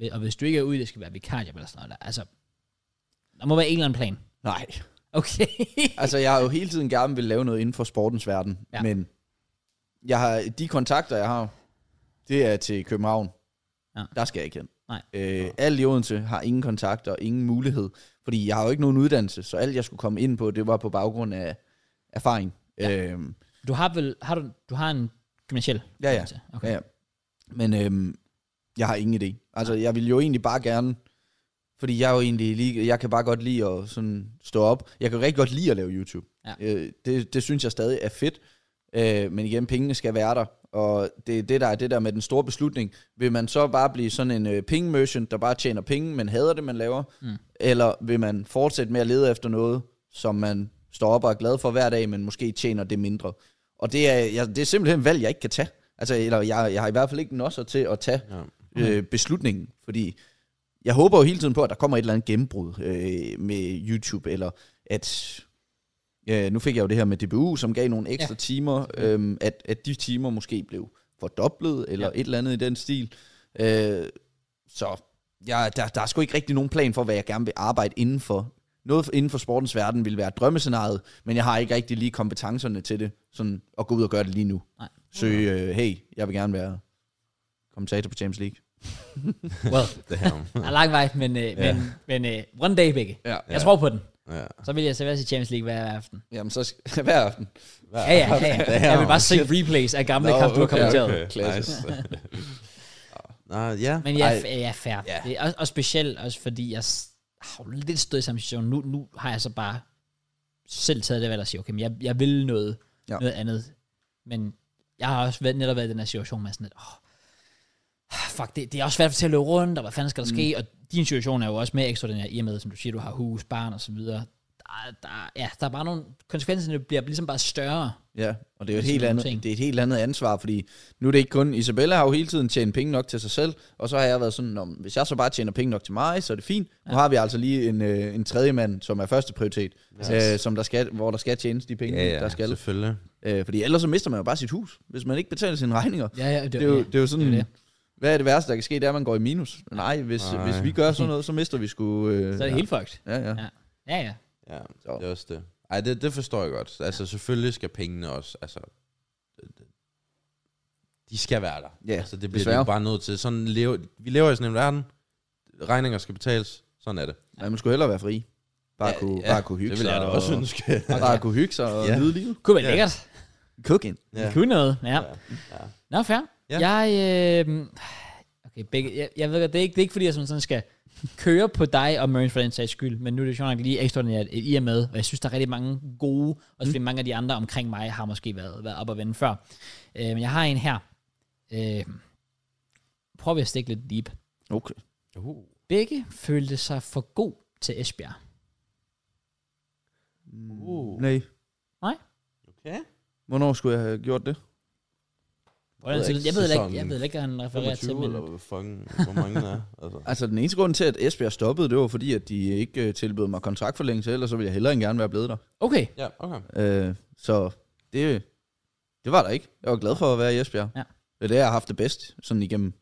A: Hvi- Og hvis du ikke er ude, i, det skal være vikarjob eller sådan noget. der. Altså, der må være en eller anden plan. [LAUGHS]
C: Nej.
A: Okay.
C: Altså, jeg har jo hele tiden gerne vil lave noget inden for sportens verden,
A: Ja.
C: ja. men jeg har, de kontakter, jeg har, det er til København.
A: Ja.
C: Ja. Der skal jeg ikke hen.
A: Nej.
C: Øh, alt i Odense har ingen kontakter, ingen mulighed, fordi jeg har jo ikke nogen uddannelse, så alt jeg skulle komme ind på, det var på baggrund af erfaring. Ja. Øhm,
A: du har vel, har du, du har en gymnasiel
C: Ja, ja.
A: uddannelse. Okay.
C: Ja, ja. Men øhm, jeg har ingen idé. Altså, jeg vil jo egentlig bare gerne... Fordi jeg er jo egentlig lige, jeg kan bare godt lide at sådan stå op. Jeg kan rigtig godt lide at lave YouTube.
A: Ja.
C: Øh, det, det synes jeg stadig er fedt. Øh, men igen, pengene skal være der. Og det er det, der er det der med den store beslutning. Vil man så bare blive sådan en øh, penge merchant, der bare tjener penge, men hader det, man laver?
A: Mm.
C: Eller vil man fortsætte med at lede efter noget, som man står op og er glad for hver dag, men måske tjener det mindre? Og det er, jeg, det er simpelthen et valg, jeg ikke kan tage. Altså, eller jeg, jeg har i hvert fald ikke nosser til at tage
B: Ja.
C: øh, beslutningen, fordi jeg håber jo hele tiden på, at der kommer et eller andet gennembrud øh, med YouTube, eller at, øh, nu fik jeg jo det her med DBU, som gav nogle ekstra
A: Ja.
C: ja. timer, øh, at, at de timer måske blev fordoblet, eller
A: Ja.
C: ja. et eller andet i den stil. Øh, så jeg, der, der er sgu ikke rigtig nogen plan for, hvad jeg gerne vil arbejde inden for. Noget inden for sportens verden ville være drømmescenariet, men jeg har ikke rigtig lige kompetencerne til det, sådan at gå ud og gøre det lige nu.
A: Nej.
C: Så øh, hey, jeg vil gerne være kommentator på Champions League.
A: Well,
B: Det her. [LAUGHS]
A: der er lang vej, men, øh, men, men øh, one day begge.
C: Ja.
A: Jeg tror på den.
B: ja.
A: Så vil jeg servere til Champions League hver aften.
C: Jamen, så skal, [LAUGHS] hver aften.
A: Ja, ja, ja. ja. Jeg vil bare se replays af gamle kampe, du har kommenteret.
B: Nice. Nej, [LAUGHS] ja.
A: Men jeg, er- jeg er fair.
B: Ja.
A: Det er også, og specielt også fordi, jeg s- har jo lidt stået i samme situation. Nu, nu har jeg så bare selv taget det valg og sige, okay, men jeg, jeg vil noget, ja.
C: Ja.
A: noget andet. Men jeg har også været, netop været i den her situation med sådan lidt, åh, fuck, det, det er også svært til at løbe rundt, og hvad fanden
C: Mm.
A: skal der ske? Og din situation er jo også mere ekstraordinær, i og med, som du siger, du har hus, barn og så videre. Der, der, ja, der er bare nogle konsekvenser, der bliver ligesom bare større.
C: Ja, og det er jo et
A: Sådan
C: helt,
A: Altså, nogle
C: andet,
A: ting.
C: det er et helt andet ansvar, fordi nu er det ikke kun... Isabella har jo hele tiden tjent penge nok til sig selv, og så har jeg været sådan, "Nå, men hvis jeg så bare tjener penge nok til mig, så er det fint. Nu har vi altså lige en, øh, en tredje mand, som er første prioritet, øh, som der skal, hvor der skal tjenes de penge,
B: Ja, ja,
C: der skal.
B: selvfølgelig.
C: Øh, fordi ellers så mister man jo bare sit hus, hvis man ikke betaler sine regninger.
A: Ja, ja,
C: Det er jo, det er jo sådan...
A: det er det.
C: Hvad er det værste, der kan ske? Det er, at man går i minus. Nej, hvis,
B: Nej.
C: hvis vi gør sådan noget, så mister vi sgu... Øh,
A: Så er det
C: ja.
A: helt fucked.
C: Ja, ja.
A: Ja. Ja, ja.
B: Ja,
C: Så.
B: så. det er også det. Ej, det, det forstår jeg godt. Altså, selvfølgelig skal pengene også, altså, det- det- de skal være der.
C: Ja,
B: altså, det bliver de
C: desværre.
B: jo bare nødt til. Sådan lever, vi lever i sådan en verden, regninger skal betales, sådan er det.
C: Man skulle hellere være fri. Bare, ja, kunne, ja, bare kunne hygge
B: Det vil
C: sig.
B: jeg da også
C: og,
B: ønske.
C: og [LAUGHS] bare kunne hygge sig og
B: Ja.
C: nyde livet.
A: Kunne være
B: Ja.
A: lækkert.
C: Cooking.
A: Ja.
B: [LAUGHS] Ja.
A: Kunne noget, ja. ja.
B: Ja. Ja.
A: Nå, fair. Ja.
B: Ja.
A: Jeg, øh, okay, begge, jeg, jeg ved godt, det er ikke, det er ikke fordi, jeg sådan, sådan skal køre på dig og Mørens for den sags skyld, men nu er det sjovt nok lige ekstraordinært, at I er med, og jeg synes, der er rigtig mange gode,
B: Mm.
A: også fordi mange af de andre omkring mig har måske været, været op og vende før. Øh, men jeg har en her. Øh, prøver vi at stikke lidt deep.
C: Okay.
B: Uh.
A: Begge følte sig for god til Esbjerg.
B: Uh.
C: Mm, Nej.
B: Okay.
C: Hvornår skulle jeg have gjort det?
A: Hvordan, jeg,
B: ved
A: ved
B: ikke,
A: jeg, ved heller
B: sæsonen
A: ikke, jeg ved heller ikke, hvad han refererer til,
B: 25
A: men
B: eller hvor fucking, hvor mange der er. Altså.
C: Altså, den eneste grund til, at Esbjerg stoppede, det var fordi, at de ikke øh, tilbød mig kontraktforlængelse, ellers så ville jeg hellere end gerne være blevet der.
A: okay,
B: Ja, okay.
C: Øh, så det, det var der ikke. Jeg var glad for at være i Esbjerg.
A: Ja.
C: Det er det, jeg har haft det bedst, sådan igennem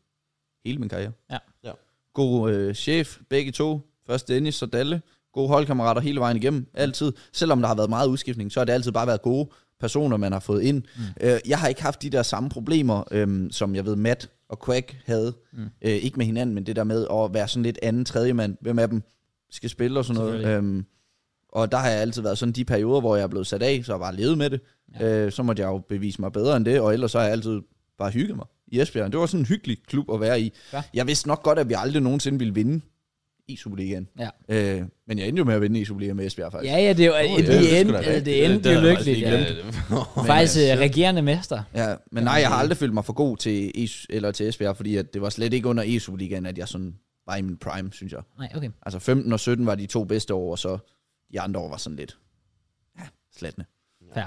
C: hele min karriere.
A: Ja.
B: Ja.
C: God øh, chef, begge to. Først Dennis, så Dalle. Gode holdkammerater hele vejen igennem, altid. Selvom der har været meget udskiftning, så har det altid bare været gode personer, man har fået ind. Mm. Øh, jeg har ikke haft de der samme problemer, øhm, som jeg ved Matt og Quack havde. Mm. Øh, ikke med hinanden, men det der med at være sådan lidt anden tredje mand. Hvem af dem skal spille og sådan noget.
A: Selvfølgelig.
C: Øhm, og der har jeg altid været sådan de perioder, hvor jeg er blevet sat af, så jeg bare levet med det. Ja. Øh, så måtte jeg jo bevise mig bedre end det, og ellers så har jeg altid bare hygget mig i Esbjerg. Det var sådan en hyggelig klub at være i.
A: Ja.
C: Jeg vidste nok godt, at vi aldrig nogensinde ville vinde i Superligaen.
A: Ja.
C: Øh, men jeg endte jo med at vinde i Superligaen med Esbjerg faktisk.
A: ja, ja, det er jo, oh,
B: det
A: det,
B: skulle
A: endte,
B: da
A: altså,
B: rigtigt.
A: det endte
B: er
A: jo
B: der
A: lykkeligt,
B: faktisk
A: ja.
B: lige [LAUGHS] glemt.
A: Faktisk øh, regerende mester.
C: Ja, men nej, jeg har aldrig følt mig for god til, e- eller til Esbjerg, fordi at det var slet ikke under e Superligaen, at jeg sådan var i min prime, synes jeg.
A: Nej, okay.
C: Altså 15 og 17 var de to bedste år, og så de andre år var sådan lidt ja, slatne.
A: Fair.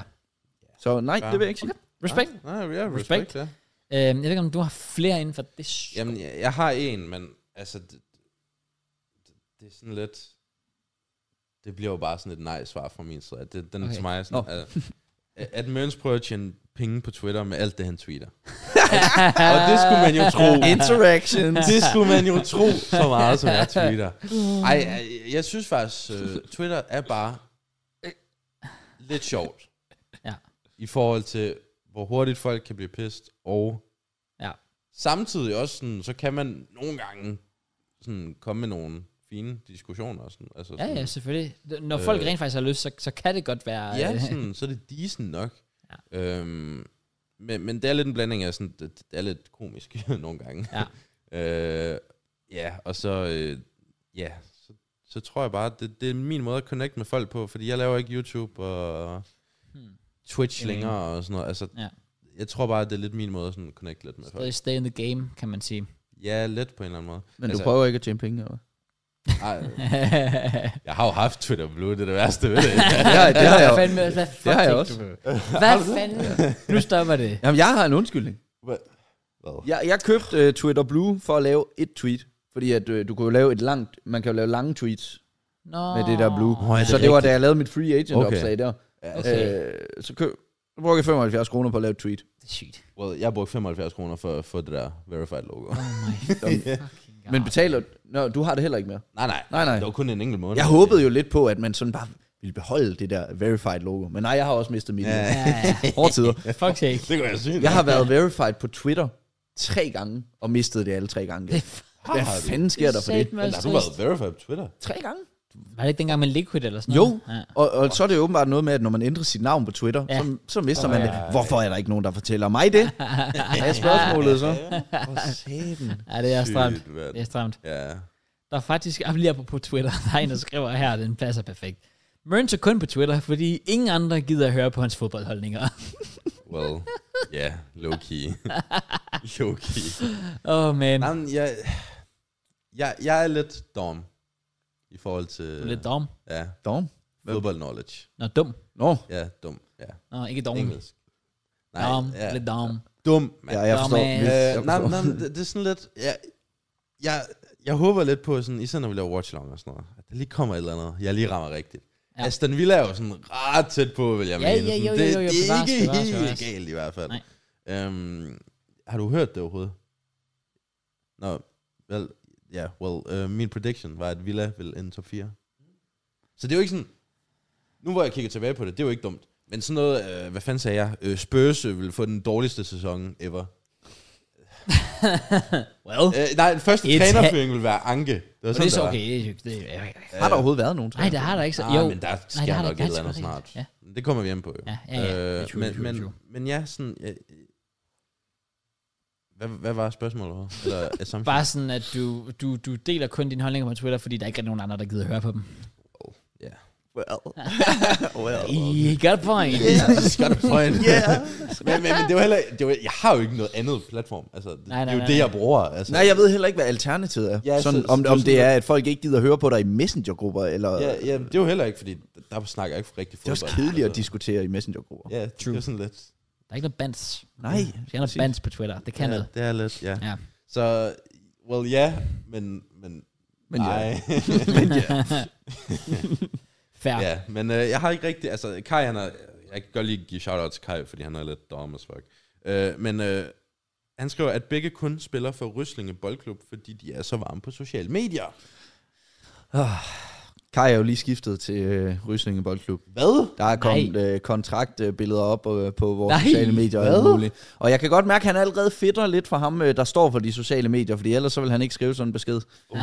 C: Så nej,
B: Ja.
C: det vil jeg ikke sige.
A: Respekt.
B: Nej, ja, respekt,
A: Respekt.
B: respekt. ja.
A: Øhm, jeg ved ikke, om du har flere inden for det. Jamen,
B: Jamen, jeg, jeg har en, men altså, det, det- det er sådan lidt... Det bliver jo bare sådan et nej-svar fra min side. Det, den okay.
A: Okay.
B: til mig er sådan,
C: Nå.
B: at, at Møns prøver at tjene penge på Twitter med alt det, han tweeter. og, og det skulle man jo
A: [LAUGHS]
B: tro.
C: Interactions.
B: Det skulle man jo tro så meget, som jeg tweeter.
A: Mm.
B: Ej, jeg, jeg synes faktisk, uh, Twitter er bare lidt sjovt.
A: Ja.
B: I forhold til, hvor hurtigt folk kan blive pissed, og
A: ja.
B: samtidig også sådan, så kan man nogle gange sådan komme med nogle fine diskussioner. og Sådan, altså
A: ja,
B: sådan,
A: ja, selvfølgelig. D- Når folk
B: Øh.
A: rent faktisk har lyst, så, så kan det godt være...
B: ja
A: øh,
B: sådan, så er det decent nok. Ja. Øhm, men, men det er lidt en blanding af sådan, det, det er lidt komisk [LAUGHS] nogle gange.
A: Ja.
B: øh, ja, og så, øh, ja, så, så tror jeg bare, det, det er min måde at connecte med folk på, fordi jeg laver ikke YouTube og
A: Hmm.
B: Twitch
A: Mm.
B: længere og sådan noget. Altså,
A: Ja.
B: Jeg tror bare, det er lidt min måde at sådan connecte lidt med folk.
A: Stadig [LAUGHS] stay in the game, kan man sige.
B: Ja, lidt på en eller anden måde.
C: Men du
B: Altså-
C: prøver ikke at tjene penge, eller
B: Ej, Jeg har jo haft Twitter Blue, det er det værste ved det.
A: [LAUGHS]
C: Ja, det har jeg jo.
A: fandme, hvad
C: Det har jeg
A: tænkte
C: også.
A: du? Hvad fanden? Nu stopper det.
C: Jamen, jeg har en undskyldning.
B: Hvad?
C: Jeg, jeg købte uh, Twitter Blue for at lave et tweet. Fordi at, uh, du kunne jo lave et langt, man kan jo lave lange tweets
A: Nå.
C: med det der Blue.
B: Nå, er det
C: så det var, da
B: rigtigt?
C: jeg lavede mit free agent
B: Okay.
C: opslag der.
A: Okay.
C: Øh, så køb, så brugte jeg 75 kroner på at lave et tweet.
A: Det er sygt.
B: Well, jeg brugte 75 kroner for at få det der verified logo.
A: Oh my fucking god.
C: Men betaler... Nå, du har det heller ikke mere.
B: nej, nej,
C: Nej, nej.
B: Det var kun en enkelt måned.
C: Jeg håbede jo lidt på, at man sådan bare ville beholde det der verified logo. Men nej, jeg har også mistet mit.
B: Ja.
C: Ja.
A: Ja, ja.
C: [LAUGHS] Hårde tider.
A: Fuck sake.
B: Det kunne jeg sige.
C: Jeg har været verified på Twitter tre gange, og mistet det alle tre gange.
A: Det
C: Hvad fanden sker der for det?
A: satme
B: Men
A: også
B: har du været
A: trist.
B: verified på Twitter?
C: Tre gange?
A: Var det ikke dengang med Liquid eller sådan
C: Jo,
A: noget? Ja.
C: og, og så er det jo åbenbart noget med, at når man ændrer sit navn på Twitter,
A: Ja.
C: ja. så, så mister
B: Åh,
C: man
B: ja, ja.
C: det. Hvorfor er der ikke nogen, der fortæller mig [LAUGHS] det? Hvad er spørgsmålet så?
B: Hvor sæben.
A: ja, det er stramt. Det er stramt.
B: Ja.
A: Der er faktisk, [LAUGHS] jeg lige på Twitter, der er en, der skriver her, den passer perfekt. Mørns er kun på Twitter, fordi ingen andre gider at høre på hans fodboldholdninger. [LAUGHS]
B: Well, ja, yeah, low key. low key.
A: Åh, oh, man.
B: Nej, men jeg, jeg, jeg er lidt dum i forhold til...
A: Du er lidt dum.
B: Ja,
C: Dog.
B: football knowledge.
A: Nå, dum.
C: Nå,
B: Ja, dum. Ja,
A: Nå, ikke dum.
B: engelsk.
A: Dum,
B: ja.
A: lidt dum.
B: Dum, mand.
C: ja, jeg
A: Nå,
C: forstår.
A: men-
C: Hvis- jeg
B: Øh, nej,
C: forstår.
B: nej, men det, det er sådan lidt... Jeg, jeg, jeg håber lidt på, sådan, især når vi laver watchlong og sådan noget, at der lige kommer et eller andet, jeg lige rammer rigtigt.
A: Ja.
B: Ja. Aston Villa er jo sådan ret tæt på, vil jeg
A: Ja,
B: mene.
A: ja,
B: Sådan,
A: jo,
B: det,
A: jo, jo,
B: det er
A: bevares,
B: ikke
A: bevares,
B: helt
A: bevares.
B: galt i hvert fald.
A: Nej.
B: Øhm, har du hørt det overhovedet? Nå, vel, ja, well, øh, min prediction var, at Villa vil ende top 4. Så det er jo ikke sådan, nu hvor jeg kigger tilbage på det, det er jo ikke dumt. Men sådan noget, øh, hvad fanden sagde jeg, øh, Spurs øh, ville få den dårligste sæson ever.
A: [LAUGHS] Well,
B: Øh, nej, den første
A: Et
B: trænerføring ville være Anke. Det, var
A: og det er så
B: var.
A: okay. Det, er jo- det, er-
C: Har der overhovedet været nogen?
A: nej, det har der ikke så.
B: Ah,
A: jo.
B: men der sker
A: det har der
B: nej, nok
A: ikke. Ja,
B: et eller andet
A: det er
B: snart.
A: rigtigt. Ja.
B: Det kommer vi hjem på, jo.
A: Ja, ja, ja.
B: Øh,
A: True,
B: men,
A: true,
B: men,
A: true.
B: men ja, sådan... Øh, hvad, hvad var spørgsmålet? her?
A: [LAUGHS]
B: Eller assumption?
A: Bare sådan, at du, du, du deler kun dine holdninger på Twitter, fordi der ikke er nogen andre, der gider høre på dem.
B: Ja.
A: [LAUGHS]
C: Well. well.
A: I got a point.
B: Jesus, got a point. yeah. men, men, men det var heller, det var, jeg har jo ikke noget andet platform. Altså, det,
A: Nej, nej,
B: det er jo
A: nej,
B: det,
A: nej.
B: jeg bruger. Altså.
C: Nej, jeg ved heller ikke, hvad alternativet er.
B: Ja,
C: Ja,
B: så-
C: sådan,
B: så
C: om,
B: det er
C: om
B: sådan
C: det er, at folk ikke gider høre på dig i messengergrupper, eller...
B: Ja, ja, det er jo heller ikke, fordi der snakker jeg ikke rigtig
C: Det er
B: fodbold.
C: også kedeligt at diskutere i messengergrupper.
B: Ja, True. det er sådan lidt.
A: Der er ikke noget bands.
C: Nej.
A: Vi skal have noget bands på Twitter. Det kan
B: ja, [LAUGHS]
A: noget.
B: Det er lidt, ja.
A: Ja.
B: Så, well, ja, men, men,
C: Men ja.
A: [LAUGHS]
B: nej.
A: Fair.
B: ja, men øh, jeg har ikke rigtig, altså Kai han er, jeg kan godt lige give shout-out til Kai, fordi han er lidt dumb as fuck. Øh, men øh, han skriver, at begge kun spiller for Ryslinge Boldklub, fordi de er så varme på sociale medier.
C: Kai er jo lige skiftet til øh, Ryslinge Boldklub.
B: Hvad?
C: Der er kommet øh, kontraktbilleder op øh, på vores
A: Nej,
C: Nej, sociale medier og alt
A: hvad?
C: muligt. Og jeg kan godt mærke, at han allerede fedter lidt for ham, øh, der står for de sociale medier, fordi ellers så vil han ikke skrive sådan en besked. Øhm,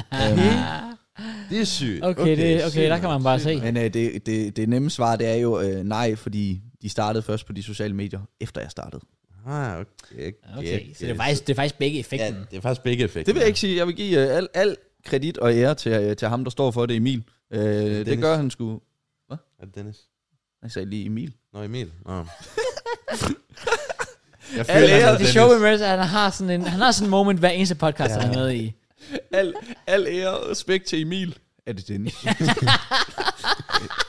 B: Okay. det er sygt.
A: Okay, okay, det, okay
B: sygt
A: der kan
B: nok,
A: man bare
B: sygt
A: se.
B: nok.
C: Men øh, det, det, det nemme svar, det er jo øh, nej, fordi de startede først på de sociale medier, efter jeg startede.
B: Ah, okay.
A: Okay, så det er faktisk, det er faktisk begge
B: Ja,
A: effekten.
B: det er faktisk begge effekter.
C: Det vil jeg ikke sige. Jeg vil give øh, al, al kredit og ære til, øh, til ham, der står for det, Emil. Øh, det
B: Dennis.
C: gør han sgu.
B: Er det Dennis?
C: Jeg sagde lige Emil.
B: Nå, Emil.
A: [LAUGHS]
B: Nå. jeg føler,
A: Ja, det,
B: han
A: er,
B: er
A: det
B: Dennis.
A: show immerse, han har sådan en, han har sådan en moment hver eneste podcast, ja. han er med i.
C: Al, al ære og respekt til Emil. Er det Dennis?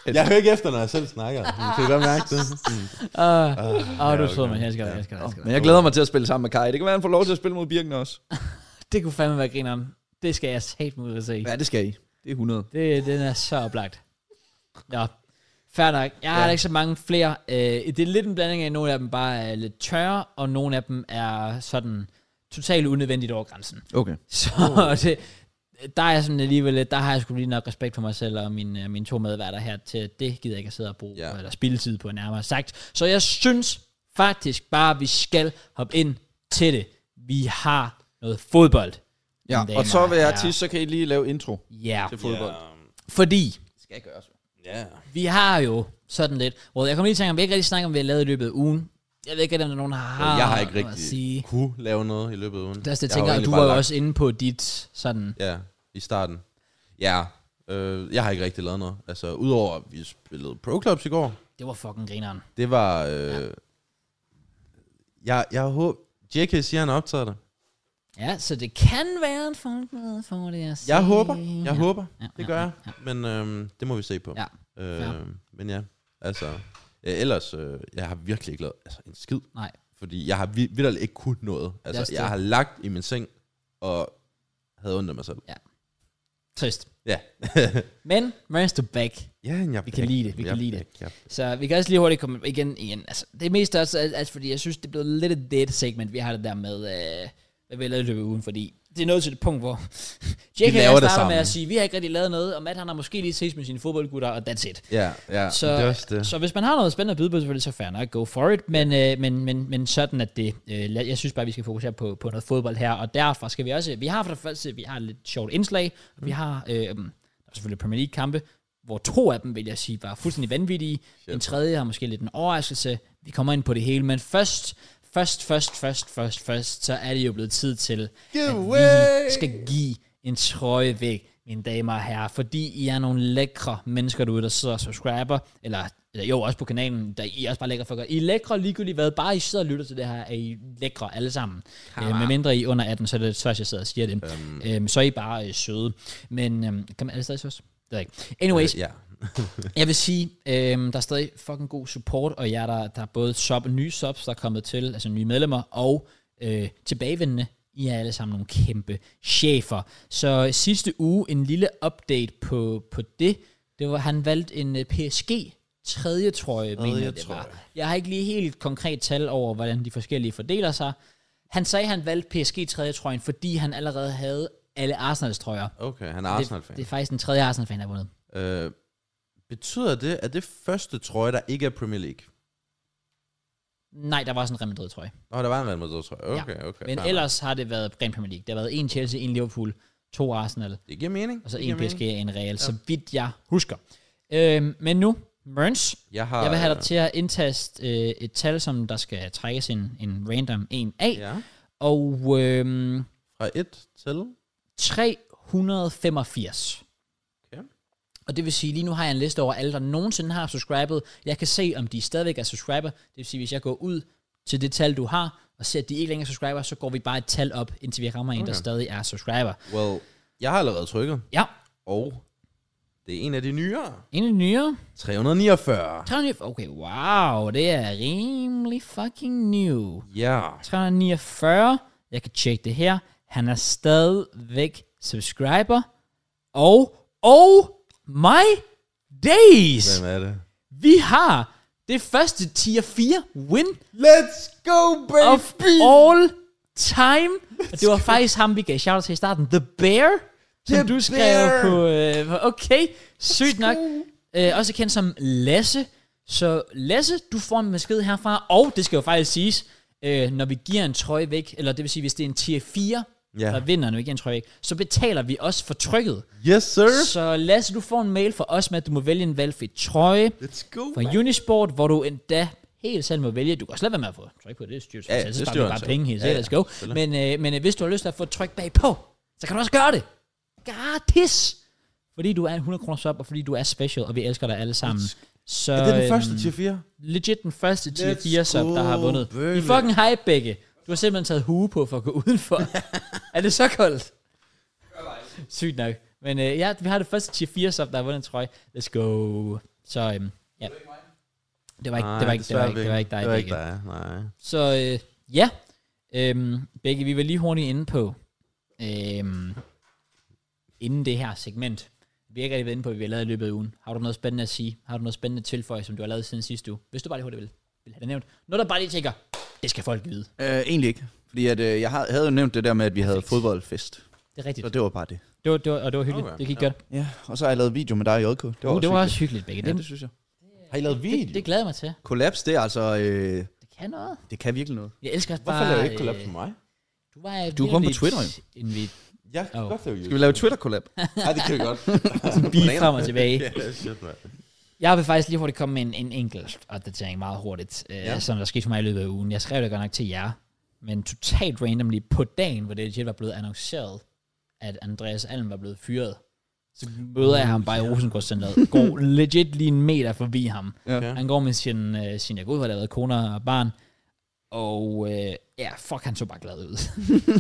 B: Jeg hører ikke efter, når jeg selv snakker. Du kan godt mærke det. Mm.
A: Åh, uh,
B: Ah,
A: oh, du
B: ja,
A: er sød,
B: okay.
A: men jeg elsker dig, jeg elsker dig, jeg elsker
C: Men
A: dig.
C: jeg glæder mig til at spille sammen med Kai. Det kan være, han får lov til at spille mod Birken også.
A: Det kunne fandme være grineren. Det skal jeg satme ud og se.
C: Ja, det skal I. Det er 100.
A: Det, den er så oplagt. Nå, fair nok. Jeg har ja. ikke så mange flere. Øh, det er lidt en blanding af, at nogle af dem bare er lidt tørre, og nogle af dem er sådan totalt unødvendigt over grænsen.
C: Okay.
A: Så oh. [LAUGHS] det, der er sådan alligevel lidt, der har jeg sgu lige nok respekt for mig selv og mine, øh, mine to medværter her til, at det gider jeg ikke at sidde og bruge,
B: Ja.
A: yeah. eller spille tid på nærmere sagt. Så jeg synes faktisk bare, at vi skal hoppe ind til det. Vi har noget fodbold.
C: Ja,
A: Damer
C: og så vil jeg
A: og
C: til, så kan I lige lave intro
A: Ja, yeah.
C: til fodbold.
A: fordi
C: skal jeg gøre så.
B: Ja.
A: Vi har jo sådan lidt... Well, jeg kommer lige i tanke om, vi har ikke rigtig snakker om, hvad vi har lavet i løbet af ugen. Jeg ved ikke, om der er nogen, der har
B: Jeg har ikke
A: noget
B: rigtig
A: at Ah, sige.
B: kunne lave noget i løbet af ugen.
A: Det er også det, jeg tænker,
B: har jo
A: og
B: egentlig
A: du
B: bare
A: var jo
B: lagt-
A: også inde på dit sådan...
B: Ja, i starten. Ja, øh, jeg har ikke rigtig lavet noget. Altså, udover at vi spillede Pro Clubs i går,
A: Det var fucking grineren.
B: det var... Øh, Jeg, jeg håber... JK siger, han optager det.
A: Ja, så det kan være en fucking måde for det at se.
B: Jeg håber, jeg
A: ja.
B: håber.
A: Ja,
B: Det
A: ja,
B: gør jeg. Men øhm, det må vi se på.
A: Ja.
B: Øh, men ja, altså... Øh, ellers, øh, jeg har virkelig ikke lavet altså, en skid.
A: Nej.
B: Fordi jeg har vi- vitterligt ikke kunnet noget.
A: Det er også
B: Altså,
A: det.
B: jeg har lagt i min seng, og havde ondt af mig selv.
A: Trist.
B: Ja.
A: Men, Marins to back.
B: ja, men jeg
A: Vi kan lide det, vi kan lide det.
B: Ja,
A: Så vi kan også lige hurtigt komme igen, igen. Altså, det er mest også, al- altså, fordi jeg synes, det er blevet lidt et dead segment, vi har det der med, øh, hvad vi har lavet i løbet af ugen, fordi det er nået til et punkt, hvor [LAUGHS] Jake
B: laver
A: han
B: det
A: starter med
B: samme.
A: at sige, vi har ikke rigtig lavet noget, og Matt han har måske lige ses med sine fodboldgutter, og that's it.
B: ja, ja, ja.
A: Så,
B: det er også det.
A: så hvis man har noget spændende at byde på, selvfølgelig, så fair nok, go for it, men, øh, men, men, men sådan at det, øh, lad- jeg synes bare, vi skal fokusere på, på noget fodbold her, og derfor skal vi også, vi har for det første, vi har et lidt sjovt indslag,
B: Mm.
A: og vi har øh, der er selvfølgelig Premier League-kampe, hvor to af dem, vil jeg sige, var fuldstændig vanvittige, en tredje har måske lidt en overraskelse, vi kommer ind på det hele, men først, først, først, først, først, først, så er det jo blevet tid til, at vi
B: Giveaway!
A: skal give en trøje væk, mine damer og herrer, fordi I er nogle lækre mennesker derude, der sidder og subscriber, eller, eller jo, også på kanalen, der I er også bare lækre for godt. I er lækre ligegyldigt hvad, bare I sidder og lytter til det her, er I lækre alle sammen. Øh, med mindre I er under 18, så er det svært, jeg sidder og siger det. Øhm. Øhm, så er I bare øh, søde. Men øhm, kan man, er det stadig søs? Det ved jeg ikke. Anyways,
B: Ja.
A: jeg vil sige, øhm, der er stadig fucking god support, og jer, der, der er både sub, nye subs, der er kommet til, altså nye medlemmer, og øh, tilbagevendende, I er alle sammen nogle kæmpe chefer. Så sidste uge, en lille update på, på det, det var, han valgte en øh, PSG tredje trøje, tredje mener jeg, det
B: trøje.
A: var. Jeg har ikke lige helt konkret tal over, hvordan de forskellige fordeler sig. Han sagde, han valgte PSG tredje trøjen, fordi han allerede havde alle Arsenals trøjer.
B: Okay, han er
A: Det,
B: Arsenal-fan.
A: det er faktisk den tredje Arsenal-fan, der har vundet.
B: Øh, Betyder det, at det første trøje, der ikke er Premier League?
A: Nej, der var sådan en Real Madrid, tror jeg.
B: Nå, der var en Real Madrid trøje. Okay,
A: ja.
B: okay.
A: Men
B: klar.
A: ellers har det været rent Premier League. Der har været en Chelsea, en Liverpool, to Arsenal,
B: Det giver mening.
A: og så
B: Det
A: Altså, en
B: giver
A: PSG
B: mening.
A: og en Real, ja. så vidt jeg husker. Øhm, men nu, Merns,
B: Jeg har...
A: jeg vil have dig til at indtaste øh, et tal, som der skal trækkes en, en random en af, ja.
B: Ja.
A: og øhm,
B: Fra 1 til...
A: 385.
B: Okay.
A: Og det vil sige, lige nu har jeg en liste over alle, der nogensinde har subscribet. Jeg kan se, om de stadigvæk er subscriber. Det vil sige, hvis jeg går ud til det tal, du har, og ser, at de ikke længere er subscriber, så går vi bare et tal op, indtil vi rammer en, der
B: Okay.
A: stadig er subscriber.
B: Well, jeg har allerede trykket,
A: Ja,
B: og det er en af de nyere.
A: en af de nyere.
B: 349.
A: 300 Okay, wow, det er rimelig fucking new.
B: Ja.
A: 349. Jeg kan tjekke det her. Han er stadigvæk subscriber. Og, oh my days!
B: Hvem er det?
A: Vi har det første tier 4 win
B: Let's go, baby!
A: of all time. Og det var faktisk ham, vi gav shout til i starten. The Bear, som
B: The
A: du skrev
B: Bear.
A: på... Øh, på- okay, sygt nok. Øh, også kendt som Lasse. Så Lasse, du får en besked herfra. Og det skal jo faktisk siges, øh, når vi giver en trøje væk, eller det vil sige, hvis det er en tier 4,
B: Ja.
A: der vinder, når vi giver en trøje væk, så betaler vi også for trykket.
B: Yes, sir!
A: Så Lasse, du får en mail fra os med, at du må vælge en valgfri trøje
B: Let's go,
A: fra Unisport, hvor du endda helt selv må vælge. Du kan slet være med at få tryk på det, det er styrt.
B: Ja, ja,
A: Ja,
B: det
A: så sparer
B: styrer
A: vi bare
B: han
A: penge helt
B: selv.
A: ja, ja,
B: Ja,
A: let's go. Men, øh, men øh, hvis du har lyst til at få et tryk bagpå, så kan du også gøre det. Gratis! Fordi du er en 100 kroner sub, og fordi du er special, og vi elsker dig alle sammen. Så,
B: Er det den
A: øhm,
B: første tier 4?
A: Legit den første tier
B: Let's
A: 4 sub, der har
B: go,
A: vundet.
B: baby.
A: I fucking hype, begge. Du har simpelthen taget hue på for at gå [LAUGHS] udenfor. er det så koldt? Sygt nok. Men øh, ja, vi har det første tier 4 sub, der har vundet en trøje. Let's go. Så øhm, ja. Det var ikke, det var ikke, det var ikke, det var ikke dig,
B: Det var ikke
A: Begge.
B: dig, nej.
A: Så øh, ja, øhm, Begge, vi var lige hurtigt inde på, øhm, inden det her segment, vi har ikke rigtig været inde på, hvad vi har lavet i løbet af ugen. Har du noget spændende at sige? Har du noget spændende at tilføje, som du har lavet siden sidste uge? Hvis du bare lige hurtigt vil, vil have det nævnt. Noget, der bare lige tænker, det skal folk vide.
C: Øh, egentlig ikke. Fordi at, øh, jeg har- havde jo nævnt det der med, at vi havde fodboldfest.
A: Det er rigtigt.
C: Så det var bare det.
A: Det var, det var, og det var hyggeligt. Okay,
B: Okay,
A: det gik
B: ja.
A: godt.
C: Ja, og så har jeg lavet video med dig i JK. Det var,
A: Det var, uh, det var
C: hyggeligt.
A: også hyggeligt, Begge.
C: Ja,
A: Det,
C: det synes jeg.
B: Har I lavet
A: det, det, glæder jeg mig til.
C: Kollaps, det er altså... Øh,
A: Det kan noget.
C: det kan virkelig noget.
A: Jeg elsker også bare...
B: Hvorfor laver I ikke kollab
A: øh,
B: på mig?
A: Du var
C: Du er kun på Twitter, jo.
A: jo.
B: Jeg kan
A: Åh.
B: godt lave
C: Skal vi lave Twitter-kollab?
B: Nej, det kan vi godt. Altså,
A: Bi frem og tilbage.
B: [LAUGHS] Ja, shit, man.
A: Jeg vil faktisk lige hurtigt komme med en, en enkelt opdatering meget hurtigt, øh, ja.
B: Ja.
A: som der skete for mig i løbet af ugen. Jeg skrev det godt nok til jer, men totalt randomly på dagen, hvor det legit var blevet annonceret, at Andreas Alm var blevet fyret, så møder jeg ham bare i Rosengårdscenteret, går legit lige en meter forbi ham.
C: Ja.
A: Han går med sin, øh, sin jeg går ud, hvor der har været kone og barn, og øh, ja, fuck, han så bare glad ud.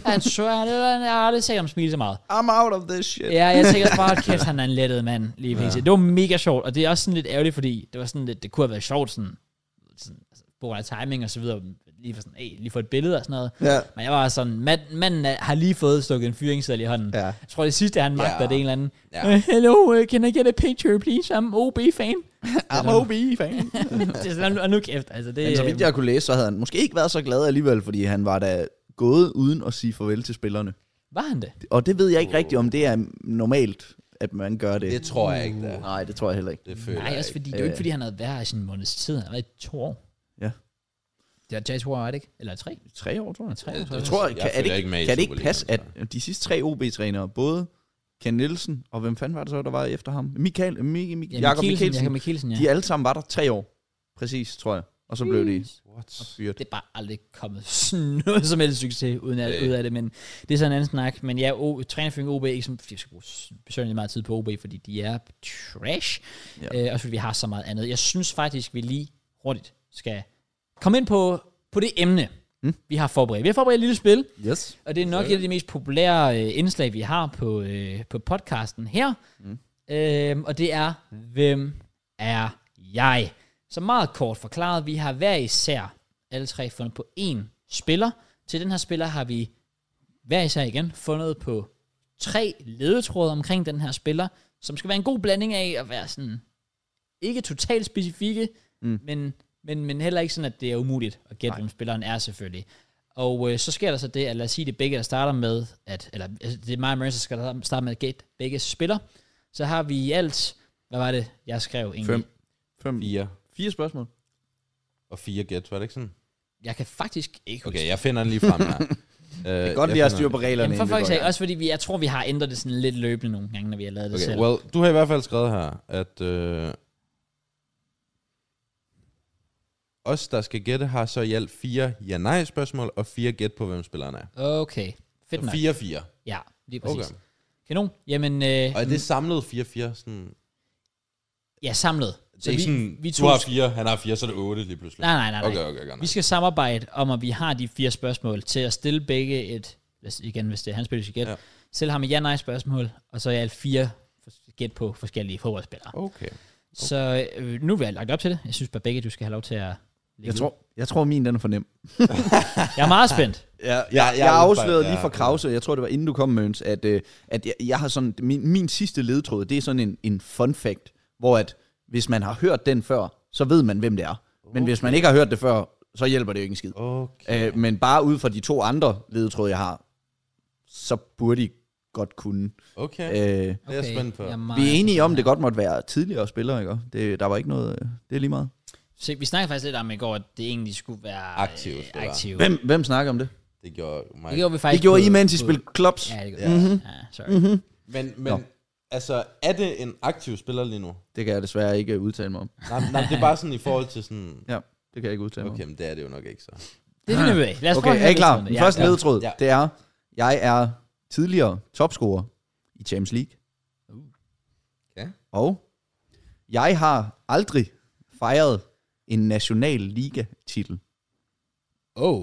A: han så, han, jeg har aldrig set ham smile så meget.
C: I'm out of this shit.
A: Ja, jeg tænker
C: [LAUGHS]
A: bare, "Hold kæft, han er en lettet mand lige ja. Det var mega sjovt, og det er også sådan lidt ærgerligt, fordi det var sådan lidt, det kunne have været sjovt, sådan, sådan altså, på grund af timing og så videre, lige for sådan, hey, lige for et billede og sådan noget.
C: Ja.
A: Men jeg var sådan, mand, manden er- har lige fået stukket en fyringsseddel i hånden.
C: Ja.
A: Jeg tror, det sidste, han magter,
B: Ja.
A: det er en eller anden.
B: Ja.
A: "Uh, hello, uh, can I get a picture, please? I'm
C: [LAUGHS]
A: OB-fan.
C: I'm OB, fan.
A: det er sådan, og nu kæft, altså det...
C: Men så vidt jeg kunne læse, så havde han måske ikke været så glad alligevel, fordi han var da gået uden at sige farvel til spillerne.
A: Var han det?
C: Og det ved jeg ikke rigtigt, om det er normalt, at man gør det.
B: Det tror jeg ikke, det er.
C: Nej, det tror jeg heller ikke. Øh.
B: Det føler
A: Nej,
B: jeg
A: også
B: ikke.
A: fordi, det er jo ikke, fordi han havde været her i sin måneds tid. Han har været i to år.
C: Ja.
A: Det er to år, er det ikke? Eller tre?
C: Tre år, tror jeg.
A: Tre år, tror
C: Jeg
A: jeg.
C: tror,
B: Jeg
C: kan, er det
B: følger
C: ikke,
B: ikke med i
C: kan det ikke
B: Superligaen,
C: passe, at de sidste tre OB-trænere, både Ken Nielsen og hvem fanden var det så, der var efter ham? Michael, Mik, Mik, ja, Jakob Mikkelsen.
A: Jakob Mikkelsen, ja.
C: De alle sammen var der tre år. Præcis, tror jeg. Og så blev de
B: What?
C: fyret.
A: det er bare aldrig kommet [LAUGHS] sådan noget som helst succes uden af,
B: Øh.
A: ud af det, men det er sådan en anden snak. Men ja, o, trænerfyring OB, er ikke som, jeg skal bruge besøgende meget tid på OB, fordi de er trash,
C: Ja.
A: ja. øh, og fordi vi har så meget andet. Jeg synes faktisk, vi lige hurtigt skal komme ind på, på det emne, mm. vi har forberedt. Vi har forberedt et lille spil,
C: Yes.
A: og det er nok et af de mest populære øh, indslag, vi har på, øh, på podcasten her. Mm. Øhm, og det er, hvem er jeg? Så meget kort forklaret, vi har hver især alle tre fundet på én spiller. Til den her spiller har vi hver især igen fundet på tre ledetråde omkring den her spiller, som skal være en god blanding af at være sådan, ikke totalt specifikke, mm. men, men, men heller ikke sådan, at det er umuligt at gætte, hvem spilleren er selvfølgelig. Og øh, så sker der så det, at lad os sige, det er begge, der starter med, at, eller altså, det er mig og Marissa, der skal starte med at gætte begge spiller. Så har vi i alt Hvad var det, jeg skrev egentlig?
C: Fem. Fem.
B: Fire.
C: Fire spørgsmål.
B: Og fire gæt, var det ikke sådan?
A: Jeg kan faktisk ikke huske
B: Okay, jeg finder den lige frem her. øh,
C: Det er godt,
B: jeg
C: vi har
B: finder
C: styr
B: den.
C: på reglerne.
A: Jamen for
C: inden vi
A: faktisk
C: går i
A: også fordi vi, jeg tror, vi har ændret det sådan lidt løbende nogle gange, når vi har lavet det
B: Okay,
A: selv.
B: well, du har i hvert fald skrevet her, at øh, os, der skal gætte, har så i alt fire ja-nej-spørgsmål og fire gæt på, hvem spilleren er.
A: okay, fedt
B: Så
A: nok.
B: 4-4.
A: Ja, lige
B: Okay.
A: præcis. Okay. Kanon. Jamen, øh,
B: Og er det samlet 4-4? Sådan,
A: ja, samlet.
B: det er ikke sådan,
A: vi
B: du
A: to
B: har
A: skal-
B: 4, han har 4, så er det 8 lige pludselig.
A: Nej, nej, nej. nej.
B: Okay, okay, okay.
A: Vi
B: Nej.
A: skal samarbejde om, at vi har de fire spørgsmål til at stille begge et, lad os- igen hvis det er hans spil, vi skal gætte,
B: Ja.
A: ja. stille ham et ja-nej spørgsmål, og så er alt fire for- gæt på forskellige fodboldspillere.
B: Okay.
A: Okay. Så øh, nu vil jeg lagt op til det. Jeg synes bare begge, du skal have lov til at
C: gang.
A: lægge
C: Jeg
A: ud.
C: tror, jeg tror, min den er for nem.
A: Jeg er meget spændt.
C: Ja, jeg,
B: [LAUGHS] jeg
C: jeg, jeg
B: er
C: afslørede
B: udfald-
C: lige
B: ja,
C: for Krause, jeg tror det var inden du kom, Møns, at, øh, at jeg, jeg har sådan, min, min sidste ledtråd, det er sådan en, en fun fact, hvor at hvis man har hørt den før, så ved man, hvem det er. Men hvis man ikke har hørt det før, så hjælper det jo ikke en skid.
B: Okay.
C: Øh, men bare ud fra de to andre ledtråde, jeg har, så burde I godt kunne.
B: okay.
C: Øh, vi
B: Det er jeg spændt på.
A: jeg meget
C: er enige om,
A: spændt.
C: det godt måtte være tidligere spillere, ikke? Det, der var ikke noget, øh, det er lige meget.
A: Se, vi snakkede faktisk lidt om i går, at det egentlig skulle være
B: Aktivt, det
A: Øh,
B: var.
A: aktivt.
C: Hvem, hvem snakker om det?
B: Det gjorde mig.
A: Det gjorde vi faktisk.
C: Det gjorde
A: på-
C: I, mens I
A: på-
C: spillede klops.
A: Ja, det gjorde
B: Ja.
A: vi. Ja,
B: Mhm.
A: sorry. Mm-hmm.
B: Men, men altså, er det en aktiv spiller lige nu?
C: Det kan jeg desværre ikke øh, udtale mig om.
B: Nej, nej, det er bare sådan i forhold til sådan...
C: Ja, det kan jeg ikke udtale mig om.
B: Okay, men det er det jo nok ikke så.
A: Det finder vi ud af. Lad os prøve Altså,
C: Okay,
A: at
C: er I
A: høre
C: klar?
A: lidt om
C: Den
A: det.
C: første
A: ja.
C: ledtråd,
B: Ja.
C: det er, jeg er tidligere topscorer i Champions League.
B: Ja.
C: Og jeg har aldrig fejret en national liga-titel.
A: Oh,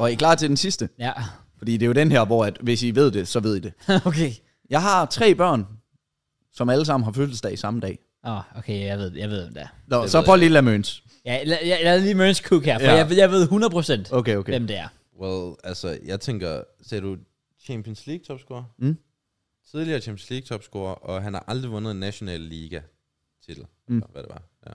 C: Og er I klar til den sidste?
A: ja. [LAUGHS]
C: Fordi det er jo den her, hvor at, hvis I ved det, så ved I det.
A: okay.
C: Jeg har tre børn, som alle sammen har fødselsdag samme dag.
A: Åh, oh, okay, jeg ved, jeg ved, hvem det er.
C: Nå,
B: Det
C: så
B: ved
C: prøv lige at lade møns.
A: Ja, jeg, jeg, jeg lavede lige Mørens Cook her, for
C: Ja.
A: ja. jeg, ved- jeg ved 100% okay.
C: Okay, okay.
A: hvem det er.
B: Well, altså, jeg tænker, ser du Champions League topscorer?
C: Mm.
B: Tidligere Champions League topscorer, og han har aldrig vundet en national liga titel.
C: Mm.
B: Mm. Hvad det var. Ja.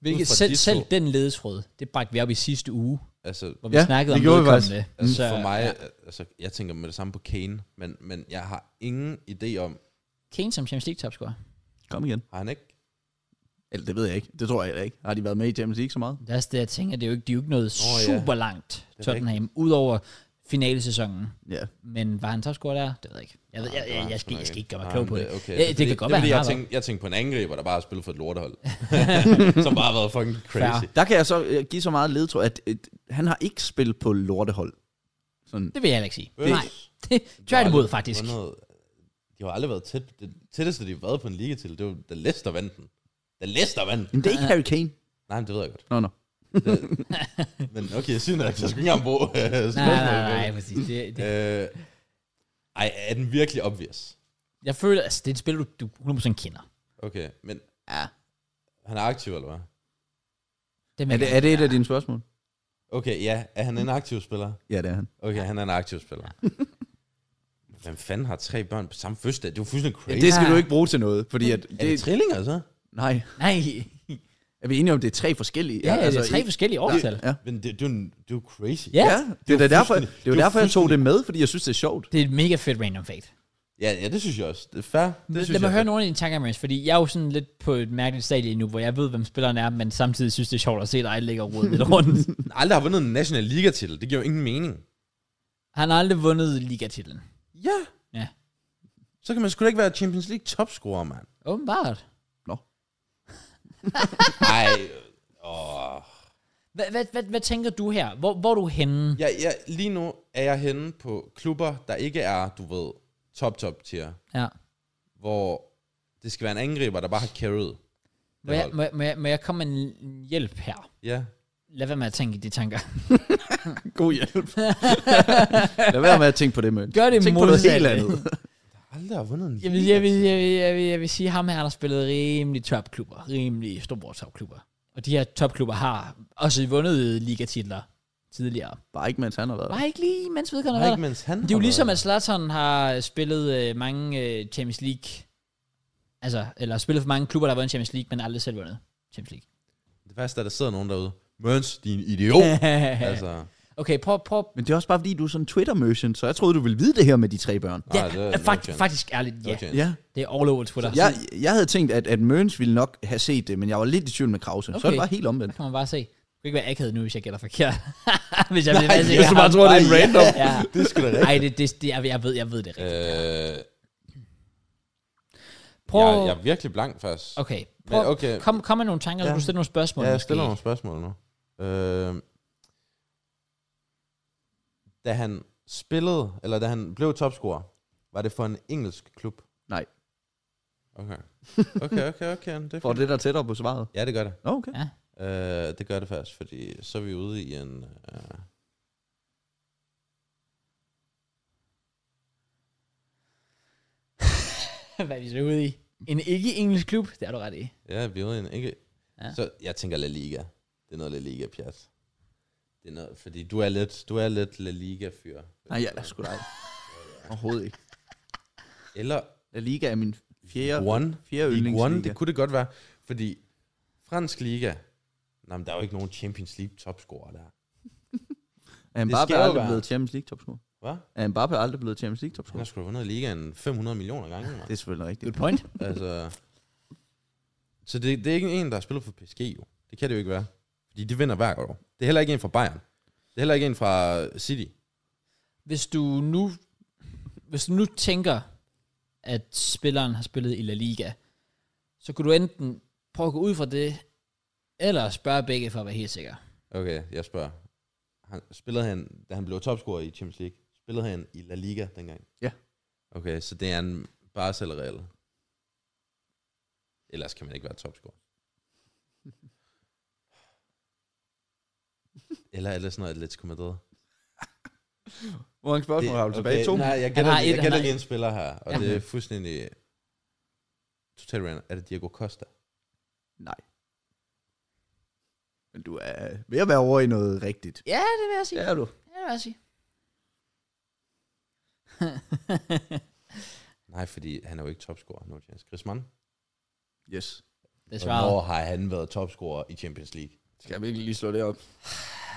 A: Hvilket
B: Ud fra
A: selv,
B: de to.
A: selv den ledetråd, det bragte vi op i sidste uge,
B: Altså,
A: hvor vi
C: Ja,
A: snakkede
C: det
A: om
C: gjorde vi
A: vedkommende.
B: altså
A: Så,
B: for mig,
A: ja.
B: ja. altså, jeg tænker med det samme på Kane, men, men jeg har ingen idé om,
A: Kane som Champions League topscorer.
C: Kom igen.
B: har han ikke?
C: Eller det ved jeg ikke. Det tror jeg heller ikke. Har de været med i Champions League så meget?
A: Det er også det, jeg tænker, det er jo ikke, de er jo ikke noget
B: Nå, ja.
A: super langt,
B: rigtigt.
A: Tottenham, udover finalesæsonen.
C: Ja.
A: Men var han topscorer der? Det ved jeg ikke. Jeg, ved, jeg,
B: Nej, det var
A: jeg, jeg,
B: han
A: skal,
B: sgu
A: jeg skal
B: nok
A: ikke gøre mig
B: Nej,
A: klog
B: men
A: på det.
B: Okay,
A: Ja,
B: er
A: det
B: fordi-
A: kan godt
B: det
A: være,
B: er fordi,
A: han
B: jeg,
A: har
B: tænkte, jeg tænkte på en angriber, der bare har spillet for et
A: [LAUGHS]
B: lortehold. som bare har været fucking crazy.
A: Fair.
C: Der kan jeg så øh, give så meget ledtråd, at øh, han har ikke spillet på lortehold. Sådan.
A: Det vil jeg heller ikke sige.
B: Øvs.
A: Nej, [LAUGHS] det
B: De har
A: tør imod
B: aldrig
A: faktisk.
B: Vundet, de har aldrig været tæt. Det tætteste, de har været på en ligatitel, det var da Leicester vandt den. Da Leicester vandt den.
C: Jamen, det er ikke Harry Kane.
B: Nej, men det ved jeg godt.
C: Nå, nå.
B: Det, men okay, jeg synes, at jeg skulle ikke engang bruge øh,
A: Nej,
B: spørgsmål.
A: nej, nej, præcis. Det, det,
B: Øh, ej, er den virkelig obvious?
A: jeg føler, altså, det er et spil, du, du 100% kender.
B: Okay, men
A: Ja.
B: han er aktiv, eller hvad?
A: Det,
C: Er det, er det et af dine spørgsmål?
B: Okay, ja, er han en aktiv spiller?
C: Ja, det er han.
B: Okay, han er en aktiv spiller. [LAUGHS] Hvem fanden har tre børn på samme fødselsdag? Det er jo fuldstændig crazy.
C: Det skal du ikke bruge til noget, fordi at...
B: er det
C: Det,
B: trillinger, så?
C: nej,
A: Nej,
C: er vi enige om, det er tre forskellige?
A: ja, altså, det er tre
C: ikke-
A: forskellige årstal.
C: Ja,
B: Men det, det, er jo, det er jo crazy.
A: Ja.
C: ja det, er da derfor,
B: fuldstændig-
C: det er
B: det
C: jo
B: er
C: derfor, jeg tog det med, fordi jeg synes, det er sjovt.
A: Det er et mega fedt random fact.
B: Ja, ja, det synes jeg også. Det er fair. Det
A: Det
B: synes
A: Lad mig
B: jeg
A: høre nogle af dine tanker, Mads, fordi jeg er jo sådan lidt på et mærkeligt stadie nu, hvor jeg ved, hvem spilleren er, men samtidig synes, det er sjovt at se dig ligge og rode lidt rundt.
B: Den aldrig har vundet en national ligatitel. Det giver jo ingen mening.
A: Han har aldrig vundet ligatitlen.
B: Ja.
A: Ja.
B: Så kan man sgu da ikke være Champions League topscorer, mand.
A: Åbenbart.
B: Nej. Åh.
A: Hvad, hvad, hvad, hvad tænker du her? Hvor, hvor er du henne?
B: Ja, ja, lige nu er jeg henne på klubber, der ikke er, du ved, top-top-tier.
A: Ja.
B: Hvor det skal være en angriber, der bare har carried.
A: Må jeg, må, jeg- må, jeg, må jeg komme med en- en hjælp her?
B: Ja.
A: Lad være med at tænke i de tanker.
C: God hjælp. [LAUGHS] Lad være med at tænke på det, Møn.
A: Gør det
C: Tænk på noget
A: modsatte.
C: helt andet.
B: Aldrig har vundet en
A: Jeg vil, jeg, vil, jeg, vil, jeg, vil, jeg vil sige, at ham her har spillet rimelig topklubber. Rimelig store topklubber. Og de her topklubber har også vundet ligatitler tidligere.
C: Bare ikke, mens han har været der.
A: Bare ikke lige, mens vedkommende
B: Nej,
A: var
B: ikke
A: der.
B: mens han
A: Det er jo
B: har
A: ligesom, at
B: været
A: Zlatan har spillet øh, mange øh, Champions League. Altså, eller spillet for mange klubber, der har vundet Champions League, men aldrig selv vundet Champions League.
B: der. Det værste er, at der sidder nogen derude. Møns, din idiot. altså,
A: Okay, prøv, prøv,
C: Men det er også bare, fordi du er sådan en Twitter-merchant, så jeg troede, du ville vide det her med de tre børn.
A: Ja,
B: Nej, det er
A: Nej,
B: no
A: fakt,
B: chance.
A: faktisk ærligt, ja.
B: Okay.
C: Ja.
A: Det er all over Twitter.
C: Jeg, jeg havde tænkt, at, at Mørens ville nok have set det, men jeg var lidt i tvivl med Krause. Okay. Så er det
A: Okay.
C: bare helt
A: Der
C: omvendt. [LAUGHS]
A: kan man bare se. Det kan ikke være akavet nu, hvis jeg gætter forkert. [LAUGHS] hvis jeg bliver
C: Nej,
A: ved med at
C: hvis
A: sige,
C: du bare tror, det er en
A: "Ja,
C: random."
A: Ja.
B: Det skal da
A: Ej, det, det, det, jeg, jeg, ved, jeg ved det rigtigt.
B: Øh,
A: Prøv,
B: jeg, jeg er virkelig blank, faktisk.
A: okay, prøv,
B: Men
A: okay.
B: okay.
A: Kom, kom med nogle tanker, ja.
B: Ja.
A: du stiller nogle spørgsmål.
B: Ja, jeg
A: måske.
B: stiller nogle spørgsmål nu. Øh, da han spillede, eller da han blev topscorer, var det for en engelsk klub?
C: Nej.
B: Okay. Okay, okay, okay. Det er
C: Får
B: fint.
C: det der tættere på svaret?
B: Ja, det gør det.
C: Nå, okay.
B: Øh, det gør det faktisk, fordi så er vi ude i en... Øh,
A: [LAUGHS] Hvad er vi så ude i? En ikke-engelsk klub? Det er du ret i.
B: ja, vi er ude i en... Ikke?
A: Ja.
B: Ja. Så jeg tænker La Liga. Det er noget La Liga, pjat. Det er noget, fordi du er lidt, du er lidt La Liga-fyr.
C: Nej, jeg er sgu da ikke. Overhovedet ikke.
B: Eller
C: La Liga er min fjerde,
B: One.
C: fjerde
B: League One,
C: yndlingsliga.
B: det kunne det godt være. Fordi fransk liga, nej, men der er jo ikke nogen Champions League topscorer der.
C: Er Mbappé
B: skal jo
C: aldrig
B: være.
C: blevet Champions League topscorer?
B: Hvad?
C: Er Mbappé aldrig blevet Champions League
B: Han har
C: topscorer?
B: sgu da vundet ligaen 500 millioner gange. mand.
C: Det er selvfølgelig rigtigt.
A: Good point.
B: altså, så det, det er ikke en, der har spillet for PSG jo. Det kan det jo ikke være. Fordi de vinder hver år. Det er heller ikke en fra Bayern. Det er heller ikke en fra City.
A: Hvis du nu, hvis du nu tænker, at spilleren har spillet i La Liga, så kunne du enten prøve at gå ud fra det, eller spørge begge for at være helt sikker.
B: Okay, jeg spørger. Han, spillede han, da han blev topscorer i Champions League, spillede han i La Liga dengang?
C: Ja.
B: Okay, så det er en Barca eller Real? Ellers kan man ikke være topscorer.
A: [LAUGHS]
B: Eller er det sådan noget Atletico Madrid?
C: Hvor mange spørgsmål har du tilbage? To?
B: Nej, jeg
A: har
B: gætter,
A: et,
B: lige, jeg
A: han
B: gætter
A: har
B: lige en spiller her, og
A: Ja.
B: det er fuldstændig totalt random. Er det Diego Costa?
C: Nej. Men du er ved at være over i noget rigtigt.
A: Ja, det vil jeg sige.
C: Ja, er du.
A: Ja, det vil jeg sige.
B: Nej, fordi han er jo ikke topscorer. No chance. Griezmann?
C: Yes.
A: Det svarede.
B: Hvornår har han været topscorer i Champions League?
C: Skal jeg virkelig lige slå det op?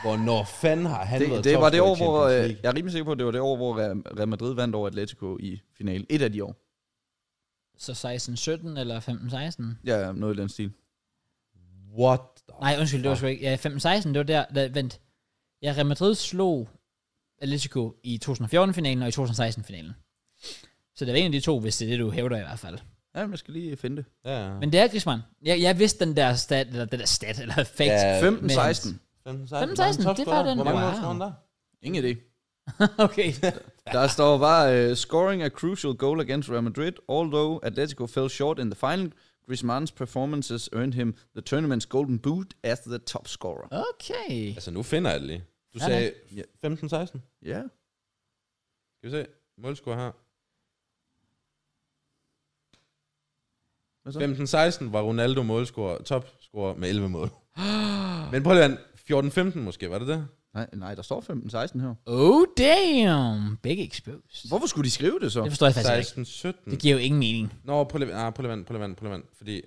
B: Hvornår fanden har han
C: Det,
B: været
C: det var det
B: topscorer i
C: år, hvor...
B: Champions
C: øh,
B: League?
C: Jeg er rimelig sikker på, at det var det år, hvor Real- Real Madrid vandt over Atletico i finalen. Et af de år.
A: Så 16-17 eller 15-16?
C: Ja, ja, noget i den stil.
B: What the
A: Nej, undskyld, det var sgu ikke. Ja, 15-16, det var der. Da, vent. Ja, Real Madrid slog Atletico i 2014-finalen og i 2016-finalen. Så det var en af de to, hvis det er det, du hævder i hvert fald.
C: Ja, men jeg skal lige finde det.
B: Ja, ja.
A: Men det er Griezmann. Jeg, jeg vidste den der stat, eller den der stat, eller fact.
B: Ja,
A: Ja.
C: 15,
A: men-
C: 16.
B: 15,
A: 15, 16, det var den.
B: Hvor mange
A: Wow.
B: mål scorede han der?
C: Ingen idé.
A: [LAUGHS] okay.
C: [LAUGHS] Der står bare, uh, scoring a crucial goal against Real Madrid, although Atletico fell short in the final, Griezmann's performances earned him the tournament's golden boot as the top scorer.
A: Okay.
B: Altså, nu finder jeg det lige. Du
A: Ja,
B: sagde
C: Ja.
B: 15, 16.
C: Ja. Yeah.
B: Skal vi se? Målscore her.
C: Hvad så?
B: 15, 16 var Ronaldo målscorer, topscorer med
A: [GASPS]
B: 11 mål. Men prøv lige at 14, 15 måske, var det det?
C: Nej, nej, der står 15-16 her.
A: Oh, damn. Begge exposed.
C: Hvorfor skulle de skrive det så?
A: Det forstår jeg faktisk ikke.
B: 16, 17.
A: Det giver jo ingen mening. [LAUGHS]
B: Nå, prøv lige, nej, prøv lige, vand, prøv lige, vand, prøv lige, vand, fordi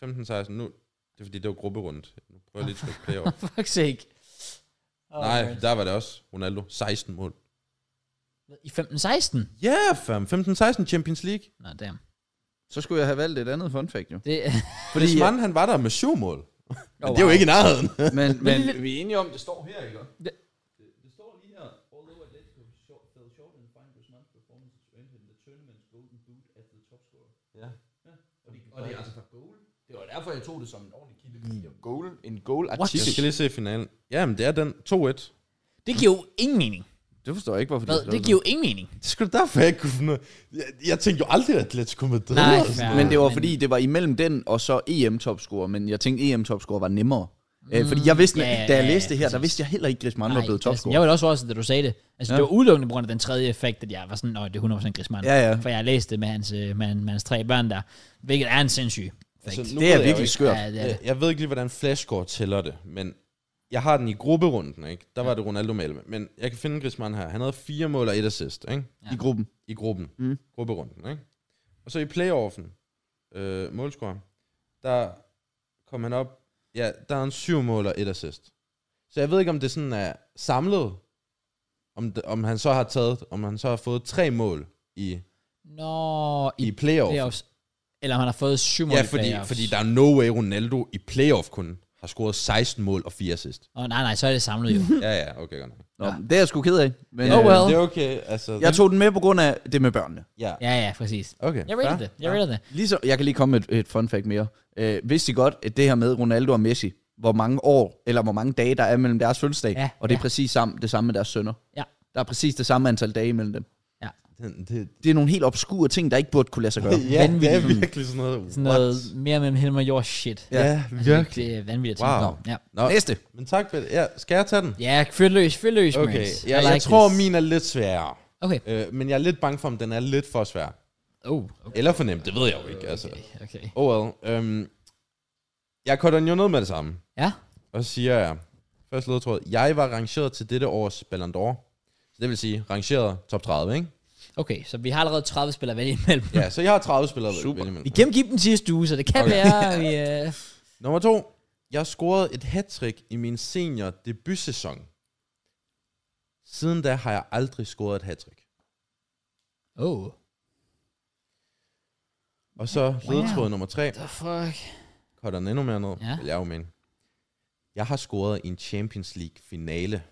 B: 15, 16, nu, det er fordi, det var grupperundt. Nu prøver jeg lige at trykke play
A: [LAUGHS]
B: over.
A: Fuck sake. Oh,
B: Nej, der var det også Ronaldo. 16 mål.
A: I 15-16?
B: Ja, yeah, 15, 16 Champions League.
A: Nå, damn.
C: Så skulle jeg have valgt et andet fun fact jo.
A: Det,
B: Fordi
C: Fordi-
B: Griezmann, han var der med syv mål. Men
A: oh,
B: det er jo ikke i nærheden.
C: Men, men
A: lidt-
C: vi er enige om, det står her, ikke?
A: Det-
C: det står lige her. Although Atletico fell short in the final, Griezmann's performances earned him the tournament's golden boot as the top scorer.
B: Ja.
C: Og det, og det er altså for goal. Det var derfor, jeg tog det som en ordentlig kilde. fordi det var Goal, en goal
B: Jeg skal lige se finalen. Jamen, det er den 2-1.
A: [LAUGHS] Det giver jo ingen mening.
C: Det forstår jeg ikke, hvorfor
A: Hvad? Det giver jo ingen mening.
B: Det skulle da derfor, jeg ikke kunne finde ud af- jeg, jeg tænkte jo aldrig, at Atletico Madrid. Altså,
A: Nej,
B: og sådan
A: fair.
B: noget.
C: Men det var
A: Men-
C: fordi, det var imellem den og så EM-topscorer, men jeg tænkte, EM-topscorer var nemmere. Mm, fordi jeg vidste,
A: ja,
C: da jeg
A: ja,
C: læste det her, der
A: præcis.
C: vidste jeg heller ikke, Griezmann var
A: Nej,
C: blevet
A: Christian,
C: topscorer.
A: Jeg var da også også, da du sagde det. Altså, ja.
C: Ja.
A: det var udelukkende på grund af den tredje effekt, at jeg var sådan, at det er 100% Griezmann.
C: Ja, ja.
A: For jeg har læst det med hans, øh, med, hans- med hans tre børn der, hvilket er en sindssyg effekt.
B: Altså, nu
C: Det
B: ved
C: er
B: jeg jo
C: virkelig
B: ikke-
C: skørt.
A: ja, det er det.
B: Jeg, jeg ved ikke lige, hvordan flashscore tæller det, men jeg har den i grupperunden, ikke? Der var det Ronaldo med 11, men jeg kan finde Griezmann her. Han havde fire mål og et assist, ikke?
A: Ja.
C: I gruppen.
B: I gruppen.
C: Mm.
B: Grupperunden, ikke? Og så i playoffen, øh, målscore, der kom han op, ja, der er en syv mål og et assist. Så jeg ved ikke, om det sådan er samlet, om, det, om han så har taget, om han så har fået tre mål i,
A: Nå, i,
B: i playoff. playoff.
A: playoffs. Eller om han har fået syv mål
B: Ja,
A: i
B: fordi,
A: playoffs.
B: fordi der er no way Ronaldo i playoff kun har scoret 16 mål og
A: [LAUGHS]
B: 4 assist.
A: Åh, oh, nej, nej, så er det samlet
B: [LAUGHS]
A: jo.
B: Ja, ja, okay, godt nok.
C: Nå, det er jeg sgu ked af. Men, øh,
A: Oh well.
B: Det er okay, altså.
C: Jeg tog den med på grund af det med børnene.
B: ja.
A: ja, ja, præcis.
B: Okay.
A: Jeg rated
B: fair.
A: det. Jeg rated det.
C: Ligesom, jeg kan lige komme med et, et fun fact mere. Øh, vidste I godt, at det her med Ronaldo og Messi, hvor mange år, eller hvor mange dage, der er mellem deres fødselsdag,
A: Ja,
C: og det er
A: ja.
C: præcis sammen, det samme med deres sønner.
A: Ja.
C: Der er præcis det samme antal dage mellem dem.
B: Den, det,
C: Det er nogle helt obskure ting, der ikke burde kunne lade sig [LAUGHS] gøre.
B: [LAUGHS] ja, det er
A: Vanvittigt.
B: virkelig sådan noget.
A: Sådan
B: what?
A: noget mere mellem himmel og jord shit.
B: Ja,
A: Altså,
B: virkelig.
A: Det er vanvittigt at tænke
B: Wow.
A: wow. Ja.
B: Nå,
C: Næste.
B: men tak for det. Ja, skal jeg tage den?
A: Ja, fyr løs, fyr løs,
B: Okay,
A: Mads. I
B: ja, jeg
A: like
B: tror,
A: this.
B: min er lidt sværere.
A: Okay.
B: Øh, men jeg er lidt bange for, om den er lidt for svær.
A: Oh, okay.
B: Eller for nem, det ved jeg jo ikke. Altså.
A: okay.
B: Oh well. Øhm, jeg cutter den jo ned med det samme.
A: Ja,
B: Og så siger jeg, først ledtråd, jeg var rangeret til dette års Ballon d'Or. Så det vil sige, rangeret top 30, ikke?
A: okay. Så vi har allerede 30 spillere at vælge imellem.
B: [LAUGHS] Ja, så jeg har 30 spillere. Super.
A: Vi gennemgik dem sidste uge, så det kan okay. være, [LAUGHS] vi... Uh...
B: Nummer to. Jeg scorede et hattrick i min senior debutsæson. Siden da har jeg aldrig scoret et hattrick.
A: Oh,
B: Og så ledtråd nummer tre.
A: the fuck.
B: Cutter den endnu mere ned,
A: Ja.
B: ja. vil jeg jo mene. Jeg har scoret i en Champions League finale.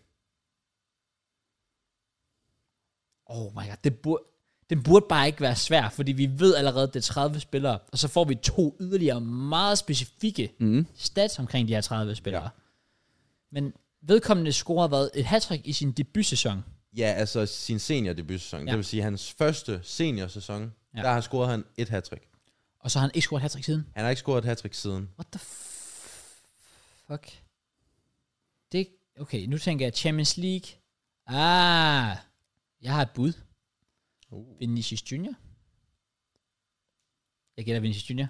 A: Oh my god, det burde... Den burde bare ikke være svær, fordi vi ved allerede, at det er 30 spillere, og så får vi to yderligere meget specifikke
C: Mm.
A: stats omkring de her 30 spillere. Mhm. Ja. Men vedkommende scorede hvad, et hattrick i sin debutsæson.
B: Ja, altså sin senior debutsæson. Ja.
A: Ja.
B: Det vil sige, hans første seniorsæson,
A: Ja.
B: ja. der har scoret han et hattrick.
A: Og så har han ikke scoret et hattrick siden.
B: Han har ikke scoret et hattrick siden.
A: What the f- fuck? Det, okay, nu tænker jeg Champions League. Ah, jeg har et bud.
B: Uh.
A: Vinicius Junior. Jeg gætter Vinicius Junior.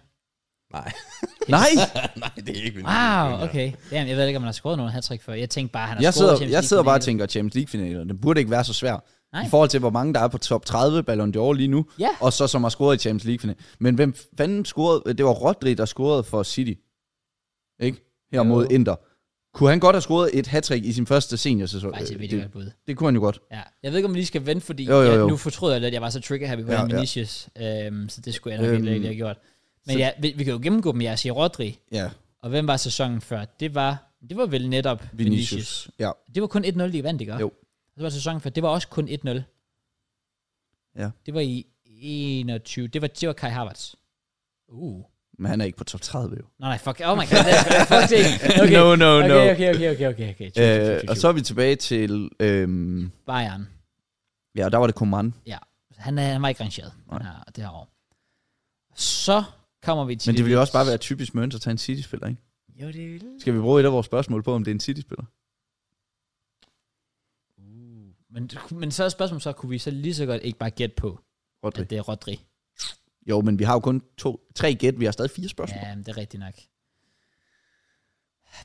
B: Nej. [LAUGHS]
C: Nej!
B: Nej, det er ikke min
A: Wow, okay. Damn, jeg ved ikke, om han har scoret nogen hattrick før. Jeg tænkte bare, han har
C: Jeg
A: scoret
C: sidder,
A: Champions
C: jeg
A: League
C: sidder bare og
A: finale.
C: tænker, Champions League-finalen, den burde ikke være så svær.
A: Nej.
C: I forhold til, hvor mange der er på top 30 Ballon d'Or lige nu,
A: Ja.
C: og så som har scoret i Champions League-finalen. Men hvem fanden scorede? Det var Rodri, der scorede for City. Ikke? Her mod Inter. Kunne han godt have scoret et hat i sin første seniorsæson?
A: Faktisk et
C: Øh,
A: vildt
C: det,
A: godt bud.
C: det kunne han jo godt.
A: Ja. Jeg ved ikke, om vi lige skal vente, fordi
C: Jo, jo,
A: Jeg,
C: jo.
A: nu fortryder jeg lidt, at jeg var så trigger happy på ja,
C: Ja, ja.
A: Vinicius. Øhm, så det skulle jeg nok
C: Øhm,
A: øhm, ikke have gjort. Men
C: så-
A: ja, vi, vi, kan jo gennemgå dem. Jeg siger Rodri.
C: Ja,
A: Og hvem var sæsonen før? Det var, det var vel netop Vinicius.
C: Vinicius.
A: Vinicius.
C: ja.
A: Det var kun 1-0, de vandt, ikke?
C: Jo.
A: Og så var sæsonen før, det var også kun 1-0.
C: Ja.
A: Det var i 21. Det var, det var Kai Havertz. Uh.
C: Men han er ikke på top 30 jo.
A: Nej, nej, fuck. Oh my god, det er fuck det. Okay.
C: [LAUGHS] No, no, no.
A: Okay, okay, okay, okay, okay. okay. Tju, tju, tju,
C: Øh,
A: tju,
C: og
A: tju.
C: så er vi tilbage til... Øhm,
A: Bayern.
C: ja, der var det Koman.
A: Han, er, han var ikke rangeret den her, det her år. Så kommer vi til...
C: Men det ville jo også bare være typisk Mørens at tage en City-spiller, ikke?
A: Jo, det ville.
C: Skal vi bruge et af vores spørgsmål på, om det er en City-spiller?
A: Men, men så er spørgsmålet så, kunne vi så lige så godt ikke bare gætte på,
C: Rodri.
A: at det er Rodri?
C: Jo, men vi har jo kun to, tre gæt. Vi har stadig fire spørgsmål.
A: Ja, men det er rigtigt nok.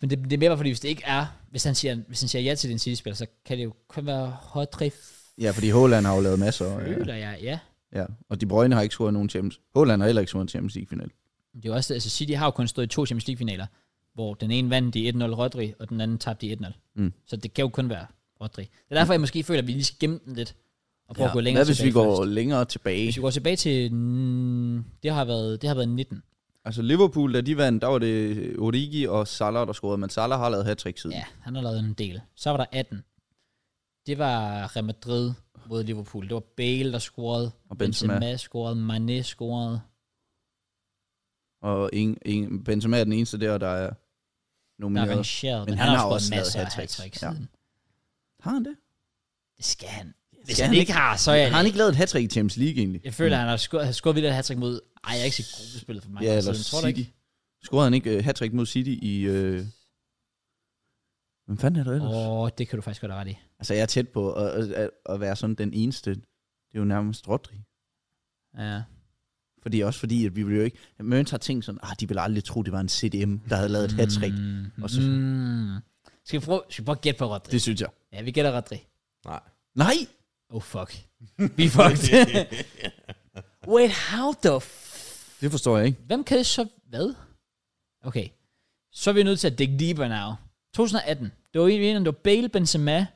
A: Men det, det er mere bare fordi, hvis det ikke er, hvis han siger, hvis han siger ja til din City-spiller, så kan det jo kun være Rodri,
C: Ja, ja fordi Håland har jo lavet masser. og, Ja.
A: føler jeg, ja.
C: ja. Og De Bruyne har ikke scoret nogen Champions. Håland har heller ikke scoret en Champions League-final.
A: Det er jo også, altså City har jo kun stået i to Champions League-finaler, hvor den ene vandt i 1-0 Rodri, og den anden tabte i 1-0.
C: Mm.
A: Så det kan jo kun være Rodri. Det er derfor, jeg måske føler, at vi lige skal gemme den lidt, og prøve ja. at gå
C: Hvad
A: længere
C: hvis vi
A: tilbage
C: går
A: først.
C: længere tilbage?
A: Hvis vi går tilbage til, mm, det har været, det har været 19.
C: Altså Liverpool, da de vandt, der var det Origi og Salah, der scorede. Men Salah har lavet hat-trick siden.
A: Ja, han har lavet en del. Så var der 18. Det var Real Madrid mod Liverpool. Det var Bale, der scorede.
C: Og
A: Benzema,
C: Benzema.
A: Benzema scorede. Mané scorede.
C: Og ingen, ingen, Benzema er den eneste der, der er
A: Der
C: nomineret.
A: er rangeret. Men,
C: Men
A: han,
C: han
A: har
C: har
A: også
C: også
A: scoret
C: lavet
A: masser af
C: hat-tricks.
A: hat-tricks
C: Ja.
A: siden.
C: har han det?
A: Det skal han. Hvis
C: Skal
A: han,
C: han
A: ikke har, så er jeg
C: Har han ikke lavet et hat i Champions League egentlig?
A: Jeg føler, mm. han har scoret, har scoret vildt et hat mod Ajax i gruppespillet for mig.
C: Ja, eller
A: tror du
C: City.
A: ikke?
C: Scorede han ikke uh, hat mod City i... Øh... Hvem fanden er det ellers?
A: Åh, oh, det kan du faktisk godt have ret i.
C: Altså, jeg er tæt på at, at, at være sådan den eneste. Det er jo nærmest Rodri.
A: Ja.
C: Fordi også fordi, at vi ville jo ikke... Mørns har tænkt sådan, ah, de ville aldrig tro, det var en CDM, der havde lavet et hat
A: Mm.
C: Og så-
A: mm. Skal vi prøve, skal vi prøve at gætte på Rodri?
C: Det synes jeg.
A: Ja, vi gætter Rodri.
B: Nej.
C: Nej!
A: Oh, fuck. [LAUGHS] Vi er
C: [LAUGHS]
A: fucked. Wait, how the f-
C: Det forstår jeg ikke.
A: Hvem kan det så... Hvad? Okay. Så er vi nødt til at dig deeper now. 2018. Det var egentlig, om det var Bale, Benzema.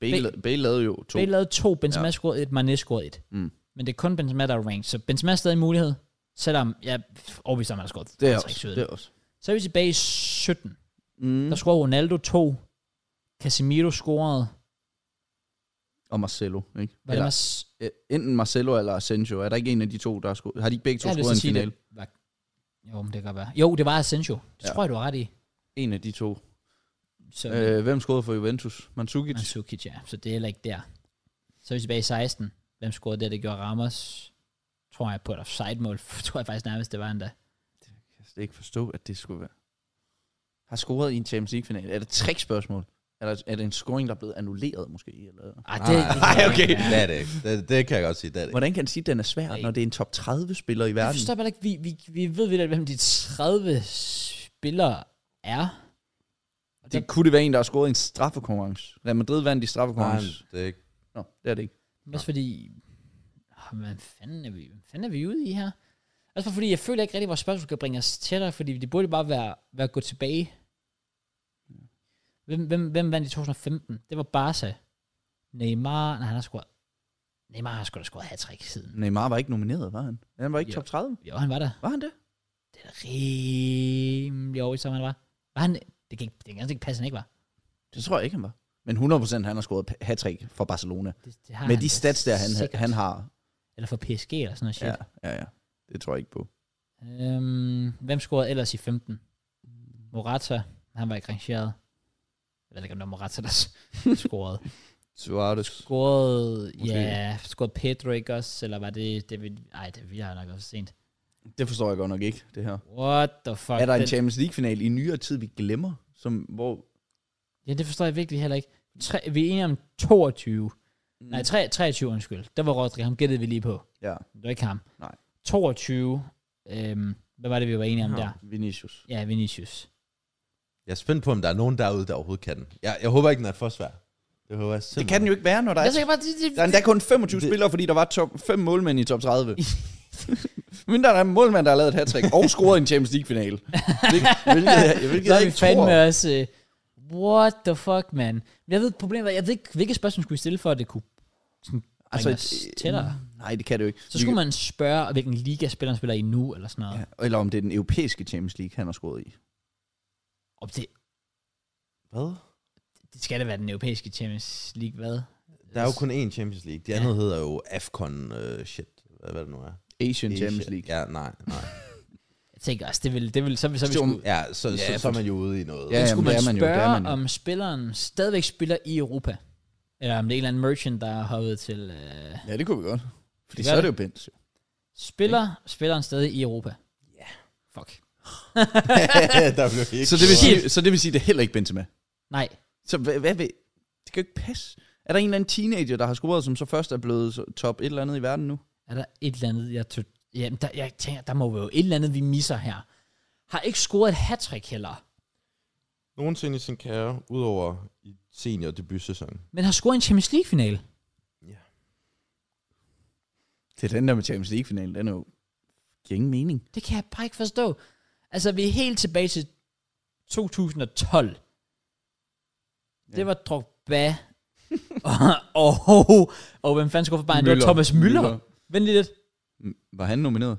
C: Bale, Bale lavede jo to.
A: Bale lavede to, Benzema
C: Ja.
A: ja. scorede et, Mané scorede et.
C: Mm.
A: Men det er kun Benzema, der er ranked. Så Benzema er stadig en mulighed, selvom jeg er overbevist om, at han har scoret
C: det er
A: 50,
C: også.
A: syv.
C: Det er også.
A: Så er vi tilbage i 17.
C: Mm.
A: Der scorede Ronaldo to. Casemiro scorede.
C: Og Marcelo, ikke?
A: Var det
C: eller,
A: Mas-
C: øh, enten Marcelo eller Asensio. Er der ikke en af de to, der har scoret? Har de ikke begge to
A: Jeg har lyst
C: scoret
A: til
C: en
A: at sige,
C: finale?
A: det var, jo, men det kan godt være. Jo, det var Asensio. Det
C: Ja.
A: ja. tror jeg, du har ret i.
C: En af de to.
A: Så, øh,
C: Øh, hvem scorede for Juventus? Mandzukic?
A: Mandzukic, ja. Så det er heller ikke der. Så er vi tilbage i 16. Hvem scorede det? Det gjorde Ramos. Tror jeg på et offside-mål. [LAUGHS] tror jeg faktisk nærmest, det var endda.
C: Jeg kan slet ikke forstå, at det skulle være. Har scoret i en Champions League-finale. Er det et trickspørgsmål? Eller er det en scoring, der er blevet annulleret måske? Eller?
A: Ej,
B: Nej,
A: Ah, det,
B: nej,
A: det,
B: [LAUGHS]
A: det,
C: okay.
B: Det er det ikke. Det, det kan jeg godt sige, det er det ikke.
C: Hvordan kan han sige, at den er svær, når det er en top 30-spiller i
A: Jeg
C: verden?
A: forstår bare ikke, vi, vi, vi ved vel, hvem de 30 spillere er.
C: Det kunne det være en, der har scoret i en straffekonkurrence. Real Madrid vandt i
B: Nej,
C: straffekonkurrence.
B: det er ikke.
C: Nå, det er det ikke.
A: Men Også fordi, oh, hvad, fanden er vi, hvad fanden er vi ude i her? Også bare fordi, jeg føler ikke rigtig, at vores spørgsmål kan bringe os tættere, fordi det burde bare være, være at gå tilbage. Hvem, hvem, hvem vandt i 2015? Det var Barca. Neymar, nej, han har scoret. Neymar har sgu da scoret hat siden.
C: Neymar var ikke nomineret, var han? Han var ikke
A: Ja.
C: top 30.
A: Jo, han var der.
C: Var han det?
A: Det er rimelig overvist, om han var. Var han, det kan ikke, det kan ganske ikke passe, han ikke var.
C: Det tror jeg ikke, han var. Men 100% han har scoret hat for Barcelona.
A: Det, Ah, det har
C: Med
A: han da
C: de stats der, han,
A: sikkert.
C: han har.
A: Eller for PSG eller sådan noget shit.
C: Ja, ja, ja. Det tror jeg ikke på.
A: Øhm, hvem scorede ellers i 15? Morata, han var ikke rangeret. Jeg ved ikke, om det var Morata, der [LAUGHS] s- scorede.
C: Suarez.
A: Scorede,
C: Måske.
A: ja, scorede Pedro ikke også, eller var det David? Ej, det har nok også sent.
C: Det forstår jeg godt nok ikke, det her.
A: What the fuck?
C: Er der en
A: Den-
C: Champions League-finale i nyere tid, vi glemmer? Som, hvor...
A: Ja, det forstår jeg virkelig heller ikke. Tre, vi er enige om 22. Mm. Nej, tre, 23, undskyld. Der var Rodri, ham gættede vi lige på.
C: Ja,
A: Det var ikke ham.
C: Nej.
A: 22. Øhm, hvad var det, vi var enige om
B: Ja.
A: der?
C: Vinicius.
A: Ja, Vinicius.
B: Jeg er spændt på, om der er nogen derude, der overhovedet kan den. Jeg, jeg håber ikke, den er for svær. Det håber jeg
C: Det
B: simpelthen.
C: kan den jo ikke være, når der
A: Jeg
C: er...
A: tænker bare, det,
C: Der er
A: det,
C: endda kun 25 spillere, fordi der var top 5 målmænd i
A: [LAUGHS]
C: top 30. [LAUGHS] Men der er en målmand, der har lavet et hat og scoret i en Champions
A: [LAUGHS]
C: League-finale. Hvilket, hvilket, jeg- hvilket
A: så
C: jeg
A: er vi
C: ikke tror.
A: fandme også, øh, what the fuck, man. Men Jeg ved, problemet er, jeg ved ikke, hvilke spørgsmål skulle vi stille for, at det kunne sådan, altså, os
C: et-
A: tættere.
C: øh, Nej, det kan det jo ikke.
A: Så skulle man spørge, hvilken liga spilleren spiller i nu, eller sådan noget. Ja.
C: Ja, eller om det er den europæiske Champions League, han har scoret i.
A: Og det,
B: Hvad?
A: det skal da være den europæiske Champions League, hvad?
B: Der er jo kun én Champions League. De andet hedder jo AFCON øh, shit. Hvad, hvad det nu er.
C: Asian Champions
B: Asia-
C: League.
B: Ja, nej, nej.
A: Jeg tænker også, det vil, det vil, så, vil- så, vil,
C: Det var-
A: skulle,
B: Ja, så,
C: Ja,
B: så, så, er man jo ude i noget.
C: Ja,
A: ja, skulle
C: jamen,
A: man
C: det er man jo, det er
A: spørge,
C: man jo.
A: om spilleren stadigvæk spiller i Europa. Eller om det er en eller anden merchant, der er hoppet til... Øh,
C: Ja, det kunne vi godt. Fordi
A: Det
C: så
A: gør
C: er det jo Benz. jo.
A: spiller spilleren stadig i Europa? Ja. Fuck.
B: [LAUGHS] der blev ikke
C: Så det, vil sige, så det vil sige, det er heller ikke Benzema.
A: Nej.
C: Så hvad, hvad vil... Det kan jo ikke passe. Er der en eller anden teenager, der har scoret, som så først er blevet så- top et eller andet i verden nu?
A: Er der et eller andet, jeg, tog, jamen, der, jeg tænker, der må være jo et eller andet, vi misser her. Har ikke scoret et hat heller,
B: Nogensinde i sin karriere, udover i senior debutsæson.
A: men har scoret en Champions League-finale.
C: Det er den der med Champions League-finalen, den er jo... giver ingen mening.
A: Det kan jeg bare ikke forstå. Altså, vi er helt tilbage til 2012. Ja. Det var Drogba [LAUGHS] og, og, og, og hvem fanden skulle for Bayern? Det var
C: Müller.
A: Thomas Müller.
C: Müller.
A: Vent lige lidt.
C: M- Var han nomineret?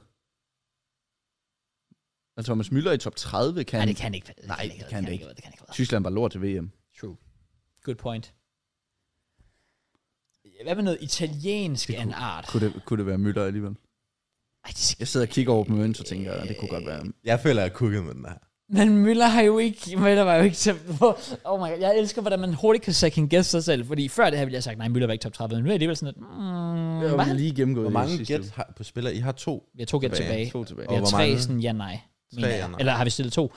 C: Og Thomas Müller i top 30 kan...
A: Nej, det kan ikke. Det
C: Nej,
A: ikke,
C: det kan det ikke.
A: Det kan ikke. være.
C: Tyskland var lort til VM.
A: True. Good point. Hvad med noget italiensk af en art?
C: Kunne det, kunne det være Müller alligevel?
A: Ej, det skal
C: Jeg sidder og kigger over på mønten, så tænker jeg, at det kunne godt
A: Mm.
C: være...
B: Jeg føler, jeg er kukket med den her.
A: Men Møller har jo ikke, Møller var jo ikke til, oh my god, jeg elsker, hvordan man hurtigt kan second guess sig selv, fordi før det her ville jeg have sagt, nej, Møller var ikke top 30, men nu er det alligevel sådan, at, mm,
C: Jeg
A: hvad?
C: har lige gennemgået
B: Hvor
C: det
B: mange
C: sidste
B: gæt
C: uge.
B: har- på spillere? I har to.
A: Vi har to gæt
B: Tilbage.
A: tilbage.
C: To tilbage.
A: Vi
B: Og
A: har
B: hvor
A: tre
B: mange?
A: sådan, ja, nej. mener
B: ja,
A: jeg.
B: nej.
A: Eller har vi stillet to?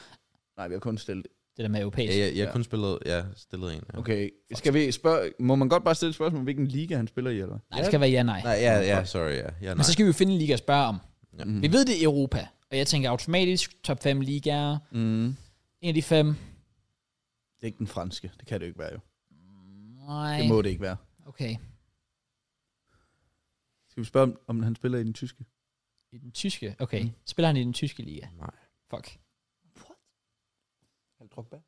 C: Nej, vi har kun stillet...
A: Det der med europæisk.
B: Ja, jeg, jeg
C: Ja.
B: har kun spillet, ja, stillet en. Ja.
C: Okay, skal vi spørge... Må man godt bare stille et spørgsmål om, hvilken liga han spiller i, eller?
A: Nej, det skal være ja, nej.
B: Nej, ja, ja, sorry, ja. ja nej.
A: Men så skal vi jo finde en liga at spørge om.
B: Ja.
A: Mm. Vi ved det er Europa, og jeg tænker automatisk top 5 ligaer,
C: Mm.
A: en af de fem.
C: Det er ikke den franske. Det kan det jo ikke være, jo.
A: Nej,
C: Det må det ikke være.
A: okay.
C: Skal vi spørge, om, om han spiller i den tyske?
A: I den
B: Mm.
A: tyske, okay. Spiller han i den tyske liga?
B: Nej.
A: Fuck.
C: Han Drogba.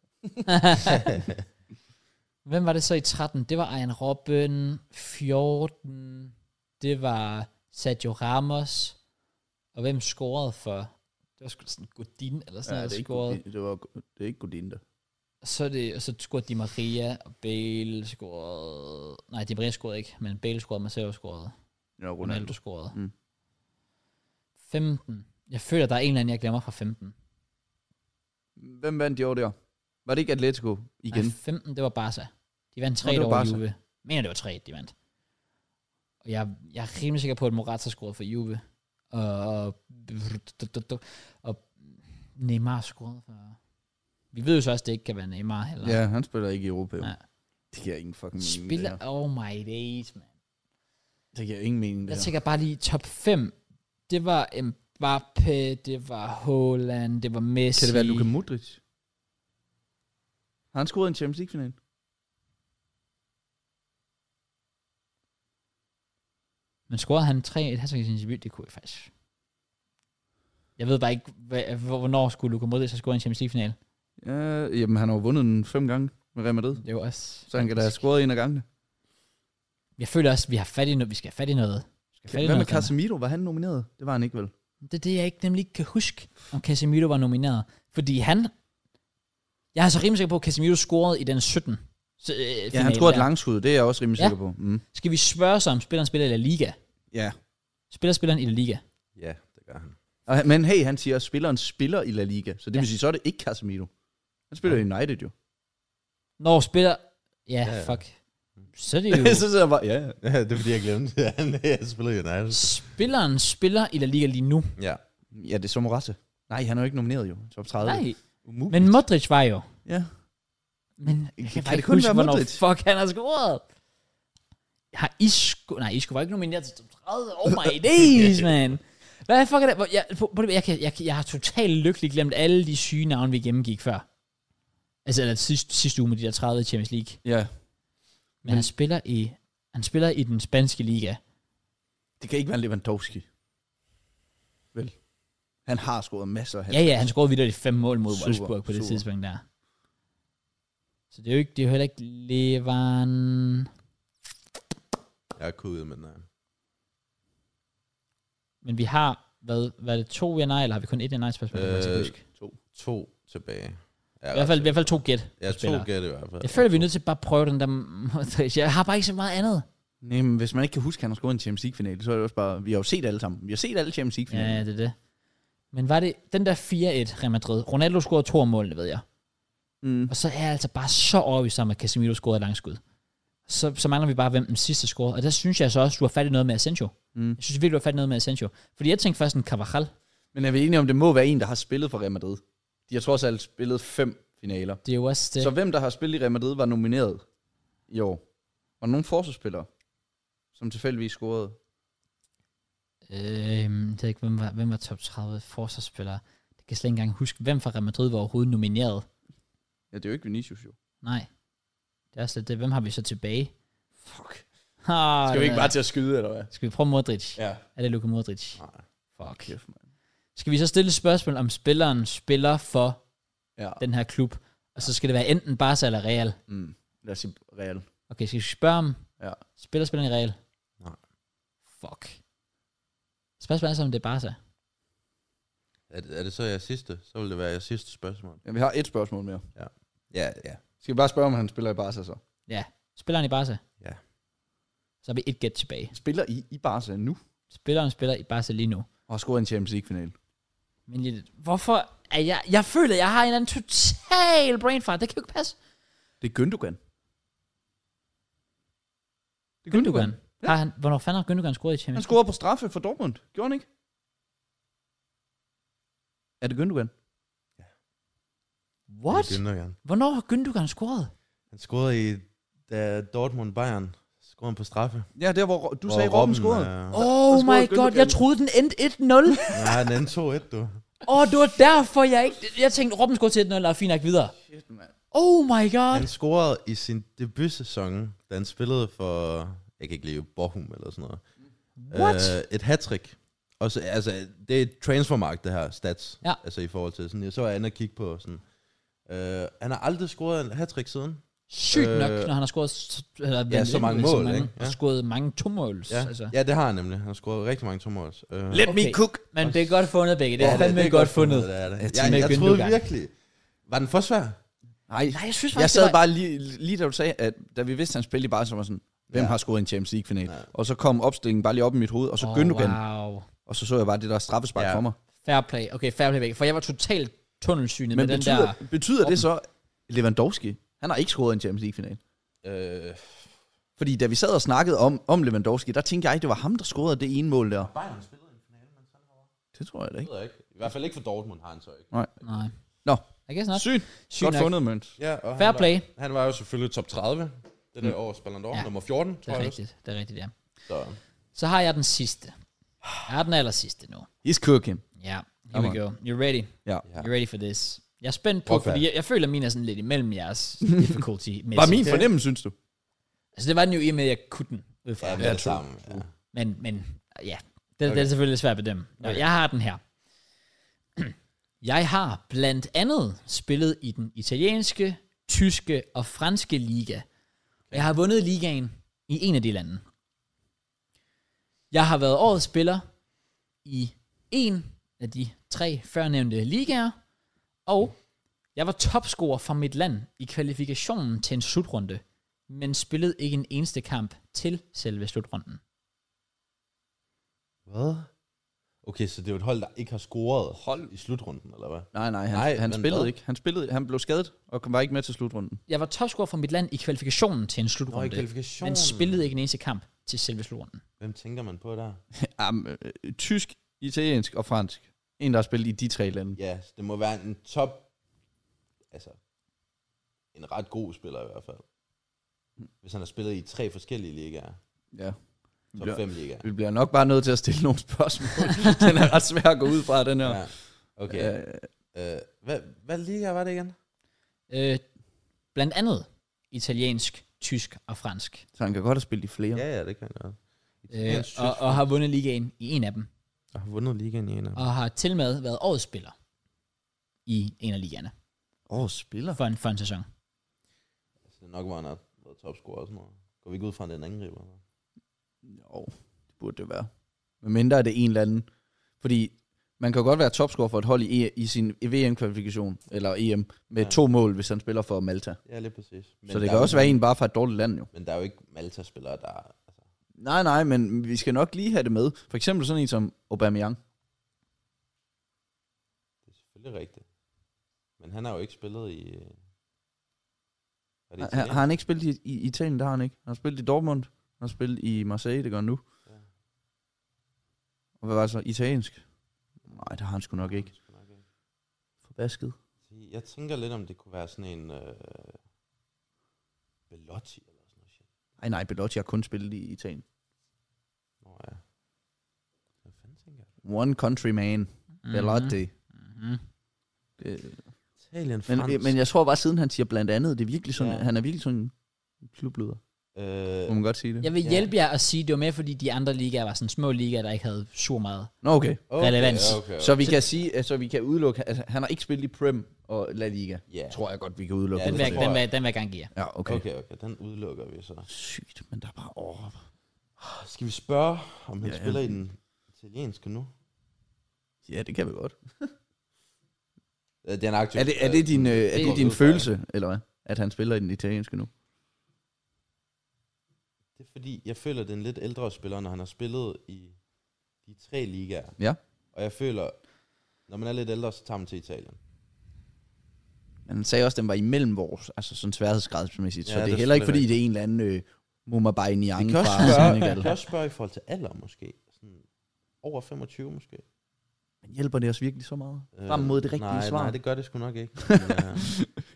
A: Hvem var det så i 13? Det var Arjen Robben, 14, det var Sergio Ramos, og hvem scorede for? Det var sgu da sådan Godin eller sådan ja, noget,
C: det,
A: der
C: er ikke
A: scorede.
C: Godin- det, var, det er ikke Godin, der.
A: Så, er det, og så scorede Di Maria, og Bale scorede... Nej, Di Maria scorede ikke, men Bale scorede, Marcelo scorede,
C: Ja, Ronaldo.
A: Ronaldo scorede.
C: Mm.
A: Mm. 15. Jeg føler, der er en eller anden, jeg glemmer fra 15.
C: Hvem vandt i år der? Var det ikke Atletico igen?
A: Nej, 15, det var Barca. De vandt 3
C: det var
A: over
C: Barca.
A: Juve. Men det var 3, de vandt. Og jeg, jeg er rimelig sikker på, at Morata scorede for Juve. Og, og, og Neymar scorede for... Vi ved jo så også, at det ikke kan være Neymar. Eller
C: ja, Mm, han spiller ikke i Europa. jo.
A: Nej.
C: Det giver ingen fucking mening.
A: Spiller...
C: Det, her.
A: oh my days, man.
C: det giver ingen mening. Det
A: Jeg
C: her.
A: tænker bare lige top 5. Det var Mbappé, det var Haaland, det var Messi.
C: Kan det være Luka Modric? Har han scoret en Champions League-final?
A: Men scorede han 3 et hat i sin debut? Det kunne jeg faktisk. Jeg ved bare ikke, hvad, hvor- hvornår skulle Luka Modric have scoret i en Champions League-final.
C: Ja, jamen han har jo vundet den fem gange med Real Madrid.
A: Det er jo også...
C: Så han kan da have scoret en af gangene.
A: Jeg føler også, at vi har fat i noget. Vi skal have fat i noget. Vi Skal have fat i
C: Hvad med
A: noget, Kasem-
C: Casemiro? Var han nomineret? Det var han ikke vel?
A: det er det, jeg ikke nemlig ikke kan huske, om Casemiro var nomineret. Fordi han... Jeg er så rimelig sikker på, at Casemiro scorede i den 17. Så, øh,
C: Ja, han scorede et langskud. Det er jeg også rimelig
A: Ja.
C: sikker på. Mm.
A: Skal vi spørge sig, om spilleren spiller i La Liga?
C: Ja.
A: Spiller spilleren i La Liga?
B: Ja, det gør han.
C: Og, han- men hey, han siger, at spilleren spiller i La Liga. Så det
A: Ja.
C: vil sige, så er det ikke Casemiro. Han spiller i United jo.
A: Når spiller... Ja,
B: Ja, ja.
A: fuck. Så er det jo...
C: så sidder [LAUGHS] jeg bare, ja, ja.
B: Ja, det er fordi, jeg [LAUGHS] glemte, at han spiller i United.
A: Spilleren spiller i La Liga lige nu.
B: Ja.
C: Ja, det er Sommerrasse. Nej, han er jo ikke nomineret jo. Top 30.
A: Nej,
C: Umuligt.
A: men Modric var jo.
C: Ja.
A: Men jeg kan,
C: Kan
A: kan bare
C: det
A: ikke
C: kun
A: huske,
C: være
A: hvornår
C: Modric?
A: fuck han har scoret. Har Isco... Nej, Isco var ikke nomineret til top 30. Oh my days, man. Hvad fuck er det? Hvor- Jeg, på, på det jeg, kan, jeg, kan- jeg har totalt lykkeligt glemt alle de syge navne, vi gennemgik før. Altså, eller sidste, sidste uge med de der 30 i Champions League.
C: Ja.
A: Men, Men han spiller i... Han spiller i den spanske liga.
C: Det kan ikke være Lewandowski. Vel. Han har scoret masser af
A: Ja, ja, han scorede videre de fem mål mod
C: Super,
A: Wolfsburg på det
C: super.
A: tidspunkt der. Så det er jo ikke, det er jo heller ikke Levan...
B: Jeg er kudet, men nej.
A: Men vi har, hvad, hvad er det, to ja nej, eller har vi kun et ja nej spørgsmål? Øh,
B: Øh,
A: I
B: To tilbage. Ja, altså,
A: hvert fald, i hvert fald to gæt.
B: Ja,
A: spillere.
B: to gæt i hvert fald.
A: Jeg føler, vi er nødt til bare at prøve den der... [LAUGHS] Modric. Jeg har bare ikke så meget andet.
C: Nej, men hvis man ikke kan huske, at han har scoret en Champions League-finale, så er det også bare... Vi har jo set alle sammen. Vi har set alle Champions
A: Ja,
C: League-finaler.
A: ja, det er det. Men var det den der 4-1 Real Madrid? Ronaldo scorede to af målene, ved jeg.
C: Mm.
A: Og så er jeg altså bare så overbevist om, at Casemiro scorede et langt skud. Så, så mangler vi bare, hvem den sidste scorede. Og der synes jeg så også, du har fat i noget med Asensio.
C: Mm.
A: Mm. Jeg synes virkelig, du har fat i noget med Asensio. Fordi jeg tænkte først en Carvajal.
C: Men er vi enige om, det må være en, der har spillet for Real Madrid? De har trods alt spillet fem finaler.
A: Det er jo også det.
C: Så hvem, der har spillet i Real Madrid, var nomineret i år? Var der nogle forsvarsspillere, som tilfældigvis scorede?
A: Øhm, jeg ved ikke, hvem var, hvem var top 30 forsvarsspillere. Det kan jeg slet ikke engang huske, hvem fra Real Madrid var overhovedet nomineret.
C: Ja, det er jo ikke Vinicius jo.
A: Nej. Det er også lidt det. Hvem har vi så tilbage?
C: Fuck.
A: Ah,
C: Skal vi
A: den
C: ikke
A: er-
C: bare til at skyde, eller hvad?
A: Skal vi prøve Modric? Ja.
C: Ja.
A: Er det Luka Modric?
B: Nej.
A: Fuck.
C: Kæft, man.
A: Skal vi så stille et spørgsmål, om spilleren spiller for
C: Ja.
A: den her klub? Og så skal det være enten Barca eller Real.
C: Mm. Lad os sige Real.
A: Okay, skal vi spørge om,
C: Ja.
A: spiller spilleren i Real?
B: Nej.
A: Fuck. Spørgsmålet er så, om det er Barca.
B: Er det, er det så jeres sidste? Så vil det være jeres sidste spørgsmål.
C: Ja, vi har et spørgsmål mere.
B: Ja, ja.
C: Skal vi bare spørge, om han spiller i Barca så?
A: Spilleren i Barca?
B: Ja.
A: Så har vi et gæt tilbage.
C: Spiller i, i Barca nu?
A: Spilleren spiller i Barca lige nu.
C: Og har scoret en Champions League-finale.
A: Men lidt, hvorfor er jeg... Jeg føler, jeg har en eller anden total brain fart. Det kan jo ikke passe.
C: Det er Gündogan. Det er
A: Gündogan. Har han, hvornår fanden har Gündogan scoret i
C: Han
A: Champions
C: scorede på straffe for Dortmund. Gjorde han ikke? Er det Gündogan?
A: League? What?
B: Gündogan.
A: Hvornår har Gündogan scoret?
B: Han scorede i da Dortmund Bayern. Scorede han på straffe.
C: Ja, der hvor du sagde, Robben scorede.
B: Øh,
A: Oh
C: scorede
A: my god,
C: Gündogan.
A: jeg troede, den endte 1-0.
B: nej, den endte 2-1, du.
A: Åh, oh, det var derfor, jeg ikke... Jeg tænkte, Robben scorede til 1-0, og fint nok videre.
C: Shit, mand.
A: Oh my god.
B: Han scorede i sin debutsæson, da han spillede for, jeg kan ikke lide Bochum eller sådan noget.
A: What?
B: Øh, et hattrick. Og så, altså, det er et transfermarkt, det her stats.
A: Ja.
B: Altså i forhold til sådan, jeg så var jeg inde og kigge på sådan, Øh, han har aldrig scoret en hat siden.
A: Sygt øh, nok,
B: Øh,
A: når han har scoret s- eller,
B: ja, så mange mål, ikke?
A: Ja.
B: Ja.
A: Scoret mange tomåls.
B: Ja,
A: Altså.
B: altså. ja, det har han nemlig. Han har scoret rigtig mange tommåls. Øh, ja,
C: Let
A: Okay.
C: me cook.
A: Men det er godt fundet, begge. Det er ja, fandme det er godt fundet.
B: Det er det.
A: Jeg
B: Jeg,
A: tænker
B: jeg,
A: ikke,
B: jeg troede
A: Gündogan.
B: virkelig... Var den for svær?
C: Nej,
A: Nej, jeg synes
C: jeg
A: faktisk,
C: sad
A: det var-
C: bare lige, lige da du sagde, at da vi vidste, at han spillede i Barca, så var jeg sådan, hvem
B: Ja.
C: har scoret en Champions League-final?
B: Ja.
C: Og så kom opstillingen bare lige op i mit hoved, og så oh, Gündogan, wow.
A: Wow.
C: og så så jeg bare det der straffespark
B: Ja.
C: for mig.
A: Fair play. Okay, fair play, begge. For jeg var totalt tunnelsynet med
C: Men
A: den
C: betyder,
A: der...
C: betyder det så, Lewandowski, han har ikke scoret en Champions League-final?
B: Øh,
C: Fordi da vi sad og snakkede om, om Lewandowski, der tænkte jeg, at det var ham, der scorede det ene mål der.
B: Bayern spillede en finale, men sådan var
C: Det tror jeg da
B: det
C: ikke.
B: ved jeg ikke. I hvert fald ikke for Dortmund har han så ikke.
A: Nej.
C: Nå.
A: I guess not.
C: Sygt.
A: Sygt
C: Godt
A: nok.
C: fundet, Møns.
B: Ja, og
A: Fair
B: han
A: play.
B: Var, han var jo selvfølgelig top 30. Det der mm. års Ballon d'Or,
A: Ja.
B: ja. nummer 14,
A: Det
B: tror
A: er
B: jeg. også.
A: rigtigt. Det er rigtigt, ja.
B: Så.
A: Så har jeg den sidste. Jeg er den aller sidste nu.
C: He's cooking.
A: Ja, here
C: Come
A: we go. You're ready.
C: Ja.
B: Ja.
A: You're ready for this. Jeg er spændt på,
B: Hvorfor?
A: fordi jeg, jeg føler, at min er sådan lidt imellem
C: [LAUGHS]
A: jeres difficulty -mæssigt.
C: Var min fornemmelse, synes du?
A: Altså, det var den jo i og med, at jeg kunne den. Ud fra.
B: Ja,
A: Ja,
B: med det samme. Ja.
A: men, men ja, det, okay. det er selvfølgelig svært at bedømme. Okay. Jeg har den her. [CLEARS THROAT] Jeg har blandt andet spillet i den italienske, tyske og franske liga. Jeg har vundet ligaen i en af de lande. Jeg har været årets spiller i en af de tre førnævnte ligaer, og jeg var topscorer fra mit land i kvalifikationen til en slutrunde, men spillede ikke en eneste kamp til selve slutrunden.
B: Hvad? Okay, så det er jo et hold, der ikke har scoret hold i slutrunden, eller hvad?
C: Nej, nej, han,
B: Nej,
C: nej, han
B: men
C: spillede
B: hvad?
C: ikke. Han spillede, han blev skadet og kom bare ikke med til slutrunden.
A: Jeg var topscorer for mit land i kvalifikationen til en
B: Nå, i
A: slutrunde,
B: kvalifikationen.
A: men spillede ikke en eneste kamp til selve slutrunden.
B: Hvem tænker man på der?
C: Um, øh, tysk, italiensk og fransk. En, der har spillet i de tre lande.
B: Ja, yes, det må være en top... Altså, en ret god spiller i hvert fald. Hvis han har spillet i tre forskellige ligaer.
C: Ja.
B: Top
C: Ja.
B: 5 ligaer.
C: Vi bliver nok bare nødt til at stille nogle spørgsmål. [LAUGHS] den er ret svær at gå ud fra, den her.
B: Ja. Okay.
C: Øh,
B: Øh, hvad, hvad liga var det igen?
A: Øh, blandt andet italiensk, tysk og fransk.
C: så han kan godt have spillet i flere.
B: Ja, ja, det kan jeg godt.
A: Øh,
B: Italiensk,
A: og,
B: tysk,
A: og har vundet ligaen i en af dem.
B: og har vundet ligaen i en af dem.
C: Ah.
A: Og har til med været årets spiller i en af ligaerne
C: Åh, oh, spiller.
A: for en, for en sæson.
B: Altså, det er nok, hvor han har været topscorer og sådan noget. Går vi ikke ud fra, at det er en angriber? eller?
C: Jo, det burde det være. Men mindre er det en eller anden. Fordi man kan jo godt være topscorer for et hold i, e- i sin VM-kvalifikation, eller EM, med ja.
B: Ja.
C: to mål, hvis han spiller for Malta.
B: Ja, lige præcis.
C: Men så det
B: der
C: kan
B: er
C: også
B: jo,
C: være en bare fra et dårligt land, jo.
B: Men der er jo ikke Malta-spillere, der... er- Altså,
C: Nej, nej, men vi skal nok lige have det med. For eksempel sådan en som Aubameyang.
B: det er selvfølgelig rigtigt. Men han har jo ikke spillet i... øh, Er det
C: Har,
B: Italien?
C: har han ikke spillet i, i Italien? Der har han ikke. Han har spillet i Dortmund. Han har spillet i Marseille, det gør han nu.
B: Ja.
C: Og hvad var det så? Italiensk? Nej, det har han sgu nok ikke.
B: Sgu nok ikke.
C: Forbasket.
B: Se, Jeg tænker lidt, om det kunne være sådan en... Øh, Belotti eller sådan noget shit.
C: Nej, nej, Belotti har kun spillet i Italien.
B: Nå ja. Hvad fanden tænker jeg?
C: One country man. Belotti.
A: Mm-hmm.
C: Øh,
B: Italien,
C: Men,
B: Fransk.
C: men jeg tror bare, siden han siger blandt andet, det er virkelig sådan, ja.
B: Ja.
C: han er virkelig sådan en klubleder.
B: Øh,
C: Må man godt sige det?
A: Jeg vil
B: Ja.
A: hjælpe jer at sige, det var med, fordi de andre ligaer var sådan små ligaer, der ikke havde så meget.
C: Nå, okay.
B: okay,
A: relevans.
B: Okay,
C: Så vi kan sige, altså vi kan udelukke, altså, han har ikke spillet i Prem og La Liga.
B: Ja.
C: Tror jeg godt, vi kan udelukke.
B: Ja,
A: Den
C: det
A: vil jeg,
B: tror
A: den
B: jeg.
A: vil, jeg- den vil jeg gerne give jer.
C: ja okay. okay.
B: okay, okay. Den udelukker vi så.
C: Sygt, men der er bare over.
B: Skal vi spørge, om han
C: Ja,
B: ja,
C: ja.
B: spiller i den italienske nu?
C: Ja, det kan vi godt.
B: Øh, Det er, en aktiv,
C: Er det, er det din, øh, er
A: går
C: det din følelse, eller hvad? At han spiller i den italienske nu?
B: Det er fordi, jeg føler, det er en lidt ældre spiller, når han har spillet i de tre ligaer.
C: Ja.
B: Og jeg føler, når man er lidt ældre, så tager man til Italien.
C: Men han sagde også, at den var imellem vores, altså sådan sværhedsgradsmæssigt. Ja, så
B: Ja,
C: det
B: det
C: er
B: er
C: heller ikke, fordi
B: selvfølgelig
C: det er en eller anden øh, Mumbai Niang
B: Vi kan, også
C: fra
B: spørge, vi kan
C: Senegal.
B: også spørge i forhold til alder måske. Sådan over 25 måske.
C: Men Hjælper det os virkelig så meget? Frem
B: Øh,
C: mod det rigtige
B: nej,
C: svar.
B: Nej, det gør det sgu nok
C: [LAUGHS]
B: ikke. Men, øh,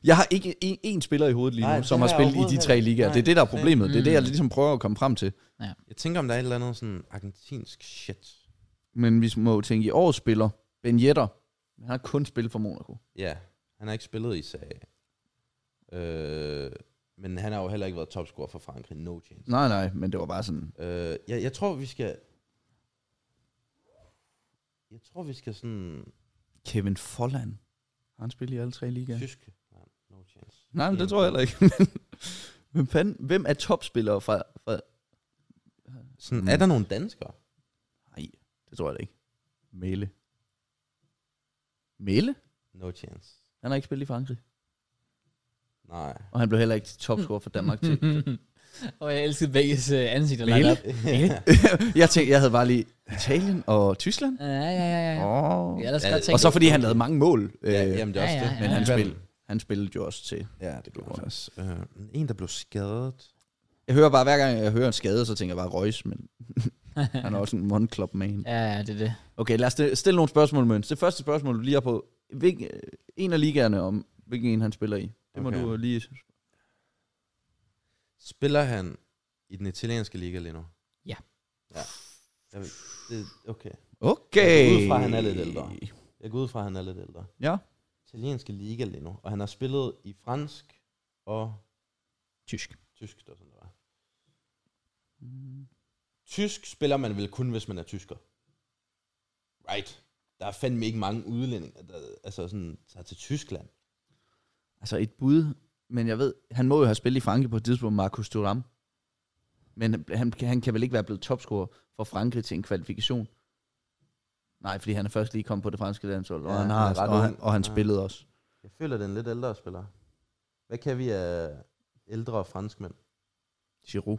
C: Jeg har ikke en, en spiller i hovedet lige nu,
B: Nej,
C: Nej,
B: det
C: som har
B: har jeg
C: spillet i de
B: overhovedet
C: tre
B: heller ikke.
C: ligaer. Det er
B: Nej,
C: det, der er
B: same.
C: problemet. Det er det,
A: Mm.
C: jeg ligesom prøver at komme frem til.
B: jeg tænker, om der er et eller andet sådan argentinsk shit.
C: Men vi må jo tænke i årets spiller. Ben Yedder, han har kun spillet for Monaco.
B: Ja, han har ikke spillet i sag. Øh, men han har jo heller ikke været topscorer for Frankrig. No chance.
C: Nej, nej, men det var bare sådan...
B: Øh, jeg, jeg tror, vi skal... Jeg tror, vi skal sådan...
C: Kevin Folland. Har han spillet i alle tre ligaer?
B: Tysk. Nej,
C: Nej, men det tror jeg heller ikke. [LAUGHS] Men fanden, hvem er topspillere fra... fra... Hmm.
B: Sådan, er der nogle danskere?
C: Nej, det tror jeg da ikke. Mæle. Mæle?
B: No chance.
C: Han har ikke spillet i Frankrig.
B: Nej.
C: Og han blev heller ikke topscorer for Danmark til.
A: [LAUGHS]
C: [LAUGHS]
A: Og jeg elskede begges øh, ansigter.
C: Mæle?
A: lined up.
C: jeg tænkte, jeg havde bare lige Italien og Tyskland.
A: Ja, ja, ja. ja.
C: Oh.
A: Jeg har ellers
B: Ja,
A: godt tænkt,
C: Og så fordi han lavede mange mål. Øh,
B: [LAUGHS] Ja,
C: ja,
B: jamen, det er også
A: ja,
B: det.
A: ja, ja.
C: men han,
B: Hvad-
C: spil, han spillede jo også til.
B: Ja, det blev
C: gjorde han.
B: faktisk. Øh, en, der blev skadet.
C: Jeg hører bare, hver gang jeg hører en skade, så tænker jeg bare Reus, men han er også en one club man.
A: [LAUGHS] ja, ja, det er det.
C: Okay, lad os stille- stille nogle spørgsmål, Møns. Det første spørgsmål, du lige har på, hvilken, en af ligaerne om, hvilken en han spiller i. Det må
B: Okay.
C: okay. du lige...
B: Spiller han i den italienske liga lige nu?
A: Ja.
B: Ja. Jeg ved, det, okay.
C: Okay.
B: Jeg går ud fra, han er lidt ældre. Jeg går ud fra, at han er lidt ældre.
C: Ja.
B: Italienske liga lige nu. Og han har spillet i fransk og
A: Tysk.
B: tysk. Det var sådan, det var.
C: Mm.
B: Tysk spiller man vel kun, hvis man er tysker. Right. Der er fandme ikke mange udlændinge, der altså sådan, tager til Tyskland.
C: Altså et bud, men jeg ved, han må jo have spillet i Frankrig på et tidspunkt, Marcus Thuram. Men han, han kan vel ikke være blevet topscorer for Frankrig til en kvalifikation? Nej, fordi han er først lige kommet på det franske landshold, ja,
B: Ja,
C: og, han
B: han
C: har,
B: er ret
C: og, han,
B: ung.
C: og han
B: Ja.
C: spillede også.
B: Jeg føler, den lidt ældre spiller. Hvad kan vi af ældre franskmænd?
C: Giroud.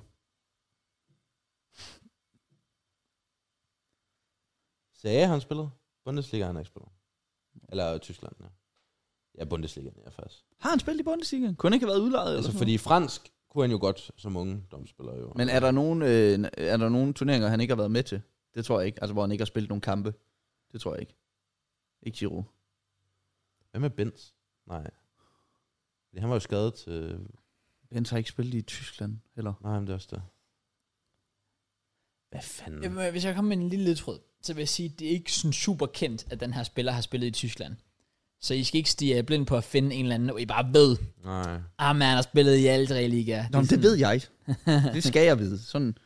B: Sagde han spillet? Bundesliga har han ikke spillet. Eller Tyskland, ja. Ja, Bundesliga, ja, faktisk.
C: Har han spillet i Bundesliga? Kunne han ikke have været udlejet?
B: Altså,
C: eller
B: fordi fransk kunne han jo godt som unge domspiller jo.
C: Men er der, nogen, øh, er der nogen turneringer, han ikke har været med til? Det tror jeg ikke. Altså, hvor han ikke har spillet nogen kampe. Det tror jeg ikke. Ikke Giroud.
B: Hvad med Benz? Nej. Fordi Han var jo skadet til...
C: Jens har ikke spillet i Tyskland heller.
B: Nej, men det er også det. Hvad fanden?
A: Jamen, øh, Hvis jeg kommer med en lille ledtråd, så vil jeg sige, at det er ikke sådan super kendt, at den her spiller har spillet i Tyskland. Så I skal ikke stige jer blind på at finde en eller anden, og I bare ved,
B: Nej.
A: ah man, han har spillet i alle tre ligaer.
C: Nå, men det ved jeg. [LAUGHS] Det skal jeg vide. Sådan.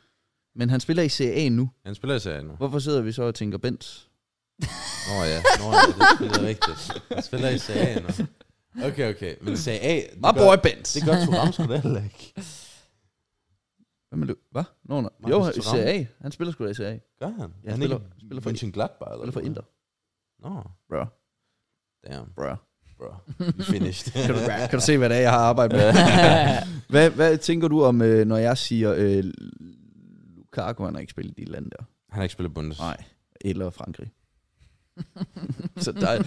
C: Men han spiller i CA nu.
B: Han spiller i serien nu.
C: Hvorfor sidder vi så og tænker Bent?
B: Nå ja, Nå, ja det spiller rigtigt. Han spiller i serien nu. Okay, okay. Men serie A... det gør-
C: Bent.
B: Det gør Thuram sgu da heller ikke.
C: Hvad med det? Hvad? Nå, nå.
B: Marcus
C: Jo,
B: Thuram.
C: i CA. Han spiller sgu da i CA. Han
B: Gør han?
C: Ja,
B: han
C: spiller-
B: ikke
C: spiller for-
B: Mönchengladbach, eller
C: spiller for
B: hvad?
C: Inter.
B: Nå,
C: Bro,
B: damn,
C: bro.
B: bro. You finished.
C: [LAUGHS] Kan du, kan du se, hvad det er, jeg har arbejdet med? hvad, hvad tænker du om, øh, når jeg siger, øh, Lukaku han har ikke spillet i de lande der?
B: han har ikke spillet bundes.
C: Nej. Eller Frankrig. [LAUGHS] så der, er-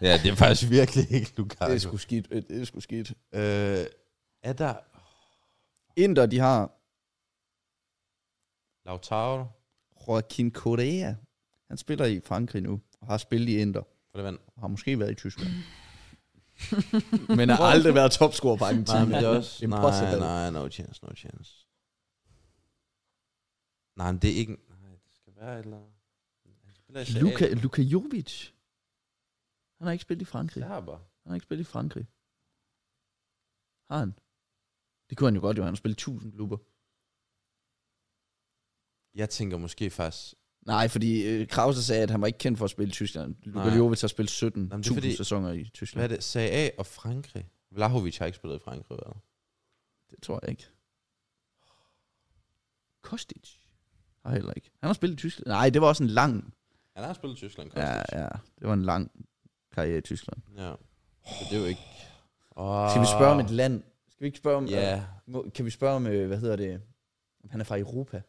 B: Ja, det er faktisk virkelig ikke Lukaku.
C: det er sgu skidt. øh, Det er sgu skidt.
B: Øh, er der...
C: Inter, de har
B: Lautaro?
C: Joaquin Correa. Han spiller i Frankrig nu, og har spillet i Inter.
B: For det vand.
C: og har måske været i Tyskland. [LAUGHS]
A: [LAUGHS]
C: men har aldrig været topscorer på
B: Nej, men
C: Argentina.
B: det er også...
C: [LAUGHS] Impossible.
B: Nej, nej, no chance, no chance. Nej, men det er ikke... Nej, det skal være et eller... andet. Han spiller i Serie A.
C: Luka, Luka Jovic. Han har ikke spillet i Frankrig.
B: Serber.
C: Han har ikke spillet i Frankrig. Har han? Det kunne han jo godt, jo. Han har spillet i 1000 klubber.
B: Jeg tænker måske faktisk...
C: Nej, fordi øh, Krause sagde, at han var ikke kendt for at spille i Tyskland. Luka
B: Nej.
C: Jovic har spillet
B: Jamen,
C: 17.000
B: det er fordi-
C: sæsoner i
B: Hvad er
C: Tyskland.
B: det? Serie A og Frankrig. Vlahovic har ikke spillet i Frankrig, eller?
C: Det tror jeg ikke. Kostic har heller ikke. Han har spillet i Tyskland. Nej, det var også en lang...
B: Han har spillet i Tyskland, Kostic.
C: Ja, ja, det var en lang karriere i Tyskland.
B: ja. Så det er jo ikke... Oh.
C: Skal vi spørge om et land? Skal vi ikke spørge om...
B: Ja.
C: øh, må- Kan vi spørge om, øh, hvad hedder det? Om han er fra Europa?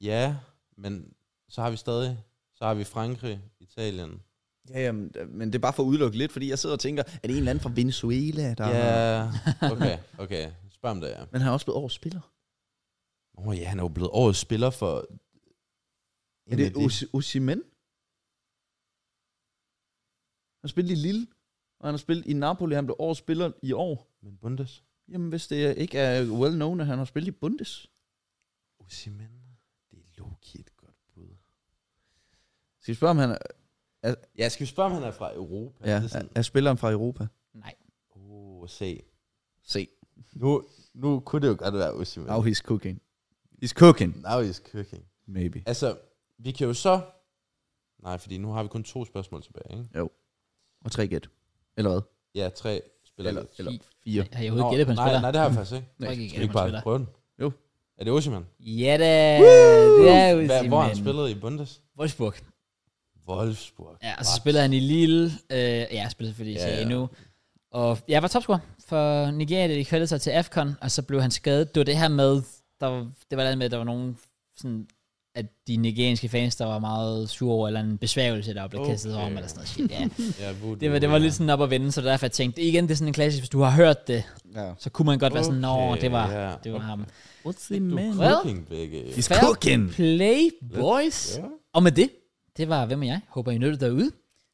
B: Ja, men så har vi stadig... Så har vi Frankrig, Italien.
C: Ja, jamen, øh, men det er bare for at udelukke lidt, fordi jeg sidder og tænker, er det en eller anden fra Venezuela, der...
B: Ja, okay, okay. Spørg om det, ja.
C: Men han er også blevet årets spiller.
B: Åh oh, ja, han er jo blevet årets spiller for...
C: Er
B: en af
C: det
B: de-
C: Osimhen? Han spillede i Lille, og han har spillet i Napoli. Han blev årets spiller i år.
B: Men Bundes?
C: Jamen, hvis det ikke er well known, at han har spillet i Bundes.
B: Osimhen? Det er Loki et godt bud.
C: Skal vi spørge, om han er,
B: Ja, skal vi spørge, om han er fra Europa?
C: ja,
B: Det er sådan,
C: er, er spilleren fra Europa?
A: Nej.
B: Åh, oh, se.
C: Se.
B: Nu, nu kunne det jo godt være Osimhen.
C: Now he's cooking. He's cooking,
B: Now he's cooking.
C: maybe.
B: Altså, vi kan jo så... Nej, fordi nu har vi kun to spørgsmål tilbage, ikke?
C: Og 3 gæt. Eller hvad?
B: Ja, tre. spiller
C: Eller,
B: lidt.
C: eller
A: Fint.
C: fire.
A: Har jeg overhovedet gættet på en
B: nej,
A: spiller?
B: nej, det har jeg faktisk ikke.
A: Tror ikke, jeg
B: Skal
A: gætter
B: vi ikke
A: på en
B: bare
A: spiller.
B: prøve den?
C: Jo.
B: Er det Osimhen?
A: Ja da, det er jo
B: Hvad, hvor har
A: simpelthen
B: han spillet i Bundes?
A: Wolfsburg.
B: Wolfsburg.
A: Ja, og så spiller han i Lille. Øh, ja, jeg spiller selvfølgelig i
B: Ja,
A: ja,
B: ja.
A: nu. Og jeg var topscorer for Nigeria, da de kvalgte sig til AFCON, og så blev han skadet. Det var det her med, der var, det var det med, at der var nogen sådan, at de nigerianske fans, der var meget sure over, eller en besværgelse, der blev okay. kastet over
B: Okay.
A: ham, eller sådan noget shit. Ja.
B: Ja, voodoo,
A: Det var, det var
B: ja.
A: lidt sådan op at vende, så det er derfor, jeg tænkte, igen, det er sådan en klassisk, hvis du har hørt det,
C: Ja.
A: så kunne man godt være sådan, nå,
B: Okay,
A: det var,
B: ja.
A: det var ham.
B: Du er
A: Well.
B: cooking begge.
C: He's
A: Fair
C: cooking.
A: Play, boys.
B: Ja.
A: Og med det, det var Hvem er jeg? Håber, I nødt derude.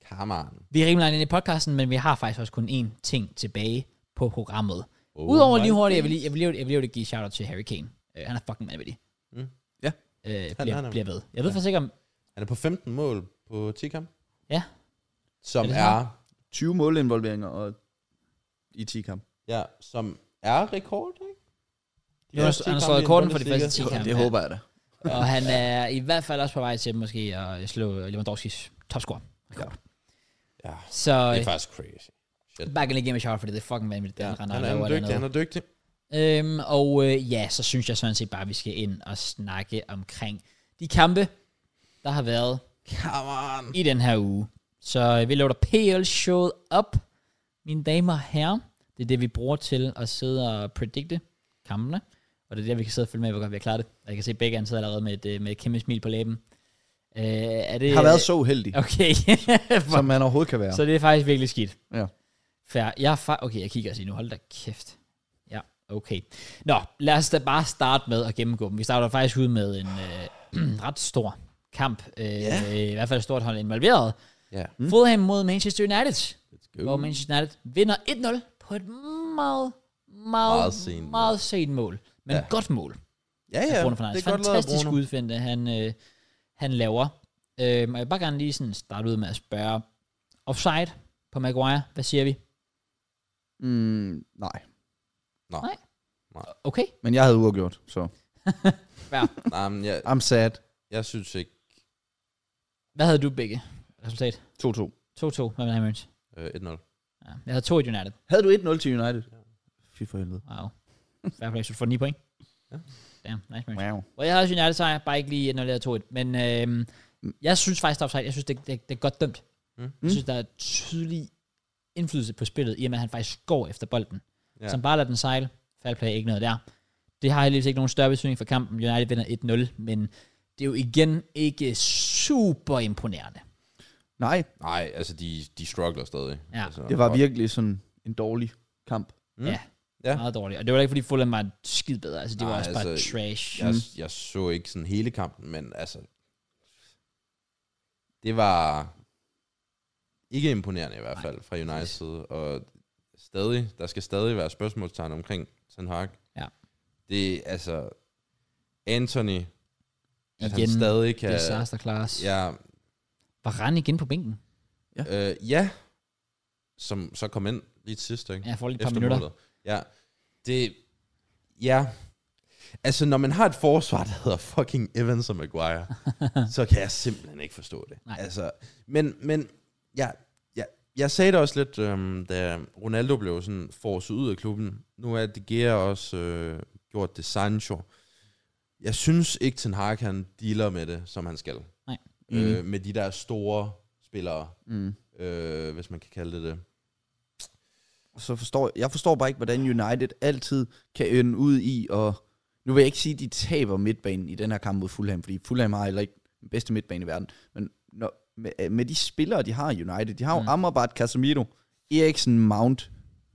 B: Come on.
A: Vi er rimelig langt inde i podcasten, men vi har faktisk også kun én ting tilbage på programmet.
B: Oh
A: Udover
B: my
A: lige hurtigt, jeg vil lige, jeg vil lige, jeg vil lige give shout-out til Harry Kane. Øh, han er fucking vanvittig.
B: Mm.
C: Ja.
A: Øh,
B: han
A: bliver,
B: er-
A: bliver ved. Jeg ved faktisk ikke om...
B: [LAUGHS] Han er på 15 mål på 10 kamp.
A: Ja.
B: Som
A: Er det
B: er, er
C: 20 målinvolveringer og i 10 kamp.
B: ja, som er rekord, ikke? De
A: Jonas,
B: første 10
A: han har
B: kampe
A: slået
B: i en
A: rekorden for de
B: Bundesliga.
A: første 10 kampe.
C: Det håber jeg da.
A: Og han er i hvert fald også på vej til måske at slå Lewandowskis topscore.
B: Ja,
A: Så
B: det
A: øh,
B: er faktisk crazy.
A: bare kan lige give mig shout fordi det er fucking vanvittigt, det
B: Ja,
A: han render
B: han
A: og
B: er
A: laver
B: en dygtig,
A: dernede.
B: han er dygtig.
A: Øhm, og øh, ja, så synes jeg sådan set bare, at vi skal ind og snakke omkring de kampe, der har været
B: Come on.
A: i den her uge. Så øh, vi laver PL-showet op, mine damer og herrer. Det er det, vi bruger til at sidde og predikte kampene. Og det er der, vi kan sidde og følge med, hvor godt vi har klaret det. Og jeg kan se, at begge han sidder allerede med et, øh, med et kæmpe smil på læben. Øh, er det,
C: Jeg har været så uheldig,
A: Okay. [LAUGHS]
C: som man overhovedet kan være.
A: så det er faktisk virkelig skidt.
C: Ja.
A: Fair. Jeg er fa- okay, jeg kigger også lige nu. Hold da kæft. Ja, okay. Nå, lad os da bare starte med at gennemgå dem. Vi starter faktisk ud med en øh, [CLEARS THROAT] ret stor kamp. Øh, ja. I hvert fald et stort hold involveret.
B: Ja.
A: Mm. Fulham mod Manchester United.
B: Let's
A: Uh. Hvor
B: go.
A: Manchester United vinder 1-0 på et meget, meget, meget
B: Meget
A: sent,
B: sent
A: meget sent mål. Men ja.
B: Ja.
A: godt mål.
B: Ja,
A: Ja,
B: ja.
A: Bruno Fernandes.
B: Det er godt lavet af
A: Fantastisk
B: Bruno.
A: udfindte, han, øh, han laver. Øhm, og jeg vil bare gerne lige sådan starte ud med at spørge, offside på Maguire, hvad siger vi?
C: Mm, nej,
A: Okay,
C: men jeg havde uafgjort, så
B: Nej, men jeg,
C: I'm sad.
B: jeg synes ikke
A: hvad havde du begge? Resultat
C: 2-2.
A: 2-2, hvad med Hammers?
B: øh, 1-0.
A: Ja. Jeg havde 2 i United.
C: Havde du 1-0 til United? Fy for helvede.
A: Wow. Fair play, så du får 9 point. Ja.
B: Ja.
A: Damn, nice match.
C: Wow.
A: Og jeg havde også United sejr, bare ikke lige 1-0 eller 2-1. Men øhm, jeg synes faktisk, der er offside. Jeg synes, det, det, det er godt dømt. Mm.
B: Mm.
A: Jeg synes, der er tydelig indflydelse på spillet, i og med, at han faktisk går efter bolden. Ja.
B: Ja.
A: Som bare lader den sejle. Fair play, ikke noget der. Det har heldigvis ikke nogen større betydning for kampen. United vinder 1-0, men det er jo igen ikke super imponerende.
C: Nej,
B: Nej, altså de, de struggler stadig.
A: Ja.
B: altså,
C: det var
B: og-
C: virkelig sådan en dårlig kamp.
B: Mm.
A: Ja. ja.
B: Ja.
A: Meget dårligt. Og det var ikke, fordi Fulham var skid bedre. Altså, de var
B: Nej,
A: også bare
B: altså,
A: trash.
B: Jeg, jeg så ikke sådan hele kampen, men altså... Det var ikke imponerende i hvert fald fra Uniteds side, og stadig, der skal stadig være spørgsmålstegn omkring Ten Hag.
A: Ja.
B: Det er altså... Anthony, at han
A: igen,
B: stadig kan...
A: disaster class. Ja.
B: ja,
A: Varane igen på bænken.
B: øh, ja, som så kom ind lige til sidst, ikke?
A: Ja, for lige et par
B: Efter
A: minutter.
B: målet. Ja, det... Ja. Altså, når man har et forsvar, der hedder fucking Evans
A: [LAUGHS]
B: og Maguire, så kan jeg simpelthen ikke forstå det.
A: Nej.
B: Altså, men men ja, ja, jeg sagde det også lidt, øhm, da Ronaldo blev sådan forset ud af klubben. Nu er De Gea også øh, gjort det Sancho. Jeg synes ikke, Ten Hag han dealer med det, som han skal.
A: Nej. Mm.
B: Øh, med de der store spillere,
C: Mm.
B: øh, hvis man kan kalde det det.
C: Så forstår jeg, jeg forstår bare ikke, hvordan United altid kan ende ud i, og nu vil jeg ikke sige, at de taber midtbanen i den her kamp mod Fulham, fordi Fulham har heller ikke den bedste midtbane i verden, men når, med, med de spillere, de har i United, de har jo
A: Mm.
C: mm. Amrabat, Casemiro, Eriksen, Mount,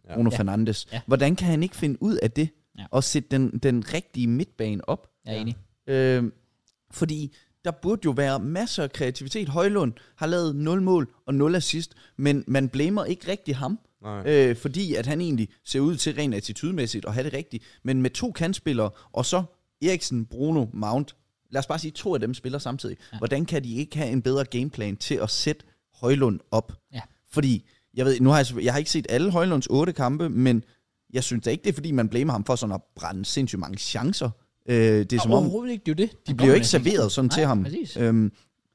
B: Ja.
C: ja. Bruno
A: Ja.
C: ja. Fernandes.
A: Ja.
C: Ja. Hvordan kan han ikke finde ud af det,
A: Ja.
C: og sætte den, den rigtige midtbane op?
A: Jeg er enig.
C: Øh, fordi der burde jo være masser af kreativitet. Højlund har lavet 0 mål og 0 assist, men man blamer ikke rigtig ham,
B: Nej.
C: øh, fordi at han egentlig ser ud til rent attitudmæssigt at have det rigtigt. Men med to kantspillere, og så Eriksen, Bruno, Mount, lad os bare sige, to af dem spiller samtidig. Ja. Hvordan kan de ikke have en bedre gameplan til at sætte Højlund op?
A: Ja.
C: Fordi, jeg ved, nu har jeg, selvfø- jeg har ikke set alle Højlunds otte kampe, men jeg synes da ikke, det er fordi, man blamer ham for sådan at brænde sindssygt mange chancer. Øh, det er som om,
A: overhovedet ikke, det er jo det.
C: de bliver jo ikke serveret sådan
A: Nej,
C: til ham. Øh,
A: præcis.
C: Øhm,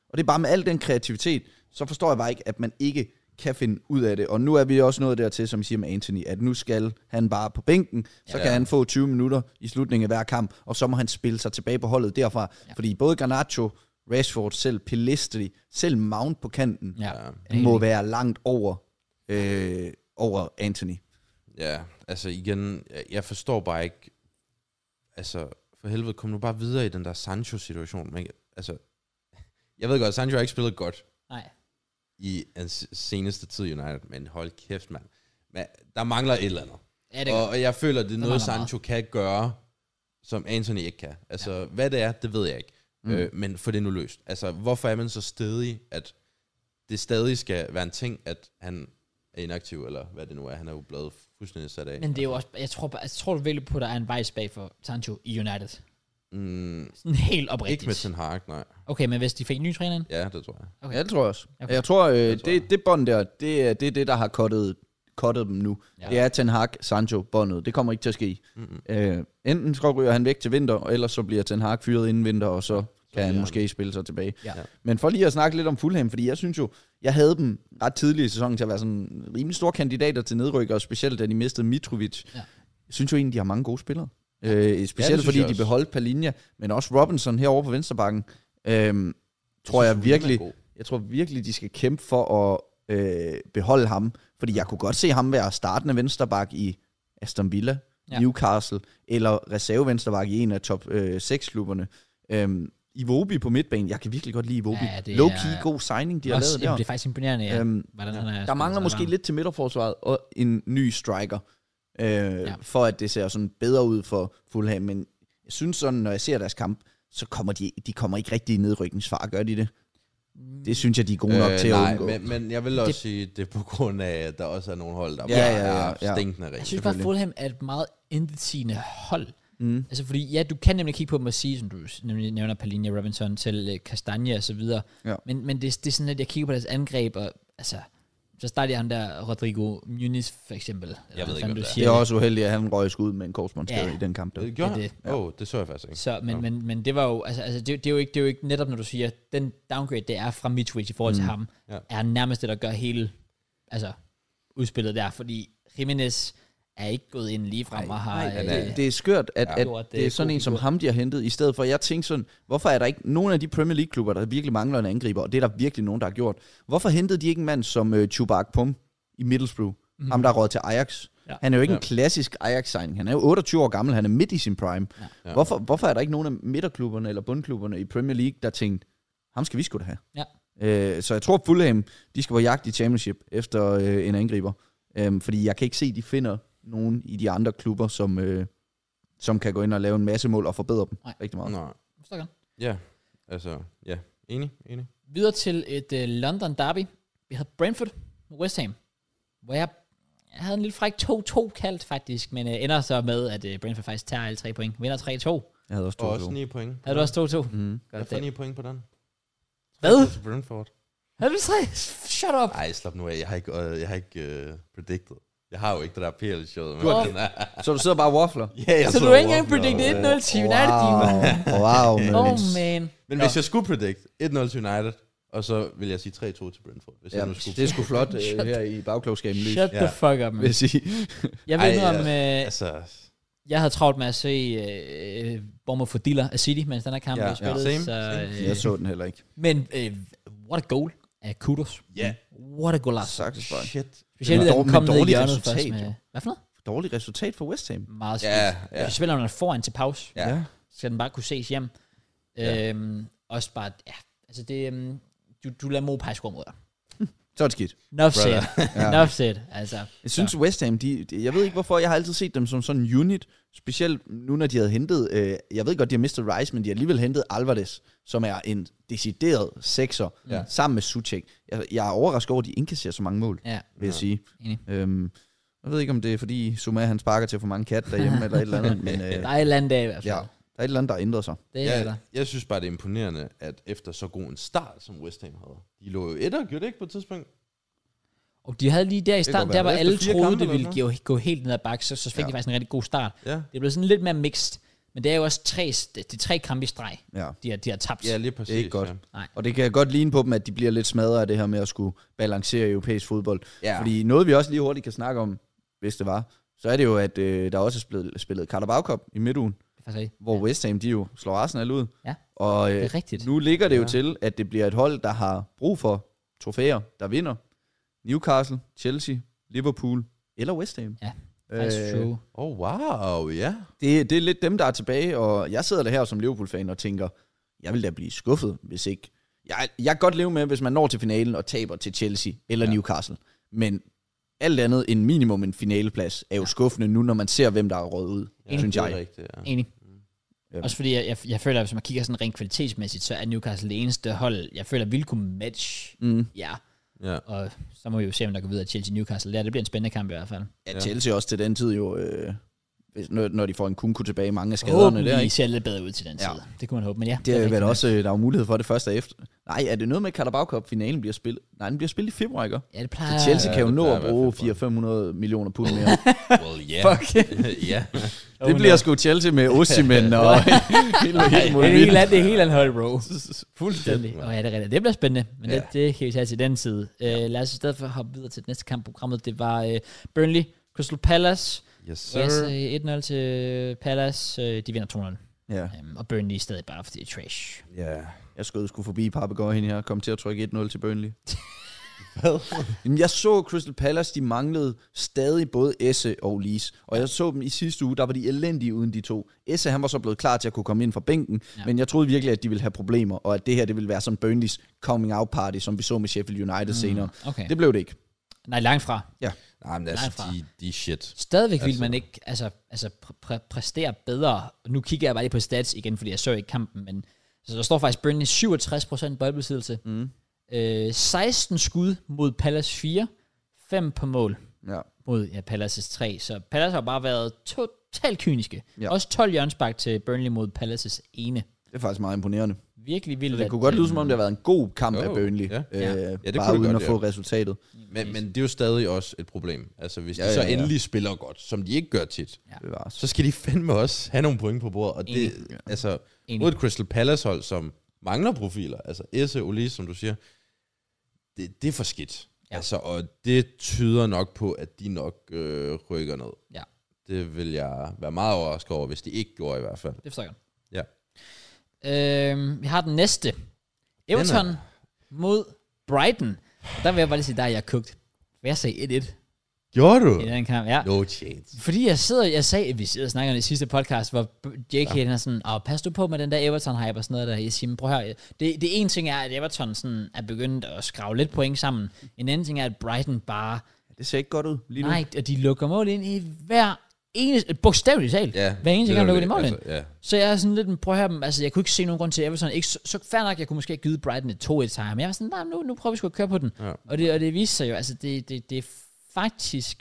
C: og det er bare med al den kreativitet, så forstår jeg bare ikke, at man ikke kan finde ud af det. Og nu er vi også nået dertil, som I siger med Anthony, at nu skal han bare på bænken, så ja. kan han få 20 minutter i slutningen af hver kamp, og så må han spille sig tilbage på holdet derfra. Ja. Fordi både Garnacho, Rashford selv, Pelistri, selv Mount på kanten,
A: Ja.
C: ja. må være langt over, øh, over Anthony.
B: Ja, altså igen, jeg- jeg forstår bare ikke, altså for helvede, kom nu bare videre i den der Sancho-situation. Men, altså, jeg ved godt, Sancho har ikke spillet godt
A: Nej.
B: i hans seneste tid i United, men hold kæft, mand. Men der mangler et eller andet.
A: Ja, det
B: Og, og jeg føler, det er noget,
A: mangler
B: Sancho kan gøre, som Anthony ikke kan. Altså, ja. hvad det er, det ved jeg ikke. Mm. Øh, men få det nu løst. Altså, hvorfor er man så stedig, at det stadig skal være en ting, at han er inaktiv, eller hvad det nu er. Han er jo blevet fuldstændig sat af.
A: Men det er jo også, jeg tror, bare- jeg tror virkelig på, at der er en vej bag for Sancho i United.
B: Mm,
A: Sådan helt
B: ikke med
A: oprigtigt.
B: Ten Hag, nej.
A: Okay, men hvis de fik en ny træner ind?
B: Ja, det tror jeg.
A: Okay.
C: Ja, det tror jeg også.
A: Okay.
C: Okay. Jeg tror, øh, det,
B: tror jeg.
C: det, bånd der, det, er- det er det, der har kottet, kottet dem nu.
A: Ja.
C: Ja. Det er Ten Hag, Sancho, båndet. Det kommer ikke til at ske. Mm-hmm. Øh, enten så ryger han væk til vinter, og ellers så bliver Ten Hag fyret inden vinter, og så kan han
B: han-
C: måske spille sig tilbage.
A: Ja.
C: Men for lige at snakke lidt om Fulham, fordi jeg synes jo, jeg havde dem ret tidligt i sæsonen til at være sådan rimelig store kandidater til nedrykker, og specielt da de mistede Mitrovic.
A: Ja.
C: Ja. Jeg synes jo egentlig, de har mange gode spillere. Øh,
B: Ja, det
C: specielt
B: synes
C: fordi
B: jeg
C: de
B: også.
C: beholdt Palinja, men også Robinson herovre på venstrebakken. Øh, tror jeg,
B: hun er
C: virkelig,
B: god.
C: jeg tror virkelig, de skal kæmpe for at øh, beholde ham. Fordi jeg kunne godt se ham være startende vensterbak i Aston Villa,
A: Ja.
C: ja. Newcastle, eller reserve vensterbak i en af top øh, 6-klubberne. Øhm, Iwobi på midtbanen, jeg kan virkelig godt lide Iwobi.
A: Ja,
C: Ja,
A: det
C: Low-key
A: er-
C: god signing, de har
A: Også,
C: lavet
A: jamen,
C: der.
A: det er faktisk imponerende, ja.
C: Øhm,
A: hvordan han er
C: Der
A: spillet
C: mangler
A: så
C: måske
A: langt.
C: lidt til midterforsvaret og en ny striker, øh, ja. for at det ser sådan bedre ud for Fulham. Men jeg synes sådan, når jeg ser deres kamp, så kommer de, de kommer ikke rigtig i nedrykningsfar, gør de det? Det synes jeg, de er gode nok øh, til
B: nej,
C: at undgå.
B: men, men jeg vil også det... sige, det er på grund af, at der også er nogle hold, der
C: Ja,
B: bare
C: ja, ja,
B: er
C: ja.
B: stinkende ja.
A: Jeg synes bare, at Fulham er et meget intetsigende hold. Mm. Altså fordi, ja, du kan nemlig kigge på dem og sige, som du s- nemlig nævner Palinja Robinson til Kastanje og så videre.
C: Ja.
A: Men, men det, det er sådan, at jeg kigger på deres angreb, og altså, så starter jeg ham der Rodrigo Muniz for eksempel. Eller
B: ved
A: hvad
B: ikke,
A: fanden
B: hvem
A: du
B: det er.
A: siger.
C: Det er også uheldigt, at han røg ud med en korsbåndsskade
A: Ja.
C: ja. i den kamp. Der.
B: Det gjorde
A: Ja,
B: ja,
A: det-
B: det. Åh, oh, det så jeg faktisk ikke.
A: Så, men, men, men det var jo, altså, altså det, det, er jo ikke, det er jo ikke netop, når du siger, den downgrade, det er fra Mitrovic i
C: Mm.
A: forhold til ham,
B: Ja.
A: er nærmest det, der gør hele altså, udspillet der, fordi Jimenez er ikke gået ind lige frem og har...
C: Nej,
A: øh,
C: det, det er skørt, at, ja. at
A: Gjort, øh,
C: det er sådan
A: god
C: en som
A: figur.
C: ham, de har hentet, i stedet for, jeg tænkte sådan, hvorfor er der ikke nogen af de Premier League-klubber, der virkelig mangler en angriber, og det er der virkelig nogen, der har gjort. Hvorfor hentede de ikke en mand som øh, Chubak Pum i Middlesbrough? Mm. Ham, der er råd til Ajax.
A: Ja.
C: Ja. Han er jo ikke ja.
B: Ja.
C: en klassisk Ajax-signing. Han er jo 28 år gammel, han er midt i sin prime. Ja.
B: Ja.
C: Ja. Hvorfor, hvorfor er der ikke nogen af midterklubberne eller bundklubberne i Premier League, der tænkte, ham skal vi sgu da have?
A: Ja.
C: Øh, så jeg tror, Fulham, de skal på jagt i championship efter øh, en angriber. Øhm, fordi jeg kan ikke se, at de finder nogen i de andre klubber, som, øh, som kan gå ind og lave en masse mål og forbedre dem
A: Nej.
C: rigtig meget.
B: Nej.
A: Forstår godt.
B: Ja, altså, ja. Enig, enig.
A: Videre til et uh, London derby. Vi havde Brentford mod West Ham, hvor jeg, jeg havde en lille fræk 2-2 kaldt faktisk, men uh, ender så med, at uh, Brentford faktisk tager alle tre point. Vinder 3-2.
C: Jeg havde også to
B: Og også
C: også
B: 9 point.
A: Havde du også 2-2?
C: mm.
B: Jeg får 9 point på den.
A: Hvad?
B: Til Brentford.
A: Havde du 3? Shut up.
B: Nej, slap nu af. Jeg har ikke, øh, jeg har ikke øh, predicted. Jeg har jo ikke det der PL-show. Du
A: har-
C: Så du sidder bare og waffler?
B: ja, jeg øh,
A: Så du
B: sidder
A: har ikke engang
B: og råber.
A: predicted 1-0 til United, din [LAUGHS]
C: [LAUGHS] wow
A: Oh
C: Møns.
A: man.
B: Men hvis jeg skulle predict 1-0 til United, og så vil jeg sige 3-2 til Brentford. Hvis jeg nu
C: ja,
B: skulle
C: det er sgu flot
A: Shut
C: øh, her i bagklogskaben lys,
A: Shut the
B: Ja.
A: fuck up,
C: vil
A: man.
C: jeg
A: [LAUGHS]
C: sige.
A: Jeg ved
B: Ej,
A: ikke, om øh,
B: Altså,
A: jeg havde travlt med at se øh, Bournemouth for Diller af City, mens den her kamp
B: Ja,
A: blev
B: ja.
A: spillet.
B: Same,
A: Så,
B: same.
A: øh,
C: Jeg så den heller ikke.
A: Men øh, what a goal af Kudos.
B: ja.
A: What a goal.
C: Sagt bare.
B: Shit.
A: Specielt, da
C: dår-
A: den
C: men
A: kom ned i
C: dårligt
A: hjørnet
C: resultat,
A: først med...
C: jo.
A: Hvad for noget?
C: Dårligt resultat for West Ham.
A: Meget skidt.
B: Ja,
A: ja.
B: ja.
A: Hvis spillerne er foran til pause, ja.
B: Ja.
A: skal den bare kunne ses hjem. Ja. Øhm, også bare, ja, altså det... øhm, Du, du lader Mo pege score mod dig.
C: Så er det [LAUGHS] skidt.
A: Nuff said.
B: [LAUGHS]
C: Ja.
A: Nuff said. Altså,
C: Jeg synes, ja. West Ham, de, de, jeg ved ikke hvorfor, jeg har altid set dem som sådan en unit, specielt nu, når de havde hentet, øh, jeg ved godt, de har mistet Rice, men de har alligevel hentet Alvarez, som er en decideret sekser,
B: Ja.
C: ja. sammen med Suchek. Jeg, jeg er overrasket over, at de indkasserer så mange mål,
A: ja.
C: vil jeg sige.
A: Enig.
C: Øhm, jeg ved ikke, om det er, fordi Suma han sparker til for mange kat derhjemme, eller et eller
A: [LAUGHS]
C: andet, men øh,
A: Der
C: ja,
A: er et eller andet dag i hvert
C: der
A: fald.
C: er et eller andet, der har ændret sig.
A: Det er der.
B: Jeg, jeg synes bare, det er imponerende, at efter så god en start, som West Ham havde, de lå jo etter, gjorde det ikke på et tidspunkt?
A: Og de havde lige der i starten,
B: godt
A: der
B: være.
A: var
B: Efter
A: alle
B: fire
A: troede,
B: kampe
A: det ville
B: eller
A: gå, gå helt ned ad bakke, så, så fik ja. de faktisk en rigtig god start.
B: Ja.
A: Det blev sådan lidt mere mixed. Men det er jo også tre, de, de tre kampe i streg,
C: Ja.
A: de har, de har tabt.
B: Ja, lige præcis.
C: Det er ikke godt.
B: Ja.
A: Nej.
C: Og det kan godt ligne på dem, at de bliver lidt smadret af det her med at skulle balancere europæisk fodbold.
B: Ja.
C: Fordi noget, vi også lige hurtigt kan snakke om, hvis det var, så er det jo, at øh, der også er spillet, spillet Carabao Cup i midtugen,
A: Faktisk, ikke.
C: hvor ja. West Ham, de jo slår Arsenal ud.
A: Ja.
C: Og
A: det
C: øh,
A: er rigtigt.
C: nu ligger det jo
B: Ja.
C: til, at det bliver et hold, der har brug for trofæer, der vinder. Newcastle, Chelsea, Liverpool eller West Ham.
A: Ja, That's true.
B: Oh, wow, ja.
C: det, det er lidt dem, der er tilbage, og jeg sidder der her som Liverpool-fan og tænker, jeg vil da blive skuffet, hvis ikke... Jeg, jeg kan godt leve med, hvis man når til finalen og taber til Chelsea eller ja. Newcastle, men alt andet end minimum en finaleplads er jo skuffende nu, når man ser, hvem der er røget ud,
B: ja
C: ja, synes
B: det er
C: jeg.
B: Rigtigt, ja.
A: Enig.
C: Ja.
A: Også fordi jeg, jeg, jeg føler, at hvis man kigger sådan rent kvalitetsmæssigt, så er Newcastle det eneste hold, jeg føler vil kunne match.
C: Mm.
A: Ja,
B: ja.
A: og så må vi jo se, om der går videre Chelsea Newcastle. Der, det bliver en spændende kamp i hvert fald.
C: Ja,
B: Ja.
C: Chelsea også til den tid jo, øh, hvis- når, når de får en kunku tilbage, mange af skaderne der,
A: Håbentlig
C: ikke?
A: ser det lidt bedre ud til den tid.
C: Ja.
A: Ja. Det kunne man håbe, men ja.
C: Det er vel
A: rigtigt.
C: også, øh, der er jo mulighed for det første efter. Nej, er det noget med, at Carabao Cup-finalen bliver spillet? Nej, den bliver spillet i februar, ikke?
A: Ja, det
C: Så
A: plejer...
C: Chelsea [LAUGHS]
B: ja,
C: kan jo
B: det
C: nå
B: plejer
C: at
B: at være
C: bruge
B: februar.
C: 400-500 millioner pund mere.
B: Well, [LAUGHS] yeah.
A: Fuck.
B: ja.
A: Oh, no.
C: Det bliver sgu Chelsea med Osimhen og hele,
A: [LAUGHS]
C: hele
A: Det er helt
C: muligheden.
A: andet, det er helt andet hold,
C: [LAUGHS]
A: bro. Fuldstændig.
B: Shit,
A: Og
B: mand.
A: ja, det er rigtigt. Det bliver spændende, men ja.
B: Ja.
A: det, det kan vi tage til den side. Ja. Uh, lad os i stedet for hoppe videre til det næste kamp på programmet. Det var uh, Burnley, Crystal Palace.
B: Yes, sir.
A: Yes, uh, 1-0 til Palace. Uh, de vinder 2-0.
C: Ja,
A: Um, og Burnley er stadig bare, fordi det er trash.
B: Ja.
C: jeg skød skulle forbi Papagøj hende her og kom til at trykke 1-0 til Burnley.
B: Hvad?
C: Jamen, jeg så Crystal Palace, de manglede stadig både Esse og Lees. Og jeg så dem i sidste uge, der var de elendige uden de to. Esse, han var så blevet klar til at kunne komme ind fra bænken, ja.
A: Ja.
C: men jeg troede virkelig, at de ville have problemer, og at det her det ville være sådan Burnleys coming out party, som vi så med Sheffield United mm. senere.
A: Okay.
C: Det blev det ikke.
A: Nej, langt fra.
B: Nej, men altså,
A: Langt fra.
B: de, de er shit.
A: Stadigvæk altså. vil
B: Altså.
A: man ikke altså, altså præ- præ- præstere bedre. Nu kigger jeg bare lige på stats igen, fordi jeg så ikke kampen, men så der står faktisk Burnley 67% boldbesiddelse.
C: Mm.
A: Øh, 16 skud mod Palace 4, 5 på mål
C: Ja.
A: mod ja, Palaces 3. Så Palace har bare været totalt kyniske.
C: Ja.
A: Ja. Også 12 hjørnsbak til Burnley mod Palaces ene.
C: Det er faktisk meget imponerende.
A: Virkelig vildt.
C: Så det
A: at,
C: kunne godt lyde, som om
A: øhm,
C: det har været en god kamp oh, af
B: Jo,
C: Burnley,
B: ja.
A: Ja.
C: Øh, ja,
B: det
C: det bare
B: kunne det
C: uden
B: godt,
C: at få
B: ja.
C: resultatet.
B: Men, men det er jo stadig også et problem. Altså, hvis ja,
C: Ja,
B: de så
C: ja,
B: ja,
C: ja.
B: ja. endelig spiller godt, som de ikke gør tit,
C: Bevares.
B: så skal de fandme også have nogle point på bordet. Og det,
A: Enig.
B: altså,
A: Enig.
B: mod et Crystal Palace-hold, som mangler profiler, altså Esse, Olise, som du siger, det, det er for skidt.
A: Ja.
B: Ja. Altså, og det tyder nok på, at de nok øh, rykker ned.
A: Ja.
B: Det vil jeg være meget overrasket over, hvis de ikke gjorde i hvert fald.
A: Det forstår jeg godt.
B: Ja.
A: Øhm, vi har den næste. Everton
B: Den
A: mod Brighton. Og der vil jeg bare lige sige, der er jeg kogt. For jeg sagde 1-1
B: Gjorde du?
A: i den kamp. Ja.
B: No chance.
A: Fordi jeg sidder, jeg sagde, vi sidder og snakker om det i sidste podcast, hvor Jake ja. er sådan, åh, pas du på med den der Everton-hype og sådan noget der. Jeg siger, "Men prøv her, det, det ene ting er, at Everton sådan er begyndt at skrave lidt point sammen. En anden ting er, at Brighton bare,
C: Det ser ikke godt ud lige nu.
A: nej, og de lukker mål ind i hver eneste, bogstaveligt talt,
B: Ja,
A: ja, hver eneste
B: det
A: gang
B: var
A: lukker de
B: det.
A: mål ind.
B: Altså, ja.
A: Så jeg er sådan lidt, prøv at høre dem, altså jeg kunne ikke se nogen grund til at Everton, ikke, så, så fair nok, jeg kunne måske have givet Brighton et 2-1 sejr, men jeg var sådan, nej, nu, nu prøver vi sgu at køre på den.
B: Ja.
A: Og, det, og det viste sig jo, altså det, det, det er faktisk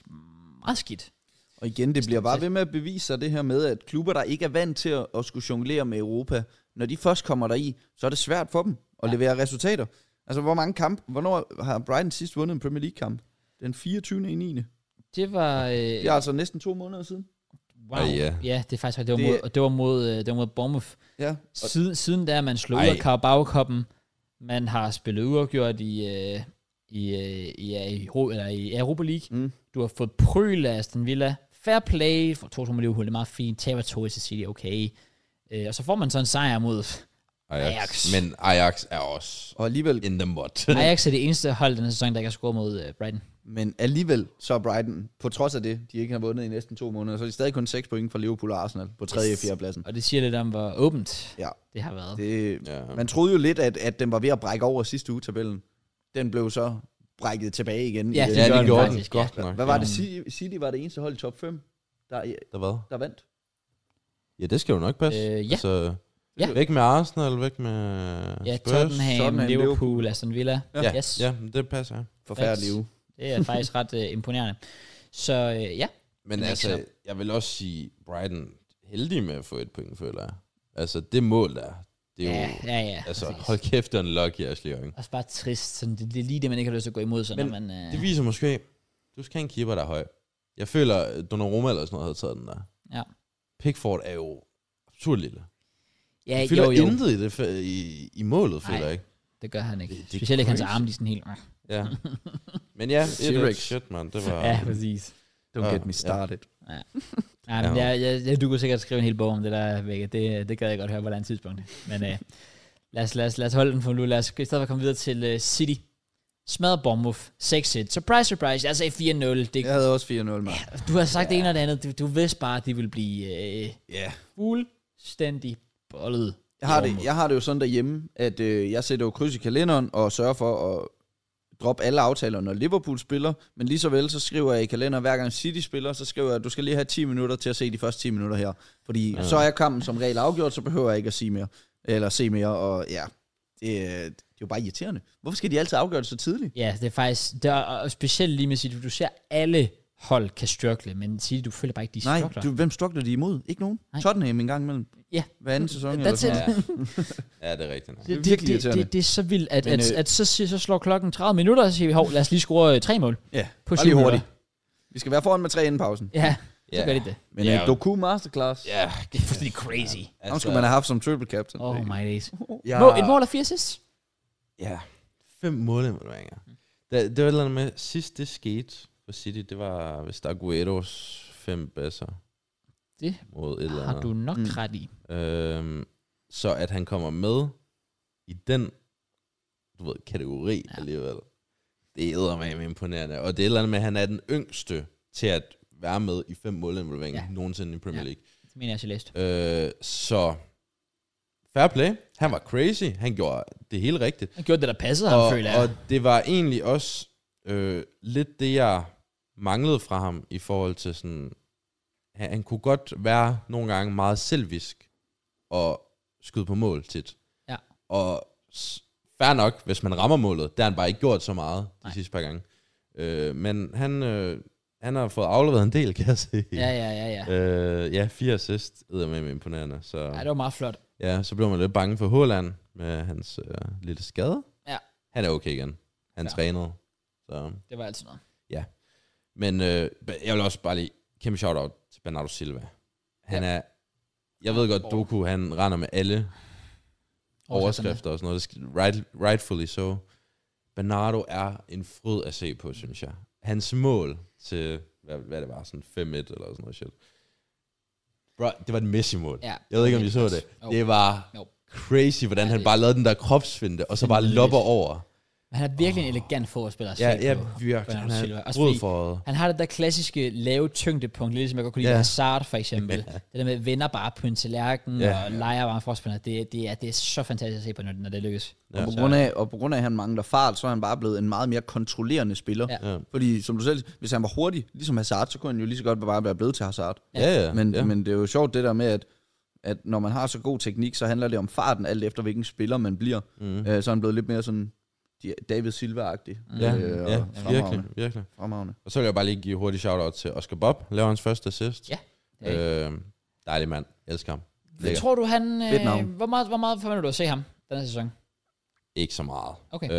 A: meget skidt.
C: Og igen, det bliver bare ved med at bevise sig det her med, at klubber, der ikke er vant til at, at skulle jonglere med Europa, når de først kommer der i, så er det svært for dem at ja. levere resultater. Altså, hvor mange kampe, hvornår har Brighton sidst vundet en Premier League-kamp? Den 24. i 9. Det
A: Det var... Øh, ja,
C: er altså næsten to måneder siden.
A: Wow.
B: Ej, ja.
A: ja, det er faktisk rigtigt. Det var
C: Det-
A: mod, og det var mod, øh, det var mod Bournemouth.
C: Ja, og
A: Siden, siden der, man slog ud
B: Ej.
A: af Carabao-koppen, man har spillet uafgjort i, øh, i, øh, i, ja, i, Ro- eller i Europa League.
C: Mm.
A: Mm. Du har fået prøl af Aston Villa. Fair play for 2-2 med Liverpool, det er meget fint. Taber 2 til City, okay. Øh, og så får man så en sejr mod...
B: Ajax.
A: Ajax.
B: Ajax. Men Ajax er også
C: og alligevel,
B: in the mud.
A: Ajax er det eneste hold den her sæson, der ikke har scoret mod øh, Brighton.
C: men alligevel, så er Brighton, på trods af det, de ikke har vundet i næsten to måneder, så er de stadig kun 6 point fra Liverpool og Arsenal på 3. og 4. pladsen.
A: Og det siger lidt om, hvor åbent
C: Ja,
A: det har været. Det.
C: det,
B: Ja.
C: Man troede jo lidt, at, at den var ved at brække over sidste uge-tabellen. Den blev så brækket tilbage igen. i
A: Ja,
C: den.
A: det
B: ja,
A: gjorde
B: de gjorde
A: den
B: den
A: faktisk,
B: godt
C: Hva-
B: nok.
C: Hvad var
B: ja.
C: det? City, City var det eneste hold i top 5, der,
B: Der hvad?
C: der vandt.
B: Ja, det skal jo nok passe.
A: Øh, ja.
B: Altså,
A: Ja.
B: Væk med Arsenal, væk med
A: Ja,
B: Spurs.
A: Tottenham,
C: Tottenham,
A: Tottenham,
C: Liverpool.
A: Liverpool, Aston Villa.
B: Ja,
A: Yes.
B: ja men det passer. ja.
C: Forfærdelig uge.
A: Det er faktisk ret øh, imponerende. Så øh, ja,
B: Men
A: Det er
B: altså,
A: klart.
B: jeg vil også sige, Brighton heldig med at få et point, føler jeg. Altså, det mål der, det er jo...
A: ja, ja, ja.
B: altså,
A: præcis.
B: hold kæft, det er en lucky, Ashley Young.
A: Også bare trist. Sådan, det, det er lige det, man ikke har lyst til at gå imod, sådan,
B: Men
A: når man... Øh,
B: Det viser måske, du skal have en keeper, der er høj. Jeg føler, Donnarumma eller sådan noget havde taget den der.
A: Ja.
B: Pickford er jo Surlille.
A: Ja,
B: Han
A: jo,
B: fylder
A: jo.
B: intet i, det, fa- i, i målet, føler
A: Nej.
B: jeg ikke.
A: Det gør han ikke.
B: Det- det er
A: Specielt ikke hans
B: crazy.
A: arme, de er sådan helt... øh. [LAUGHS]
B: Ja. Men ja, et, et,
C: T-Rex.
B: shit, mand. Det var...
A: Ja, præcis.
C: Don't
B: Ja,
C: get me
B: ja.
C: started.
A: Ja, men jeg, jeg, jeg, du kunne sikkert skrive en hel bog om det der, Vække. Det, det gad jeg godt høre på et andet tidspunkt. Men øh, lad, os, lad, os, lad os holde den for nu. Lad os i stedet for komme videre til uh, City. Smadret Bournemouth. 6-1. Surprise, surprise. Jeg sagde 4-0. Det,
C: Jeg havde også 4-0, mand.
A: Du har sagt ja. det ene og det andet. Du, du vidste bare, at de ville blive øh,
B: Ja.
A: fuldstændig bollet.
C: Jeg har,
A: i
C: det,
A: Bournemouth.
C: jeg har det jo sådan derhjemme, at øh, jeg sætter jo kryds i kalenderen og sørger for at droppe alle aftaler, når Liverpool spiller. Men lige så vel, så skriver jeg i kalenderen, hver gang City spiller, så skriver jeg, at du skal lige have 10 minutter til at se de første 10 minutter her. Fordi ja. så er kampen som regel afgjort, så behøver jeg ikke at sige mere. Eller se mere, og ja, det, er- det er jo bare irriterende. Hvorfor skal de altid afgøre det så tidligt?
A: Ja, det er faktisk... Det er, og specielt lige med City. Du ser alle hold kan struggle, men City, du føler bare ikke, de
C: Nej,
A: struggler.
C: du, hvem struggler de imod? Ikke nogen.
A: Nej.
C: Nej. Tottenham en gang imellem.
A: Ja.
C: Hver anden sæson.
A: That's
C: eller sådan
A: it.
C: noget.
B: Ja. ja, det er rigtigt. nok.
C: Det er
A: Det,
C: virkelig
A: det,
C: irriterende.
A: det, det er så vildt, at,
C: Men,
A: men, at,
C: øh,
A: at så, siger- så slår klokken 30 minutter, og så siger vi, hov, lad os lige score øh, tre mål.
C: Ja,
A: På
C: bare
A: syv
C: lige hurtigt.
A: minutter.
C: Vi skal være foran med tre inden pausen.
B: [LAUGHS]
A: Ja, så
B: Ja.
A: gør de det.
C: Men
B: Ja.
C: ja. Doku Masterclass.
B: Ja,
A: Det er fuldstændig crazy.
C: Altså, Ham skulle man have haft som triple captain.
A: Oh my days.
B: Ja.
A: Må, et mål og fire assists?
B: Ja. Fem målinvolveringer.
A: Mm.
B: Det, det var et eller andet med, sidst det skete for City, det var vist Agueros fem basser.
A: Det
B: mod et eller
A: Har
B: andet.
A: du nok
C: Mm.
A: ret i?
B: Øhm, så at han kommer med i den du ved, kategori ja. alligevel, det er med imponerende. Og det er et eller andet med, at han er den yngste til at være med i fem målinvolveringer
A: Ja.
B: ja. nogensinde i Premier
A: Ja.
B: League.
A: Det mener jeg, jeg læst.
B: Ja. Øh, så fair play. Han var crazy. Han gjorde det hele rigtigt.
A: Han gjorde det, der passede ham, føler jeg.
B: og det var egentlig også øh, lidt det, jeg manglede fra ham i forhold til sådan... Han, han kunne godt være nogle gange meget selvisk og skyde på mål tit.
A: Ja.
B: Og s- fair nok, hvis man rammer målet, der har han bare ikke gjort så meget de
A: Nej.
B: Nej. sidste par gange. Øh, men han, øh, han har fået afleveret en del, kan jeg se.
A: Ja, ja, ja, ja.
B: Øh, ja, fire assist, eddermame imponerende. Så,
A: Ja, det var meget flot.
B: Ja, så blev man lidt bange for Håland med hans øh, lille skade.
A: Ja.
B: Han er okay igen. Han
A: Ja.
B: ja. trænede. Så.
A: Det var altid noget.
B: Men øh, jeg vil også bare lige kæmpe shout-out til Bernardo Silva. Han ja. er... Jeg ved godt, Doku, han render med alle overskrifter og sådan noget. Det skal, right, rightfully so. Bernardo er en fryd at se på, synes jeg. Hans mål til, hvad, hvad det var, sådan 5-1 eller sådan noget shit. Bro, det var et Messi-mål.
A: Ja.
B: Jeg ved ikke, om I så det.
A: Jo.
B: Det var
A: Jo.
B: crazy, hvordan
A: Ja,
B: han
A: det-
B: bare lavede den der kropsfinde, og så bare
A: Vanvittigt.
B: lopper over.
A: Men Han er virkelig oh. en elegant fodboldspiller. at se
B: Ja,
A: på,
B: ja, virkelig.
A: Bernardo
B: Han
A: Silva.
B: er
A: Også fordi
B: brødfåret.
A: Han har det der klassiske lave tyngdepunkt, lidt som jeg godt kunne lide
B: Ja.
A: ja. Hazard for
B: [LAUGHS]
A: eksempel. Det der med vender bare på en tallerken
B: Ja.
A: ja. og leger bare en forspiller. Det, det, er, det er så fantastisk at se på, når, når det lykkes.
C: Og, på grund af, og på grund af, at han mangler fart, så er han bare blevet en meget mere kontrollerende spiller.
A: Ja.
B: Ja.
C: Fordi som du selv siger, hvis han var hurtig, ligesom Hazard, så kunne han jo lige så godt bare være blevet til Hazard.
B: Ja, ja.
C: Men,
B: ja.
C: ja. men det er jo sjovt det der med, at, at når man har så god teknik, så handler det om farten, alt efter hvilken spiller man bliver. Mm. Øh, så er han blevet lidt mere sådan de- David Silva-agtig.
B: ja,
C: øh, og
B: ja,
C: fremragende.
B: virkelig, virkelig.
C: Fremragende.
B: Og så vil jeg bare lige give hurtigt shout-out til Oscar Bob, laver hans første assist.
A: Ja.
B: Øh, dejlig mand, elsker ham.
A: Lækker.
B: Lækker.
A: Tror du, han...
C: Fedt navn.
A: Øh, hvor, meget, hvor meget forventer du at se ham den her sæson?
B: Ikke så meget.
A: Okay.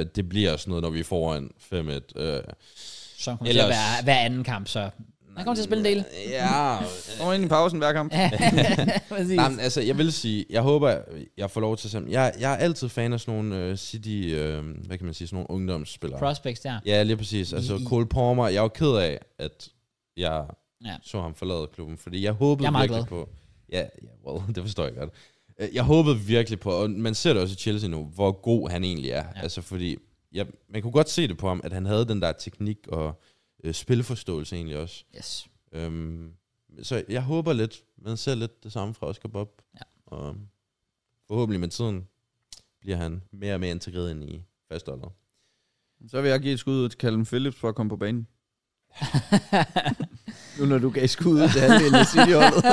B: Øh, det bliver sådan noget, når vi får en
A: Så
B: 5-1. Øh,
A: han kommer Ellers... til at
B: Ellers-
A: være hver anden kamp, så... Han kommer til at spille en del.
B: ja,
C: Og ind i pausen hver kamp.
A: Ja, præcis.
B: Nej, men altså, jeg vil sige, jeg håber, jeg får lov til at se ham. jeg, jeg er altid fan af sådan nogle øh, City, øh, hvad kan man sige, sådan nogle ungdomsspillere.
A: Prospects der.
B: Ja, lige præcis. Altså,
A: I-
B: Cole Palmer, jeg er jo ked af, at jeg
A: Ja.
B: ja. så ham forlade klubben, fordi jeg håbede
A: Jeg er meget
B: virkelig på... Ja, ja, well, [LAUGHS] det forstår jeg godt. Øh, Jeg håbede virkelig på, og man ser det også i Chelsea nu, hvor god han egentlig er. Ja. Altså, fordi ja, man kunne godt se det på ham, at han havde den der teknik og øh, spilforståelse egentlig også.
A: Yes.
B: Øhm, så jeg håber lidt, man ser lidt det samme fra Oscar Bob.
A: Ja.
B: Og forhåbentlig med tiden bliver han mere og mere integreret ind i fastholdet.
C: Så vil jeg give et skud ud til Callum Phillips for at komme på banen. Nu når du gav skud ud til halvdelen af City-holdet.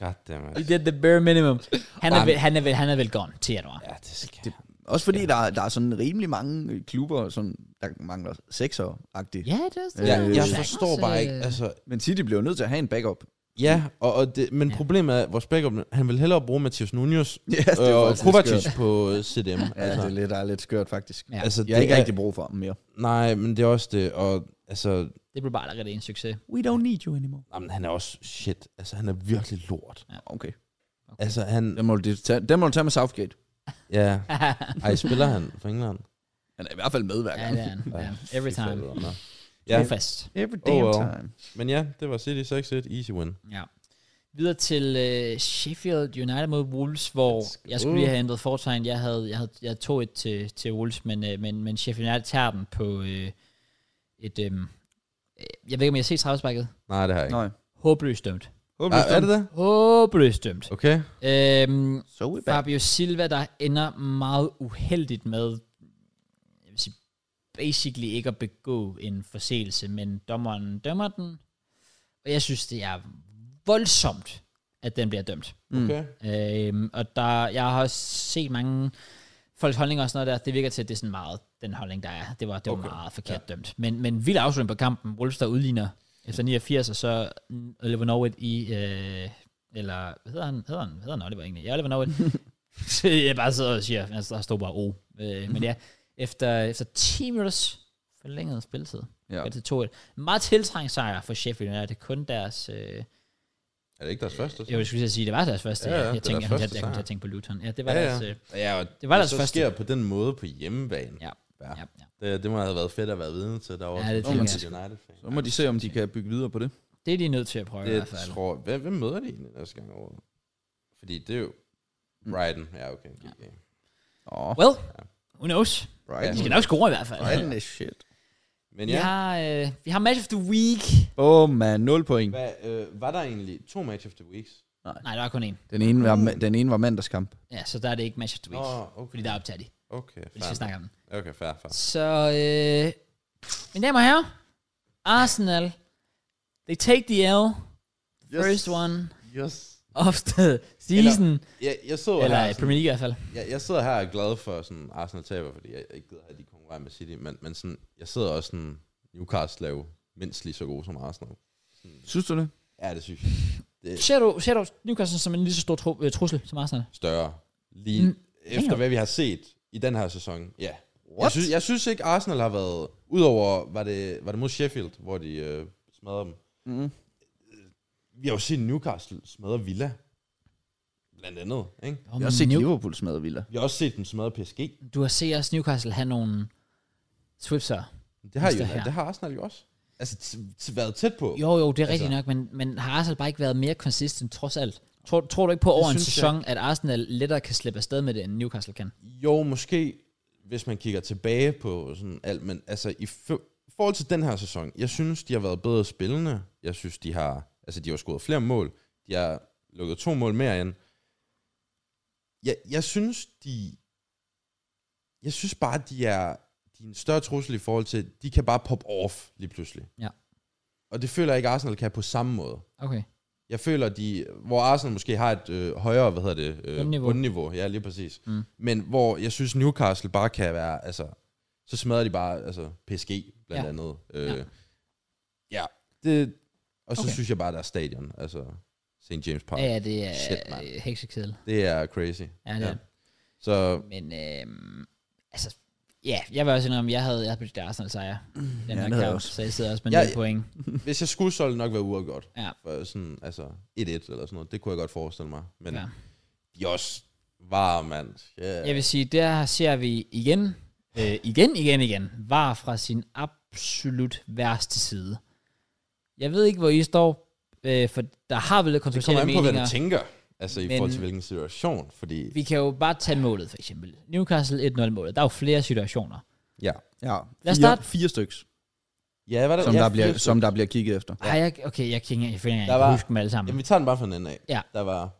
B: Goddammit.
A: [LAUGHS] He did the bare minimum. Han er,
B: Jamen.
A: vel, han er, vel, han er vel gone til januar.
B: Ja, det skal
C: Det- Også fordi der, der er sådan rimelig mange øh, klubber, sådan, der mangler sekser-agtigt.
A: Ja, det er også det.
B: Ja,
C: Øh,
B: jeg
C: Jack
B: forstår bare ikke. Altså,
C: Men City bliver jo nødt til at have en backup.
B: ja, og, og det, men problemet er, at vores backup, han vil hellere bruge Mathias Nunez
C: Ja, det
B: øh, og
C: faktisk lidt
B: Kovacic
C: skørt.
B: på CDM. Ja,
C: Ja, det er lidt, der er lidt skørt faktisk.
A: Ja.
B: altså,
C: Jeg har ikke
B: er-
C: rigtig brug for ham mere.
B: Nej, men det er også det, og altså,
A: Det blev bare allerede en succes. [LAUGHS]
C: We don't need you anymore.
B: jamen, han er også shit. Altså, han er virkelig lort.
C: Okay.
A: Okay.
B: Altså, han...
C: Den må du tage, den må du tage med Southgate.
B: Ja. Ej, spiller han for England?
C: Han er i hvert fald med hver
A: ja,
C: gang.
A: det er han. Ja.
B: Ej,
A: Every
B: fy
A: time.
B: fader, nå.
A: Ja.
B: Ja,
A: Trofast.
C: [LAUGHS] Every
B: damn
C: time.
B: men ja, det var City 6-1. Easy win.
A: Ja. Videre til øh, Sheffield United mod Wolves, hvor
B: Let's
A: jeg skulle
B: go.
A: lige have ændret fortegn. Jeg havde, jeg havde jeg tog et til, til Wolves, men, øh, men, men Sheffield United tager den på øh, et... Øh, øh, jeg ved ikke, om jeg har set straffesparket.
B: Nej, det har jeg ikke.
C: Nej.
A: Håbløst dømt.
B: Nej, er det det?
A: Håbløst dømt.
B: Okay.
A: Øhm,
C: So we back.
A: Fabio Silva, der ender meget uheldigt med, jeg vil sige, basically ikke at begå en forseelse, men dommeren dømmer den, og jeg synes, det er voldsomt, at den bliver dømt.
B: Okay.
A: Øhm, og der, jeg har også set mange folks holdninger og sådan noget der, det virker til, at det er sådan meget den holdning, der er. Det var, det var okay.
B: Okay.
A: meget forkert ja. dømt. Men, men vild afslutning på kampen. Wolves, der udligner efter 89, og så mm, Oliver Norwood i... Øh, eller, hvad hedder han? Hedder han, hedder han Oliver egentlig? Ja, Oliver Norwood. [LAUGHS] Så jeg bare sidder og siger, altså, der står bare O. Øh, men ja, efter, efter 10 minutters forlænget spilletid,
C: Ja.
A: ja. til 2-1. Meget tiltrængt sejr for Sheffield United. Kun deres... Øh,
B: Er det ikke deres første? så?
A: jeg skulle til at sige, det var deres første.
B: Ja,
A: Ja,
B: ja,
A: ja,
B: det er
A: jeg tænkte, jeg, jeg, jeg,
B: deres første
A: jeg, kom til
B: sejr.
A: at tænke på Luton. Ja, det var
B: Ja,
A: ja,
B: ja.
A: deres... Øh,
B: Ja, og
A: Det var
B: det
A: deres
B: så
A: første.
B: sker på den måde på hjemmebane.
A: Ja.
B: Ja.
A: ja, ja.
B: Det, det må have været fedt at være vidne til derovre.
A: Ja, det
B: som
C: tænker
B: Sheffield United-fan.
C: Så må de se, om de kan bygge videre på det.
A: Det er de nødt til at prøve i hvert
B: Det
A: fald.
B: tror jeg. Hvem, hvem møder de egentlig næste gang over? Fordi det er jo
A: Mm.
B: Brighton. Ja, okay. GG.
C: Åh, oh,
A: Well, who knows?
C: right.
A: De skal nok score i hvert fald.
C: Brighton is shit.
B: Men
A: Vi,
B: ja,
A: har, øh, vi har match of the week.
C: Åh, oh, man. 0 point.
B: Hvad, øh, var der egentlig to match of the weeks?
A: Nej, der er kun én.
C: Den ene var, ma- den ene var mandagskamp.
A: Ja, så der er det ikke match of the week. Oh,
B: Åh, okay.
A: Fordi der optager de.
B: Okay,
A: Vi skal
B: fair.
A: snakke om den.
B: Okay, fair, fair.
A: Så, øh, mine damer og herrer. Arsenal. They take the L. First one
B: Yes.
A: of the season. Eller,
B: Jeg, jeg, sidder
A: eller
B: her,
A: i
B: sådan,
A: Premier League i hvert fald.
B: jeg, jeg sidder her og er glad for sådan Arsenal taber, fordi jeg ikke gider have de konkurrerer med City, men, men sådan, jeg sidder også sådan, Newcastle er jo mindst lige så gode som Arsenal.
C: Synes du det?
B: Ja, det synes jeg. Det er
A: Ser du, ser du Newcastle som en lige så stor tru- øh, trussel som Arsenal?
B: større. Lige
A: Mm,
B: mm, efter
A: damn.
B: hvad vi har set i den her sæson. Ja. Jeg
C: What?
B: synes, jeg synes ikke, Arsenal har været... Udover, var det, var det mod Sheffield, hvor de øh, smadrede dem.
C: Mm.
B: Vi har jo set Newcastle smadre Villa. Blandt andet, ikke?
A: Oh,
C: Jeg har set Liverpool smadre Villa.
B: Vi har også set dem smadre PSG.
A: du har set også Newcastle have nogle swipser.
B: Det har,
A: Hvis det
B: jo,
A: her.
B: det har Arsenal jo også. Altså, t- t- været tæt på.
A: Jo, jo, det er rigtigt
B: Altså-
A: nok, men, men har Arsenal bare ikke været mere consistent trods alt? Tror, tror du ikke på over en
B: synes jeg.
A: sæson, at Arsenal lettere kan slippe afsted med det, end Newcastle kan?
B: Jo, måske, hvis man kigger tilbage på sådan alt, men altså i fø- forhold til den her sæson, jeg synes, de har været bedre spillende. Jeg synes, de har, altså de har scoret flere mål. De har lukket to mål mere end. Jeg, jeg synes, de, jeg synes bare, de er, de er en større trussel i forhold til, de kan bare pop off lige pludselig.
A: Ja.
B: Og det føler jeg ikke, Arsenal kan på samme måde.
A: Okay.
B: Jeg føler, de, hvor Arsenal måske har et øh, højere, hvad hedder det, øh,
A: Bundniveau.
B: bundniveau. Ja, lige præcis.
A: Mm.
B: Mm. Men hvor jeg synes, Newcastle bare kan være, altså, så smadrer de bare, altså, PSG blandt
A: Ja.
B: ja. andet.
A: Ja.
B: Øh, ja. det, og så
A: Okay.
B: okay. synes jeg bare, der er stadion, altså, St. James Park.
A: Ja, ja, det er
B: Shit, mand.
A: Shit, heksekedel.
B: Det er crazy.
A: Ja, det ja.
B: Ja. Så,
A: Men, øhm, altså, ja, jeg vil også indrømme, jeg havde, jeg havde prøvet Arsenal sejr. Den
C: det
A: her
C: havde jeg
A: kamp,
C: også.
A: så jeg sidder også med
B: Ja,
A: 0
B: ja.
A: point.
B: hvis jeg skulle, så ville det nok være uafgjort.
A: Ja.
B: For sådan, altså, 1-1 eller sådan noget. Det kunne jeg godt forestille mig. Men
A: Ja.
B: ja. de er også var, mand. Yeah.
A: Jeg vil sige, der ser vi igen, øh, igen, igen, igen, var fra sin absolut værste side. Jeg ved ikke, hvor I står, øh, for der har vel
B: Det kommer
A: kontroversielle
B: an på,
A: meninger.
B: hvad du tænker. Altså i
A: Men-
B: forhold til hvilken situation, fordi...
A: Vi kan jo bare tage målet, for eksempel. Newcastle 1-0 målet. Der er jo flere situationer.
B: ja.
C: Ja.
A: Lad os
C: Fire-
A: starte.
C: Fire stykker,
B: Ja, hvad der,
C: som,
B: ja,
C: der bliver,
B: fire stykker.
C: som der bliver kigget efter.
A: Ja. Ej, jeg, okay, jeg kan ikke jeg finder ikke
B: Der
A: engang
B: var-
A: huske dem alle sammen.
B: Jamen, vi tager den bare fra den ende af.
A: Ja.
B: Der var,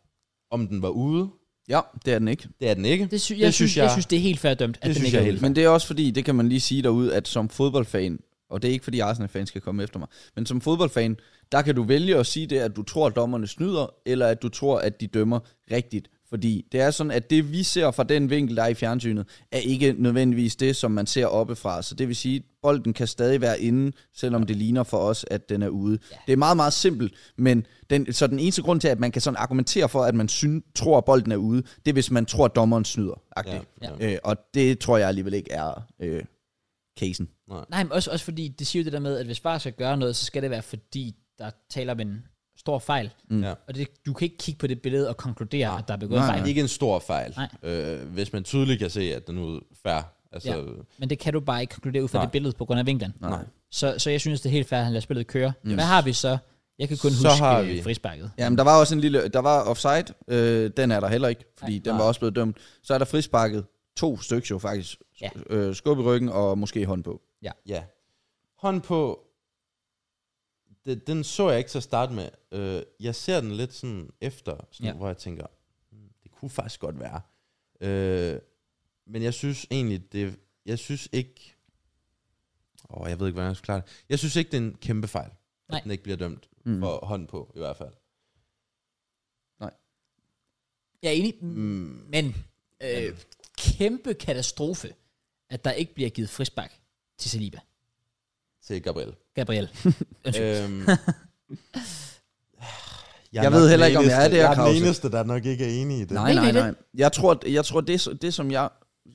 B: om den var ude,
C: Ja, det er den ikke.
B: det er den ikke.
A: det, sy- jeg, det synes, jeg, jeg synes, det er helt fair dømt, at
B: det
A: den
B: synes
A: ikke
B: jeg
A: er
B: helt
A: ude.
B: fair.
C: Men det er også fordi, det kan man lige sige derude, at som fodboldfan, og det er ikke fordi Arsenal-fan skal komme efter mig, men som fodboldfan, der kan du vælge at sige det, at du tror, at dommerne snyder, eller at du tror, at de dømmer rigtigt. Fordi det er sådan, at det vi ser fra den vinkel, der er i fjernsynet, er ikke nødvendigvis det, som man ser oppefra. Så det vil sige, at bolden kan stadig være inde, selvom det ligner for os, at den er ude. Det er meget, meget simpelt, men den, så den eneste grund til, at man kan sådan argumentere for, at man syn, tror, at bolden er ude, det er, hvis man tror, at dommeren snyder.
B: Ja,
C: Ja.
B: ja.
C: Øh, og det tror jeg alligevel ikke er øh, casen.
A: Nej, men også, også fordi, det siger jo det der med, at hvis VAR skal gøre noget, så skal det være fordi, der taler om en stor fejl.
B: Mm. Ja.
A: Og det, du kan ikke kigge på det billede og konkludere, ja. at der er begået
C: Nej,
B: Det
A: fejl.
B: er ikke en stor fejl,
A: Nej.
B: øh, hvis man tydeligt kan se, at den er færre. Altså,
A: Ja. Men det kan du bare ikke konkludere ud fra
B: Nej.
A: det billede på grund af vinklen.
B: Nej.
A: Så, så jeg synes, det er helt fair, at han lader spillet køre. Yes. Hvad har vi så? Jeg kan kun
B: Så
A: huske
B: har
A: øh,
B: vi-
A: frisparket.
C: Jamen, der var også en lille... Der var offside. Øh, den er der heller ikke, fordi den var også blevet dømt. Så er der frisparket. To stykker jo faktisk.
A: Ja.
C: Øh, skub i ryggen og måske hånd på.
B: Ja. Hånd på, den, den så jeg ikke til at starte med. Øh, jeg ser den lidt sådan efter, sådan,
A: Ja.
B: ja. hvor jeg tænker, "Hmm, det kunne faktisk godt være. Øh, men jeg synes egentlig, det, jeg synes ikke, åh, jeg ved ikke, hvordan jeg skal klare det. Jeg synes ikke, det er en kæmpe fejl,
A: Nej.
B: at den ikke bliver dømt
C: Mm.
B: for hånd på, i hvert fald.
A: Jeg er enig,
B: Mm.
A: men øh, kæmpe katastrofe, at der ikke bliver givet frispark til Saliba.
B: Til Gabriel. [LAUGHS]
A: Gabriel. Undskyld. [LAUGHS]
B: Øhm,
C: Jeg ved heller ikke, om jeg er det her,
B: Jeg er
C: Krause.
B: den eneste, der nok ikke er enig i det.
C: Nej,
A: Ikke
C: nej,
A: det.
C: nej. Jeg tror, jeg tror det, det som jeg...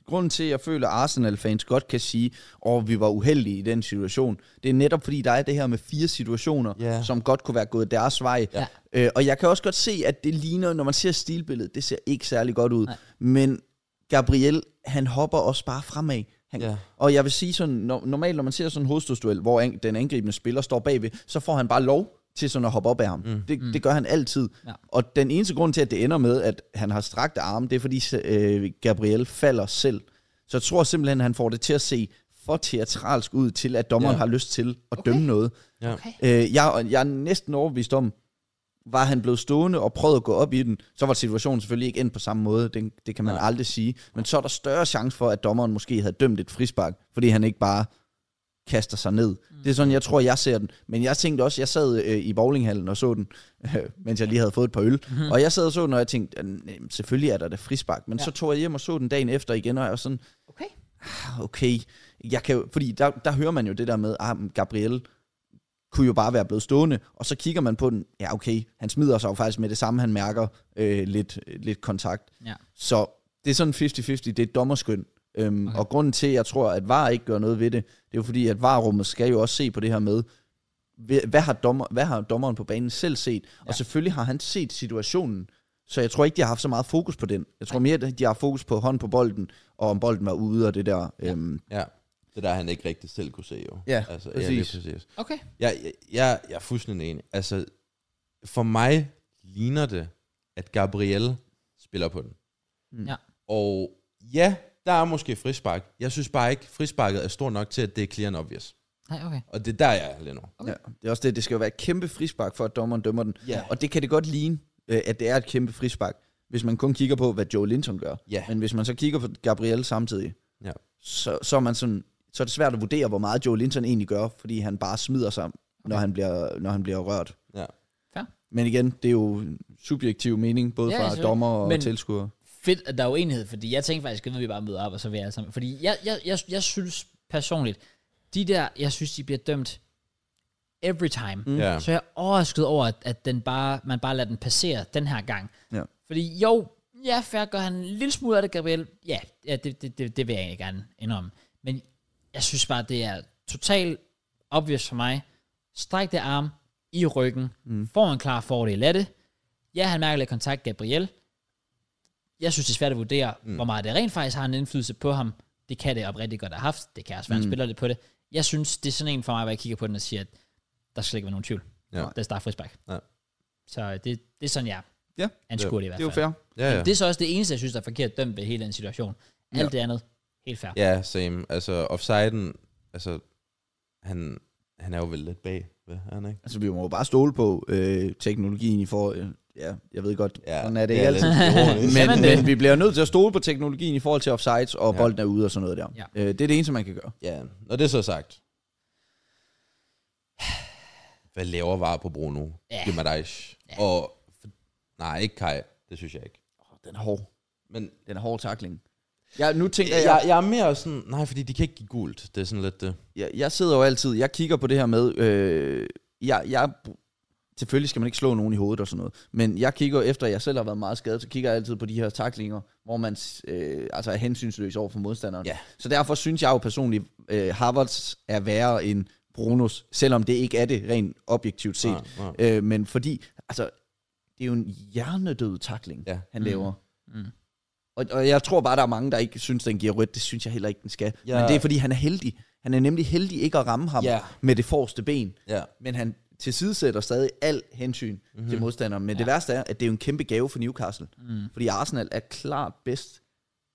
C: Grunden til, at jeg føler, at Arsenal-fans godt kan sige, at vi var uheldige i den situation, det er netop fordi, der er det her med fire situationer,
B: Ja.
C: som godt kunne være gået deres vej.
A: Ja.
C: Øh, og jeg kan også godt se, at det ligner, når man ser stilbilledet, det ser ikke særlig godt ud. Nej. Men Gabriel, han hopper også bare fremad. Han,
B: Ja.
C: Og jeg vil sige sådan, no, normalt når man ser sådan en hovedstødsduel, hvor ang- den angribende spiller står bagved, så får han bare lov til sådan at hoppe op af ham. Mm. Det, det gør han altid.
A: Ja.
C: Og den eneste grund til, at det ender med, at han har strakt arme, det er fordi øh, Gabriel falder selv. Så jeg tror simpelthen, han får det til at se for teatralsk ud til, at dommeren
B: Ja.
C: har lyst til at okay. dømme noget.
B: Ja.
A: Okay.
C: Øh, jeg, og jeg er næsten overbevist om, var han blevet stående og prøvet at gå op i den, så var situationen selvfølgelig ikke endt på samme måde. Det, det kan man
B: Nej.
C: Nej. aldrig sige. Men så er der større chance for, at dommeren måske havde dømt et frispark, fordi han ikke bare kaster sig ned. Mm. Det er sådan, jeg tror, jeg ser den. Men jeg tænkte også, jeg sad øh, i bowlinghallen og så den, [LAUGHS] øh, mens jeg lige havde fået et par øl. Mm. Og jeg sad og så den, og jeg tænkte, øh, selvfølgelig er der det frispark. Men
A: Ja.
C: ja. så tog jeg hjem og så den dagen efter igen, og jeg var sådan,
A: okay.
C: "Ah, okay, jeg kan jo, fordi der, der hører man jo det der med, at ah, men Gabriel kunne jo bare være blevet stående, og så kigger man på den, ja okay, han smider sig jo faktisk med det samme, han mærker øh, lidt, lidt kontakt.
A: Ja.
C: Så det er sådan 50-50, det er et dommerskøn. Øhm,
A: Okay.
C: okay. Og grunden til, at jeg tror, at VAR ikke gør noget ved det, det er jo fordi, at VAR-rummet skal jo også se på det her med, hve- hvad har, dommer, hvad har dommeren på banen selv set? Ja.
A: Ja.
C: Og selvfølgelig har han set situationen, så jeg tror ikke, de har haft så meget fokus på den. Jeg tror mere, at de har fokus på hånd på bolden, og om bolden var ude og det der. Ja. Øhm,
B: Ja, det der han ikke rigtig selv kunne se jo.
C: Ja,
B: altså, Ja, lige
C: præcis.
B: præcis.
A: Okay.
B: Jeg, jeg, jeg, jeg er fuldstændig enig. Altså, for mig ligner det, at Gabriel spiller på den.
C: Mm.
A: Ja.
B: Og ja, der er måske frispark. Jeg synes bare ikke, frisparket er stor nok til, at det er clear and obvious.
A: Nej, okay.
B: Og det er der, jeg er lige nu.
A: Okay.
C: Okay. Ja, det er også det, det skal jo være et kæmpe frispark, for at dommeren dømmer den.
B: Ja.
C: Og det kan det godt ligne, øh, at det er et kæmpe frispark, hvis man kun kigger på, hvad Joe Linton gør.
B: Ja.
C: Men hvis man så kigger på Gabriel samtidig,
B: Ja.
C: så, så, er man sådan, så er det svært at vurdere, hvor meget Joe Linton egentlig gør, fordi han bare smider sig, når, han bliver, når han bliver rørt.
B: Ja.
A: Fair.
C: Men igen, det er jo subjektiv mening, både
A: Ja,
C: ja, fra
A: selvfølgelig.
C: dommer og
A: Men-
C: tilskuer.
A: Fedt, at der er uenighed, fordi jeg tænkte faktisk, at vi bare møder op, og så vil jeg alle sammen. Fordi jeg, jeg, jeg, jeg synes personligt, de der, jeg synes, de bliver dømt every time. Mm.
B: Ja.
A: Så jeg er overrasket over, at, at den bare, man bare lader den passere den her gang.
C: Ja.
A: Fordi jo, ja, fair gør han en lille smule af det, Gabriel. Ja, ja det, det, det, det vil jeg egentlig gerne indrømme. Men jeg synes bare, det er totalt obvious for mig. Stræk det arm i ryggen. Mm. Får en klar fordel af det. Ja, han mærker lidt kontakt, Gabriel. Jeg synes, det er svært at vurdere, mm. hvor meget det rent faktisk har en indflydelse på ham. Det kan det oprigtigt godt have haft. Det kan også være, mm. han spiller lidt på det. Jeg synes, det er sådan en for mig, hvor jeg kigger på den og siger, at der skal ikke være nogen tvivl.
B: Ja.
A: Der starter frisbak.
B: Ja.
A: Så det, det er sådan, jeg
C: Ja,
A: anskuer det i hvert
C: det er jo
A: fald.
C: fair.
B: Ja, ja.
A: Det er så også det eneste, jeg synes, der er forkert dømt ved hele den situation. Alt
C: Ja.
A: det andet, helt fair.
B: ja same. Altså, offsiden, altså, han, han er jo vel lidt bag, hvad er han ikke?
C: Altså, vi må jo bare stole på øh, teknologien i for... Øh, ja, jeg ved godt, ja, sådan er det,
B: det
C: ikke altid.
B: lidt ironisk.
A: Kan man
C: [LAUGHS] Men,
A: det?
C: men vi bliver nødt til at stole på teknologien i forhold til offsides, og
B: Ja.
C: ja. bolden er ude og sådan noget der.
A: Ja.
C: Øh, det er det eneste, man kan gøre.
B: Ja, når det er så sagt. Hvad laver var på Bruno?
A: Ja.
B: Ja. Gimadeish. Ja. Og, nej, ikke Kai. Det synes jeg ikke.
C: Den er hård.
B: Men
C: Den er hård takling. Jeg, nu tænker jeg,
B: jeg,
C: jeg,
B: jeg er mere sådan, nej, fordi de kan ikke give gult. Det er sådan lidt det.
C: jeg, jeg sidder jo altid, jeg kigger på det her med, øh, jeg, jeg, selvfølgelig skal man ikke slå nogen i hovedet og sådan noget, men jeg kigger efter, at jeg selv har været meget skadet, så kigger jeg altid på de her taklinger, hvor man øh, altså er hensynsløs over for modstanderen.
B: Ja.
C: Så derfor synes jeg jo personligt, øh, Harvards er værre end Brunos, selvom det ikke er det rent objektivt set.
B: Nej, nej.
C: Øh, men fordi, altså, det er jo en hjernedød takling,
B: Ja.
C: ja. han laver. Og, og jeg tror bare, der er mange, der ikke synes, den giver rødt. Det synes jeg heller ikke, den skal.
B: Ja.
C: Ja. Men det er, fordi han er heldig. Han er nemlig heldig ikke at ramme ham
B: Ja.
C: med det forreste ben.
B: Ja.
C: Men han tilsidesætter stadig al hensyn
B: Mhm.
C: mm-hmm. til modstanderen. Men ja. det værste er, at det er jo en kæmpe gave for Newcastle. Mm. Fordi Arsenal er klart bedst,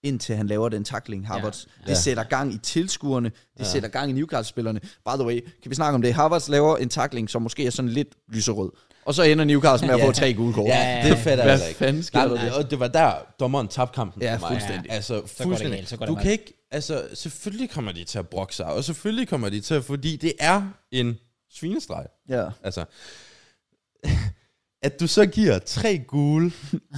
C: indtil han laver den tackling, Harvards. Ja. Det
B: Ja.
C: sætter gang i tilskuerne. Det ja. sætter gang i Newcastle-spillerne. By the way, kan vi snakke om det? Harvards laver en tackling, som måske er sådan lidt lyserød. Og så ender Newcastle med at få tre gule
B: [LAUGHS]
C: kort.
B: Ja, det fatter
C: Hvad
B: jeg ikke.
C: fanden sker
B: Nej,
C: der der?
B: Og det var der, dommeren tabte kampen
C: Ja,
B: for mig.
C: fuldstændig.
B: Altså,
A: går det
B: fuldstændig.
A: galt, så går det
B: du
A: galt.
B: kan ikke, altså, selvfølgelig kommer de til at brokke sig, og selvfølgelig kommer de til at, fordi det er en svinestreg.
C: Ja.
B: Altså, at du så giver tre gule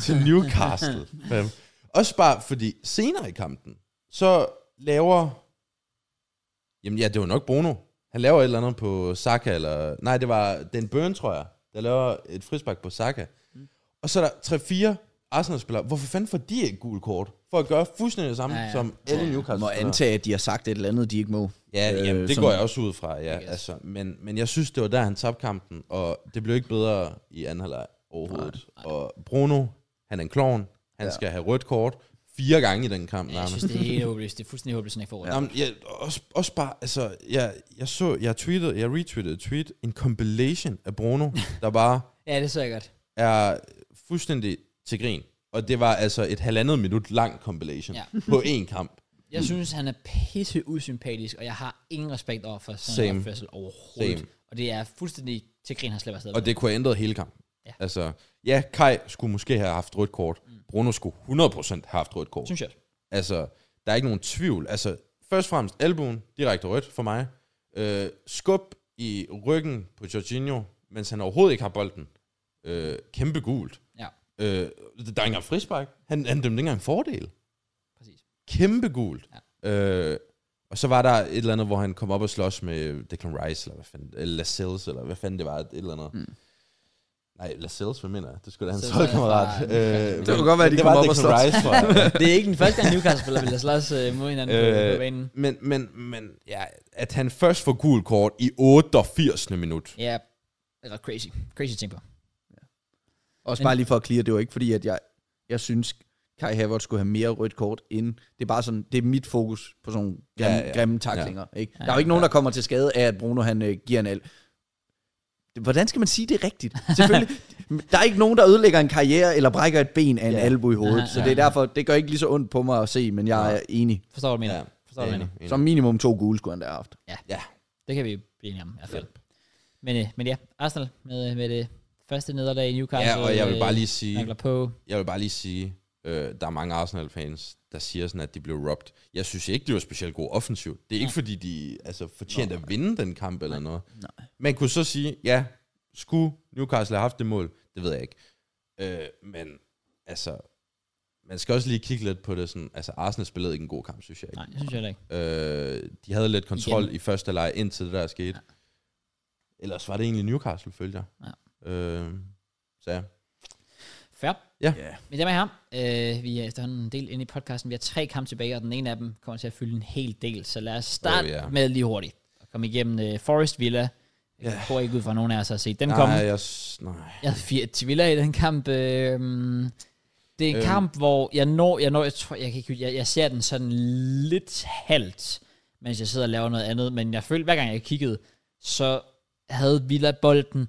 B: til
A: [LAUGHS]
B: Newcastle. Øhm, Også bare fordi senere i kampen, så laver... Jamen ja, det var nok Bruno. Han laver et eller andet på Saka, eller... Nej, det var den Burn, tror jeg, der laver et frisbak på Saka.
A: Mm.
B: Og så er der 3-4 Arsenal-spillere. Hvorfor fanden får de et gult kort? For at gøre fuldstændig det samme
A: Ja,
B: ja,
A: ja.
B: ja. som alle
C: Jeg må
B: Newcastle-spillere.
C: antage, at de har sagt et eller andet, de ikke må.
B: Ja, øh, jamen, det
C: som-
B: går jeg også ud fra, ja. Yes. Altså, men, men jeg synes, det var der, han tabte kampen, og det blev ikke bedre i anden halvleg overhovedet. Nej, nej. Og Bruno, han er en klovn. Han ja. skal have rødt kort fire gange i den kamp.
A: Jeg synes, det er helt håbløst. Det er fuldstændig håbløst, at han ikke får rødt.
B: Jamen, jeg, også, også bare, altså, jeg, jeg så, jeg tweetede, jeg retweetede et tweet, en compilation af [LAUGHS] Bruno, der bare
A: Ja, det så jeg godt.
B: er fuldstændig til grin. Og det var altså et halvandet minut lang compilation
A: Ja.
B: ja. på én kamp.
A: Jeg synes, han er pisse usympatisk, og jeg har ingen respekt over for sådan en
B: Same.
A: opførsel overhovedet. Same.
B: Same.
A: Og det er fuldstændig til grin, han slipper afsted.
B: Og det kunne have ændret hele kampen.
A: Ja. Mm.
B: Ja. Altså, ja, Kai skulle måske have haft rødt kort. Bruno skulle 100% have haft rødt kort.
A: Synes jeg.
B: Altså, der er ikke nogen tvivl. Altså, først og fremmest albuen, direkte rødt for mig. Øh, skub i ryggen på Jorginho, mens han overhovedet ikke har bolden. Øh, kæmpe gult.
A: Ja,
B: Øh, der er ikke engang frispark. Han, han dømte ikke engang en fordel.
A: præcis.
B: Kæmpe gult. Ja. Øh, og så var der et eller andet, hvor han kom op og slås med Declan Rice, eller hvad fanden, eller Lascelles, eller hvad fanden det var, et eller andet. Mm. Nej, Lascelles, hvad mener jeg? Det skulle da hans
A: Så var det
B: holdkammerat.
A: fra-
B: Øh, det
C: kunne godt være, de
B: det
C: kom
B: var
C: op og
B: Declan Rice, tror jeg.
A: Det er ikke den første gang, Newcastle-spiller vil slås øh, mod hinanden øh, på banen.
B: men, men, men ja, at han først får gul kort i 88. minut.
A: Ja, det er ret crazy. Crazy ting på.
C: Også
A: Men-
C: bare lige for at clear, det var ikke fordi, at jeg, jeg synes, Kai Havertz skulle have mere rødt kort end. Det er bare sådan, det er mit fokus på sådan nogle grimme, ja,
B: Ja,
C: ja.
B: ja.
C: grimme taklinger. Ja. Ikke? Der er jo ikke nogen, der kommer til skade af, at Bruno han øh, giver en al. Det- Hvordan skal man sige det rigtigt? [LAUGHS] Selvfølgelig. der er ikke nogen, der ødelægger en karriere eller brækker et ben af en ja. albu i hovedet.
A: Ja,
C: Ja,
A: ja,
C: ja. Så det er derfor, det gør ikke lige så ondt på mig at se, men jeg er enig.
A: Forstår du, hvad jeg mener?
B: Ja,
A: Forstår du, hvad jeg mener?
B: Enig.
C: Som minimum to gule skulle han da have haft.
B: Ja,
A: Det kan vi blive enige om, i hvert fald. Men, øh, men ja, Arsenal med, øh, med det første nederlag i Newcastle.
B: ja og jeg vil
A: øh,
B: bare lige sige,
A: nakler på.
B: jeg vil bare lige sige, øh, der er mange Arsenal-fans, der siger sådan, at de blev robbed. Jeg synes ikke, de var specielt gode offensivt. Det er ikke, fordi de altså, fortjente at vinde den kamp eller noget. Nej. Man kunne så sige, ja, skulle Newcastle have haft det mål? Det ved jeg ikke. Øh, men altså, man skal også lige kigge lidt på det sådan, altså Arsenal spillede ikke en god kamp, synes jeg ikke.
A: Nej, det synes jeg da ikke.
B: Øh, de havde lidt kontrol
A: Igen.
B: Igen. i første leg, indtil det der skete. Ja. Ellers var det egentlig Newcastle, følger jeg. Ja. Øh, så ja.
A: Fair.
B: Ja.
C: Ja.
A: Men det med ham. Øh, vi er efterhånden en del inde i podcasten. Vi har tre kampe tilbage, og den ene af dem kommer til at fylde en hel del. Så lad os starte oh,
B: Oh, ja.
A: yeah. med lige hurtigt. At komme igennem øh, Forest Villa. Jeg yeah.
B: Ja.
A: tror ikke ud fra, at nogen af os har set den
B: Nej,
A: komme.
B: jeg, s- nej.
A: Jeg havde 4 til Villa i den kamp. Øh, det er en øh.
B: Øhm.
A: kamp, hvor jeg når, jeg når, jeg tror, jeg kan ikke, jeg, jeg ser den sådan lidt halvt, mens jeg sidder og laver noget andet, men jeg følte, hver gang jeg kiggede, så havde Villa bolden,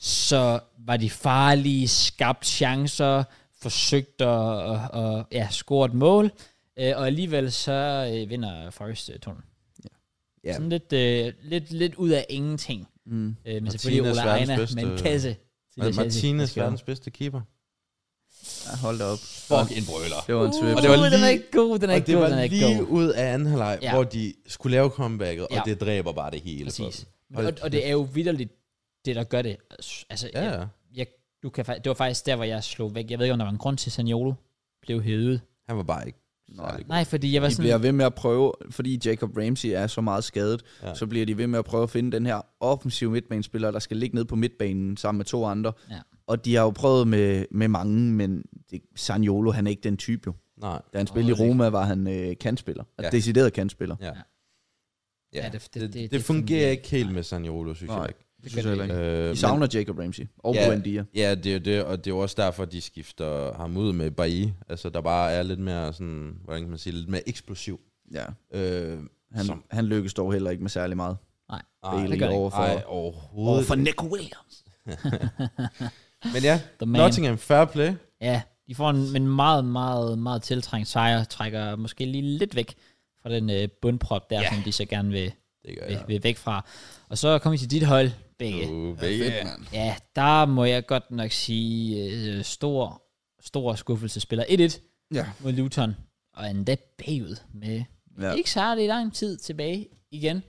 A: så var de farlige, skabt chancer, forsøgt at, at, at ja, score et mål, øh, og alligevel så øh, vinder Forrest øh, tunnel. Ja.
C: Ja.
A: Sådan lidt, øh, lidt, lidt ud af ingenting. Øh,
C: Mm.
A: men
B: Martinez
A: selvfølgelig Ola
B: verdens
A: Ejna
B: bedste-
A: med en kasse. til
B: Mar-
A: Chelsea.
B: Martinez,
A: Det
B: verdens bedste keeper.
C: Ja, hold da op.
B: Fuck en brøler.
C: Det var en trip.
B: Og det var
A: Uh, den er
B: lige-
A: ikke god, den er
B: Og
A: ikke
B: det
A: god,
B: var
A: den er ikke
B: lige
A: god.
B: ud af anden halvleg,
A: Ja.
B: ja. hvor de skulle lave comebacket, og
A: Ja.
B: det dræber bare det hele. for
A: Præcis.
B: dem.
A: Og,
B: Hold
A: og det er jo vidderligt, det der gør det. Altså,
B: Ja,
A: jeg,
B: ja.
A: jeg, du kan, fa- det var faktisk der, hvor jeg slog væk. Jeg ved ikke, om der var en grund til, at Saniolo blev hævet.
B: Han var bare ikke
C: Nej.
B: særlig god.
A: Nej, fordi jeg var
C: De bliver
A: sådan...
C: ved med at prøve, fordi Jacob Ramsey er så meget skadet,
B: Ja.
C: ja. så bliver de ved med at prøve at finde den her offensive midtbanespiller, der skal ligge ned på midtbanen sammen med to andre.
A: Ja.
C: Og de har jo prøvet med, med mange, men det, Saniolo, han er ikke den type jo.
B: Nej.
C: Da han spillede i
A: Overhovedet
C: Roma, var han øh, kantspiller. Altså
B: Ja.
C: ja. decideret kantspiller.
B: Ja.
A: Ja, det- det- det-
B: det, det,
A: det
B: det
A: fungerer
B: fungerer ikke helt med Saniolo, synes
C: Nej.
B: jeg ikke.
C: Det synes jeg heller ikke.
B: Øh,
C: De
B: men-
C: savner Jacob Ramsey og
B: Ja.
C: Buendia.
B: Ja, det er jo det, og det er jo også derfor, de skifter ham ud med Bailly. Altså, der bare er lidt mere sådan, hvordan kan man sige, lidt mere eksplosiv.
C: Ja.
B: Øh,
C: Han,
B: Som-
C: han lykkes dog heller ikke med særlig meget.
A: Nej.
B: ej,
A: det gør det
C: overfor,
B: ej, overhovedet.
C: overfor Nico Williams.
B: Men ja,
A: The man.
B: Nottingham fair play.
A: Ja, de får en, en meget, meget, meget tiltrængt sejr, trækker måske lige lidt væk fra den øh, bundprop der, ja. som de så gerne vil,
B: Det gør
A: vil,
B: jeg.
A: vil væk fra. Og så kommer vi til dit hold, begge.
B: Uh, yeah.
C: mand.
A: Ja, der må jeg godt nok sige øh, stor, stor skuffelse. Spiller 1-1
C: Ja.
A: mod Luton, og endda bagud med ja.
C: Ja.
A: ikke særlig lang tid tilbage igen.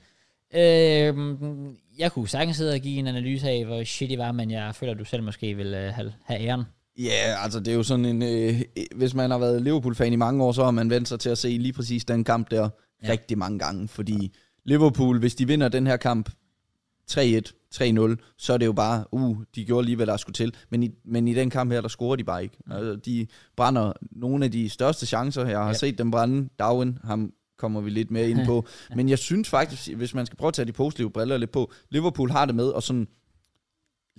A: Øhm, jeg kunne sagtens sidde og give en analyse af, hvor shitty var, men jeg føler, du selv måske vil øh, have, have æren.
C: Ja, yeah, altså det er jo sådan en... Øh, hvis man har været Liverpool-fan i mange år, så har man vendt sig til at se lige præcis den kamp der
A: Ja.
C: ja. rigtig mange gange. Fordi Liverpool, hvis de vinder den her kamp 3-1, 3-0, så er det jo bare, uh, de gjorde lige, hvad der skulle til. Men i, men i den kamp her, der scorer de bare ikke. Altså, de brænder nogle af de største chancer, jeg har
A: Ja.
C: ja. set dem brænde. Darwin, ham kommer vi lidt mere ind på. Men jeg synes faktisk, hvis man skal prøve at tage de positive briller lidt på, Liverpool har det med, og sådan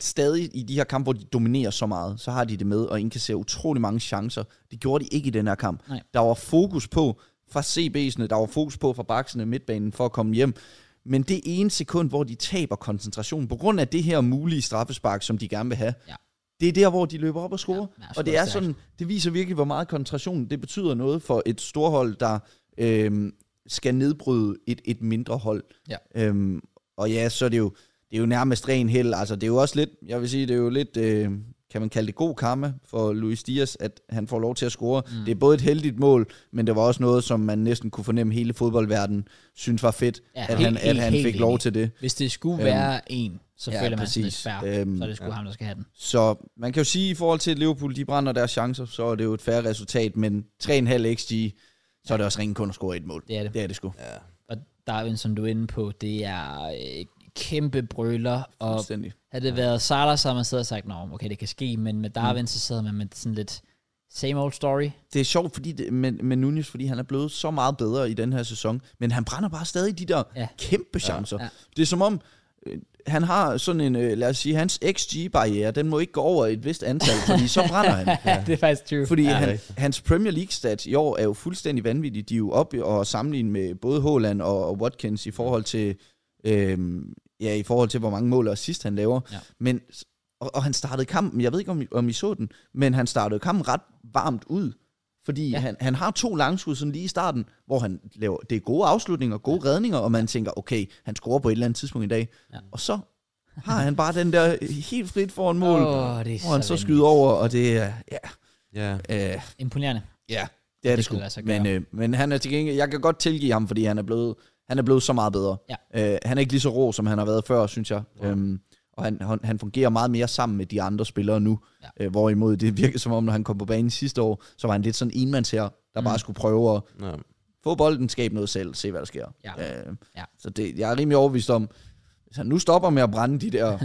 C: stadig i de her kampe, hvor de dominerer så meget, så har de det med og indkasserer utrolig mange chancer. Det gjorde de ikke i den her kamp.
A: Nej.
C: Der var fokus på fra CB'sene, der var fokus på fra baksene midtbanen for at komme hjem. Men det ene sekund, hvor de taber koncentrationen på grund af det her mulige straffespark, som de gerne vil have,
A: Ja.
C: det er der, hvor de løber op og scorer.
A: Ja,
C: Ja,
A: ja,
C: og det er
A: stærkt.
C: sådan, det viser virkelig, hvor meget koncentration det betyder noget for et storhold, der øhm, skal nedbryde et, et mindre hold.
A: Ja.
C: Øhm, og ja, så er det jo, det er jo nærmest ren held. Altså, det er jo også lidt, jeg vil sige, det er jo lidt, øh, kan man kalde det god karma for Luis Diaz, at han får lov til at score. Mm. Det er både et heldigt mål, men det var også noget, som man næsten kunne fornemme hele fodboldverdenen synes var fedt,
A: Ja,
C: ja, at,
A: helt-
C: han,
A: helt-
C: at han
A: helt
C: fik lov
A: enig.
C: til det.
A: Hvis det skulle øhm,
C: Øhm,
A: være en, så ja,
C: ja,
A: føler man sådan lidt
C: præcis.
A: færre, øhm,
C: Øhm,
A: så er det sgu ja. ham, der skal have den.
C: Så man kan jo sige, i forhold til at Liverpool, de brænder deres chancer, så er det jo et færre resultat, men 3,5 xG, så er det også ringen kun at score et mål.
A: Det er det.
C: Det er det sgu.
B: Ja.
A: Og Darwin, som du er inde på, det er øh, kæmpe brøler, og
C: Fuldstændig.
A: havde det været Salah, så havde man siddet og sagt, nå, okay, det kan ske, men med Darwin, mm. så sidder man med sådan lidt same old story.
C: det er sjovt fordi det, med, med Nunez, fordi han er blevet så meget bedre i den her sæson, men han brænder bare stadig de der
A: Ja.
C: ja. kæmpe chancer.
A: Ja.
C: Ja. Det er som om, øh, han har sådan en, øh, lad os sige, hans XG-barriere, den må ikke gå over et vist antal, fordi så brænder han.
A: [LAUGHS] Ja. det er faktisk true.
C: Fordi
A: ja.
C: ja, han, hans Premier League-stats i år er jo fuldstændig vanvittige. De er jo oppe og sammenligne med både Haaland og, og Watkins i forhold til, øhm, ja, i forhold til hvor mange mål og assist han laver.
A: Ja.
C: Men, og, og han startede kampen, jeg ved ikke om, I- om I så den, men han startede kampen ret varmt ud. Fordi
A: Ja.
C: ja. han, han har to langskud sådan lige i starten, hvor han laver, det er gode afslutninger, gode redninger, og man tænker, okay, han scorer på et eller andet tidspunkt i dag.
A: Ja.
C: Ja. Og så har han bare den der helt frit foran mål,
A: Åh, det er
C: hvor han
A: så
C: så
A: vanvittigt.
C: skyder over, og det er, ja,
B: Ja.
C: øh,
A: Imponerende.
C: Ja, det
A: Det
C: er det, det
A: kan
C: sgu.
A: lade sig
C: Men,
A: gøre.
C: øh, men han er til gengæld, jeg kan godt tilgive ham, fordi han er blevet, han er blevet så meget bedre.
A: Ja.
C: Øh, han er ikke lige så rå, som han har været før, synes jeg. Ja. Øhm, og han, han, han fungerer meget mere sammen med de andre spillere nu.
A: Ja.
C: Ja. Øh, hvorimod det virkede som om, når han kom på banen sidste år, så var han lidt sådan enmands her, der mm. bare skulle prøve at
B: ja.
C: få bolden, skabe noget selv, se hvad der sker. Ja. Øh,
A: Ja.
C: Så det, jeg er rimelig overbevist om, hvis han nu stopper med at brænde de der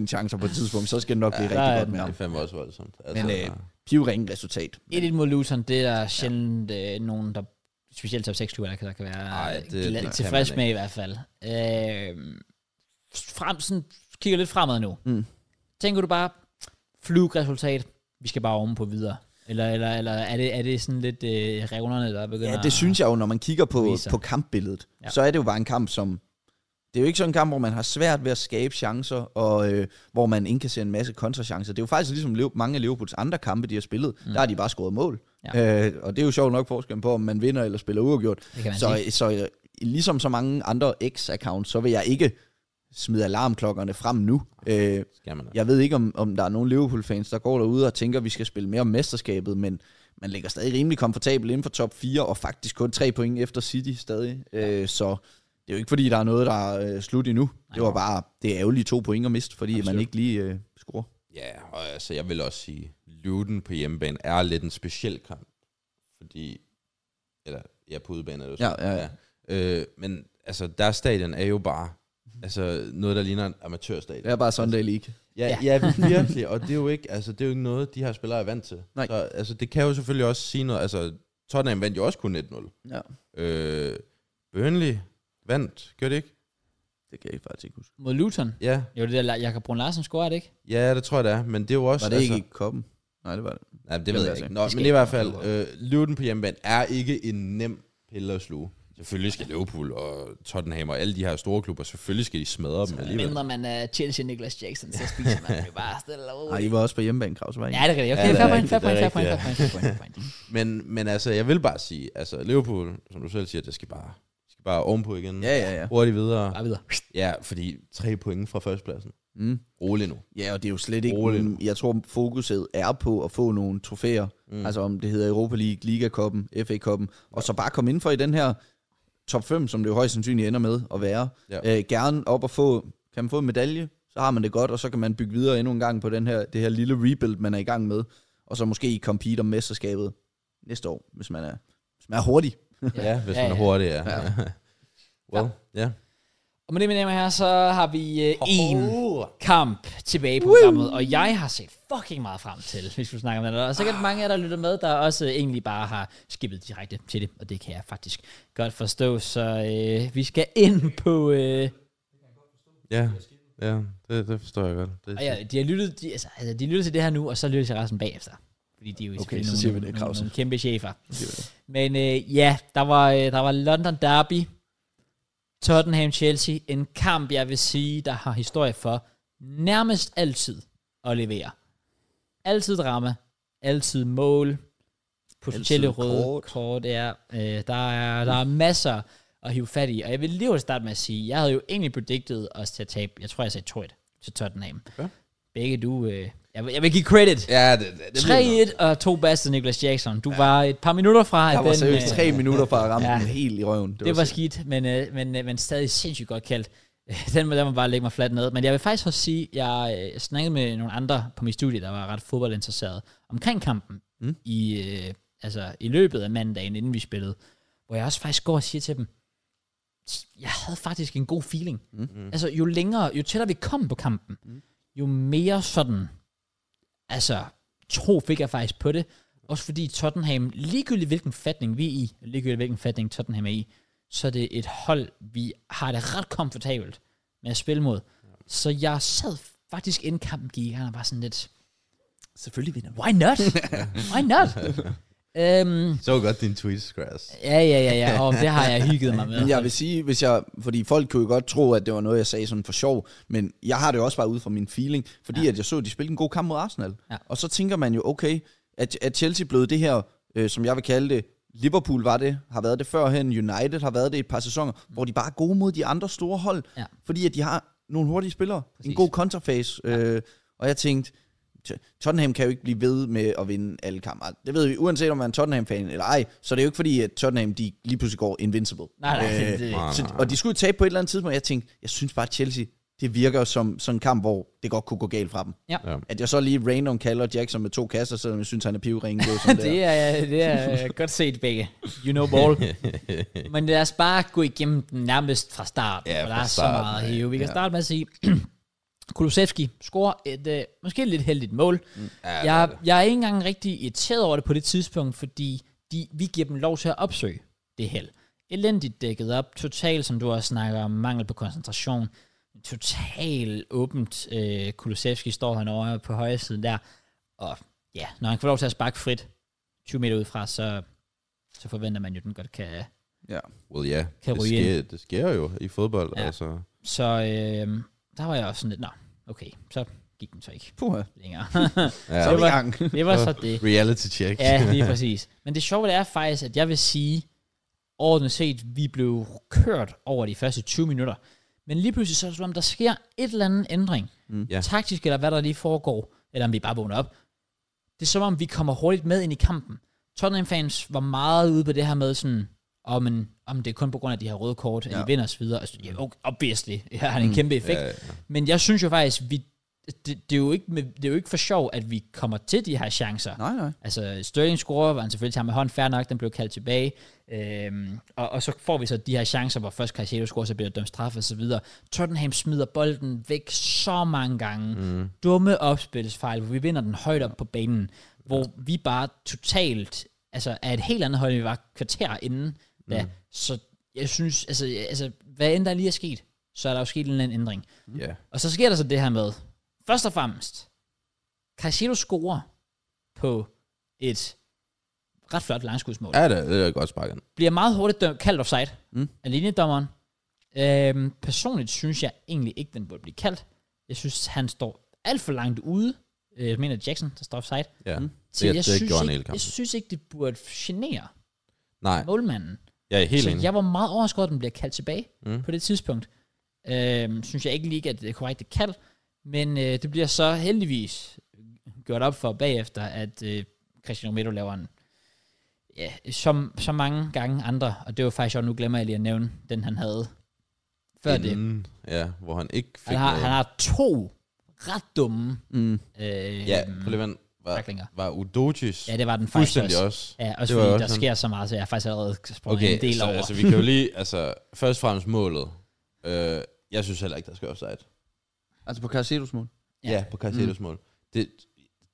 C: 100% chancer på et tidspunkt, så skal det nok blive
A: der er
C: rigtig godt
A: den.
C: med
B: Det er
C: ham.
B: fandme også voldsomt. Altså,
C: Men øh, pivringen resultat.
A: 1-1 mod Luton, det er der sjældent øh, nogen, der specielt top 6 klubber, der kan, der kan være
B: Ej, det-
A: glad-
B: det kan
A: tilfreds
B: man
A: med i hvert fald. Øh, frem, sådan, kigger lidt fremad nu.
C: Mm.
A: Tænker du bare, flugresultat, vi skal bare ovenpå videre? Eller, eller, eller er, det, er det sådan lidt øh, revnerne, der begynder
C: Ja, det synes jeg jo, når man kigger på,
A: vise sig.
C: på kampbilledet,
A: Ja.
C: ja. så er det jo bare en kamp, som... Det er jo ikke sådan en kamp, hvor man har svært ved at skabe chancer, og øh, hvor man indkasserer en masse kontrachancer. Det er jo faktisk ligesom Liv- mange af Liverpools andre kampe, de har spillet. Mm. Der har de bare scoret mål. Ja. Øh, og det er jo sjovt nok forskellen på, om man vinder eller spiller uafgjort.
A: Det kan man
C: Så, så øh, ligesom så mange andre X-accounts, så vil jeg ikke smide alarmklokkerne frem nu. Øh,
B: skal man.
C: jeg ved ikke, om, om der er nogen Liverpool-fans, der går derude og tænker, at vi skal spille mere om mesterskabet, men man ligger stadig rimelig komfortabel inden for top 4, og faktisk kun 3 point efter City stadig. Øh, så det er jo ikke, fordi der er noget, der er øh, slut endnu. Nej, det var bare det ærgerlige to point at miste, fordi Absolut. man ikke lige øh, scorer.
B: Ja, og altså, jeg vil også sige, Luton på hjemmebane er lidt en speciel kamp, fordi, eller, ja, på udebane er det jo
C: Ja, ja, ja.
B: ja. Øh, men altså, deres stadion er jo bare, altså, noget, der ligner en amatørstadion.
C: Det er bare Sunday League.
B: Ja, ja. ja virkelig, og det er jo ikke, altså, det er jo ikke noget, de her spillere er vant til.
C: Nej.
B: Så, altså, det kan jo selvfølgelig også sige noget, altså, Tottenham vandt jo også kun 1-0.
C: Ja.
B: Øh, Burnley vandt, gør det ikke?
C: Det kan jeg faktisk ikke huske.
A: Mod Luton.
B: Ja,
A: Jo, det der Jakob Brun Larsen score, er det ikke?
B: ja, det tror jeg, det er. Men det er jo også...
C: Var det altså, ikke i koppen? Nej, det var det.
B: Nej, det ved jeg
C: altså
B: ikke.
C: ikke.
B: Nå,
A: skal
B: men i
A: ikke
B: hvert fald, øh, Luton på hjemmebane er ikke en nem pille at sluge. Selvfølgelig skal Liverpool og Tottenham og alle de her store klubber, selvfølgelig skal de smadre dem alligevel.
A: Mindre man øh, er Chelsea Nicholas Jackson, så spiser man jo bare stille og
C: Nej,
A: roligt.
C: I var også på hjemmebane, Kraus, var I?
A: Ja,
C: ikke?
A: det er rigtigt.
B: Ja,
A: Okay,
B: det er
A: fair point,
B: rigtigt,
A: fair
B: det er
A: point, fair
B: rigtigt,
A: point,
B: ja.
A: fair point, fair point, fair
B: [LAUGHS]
A: point.
B: Men, men altså, jeg vil bare sige, altså Liverpool, som du selv siger, det skal bare, det skal bare ovenpå igen.
C: Ja, ja, ja.
B: Hurtigt videre.
A: Bare videre.
B: Ja, fordi tre point fra førstepladsen.
C: Mm.
B: Rolig nu.
C: Ja, og det er jo slet ikke...
B: Rolig nu.
C: Roligt. Jeg tror, fokuset er på at få nogle trofæer. Mm. Altså om det hedder Europa League, Liga-koppen, FA-koppen. Ja. Og så bare komme indenfor i den her top 5, som det jo højst sandsynligt ender med at være.
B: Ja.
C: Ja. Øh, gerne op og få... Kan man få en medalje, så har man det godt, og så kan man bygge videre endnu en gang på den her, det her lille rebuild, man er i gang med. Og så måske compete om mesterskabet næste år, hvis man er, hvis man er hurtig.
B: Ja, ja hvis ja, man er hurtig, ja. ja. [LAUGHS] well, ja.
A: Og med det, mine damer her, så har vi øh, en kamp tilbage på programmet, og jeg har set fucking meget frem til, hvis vi snakker om det. Og der er sikkert mange af jer, der lytter med, der også øh, egentlig bare har skippet direkte til det, og det kan jeg faktisk godt forstå. Så øh, vi skal ind på... Øh,
B: Ja, ja det, det forstår jeg godt. Det,
A: og ja, de har lyttet, de, altså, altså, de lytter til det her nu, og så lytter til resten bagefter. Fordi de er jo selvfølgelig
C: så
A: nogle-
C: siger vi det,
A: nogle-
C: Krause.
A: Nogle kæmpe chefer. Men øh, ja, der var, øh, der var London Derby, Tottenham-Chelsea, en kamp, jeg vil sige, der har historie for nærmest altid at levere. Altid drama, altid mål, potentielle
C: Altid
A: røde kort.
C: kort.
A: kort ja. øh, der, er, der er masser at hive fat i, og jeg vil lige starte med at sige, jeg havde jo egentlig predicted os til at tabe, jeg tror, jeg sagde 2-1 til Tottenham.
B: Ja.
A: Begge du, øh, jeg, vil, jeg vil give credit.
B: ja det, det, det bliver-
A: 3-1 og to baster Niklas Jackson. Du ja. var et par minutter fra, at
C: Der var
A: den,
C: seriøst
A: øh,
C: tre minutter fra at ramme
A: ja.
C: ja. den helt i røven. Det,
A: det var
C: sindssygt.
A: skidt, men, øh, men, øh, men stadig sindssygt godt kaldt. [LAUGHS] Den må, den må bare lægge mig fladt ned. Men jeg vil faktisk også sige, at jeg øh, snakkede med nogle andre på min studie, der var ret fodboldinteresserede, omkring kampen mm. i, øh, altså, i løbet af mandagen, inden vi spillede, hvor jeg også faktisk går og siger til dem, jeg havde faktisk en god feeling. Mm. Altså, jo længere, jo tættere vi kom på kampen, mm. jo mere sådan, altså, tro fik jeg faktisk på det. Også fordi Tottenham, ligegyldigt hvilken fatning vi er i, ligegyldigt hvilken fatning Tottenham er i, så er det et hold, vi har det ret komfortabelt med at spille mod. Så jeg sad faktisk inden kampen gik, i gang og var sådan lidt,
C: Selvfølgelig vinder vi.
A: why not? why
B: [LAUGHS]
A: not? øhm,
B: Så godt din tweet, Skræs.
A: ja, ja, ja, ja, og det har jeg hygget mig
B: [LAUGHS]
A: med.
C: Men jeg vil sige, hvis jeg, fordi folk kunne jo godt tro, at det var noget, jeg sagde sådan for sjov, men jeg har det jo også bare ud fra min feeling, fordi ja. at jeg så, at de spillede en god kamp mod Arsenal.
A: Ja.
C: Og så tænker man jo, okay, at, at Chelsea blev det her, øh, som jeg vil kalde det, Liverpool var det, har været det førhen, United har været det i et par sæsoner, hvor de bare er gode mod de andre store hold,
A: Ja.
C: fordi at de har nogle hurtige spillere, Præcis.
A: Præcis.
C: en god kontrafase, øh, og jeg tænkte, T- Tottenham kan jo ikke blive ved med at vinde alle kampe. Altså, Det ved vi, uanset om man er en Tottenham-fan eller ej, så er det jo ikke fordi, at Tottenham de lige pludselig går invincible.
A: Nej, nej,
C: Øh,
A: det,
C: så, og de skulle jo tabe på et eller andet tidspunkt, og jeg tænkte, jeg synes bare, at Chelsea, det virker som sådan en kamp, hvor det godt kunne gå galt fra dem.
A: Ja.
B: Ja.
C: At jeg så lige random kalder Jackson med to kasser, selvom jeg synes, han er
A: [LAUGHS]
C: pivringen. Det, er jo sådan, det,
A: det,
C: er.
A: er, det er godt set begge. You know
B: [LAUGHS]
A: ball. Men lad os bare gå igennem den nærmest fra start.
B: Ja,
A: for der
B: fra
A: er så
B: starten
A: meget
B: af.
A: at hive. Vi kan starte med at sige, [CLEARS THROAT] Kulusevski scorer et øh, måske lidt heldigt mål. Mm. Jeg, jeg er ikke engang rigtig irriteret over det på det tidspunkt, fordi de, vi giver dem lov til at opsøge det held. Elendigt dækket op, totalt, som du også snakker om, mangel på koncentration, totalt åbent. Øh, Kulusevski står han over på højre siden der, og ja, når han får lov til at sparke frit 20 meter udefra, så, så forventer man jo, at den godt kan,
C: Ja.
B: Well, ja.
A: Kan
B: det,
A: ryge
B: sker, det sker jo i fodbold,
A: Ja.
B: ja. altså.
A: Så øh, der var jeg også sådan lidt, nå, okay, så gik den så ikke
C: Puh,
A: længere. [LAUGHS]
C: så
B: Ja.
C: er vi i
A: var-
C: gang. [LAUGHS]
A: det var så det.
B: Reality check. [LAUGHS]
A: Ja, [LAUGHS] lige præcis. Men det sjove det er faktisk, at jeg vil sige, ordentligt set, vi blev kørt over de første 20 minutter. Men lige pludselig så er det som om, der sker et eller andet ændring. Mm.
B: Ja.
A: Taktisk eller hvad der lige foregår, eller om vi bare vågner op. Det er som om, vi kommer hurtigt med ind i kampen. Tottenham-fans var meget ude på det her med sådan, om, en, om det er kun på grund af de her røde kort, at ja. Mm. I vinder osv. Altså, ja, okay, obviously, [LAUGHS] det har en kæmpe effekt.
B: Ja, ja.
A: Men jeg synes jo faktisk, vi, det, det, er jo ikke med, det er jo ikke for sjov, at vi kommer til de her chancer.
C: Nej, nej.
A: Altså, Sterling scorer, hvor han selvfølgelig tager med hånd, fair nok, den blev kaldt tilbage. Øhm, og, og, så får vi så de her chancer, hvor først Caicedo scorer, så bliver der dømt straf og så videre. Tottenham smider bolden væk så mange gange. Mm. Dumme opspilsfejl, hvor vi vinder den højt op på banen. Hvor vi bare totalt, altså er et helt andet hold, end vi var kvarter inden. Da. Mm. Så jeg synes, altså, jeg- altså hvad end der lige er sket, så er der jo sket en eller anden ændring.
B: Ja.
A: Og så sker der så det her med, først og fremmest, Caicedo scorer på et ret flot langskudsmål.
B: Ja, det er, det er godt sparket.
A: Bliver meget hurtigt dømt, kaldt offside
C: Mm.
A: mm. af linjedommeren. Øhm, personligt synes jeg egentlig ikke, den burde blive kaldt. Jeg synes, han står alt for langt ude. Øh, Jeg mener Jackson, der står offside.
B: Ja. Mm.
A: Så
B: Det-
A: jeg,
B: det
A: synes
B: gjorde han hele
A: ikke,
B: kampen.
A: jeg synes ikke, det burde genere
B: Nej,
A: målmanden.
B: jeg er helt
A: så
B: enig.
A: jeg var meget overrasket over, at den bliver kaldt tilbage
B: Mm.
A: mm. på det tidspunkt. Øhm, synes jeg ikke lige, at det er korrekt kald, men øh, det bliver så heldigvis gjort op for bagefter, at øh, Christian Romero laver en, ja, som så mange gange andre, og det var faktisk også, nu glemmer jeg lige at nævne, den han havde før det.
B: Inden, ja, hvor han ikke fik
A: Han har,
B: noget.
A: han har to ret dumme
C: Mm.
A: øh,
B: ja, på Levent var,
A: taklinger.
B: var Udogis.
A: ja, det var den faktisk
B: fuldstændig
A: også.
B: også.
A: Ja, også
B: Det var
A: fordi
B: også
A: der
B: sådan.
A: sker så meget, så jeg har faktisk allerede sprunget
B: Okay,
A: en del
B: så,
A: over.
B: altså vi kan jo lige, altså først og fremmest målet. Øh, jeg synes heller ikke, der skal offside.
C: Altså på Caicedos mål.
A: Ja.
B: Ja, ja på Caicedos mm. mål. Det,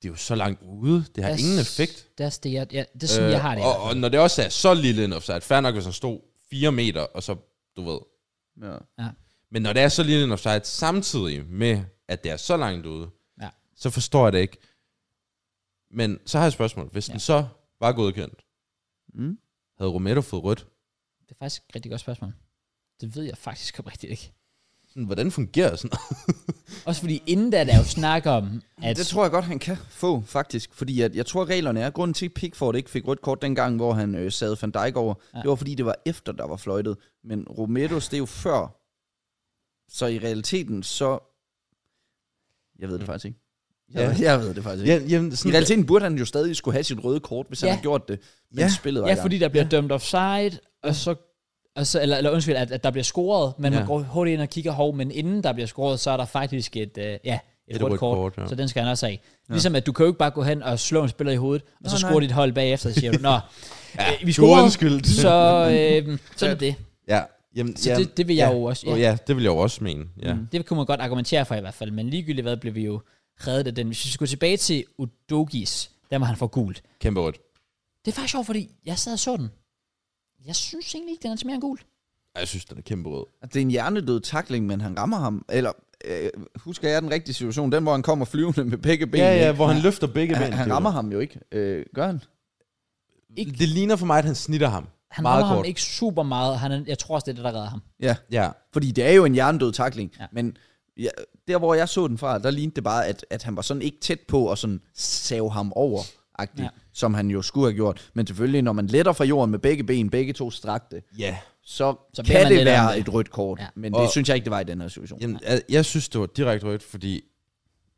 B: det er jo så langt ude, det har
A: Der
B: ingen
A: s-
B: effekt.
A: Der stiger, ja, det er sådan, øh, jeg har det.
B: Og, og når det også er så lille en offside, fair nok, hvis han stod 4 meter, og så, du ved.
C: Ja.
B: Men når det er så lille en offside, samtidig med, at det er så langt ude,
A: Ja.
B: så forstår jeg det ikke. Men så har jeg et spørgsmål. Hvis ja. den så var godkendt,
C: Mm.
B: havde Romero fået rødt?
A: Det er faktisk et rigtig godt spørgsmål. Det ved jeg faktisk oprigtigt ikke.
B: Sådan, hvordan fungerer sådan noget?
A: Også fordi inden da, der er jo snak om, at...
C: Det tror jeg godt, han kan få, faktisk. Fordi at, jeg tror, reglerne er, grunden til, at Pickford ikke fik rødt kort dengang, hvor han øh, sad Van Dijk over, ja.
A: Ja.
C: det var, fordi det var efter, der var fløjtet. Men Romedos, det er jo før. Så i realiteten, så... Jeg ved det faktisk ikke. Jeg, ja. jeg ved det faktisk ikke.
B: Ja, jamen,
C: I realiteten burde han jo stadig skulle have sit røde kort, hvis ja.
A: Ja.
C: han havde gjort det. Men
B: Ja.
C: ja. spillet var i
A: ja,
C: gang.
A: fordi der bliver dømt offside, og så... Og så eller, eller undskyld, at, at der bliver scoret, men
B: Ja.
A: man går hurtigt ind og kigger hov, men inden der bliver scoret, så er der faktisk et, øh, ja, et,
B: Et
A: et rødt
B: rødt
A: kort,
B: kort, ja.
A: så den skal han også have. Ligesom at du kan jo ikke bare gå hen og slå en spiller i hovedet, og så score dit hold bagefter, så siger du, nå, ja, vi scorede,
B: undskyld.
A: så øh, sådan er det.
B: Ja, jamen,
A: Så
B: jamen,
A: det- det vil jeg
B: ja.
A: jo også-
B: Ja.
A: ja.
B: ja, det vil jeg jo også mene. Ja. Mm.
A: Det kunne man godt argumentere for i hvert fald, men ligegyldigt hvad blev vi jo reddet af den. Hvis vi skulle tilbage til Udogis, der var han for gult.
B: Kæmpe rødt.
A: Det er faktisk sjovt, fordi jeg sad og så den. Jeg synes egentlig ikke, den er til mere end gul.
B: Ej, Jeg synes, den er kæmpe rød.
C: At Det er en hjernedød takling, men han rammer ham. Eller øh, husker jeg den rigtige situation? Den, hvor han kommer flyvende med begge ben.
B: Ja, ja,
C: ikke?
B: hvor han løfter begge
C: han,
B: mænd.
C: han rammer ham jo ikke. Øh, gør han?
A: Ikke-
B: Det ligner for mig, at han snitter ham.
A: Han
B: Meget
A: rammer ham
B: kort.
A: ikke super meget. Han er, jeg tror også, det er det, der redder ham.
C: Ja.
B: Ja.
C: Fordi det er jo en hjernedød takling. Ja.
A: Ja.
C: Men ja, der, hvor jeg så den fra, der lignede det bare, at, at han var sådan ikke tæt på og sådan save ham over. Ja.
A: Ja.
C: som han jo skulle have gjort. Men selvfølgelig, når man letter fra jorden med begge ben, begge to strakte,
B: Ja.
C: så, så
A: Så
C: kan
A: beder man
C: det
A: lidt om
C: være
A: det.
C: et rødt kort. Ja.
A: Ja.
C: Men det
B: Og-
C: synes jeg ikke, det var i den her situation.
B: Jamen, jeg, jeg synes, det var direkte rødt, fordi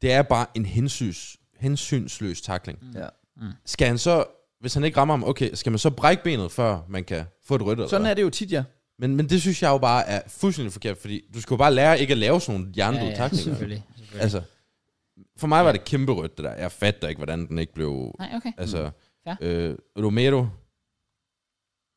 B: det er bare en hensyns, hensynsløs takling. Mm.
C: Ja.
B: Skal han så, hvis han ikke rammer ham, okay, skal man så brække benet, før man kan få et rødt? eller
C: Sådan
B: hvad?
C: er det jo tit, ja.
B: Men, men det synes jeg jo bare er fuldstændig forkert, fordi du skal jo bare lære ikke at lave sådan nogle hjernedøde ja, ja, taklinger.
A: selvfølgelig. selvfølgelig.
B: Altså, for mig var det kæmpe rødt, det der. Jeg fatter ikke, hvordan den ikke blev...
A: Nej, okay.
B: Altså,
A: Ja.
B: øh, Romero,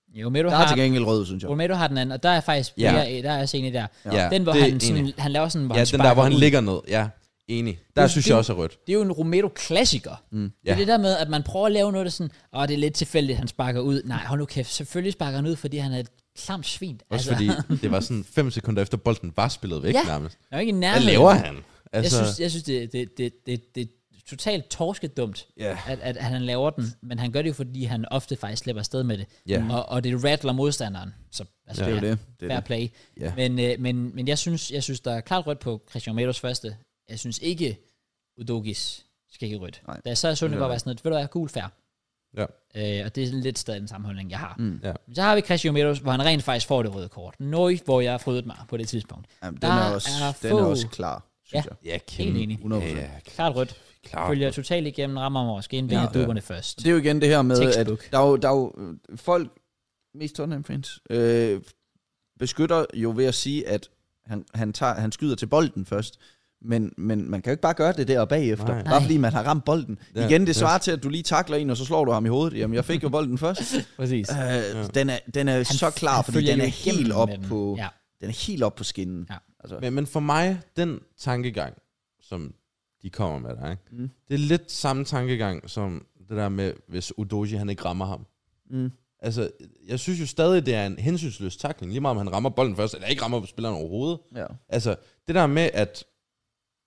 A: Jo, Romero
C: Der er til
A: har,
C: gengæld rød, synes jeg.
A: Romero har den anden, og der er faktisk
B: Ja.
A: ja. mere, der er også enig der.
C: Ja.
B: ja,
A: Den, hvor
B: det er
A: han,
B: enig.
A: sådan, han laver sådan, hvor
B: Ja,
A: han
B: den der, hvor
A: sparker
B: han
A: ud.
B: ligger ned. Ja, enig. Der
A: Det-
B: synes
A: det-
B: jeg også er rødt.
A: Det er jo en Romero-klassiker. Mm. Det
B: ja.
A: er det der med, at man prøver at lave noget, der sådan, åh, det er lidt tilfældigt, han sparker ud. Nej, hold nu kæft, selvfølgelig sparker han ud, fordi han er et klamt svin.
B: Også fordi det var sådan fem sekunder efter bolden var spillet væk
A: Altså. Ja.
B: nærmest.
A: han er jo ikke i
B: Hvad
A: nærheden.
B: laver han?
A: Jeg
B: Altså,
A: synes, jeg synes det, det, det, det, det er totalt torskedumt,
B: Ja.
A: at, at, at han laver den, men han gør det jo, fordi han ofte faktisk slipper afsted med det,
B: Ja.
A: og, og det rattler modstanderen, så altså,
C: Ja. Det er jo det. det, er
A: fair
C: det.
A: play.
B: Ja.
A: Men, øh, men, men jeg, synes, jeg synes, der er klart rødt på Christian Meadows første. Jeg synes ikke, Udogis skal ikke rødt.
C: Nej.
A: Da jeg så er Sunde
C: Det er
A: bare var sådan lidt, ved du hvad, gul fair.
B: Ja.
A: Øh, og det er sådan lidt stadig den samme holdning, jeg har.
C: Mm.
B: Ja.
A: Så har vi Christian Meadows, hvor han rent faktisk får det røde kort. Nøj, hvor jeg har frydet mig på det tidspunkt.
C: Jamen, den,
A: Der
C: er også,
A: er
C: den er
A: få-
C: også klar, synes
A: Ja.
C: jeg.
B: ja,
A: Helt enig.
C: 100%.
B: Ja,
A: Klart rødt.
B: klart.
A: Følger totalt igennem, rammer mig måske en ja,
C: Ja.
A: af dupperne først.
C: Det er jo igen det her med, at
A: Textbook.
C: der er jo, der er jo øh, folk, mest Tottenham-fans, øh, beskytter jo ved at sige, at han, han, tager, han skyder til bolden først. Men, men man kan jo ikke bare gøre det der bagefter,
B: Nej.
C: Nej. bare
A: Nej.
C: fordi man har ramt bolden.
B: Ja,
C: Ja, igen,
B: ja.
C: det svarer til, at du lige takler en, og så slår du ham i hovedet. Jamen, jeg fik jo bolden
A: [LAUGHS]
C: først.
A: Præcis.
C: Øh, ja. Den er, den er så klar, fordi den er, helt op på,
A: Ja.
C: den er helt op på skinnen.
A: Ja.
C: Altså,
B: Men, men for mig, den tankegang, som de kommer med der, ikke?
C: Mm.
B: Mm. det er lidt samme tankegang som det der med, hvis Udoji han ikke rammer ham.
C: Mm.
B: Altså, jeg synes jo stadig, det er en hensynsløs takling, lige meget om han rammer bolden først, eller ikke rammer spilleren overhovedet.
C: Ja.
B: Altså, det der med, at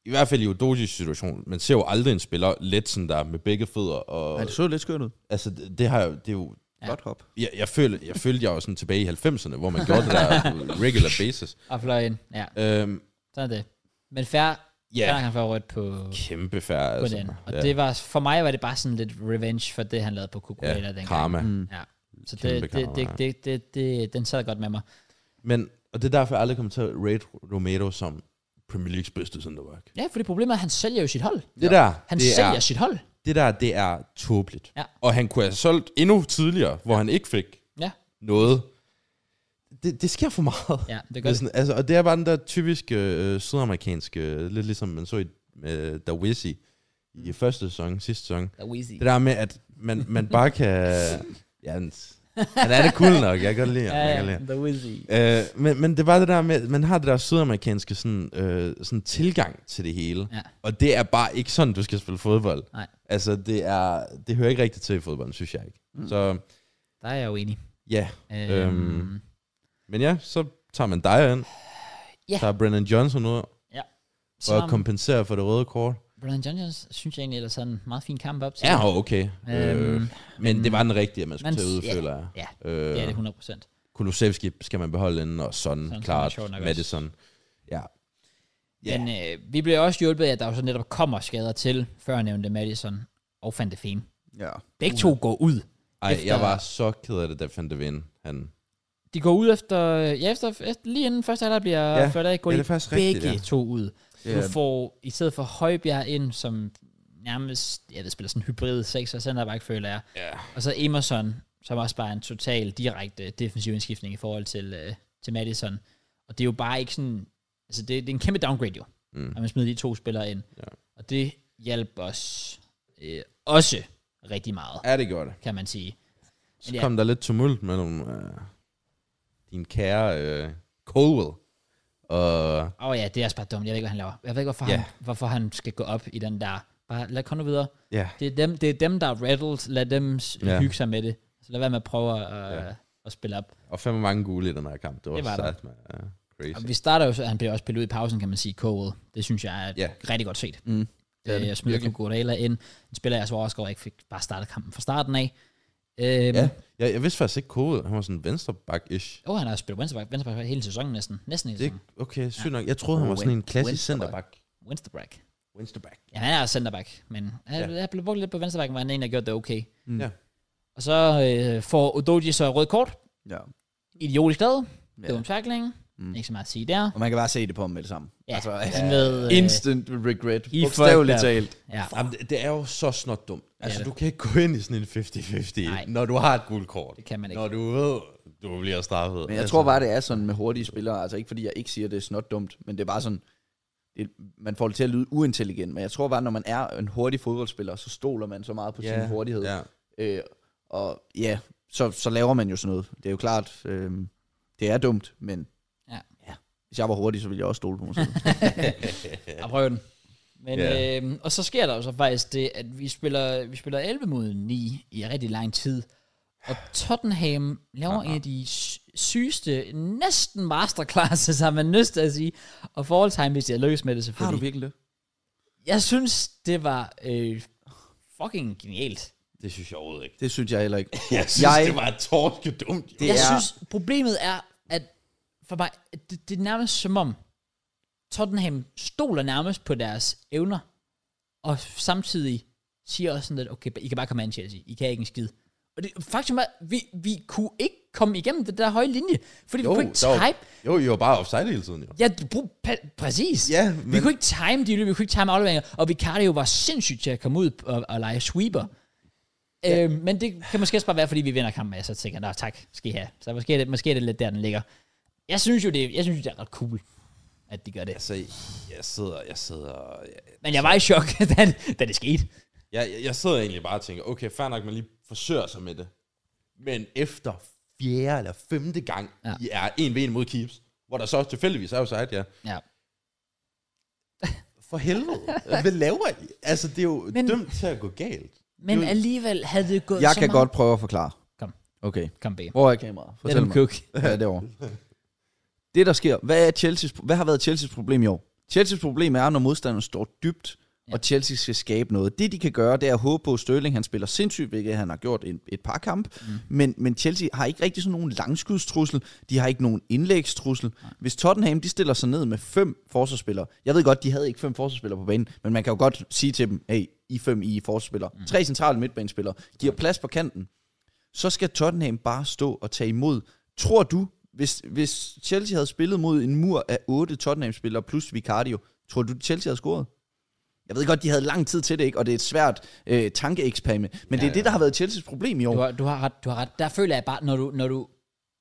B: i hvert fald i Udogis situation, man ser jo aldrig en spiller let sådan der med begge fødder, og
C: Ej, det så lidt skørt ud.
B: altså, det, det, har jo, det er jo
A: Ja.
C: Godt hop.
B: jeg, jeg, følte, jeg følte, jeg var sådan tilbage i 90'erne, hvor man gjorde det der på regular basis.
A: Og fløj ind. Ja,
B: Øhm,
A: sådan er det. Men fair,
B: ja,
A: fair han får rødt på,
B: kæmpe færre. altså.
A: på den. Og det var, for mig var det bare sådan lidt revenge for det, han lavede på Kukurela
B: ja,
A: dengang.
B: karma.
C: Mm.
A: Ja. Så det,
B: Kæmpe
A: det, det,
B: karma,
A: det,
B: ja.
A: det, det, det, den sad godt med mig.
B: Men, og det er derfor, jeg aldrig kommer til at rate Romero som Premier Leagues bedste centerback.
A: Ja, fordi problemet er, at han sælger jo sit hold.
B: Det der,
A: Han
B: det,
A: sælger
B: er,
A: sit hold.
B: det der, det er tåbeligt.
A: Ja.
B: Og han kunne have solgt endnu tidligere, hvor han ikke fik
A: Ja.
B: noget. Det, det sker for meget.
A: Ja, det
B: Det
A: gør
B: er
A: det.
B: sådan, altså, og det er bare den der typiske øh, sydamerikanske, øh, lidt ligesom man så i øh, Dawisi i første sæson, sidste sæson.
A: Det er Weezy.
B: Det der med, at man, man bare kan... Ja, han, han er det cool nok, jeg kan godt lide ham.
A: Ja,
B: jeg kan
A: ja,
B: lide ham.
A: The Weezy.
B: Øh, men, men det var det der med, man har det der sydamerikanske sådan, øh, sådan tilgang til det hele.
A: Ja.
B: Og det er bare ikke sådan, du skal spille fodbold.
A: Nej.
B: Altså, det, er, det hører ikke rigtigt til i fodbold, synes jeg ikke. Mm. Så
A: Der er jeg jo enig.
B: ja,
A: Øhm,
B: Øhm. men ja, så tager man dig ind.
A: Ja.
B: Tager Brennan Johnson ud
A: så
B: og kompenserer for det røde kort.
A: Brian Johnson synes jeg egentlig ellers havde en meget fin kamp op til.
B: Ja, og okay. Øhm, øh,
A: Øhm,
B: men det var den rigtige, man skulle
A: man-
B: tage ud,
A: ja,
B: føler jeg.
A: ja.
B: øh,
A: ja, det er 100 procent.
B: Kulusevski skal man beholde inden, og sådan,
A: Son
B: klart,
A: skal man sjovt nok også.
B: Madison. Ja.
A: Yeah. Men øh, vi bliver også hjulpet af, at der jo så netop kommer skader til, før nævnte Madison og Van de Feen.
C: Ja.
A: Begge to går ud.
B: Ej,
A: Efter-
B: efter... jeg var så ked af det, da Van de Ven, han...
A: De går ud efter, ja, efter, efter lige inden første halvleg bliver ja.
B: Ja,
A: ført af, går
B: ja,
A: de
B: det er faktisk rigtigt,
A: begge
B: ja.
A: to ud.
C: Ja.
A: Du får i stedet for Højbjerg ind, som nærmest, ja, det spiller sådan en hybrid 6 og centerback, føler jeg.
B: Ja.
A: Og så Emerson, som også bare er en total direkte defensiv indskiftning i forhold til, øh, til Madison. Og det er jo bare ikke sådan... Altså, det, det er en kæmpe downgrade jo, mm. at man smider de to spillere ind.
B: Ja.
A: Og det hjalp os øh, også rigtig meget,
B: Ja, det gjorde det.
A: kan man sige.
B: Så
A: Men ja.
B: ja. kom der lidt tumult mellem øh, din kære øh, Colwell og...
A: Åh oh, ja, det er også bare dumt. Jeg ved ikke, hvad han laver. Jeg ved ikke, hvorfor,
B: Ja.
A: han, hvorfor han skal gå op i den der... Bare lad komme nu videre.
B: Ja.
A: Det er dem, det er dem der er rattled. Lad dem s-
B: Ja.
A: hygge sig med det. Så lad være med at prøve at, øh,
B: Ja.
A: at spille op.
B: Og fem mange gule i den her kamp. Det var,
A: Det var der.
B: sat med, ja, crazy.
A: Og vi starter jo, så han bliver også pillet ud i pausen, kan man sige, Cole. Det synes jeg er
B: Ja.
A: rigtig godt set.
C: Mm.
A: Det er det. Jeg smider
B: Virkelig.
A: Kukurela ind. En spiller, jeg så overrasker over, ikke fik bare startet kampen fra starten af. Øhm,
B: Ja. Jeg, jeg vidste faktisk ikke Colwell. Han var sådan venstreback-ish.
A: Åh, han har spillet Winsterback, Winsterback hele sæsonen næsten. Næsten hele
B: Det,
A: sæsonen.
B: okay, sygt nok. Jeg troede, han var sådan en klassisk centerback.
A: Winsterback.
B: Venstreback.
A: Ja, han er også centerback, men han
B: Ja.
A: ja. blev brugt lidt på vensterback, men han er en, der gjorde det okay.
C: Mm.
B: Ja.
A: Og så øh, får Odoji så rød kort.
C: ja.
A: Idiotisk glad.
C: Ja.
A: Det var en tackling. Mm.
C: Mm.
A: Ikke så meget at sige der.
C: Og man kan bare se det på ham med det samme.
A: Ja,
C: altså,
A: sådan med, øh,
C: instant regret.
A: I
C: Bogstaveligt
A: fucked
C: talt.
A: Ja.
B: Jamen, det, det er jo så snot dumt. Altså,
A: det.
B: ja, du kan ikke gå ind i sådan en 50-50,
A: Nej.
B: når du har et gult kort.
A: Det kan man ikke.
B: Når du ved, du bliver straffet.
C: Men jeg tror bare, det er sådan med hurtige spillere. Altså ikke fordi jeg ikke siger, at det er snot dumt, men det er bare sådan, det, man får det til at lyde uintelligent. Men jeg tror bare, når man er en hurtig fodboldspiller, så stoler man så meget på sin hurtighed.
B: Ja.
C: Øh, og ja, så, så laver man jo sådan noget. Det er jo klart, øh, det er dumt, men
A: Ja.
C: ja. hvis jeg var hurtig, så ville jeg også stole på
A: [LAUGHS]
C: mig selv.
A: Jeg prøver den. Men,
B: Ja.
A: yeah. øhm, og så sker der jo så faktisk det, at vi spiller, vi spiller 11 mod 9 i rigtig lang tid. Og Tottenham laver en af de sy- sygeste, næsten masterclasses, har man lyst til at sige. Og forhold time, hvis jeg lykkes med det selvfølgelig.
C: virkelig det?
A: Jeg synes, det var øh, fucking genialt.
B: Det synes jeg overhovedet ikke.
C: Det synes jeg heller ikke.
B: [LAUGHS] Jeg synes,
C: Jeg-
B: jeg... det var torske dumt.
C: Det
A: Jeg
C: er-
A: synes, problemet er, at for mig, at det, det er nærmest som om, Tottenham stoler nærmest på deres evner, og samtidig siger også sådan lidt, okay, I kan bare komme an, Chelsea. I kan ikke en skid. Og det, faktum er, vi, vi kunne ikke komme igennem den der høje linje, fordi jo, vi kunne ikke
B: der var-
A: time...
B: Jo, I var bare offside hele tiden, jo.
A: Ja, du- brug, pa- præcis.
B: Ja,
A: Vi
B: men-
A: kunne ikke time de løb, vi kunne ikke time afleveringer, og Vicario var sindssygt til at komme ud og, og lege sweeper. Ja. Øhm, men det kan måske også bare være, fordi vi vinder kampen, og jeg så tænker, nå tak, skal I have. Så måske er det, måske er det lidt der, den ligger. Jeg synes jo, det, jeg synes, det er ret cool, at de gør det.
B: Altså, jeg sidder, jeg sidder, jeg,
A: Men jeg var i chok, [LAUGHS] da, da det skete.
B: jeg, jeg sidder egentlig bare og tænker, okay, fair nok, man lige forsøger sig med det. Men efter fjerde eller femte gang,
A: Ja.
B: ja. I er en ved en mod Keeps, hvor der så tilfældigvis er offside, ja.
A: Ja.
B: For helvede, hvad laver I? Altså, det er jo
A: Men-
B: men, dømt til at gå galt.
A: Men
B: Jo.
A: alligevel havde det gået
C: Jeg
A: så
C: kan
A: meget.
C: godt prøve at forklare.
A: Kom.
C: Okay.
A: Kom bag.
C: Hvor er kameraet? Fortæl
A: Adam
C: mig.
A: Cook.
C: [LAUGHS] Ja, derovre. Det, der sker, hvad, er Chelsea's, hvad har været Chelsea's problem i år? Chelsea's problem er, når modstanderen står dybt, ja. og Chelsea skal skabe noget. Det, de kan gøre, det er at håbe på, at Sterling han spiller sindssygt, hvilket han har gjort et, et par kamp. Mm. Men, men Chelsea har ikke rigtig sådan nogen langskudstrussel. De har ikke nogen indlægstrussel. Hvis Tottenham de stiller sig ned med fem forsvarsspillere. Jeg ved godt, de havde ikke fem forsvarsspillere på banen, men man kan jo godt sige til dem, hey, I er fem, I er forsvarsspillere. Mm. Tre centrale midtbanespillere. Giver plads på kanten så skal Tottenham bare stå og tage imod. Tror du, hvis, hvis Chelsea havde spillet mod en mur af otte Tottenham-spillere plus Vicario, tror du, Chelsea havde scoret? Jeg ved godt, de havde lang tid til det, ikke? og det er et svært øh, tankeeksperiment, men ja, det er det, der har været Chelseas problem i år.
A: Du har, du har ret, du har ret. Der føler jeg bare, når du, når du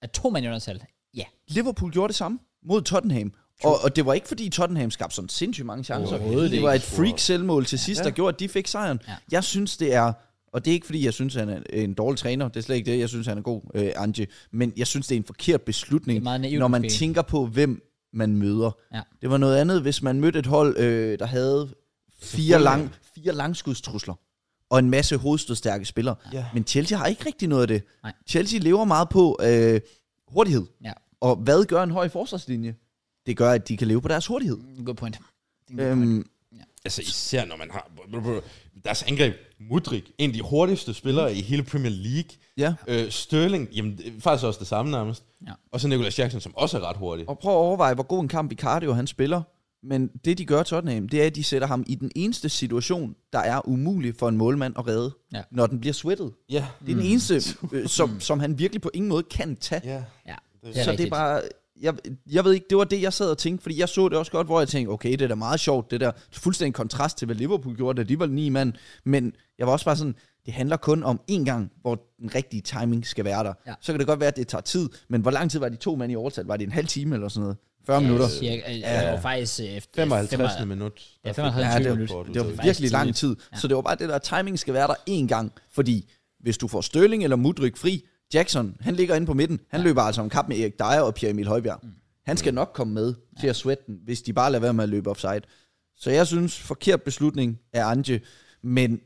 A: er to mand i undertal, ja,
C: Liverpool gjorde det samme mod Tottenham. Og, og det var ikke fordi Tottenham skabte sådan sindssygt mange chancer.
A: Overhovedet
C: Det var et
A: ikke.
C: freak selvmål til sidst, der gjorde, at de fik sejren.
A: Ja.
C: Jeg synes, det er... Og det er ikke fordi, jeg synes, han er en dårlig træner. Det er slet ikke det. Jeg synes, han er god, øh, Ange. Men jeg synes, det er en forkert beslutning,
A: Det er meget naivt
C: når man
A: måske.
C: tænker på, hvem man møder.
A: Ja.
C: Det var noget andet, hvis man mødte et hold, øh, der havde fire, lang, fire langskudstrusler og en masse hovedstødstærke spillere.
B: Ja.
C: Men Chelsea har ikke rigtig noget af det.
A: Nej.
C: Chelsea lever meget på øh, hurtighed.
A: ja,
C: Og hvad gør en høj forsvarslinje? Det gør, at de kan leve på deres hurtighed.
A: good point. Det er en god point.
C: Øhm,
B: Altså især når man har deres angreb. Mudrik, en af de hurtigste spillere i hele Premier League.
C: ja.
B: Øh, Sterling, jamen det er faktisk også det samme nærmest.
A: Ja.
B: Og så Nicolas Jackson, som også er ret hurtig.
C: Og prøv at overveje, hvor god en kamp i cardio han spiller. Men det, de gør Tottenham, det er, at de sætter ham i den eneste situation, der er umulig for en målmand at redde.
A: Ja.
C: Når den bliver sweatet.
B: Ja.
C: Det er den eneste, øh, som, som han virkelig på ingen måde kan tage.
B: Ja.
A: Ja,
B: Det
A: det er
C: så det er
A: rigtigt.
C: bare... Jeg, jeg ved ikke, det var det, jeg sad og tænkte, fordi jeg så det også godt, hvor jeg tænkte, okay, det er da meget sjovt, det der fuldstændig kontrast til, hvad Liverpool gjorde, da de var ni mand, men jeg var også bare sådan, det handler kun om en gang, hvor den rigtige timing skal være der.
A: Ja.
C: Ja. Så kan det godt være, at det tager tid, men hvor lang tid var de to mand i overtal? Var det en halv time eller sådan noget? 40
A: Ja,
C: minutter?
A: Cirka, ja, det var faktisk... øh,
B: 55. minut.
A: Ja, 55.
C: Ja, det var-
A: minut.
C: Det var
A: faktisk
C: virkelig lang
A: tidligt.
C: tid. Ja. Så det var bare det der, timing skal være der én gang. Fordi hvis du får Størling eller Mudryk fri, Jackson, han ligger inde på midten. Han ja. løber altså om kap med Erik Dyer og Pierre Emil Højbjerg. Mm. Han skal nok komme med ja. til at sweat den, hvis de bare lader være med at løbe offside. Så jeg synes, forkert beslutning af Ange. Men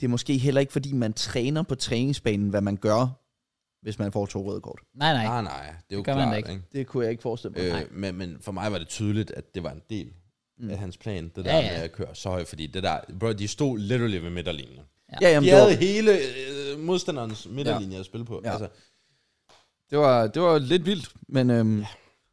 C: det er måske heller ikke, fordi man træner på træningsbanen, hvad man gør, hvis man får to røde kort.
A: Nej, nej.
B: Nej, nej, det er jo
A: gør man da
B: klart,
A: ikke.
B: ikke?
C: Det kunne jeg ikke forestille mig.
B: Øh, men, men for mig var det tydeligt, at det var en del mm. af hans plan, det der
A: Ja,
B: ja,
A: ja.
B: ja. med at køre så højt, fordi det der, bro, de stod literally ved midterlinjen.
C: ja, jamen,
B: De
C: det var-
B: havde hele øh, modstanderens midterlinje ja. at spille på.
C: Ja.
B: Ja. Altså,
C: Det var, det var lidt vildt, men... Øhm,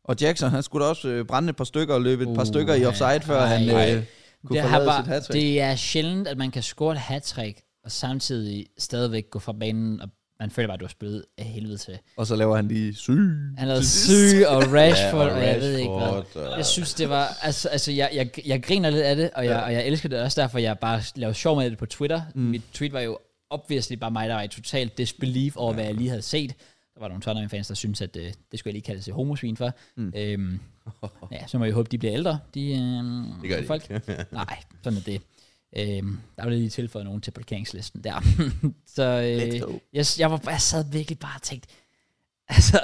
C: og Jackson, han skulle da også øh, brænde et par stykker og løbe et par
A: Uh,
C: stykker i
A: ja.
C: offside, før
A: Ej.
C: han
B: Ej.
C: øh, kunne
A: det,
C: det
A: har
C: forlade
A: bare,
C: sit hat
A: det er sjældent, at man kan score et hat og samtidig stadigvæk gå fra banen, og man føler bare, at du har spillet af helvede til.
C: Og så laver han lige syg.
A: Han er syg, og Rashford,
B: [LAUGHS]
A: og,
B: Ja, og
A: jeg ved ikke hvad.
B: Rashford, og-
A: Jeg synes, det var... Altså, altså jeg, jeg, jeg griner lidt af det, og jeg, og jeg elsker det også derfor, jeg bare lavede sjov med det på Twitter. Mm. Mit tweet var jo obviously bare mig, der var i totalt disbelief over, hvad jeg lige havde set. Der var nogle Tottenham-fans, der syntes, at det, det skulle jeg lige kalde sig homosvin for. Mm.
B: [LAUGHS]
A: Øhm, ja, så må jeg håbe, de bliver ældre, de, øhm,
B: Det gør de [LAUGHS]
A: folk. Nej, sådan er det. Øhm, der var lige tilføjet nogen til parkeringslisten der. [LAUGHS] så
C: Let's
A: øh,
C: go.
A: jeg, jeg, var, jeg sad virkelig bare og tænkte, [LAUGHS] altså,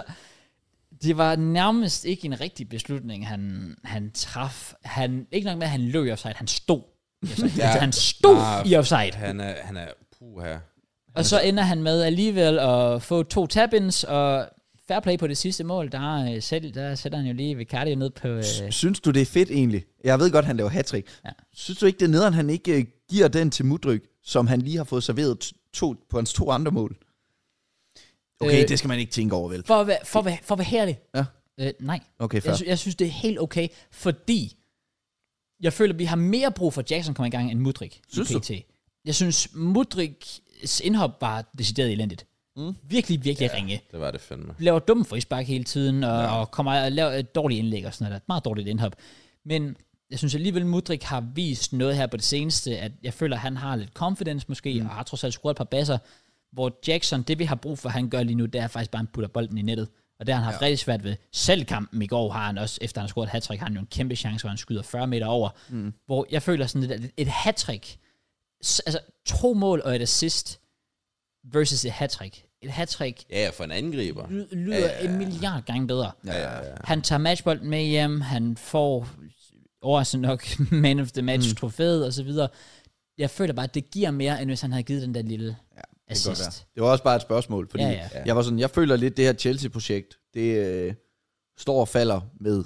A: det var nærmest ikke en rigtig beslutning, han, han traf. Han, ikke nok med, at han løb i offside, han stod. i
B: [LAUGHS]
A: offside.
B: Ja.
A: altså, han stod
B: Ah,
A: i offside.
B: han er, han er puha.
A: Og så ender han med alligevel at få to tab og fair play på det sidste mål, der, øh, selv, der sætter han jo lige Vicario ned på... Øh,
C: Synes du, det er fedt egentlig? Jeg ved godt, han laver hat
A: Ja.
C: ja. Synes du ikke, det er nederen, han ikke øh, giver den til Mudryk, som han lige har fået serveret t- to, på hans to andre mål? Okay,
A: Øh.
C: øh, det skal man ikke tænke over, vel?
A: for, at være- for, at være- for at være herlig.
C: Ja.
A: Øh, nej.
C: Okay, fair.
A: Jeg, sy- jeg synes, det er helt okay, fordi jeg føler, vi har mere brug for, at Jackson kommer i gang, end Mudrik.
C: Synes
A: i
C: du?
A: PT. Jeg synes, Mudriks indhop var decideret elendigt. Mm. Virkelig, virkelig ja. ringe.
B: Det var det fandme.
A: Laver dumme frispark hele tiden, og, ja. og kommer og laver et dårligt indlæg og sådan noget. der. Meget dårligt indhop. Men jeg synes alligevel, Mudrik har vist noget her på det seneste, at jeg føler, han har lidt confidence måske, mm. og har trods alt scoret et par basser, hvor Jackson, det vi har brug for, han gør lige nu, det er faktisk bare, at han putter bolden i nettet. Og det har han haft ja. rigtig svært ved. Selv kampen i går har han også, efter han har scoret et hat har han jo en kæmpe chance, hvor han skyder 40 meter over. Mm. Hvor jeg føler sådan lidt, at et hat altså to mål og et assist versus et hat Et hat
B: Ja, for en angriber.
A: ly- lyder ja, ja, ja. en milliard gange bedre.
B: Ja, ja, ja.
A: Han tager matchbolden med hjem, han får overraskende nok [LAUGHS] man of the match mm. trofæet og så videre. Jeg føler bare, at det giver mere, end hvis han havde givet den der lille ja.
C: godt
A: assist.
C: være. Det var også bare et spørgsmål, fordi
A: Ja,
C: ja,
A: ja.
C: ja. jeg var sådan, jeg føler lidt, det her Chelsea-projekt, det øh, står og falder med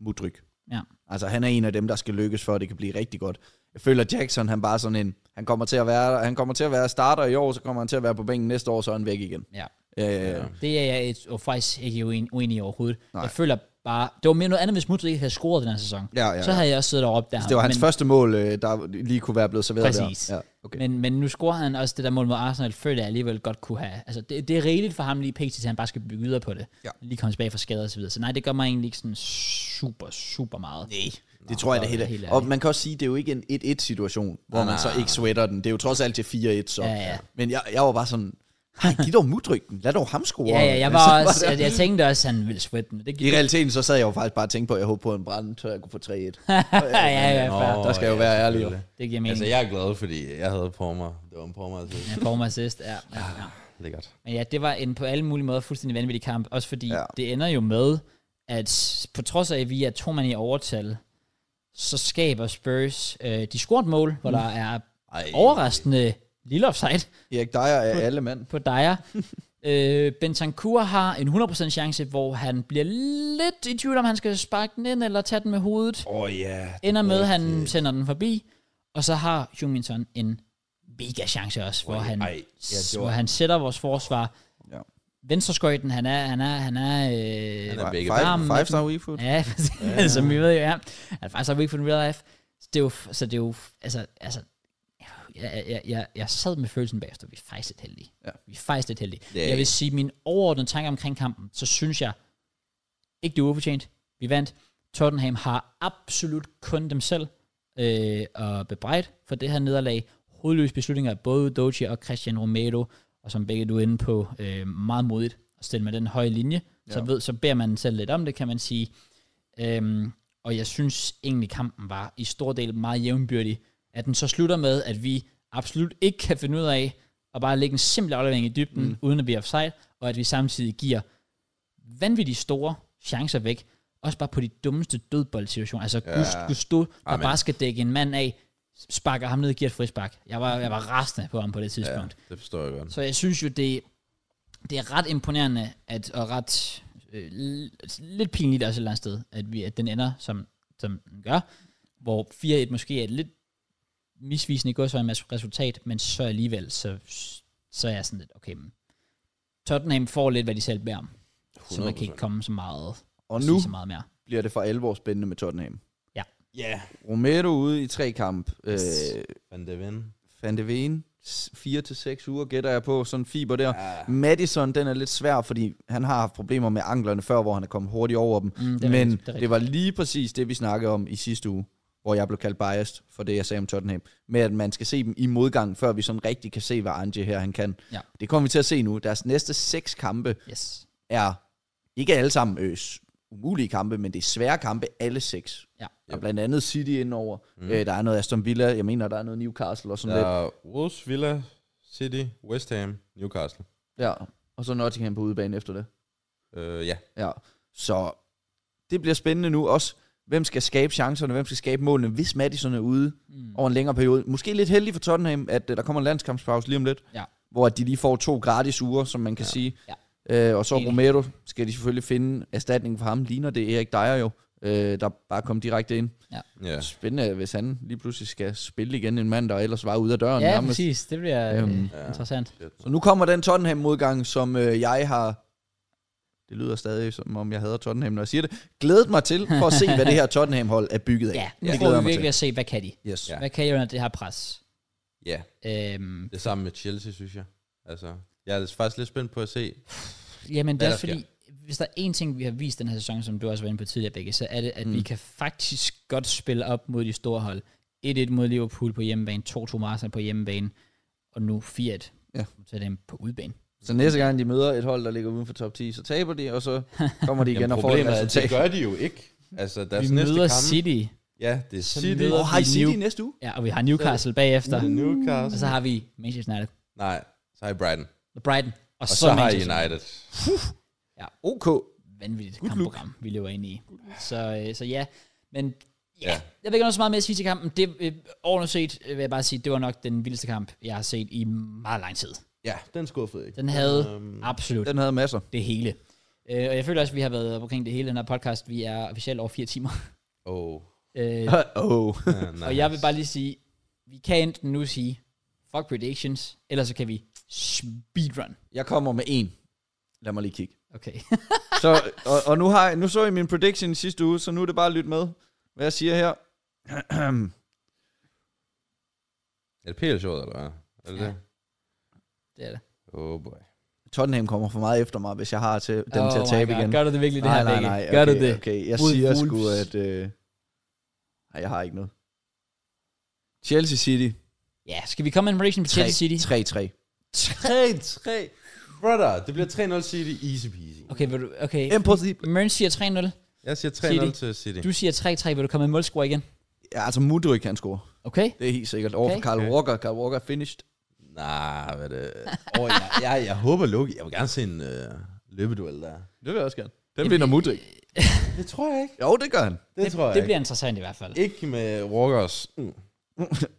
C: Mudryk.
A: Ja.
C: Altså han er en af dem, der skal lykkes for, at det kan blive rigtig godt. Jeg føler, at Jackson, han bare sådan en, han kommer til at være, han kommer til at være starter i år, så kommer han til at være på bænken næste år, så er han væk igen.
A: Ja.
C: Øh, ja.
A: Det er jeg et, og faktisk ikke uen- uenig i overhovedet. Nej.
C: Nej.
A: Jeg føler bare, det var mere noget andet, hvis Mudrik ikke havde scoret den her sæson.
C: Ja, ja,
A: Så
C: ja. Altså,
A: havde jeg også siddet og råbt der.
C: Det var hans
A: men,
C: men, første mål, øh, der lige kunne være blevet serveret
A: Præcis.
C: der. Ja, okay.
A: Men, men nu scorer han også det der mål mod Arsenal, føler jeg alligevel godt kunne have. Altså, det, det er rigeligt for ham lige pt. til han bare skal bygge videre på det.
C: Ja.
A: Lige komme tilbage fra skader og så videre. Så nej, det gør mig egentlig ikke sådan super, super meget. Nej.
C: Det tror jeg da
A: det er
C: helt
A: helt
C: er. Og
A: ærligt.
C: man kan også sige, det er jo ikke en 1-1-situation, hvor man så ikke sweater den. Det er jo trods alt til 4-1, så.
A: Ja, ja.
C: Men jeg, jeg var bare sådan, nej, giv dog mudrygten. Lad dog ham score.
A: Ja, ja,
C: [LAUGHS]
A: jeg,
C: Så
A: var også,
C: det-
A: jeg, jeg tænkte også, at han ville sweat den. Det
C: I
A: gik
C: realiteten, så sad jeg jo faktisk bare og tænkte på, at jeg håbede på en brand, så jeg kunne få
A: [LAUGHS]
C: 3-1.
A: ja, ja, ja, fair.
C: Der skal jeg jo være ærlig, jo.
B: selvfølgelig.
A: Det giver mening.
B: Altså, jeg er glad, fordi jeg havde på mig. Det var en på mig, altså.
A: Ja, former assist, ja. ja, ja.
B: Lækkert.
A: Men ja, det var en på alle mulige måder fuldstændig vanvittig kamp, også fordi ja.
C: Ja.
A: det ender jo med, at på trods af, at vi er to mand i overtal, så skaber Spurs øh, de scoret mål, hvor der er
B: Ej.
A: overraskende lille offside
C: Erik Dyer er alle mand.
A: på Dyer. øh, Bentancur har en 100% chance, hvor han bliver lidt i tvivl, om han skal sparke den ind eller tage den med hovedet.
B: Åh, ja.
A: Ender med, at han sender den forbi, og så har Huminson en mega chance også, hvor
B: Ej,
A: han,
B: ej, ja, det var-
A: hvor han sætter vores forsvar
C: Ja.
A: venstreskøjten, han er, han er, han er, øh,
B: Han er begge
C: Five,
A: varm.
C: five star weekfoot.
A: ja, [LAUGHS] ja. som vi ved jo, ja. Han er faktisk weak for in real life. Så det er jo, så det er jo, altså, altså, jeg, jeg, jeg, jeg sad med følelsen bagefter, vi er faktisk lidt heldige.
C: Ja.
A: Vi er faktisk lidt heldige.
B: Det er
A: Jeg vil
B: ikke-
A: sige, min overordnede tanke omkring kampen, så synes jeg, ikke det var ufortjent. Vi vandt. Tottenham har absolut kun dem selv øh, at bebrejde for det her nederlag. Hovedløse beslutninger af både Doji og Christian Romero, og som begge du er inde på, øh, meget modigt at stille med den høje linje. Ja. Så,
C: Ja.
A: ved, så beder man selv lidt om det, kan man sige. Øhm, og jeg synes egentlig, kampen var i stor del meget jævnbyrdig. At den så slutter med, at vi absolut ikke kan finde ud af at bare lægge en simpel aflevering i dybden, mm. uden at blive offside, og at vi samtidig giver vanvittigt store chancer væk. Også bare på de dummeste dødboldsituationer. Altså ja. Gust, Gusto, der Amen.
B: Amen.
A: bare skal dække en mand af, sparker ham ned og giver et frispark. Jeg var, jeg var rasende på ham på det tidspunkt. Ja.
B: Det forstår jeg godt.
A: Så jeg synes jo, det, det er ret imponerende, at, og ret øh, l- lidt pinligt også et eller andet sted, at, vi, at den ender, som, som den gør. Hvor 4-1 måske er et lidt misvisende går så en masse resultat, men så alligevel, så, så er jeg sådan lidt, okay, men Tottenham får lidt, hvad de selv beder om. Så man kan ikke
B: 100%.
A: komme så meget
C: Og
A: sige
C: nu
A: så meget mere.
C: bliver det for alvor spændende med Tottenham.
B: Ja.
C: Romero ude i tre kamp. Øh,
B: Van de Ven.
C: Van de Ven, 4-6 uger gætter jeg på, sådan en fiber der.
B: Ja.
C: Madison, den er lidt svær, fordi han har haft problemer med anklerne før, hvor han er kommet hurtigt over dem.
A: Mm,
C: Mm,
A: det er
C: det Men
A: rigtigt, det er
C: det,
A: rigtigt.
C: det var lige præcis det, vi snakkede om i sidste uge, hvor jeg blev kaldt biased for det, jeg sagde om Tottenham. Med at man skal se dem i modgang, før vi sådan rigtig kan se, hvad Ange her han kan.
A: Ja.
C: Det kommer vi til at se nu. Deres næste seks kampe
A: Yes.
C: er ikke alle sammen øs umulige kampe, men det er svære kampe, alle seks.
A: Ja.
C: Der er blandt andet City indover. Mm. Øh, der er noget Aston Villa, jeg mener, der er noget Newcastle og sådan
B: Der
C: lidt.
B: er Wolves, Villa, City, West Ham, Newcastle.
C: Ja. Og så Nottingham på udebane efter det.
B: Øh, ja.
C: Ja, så det bliver spændende nu også. Hvem skal skabe chancerne, hvem skal skabe målene, hvis Madison er ude mm. over en længere periode. Måske lidt heldig for Tottenham, at øh, der kommer en landskampspause lige om lidt,
A: Ja.
C: hvor at de lige får to gratis uger, som man kan ja. sige. Ja. Øh, og så
A: Enig.
C: Romero skal de selvfølgelig finde erstatning for ham. Ligner det Erik Dyer jo, øh, der bare kom direkte ind.
B: Ja.
C: Spændende, hvis han lige pludselig skal spille igen en mand, der ellers var ude af døren
A: Ja,
C: nærmest.
A: præcis. Det bliver øhm,
C: Øhm,
A: øh, interessant.
C: Så nu kommer den Tottenham-modgang, som øh, jeg har... Det lyder stadig, som om jeg hader Tottenham, når jeg siger det. Glædet mig til for at
A: [LAUGHS]
C: se, hvad det her Tottenham-hold er bygget af.
A: Ja, nu
C: det
A: får
C: glæder
A: vi
C: jeg mig
A: virkelig
C: til.
A: at se, hvad kan de?
C: Yes.
B: Ja.
A: Hvad kan de under det her pres?
B: Ja.
A: Øhm,
B: Det samme med Chelsea, synes jeg. Altså, jeg er faktisk lidt spændt på at se.
A: jamen, det
B: Hvad
A: er
B: der
A: også fordi, hvis der er én ting, vi har vist den her sæson, som du også var inde på tidligere, Begge, så er det, at mm. vi kan faktisk godt spille op mod de store hold. 1-1 mod Liverpool på hjemmebane, 2-2 mod Arsenal på hjemmebane, og nu 4-1
C: Ja.
A: til dem på udebane.
C: Så næste gang de møder et hold, der ligger uden for top 10, så taber de, og så kommer de igen og får et
B: er, at det
C: resultat.
B: gør de jo ikke. Altså, deres
A: Vi
B: næste
A: møder
B: kamp.
A: City,
B: Ja, det er
A: Så
B: City.
A: møder-
C: Og har I City
A: New-
C: næste uge?
A: ja, og vi har Newcastle bagefter,
B: Det er
A: og så
B: Newcastle.
A: har vi Manchester United,
B: Nej, så har I Brighton.
A: og Brighton, og, og
B: Og
A: så,
B: så har I
A: Manchester
B: United.
C: OK.
A: vanvittigt Good kampprogram, look. vi lever ind i. Så, øh, så ja, men ja,
B: Ja.
A: jeg vil ikke have noget så meget mere at sige til kampen. Det, øh, overordnet set øh, vil jeg bare sige, det var nok den vildeste kamp, jeg har set i meget lang tid.
B: Ja, den skuffede ikke.
A: Den havde
B: Øhm,
A: absolut
C: Den havde masser.
A: det hele. Øh, og jeg føler også, at vi har været omkring det hele i den her podcast. Vi er officielt over fire timer. [LAUGHS]
B: Åh.
C: [LAUGHS]
A: Øh,
C: oh.
B: Ja, nice.
A: og jeg vil bare lige sige, vi kan enten nu sige, fuck predictions, eller så kan vi speedrun.
C: Jeg kommer med en. Lad mig lige kigge.
A: Okay. [LAUGHS]
C: Så, og, og nu, har, jeg- nu så I min prediction i sidste uge, så nu er det bare at lytte med, hvad jeg siger her.
B: Er det PL-showet, eller hvad? Er det
A: Ja.
B: ja. det?
A: det er det.
B: Oh boy.
C: Tottenham kommer for meget efter mig, hvis jeg har til, den oh til at
A: my
C: tabe
A: God.
C: igen.
A: Gør du det virkelig, det her,
C: nej,
A: Begge?
C: nej,
A: Gør
C: okay,
A: du det?
C: Okay, jeg
A: Mod
C: siger sgu,
A: Wolves.
C: at... Øh, nej, jeg har ikke noget. Chelsea City.
A: Ja, skal vi komme med en prediction på Chelsea City?
C: 3-3.
B: 3-3. Brother, det bliver 3-0 City. Easy peasy.
A: Okay, vil du, okay.
C: Impossible.
A: Mørn siger 3-0.
B: Jeg siger 3-0
A: City.
B: til City.
A: Du siger 3-3. Vil du komme med en målscore igen?
C: Ja, altså Mudryk kan score.
A: Okay.
C: Det er helt sikkert. Over
A: Okay.
C: for Carl
B: Okay.
C: Walker. Carl Walker er finished.
B: Nej, hvad er
A: [LAUGHS]
B: det? Oh, jeg, jeg, jeg håber, Loki. Jeg vil gerne se en øh, løbeduel der.
C: Det vil jeg også gerne. Den vinder Mudryk.
B: Det tror jeg ikke.
C: Jo, det gør han.
B: Det, det tror jeg
A: det
B: det ikke.
A: bliver interessant i hvert fald.
B: Ikke med Walkers. Mm.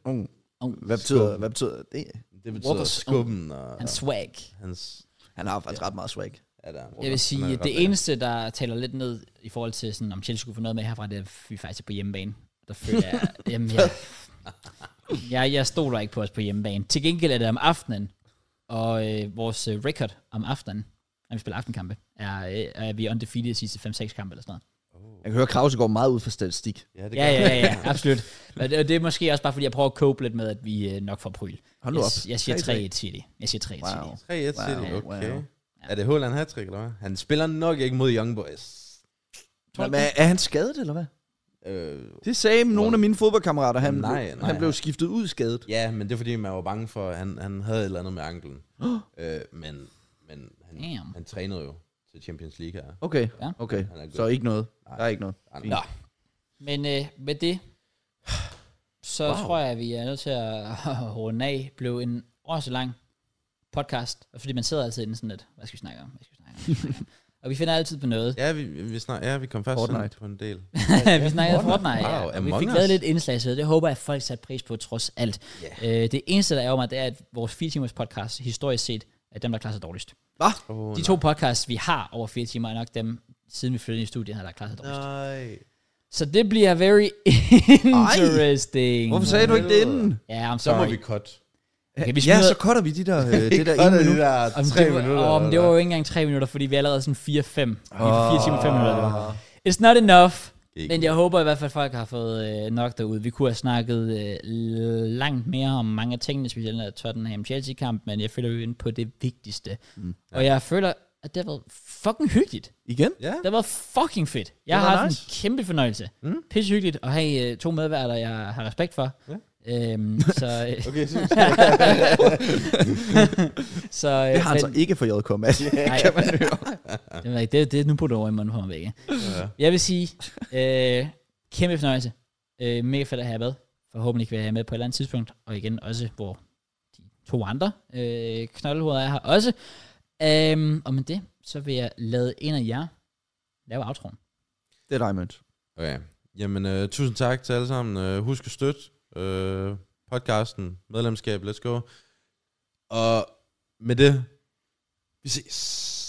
C: Mm.
A: Oh,
C: Hvad betyder, hvad betyder det?
B: Det betyder
A: Walkers. um,
B: Walkers. skubben og
A: Han swag.
B: hans...
C: Han har faktisk ret meget swag.
B: Ja, der
A: Jeg
B: er en
A: vil
B: Walker. Han
A: sige,
B: er
A: at
B: ret
A: det
B: lækker.
A: eneste, der taler lidt ned i forhold til, sådan, om Chelsea kunne få noget med herfra, det er, at vi faktisk er på hjemmebane. Der føler jeg, jamen, jeg, jeg, jeg stoler ikke på os på hjemmebane. Til gengæld er det om aftenen, og øh, vores øh, record om aftenen, når vi spiller aftenkampe, er, øh, er vi undefeated de sidste 5-6 kampe eller sådan noget.
C: Jeg kan høre, Krause går meget ud fra statistik.
B: Ja, det
A: Ja, ja, ja, ja, absolut. Og det, og det er måske også bare, fordi jeg prøver at cope lidt med, at vi øh, nok får pryl.
C: Hold nu
A: jeg,
C: op.
A: jeg siger
C: 3-3.
A: 3-1 City. Jeg siger 3-1
C: Wow.
A: City.
B: 3-1 City,
C: Wow,
B: okay.
C: wow.
B: Er det Håland hat eller hvad? Han spiller nok ikke mod Young Boys.
A: Tror du
C: Men er, er han skadet, eller hvad?
B: Øh,
C: Det sagde nogle af mine fodboldkammerater. Han,
B: Nej,
C: nej,
B: nej,
C: nej, han blev
B: nej.
C: skiftet ud skadet.
B: ja, men det er fordi, man var bange for, at han, han havde et eller andet med anklen. øh, men men han,
A: Damn.
B: han trænede jo til Champions League her.
C: Okay,
A: Ja.
C: okay.
B: Han er god.
C: Så ikke noget. Der er ikke noget.
B: Nej,
C: Fint.
B: nej.
A: Men øh, med det, så wow.
B: Wow.
A: tror jeg, at vi er nødt til at runde af. Blev en års lang podcast, fordi man sidder altid inde sådan lidt, hvad skal vi snakke om, hvad skal vi snakke om, Hvad skal vi snakke om? og vi finder altid på noget.
B: Ja, vi, vi, snak, ja, vi kom først
C: Fortnite.
B: sådan på en del.
A: [LAUGHS] vi snakkede om Fortnite,
B: Wow,
A: ja, og vi
B: Among
A: fik
B: Us.
A: lavet lidt indslag, så det håber jeg, at folk satte pris på trods alt. Yeah. Øh, det eneste, der er over mig, det er, at vores 4 timers podcast, historisk set, er dem, der klarer sig dårligst.
C: Hva?
B: Oh,
A: De to podcasts, vi har over 4 timer, er nok dem, siden vi flyttede ind i studiet, har der klaret sig dårligst.
B: Nej.
A: Så det bliver very interesting.
C: Hvorfor sagde du ikke det inden?
A: Ja, I'm
B: Så må
A: sorry.
B: vi cut.
A: Okay, vi
C: Ja,
A: smider-
C: så cutter vi de der, øh, det der
B: Cut
C: ene
B: af de
C: minut.
B: der
A: Jamen,
B: tre
A: det var,
B: minutter.
A: Åh, men det
B: eller-
A: var jo ikke engang tre minutter, fordi vi er allerede sådan 4-5. Vi er 4 timer 5 minutter. eller hvad. It's not enough.
B: Ikke.
A: Men jeg håber i hvert fald, at folk har fået øh, nok derude. Vi kunne have snakket øh, langt mere om mange af tingene, specielt af Tottenham-Chelsea-kamp, men jeg føler, vi er inde på det vigtigste. Mm. Og jeg føler, at det har været fucking hyggeligt.
C: Igen?
B: Ja,
A: Det har været fucking fedt. Jeg
C: Det
A: har
C: var
A: haft en
C: nice.
A: kæmpe fornøjelse. Mm. Pisse hyggeligt at have øh, to medværter, jeg har respekt for. Yeah. Øhm, så, øh,
B: okay. Så,
A: [LAUGHS] så, øh,
C: Det har han
A: men-
C: så ikke for JK, Mads.
A: Nej, kan man høre. [LAUGHS] Det, ved jeg ikke. det, det, nu putter jeg over i munden på mig væk. Ja. Jeg vil sige, øh, kæmpe fornøjelse. Øh, mega fedt at have med. Forhåbentlig kan jeg have med på et eller andet tidspunkt. Og igen også, hvor de to andre øh, knoldhoveder er her også. Um, og med det, så vil jeg lade en af jer lave outroen.
C: Det er dig, Mønt.
B: Okay. Jamen, øh, tusind tak til alle sammen. Øh, husk at støtte øh, podcasten, medlemskab, let's go. Og med det, vi ses.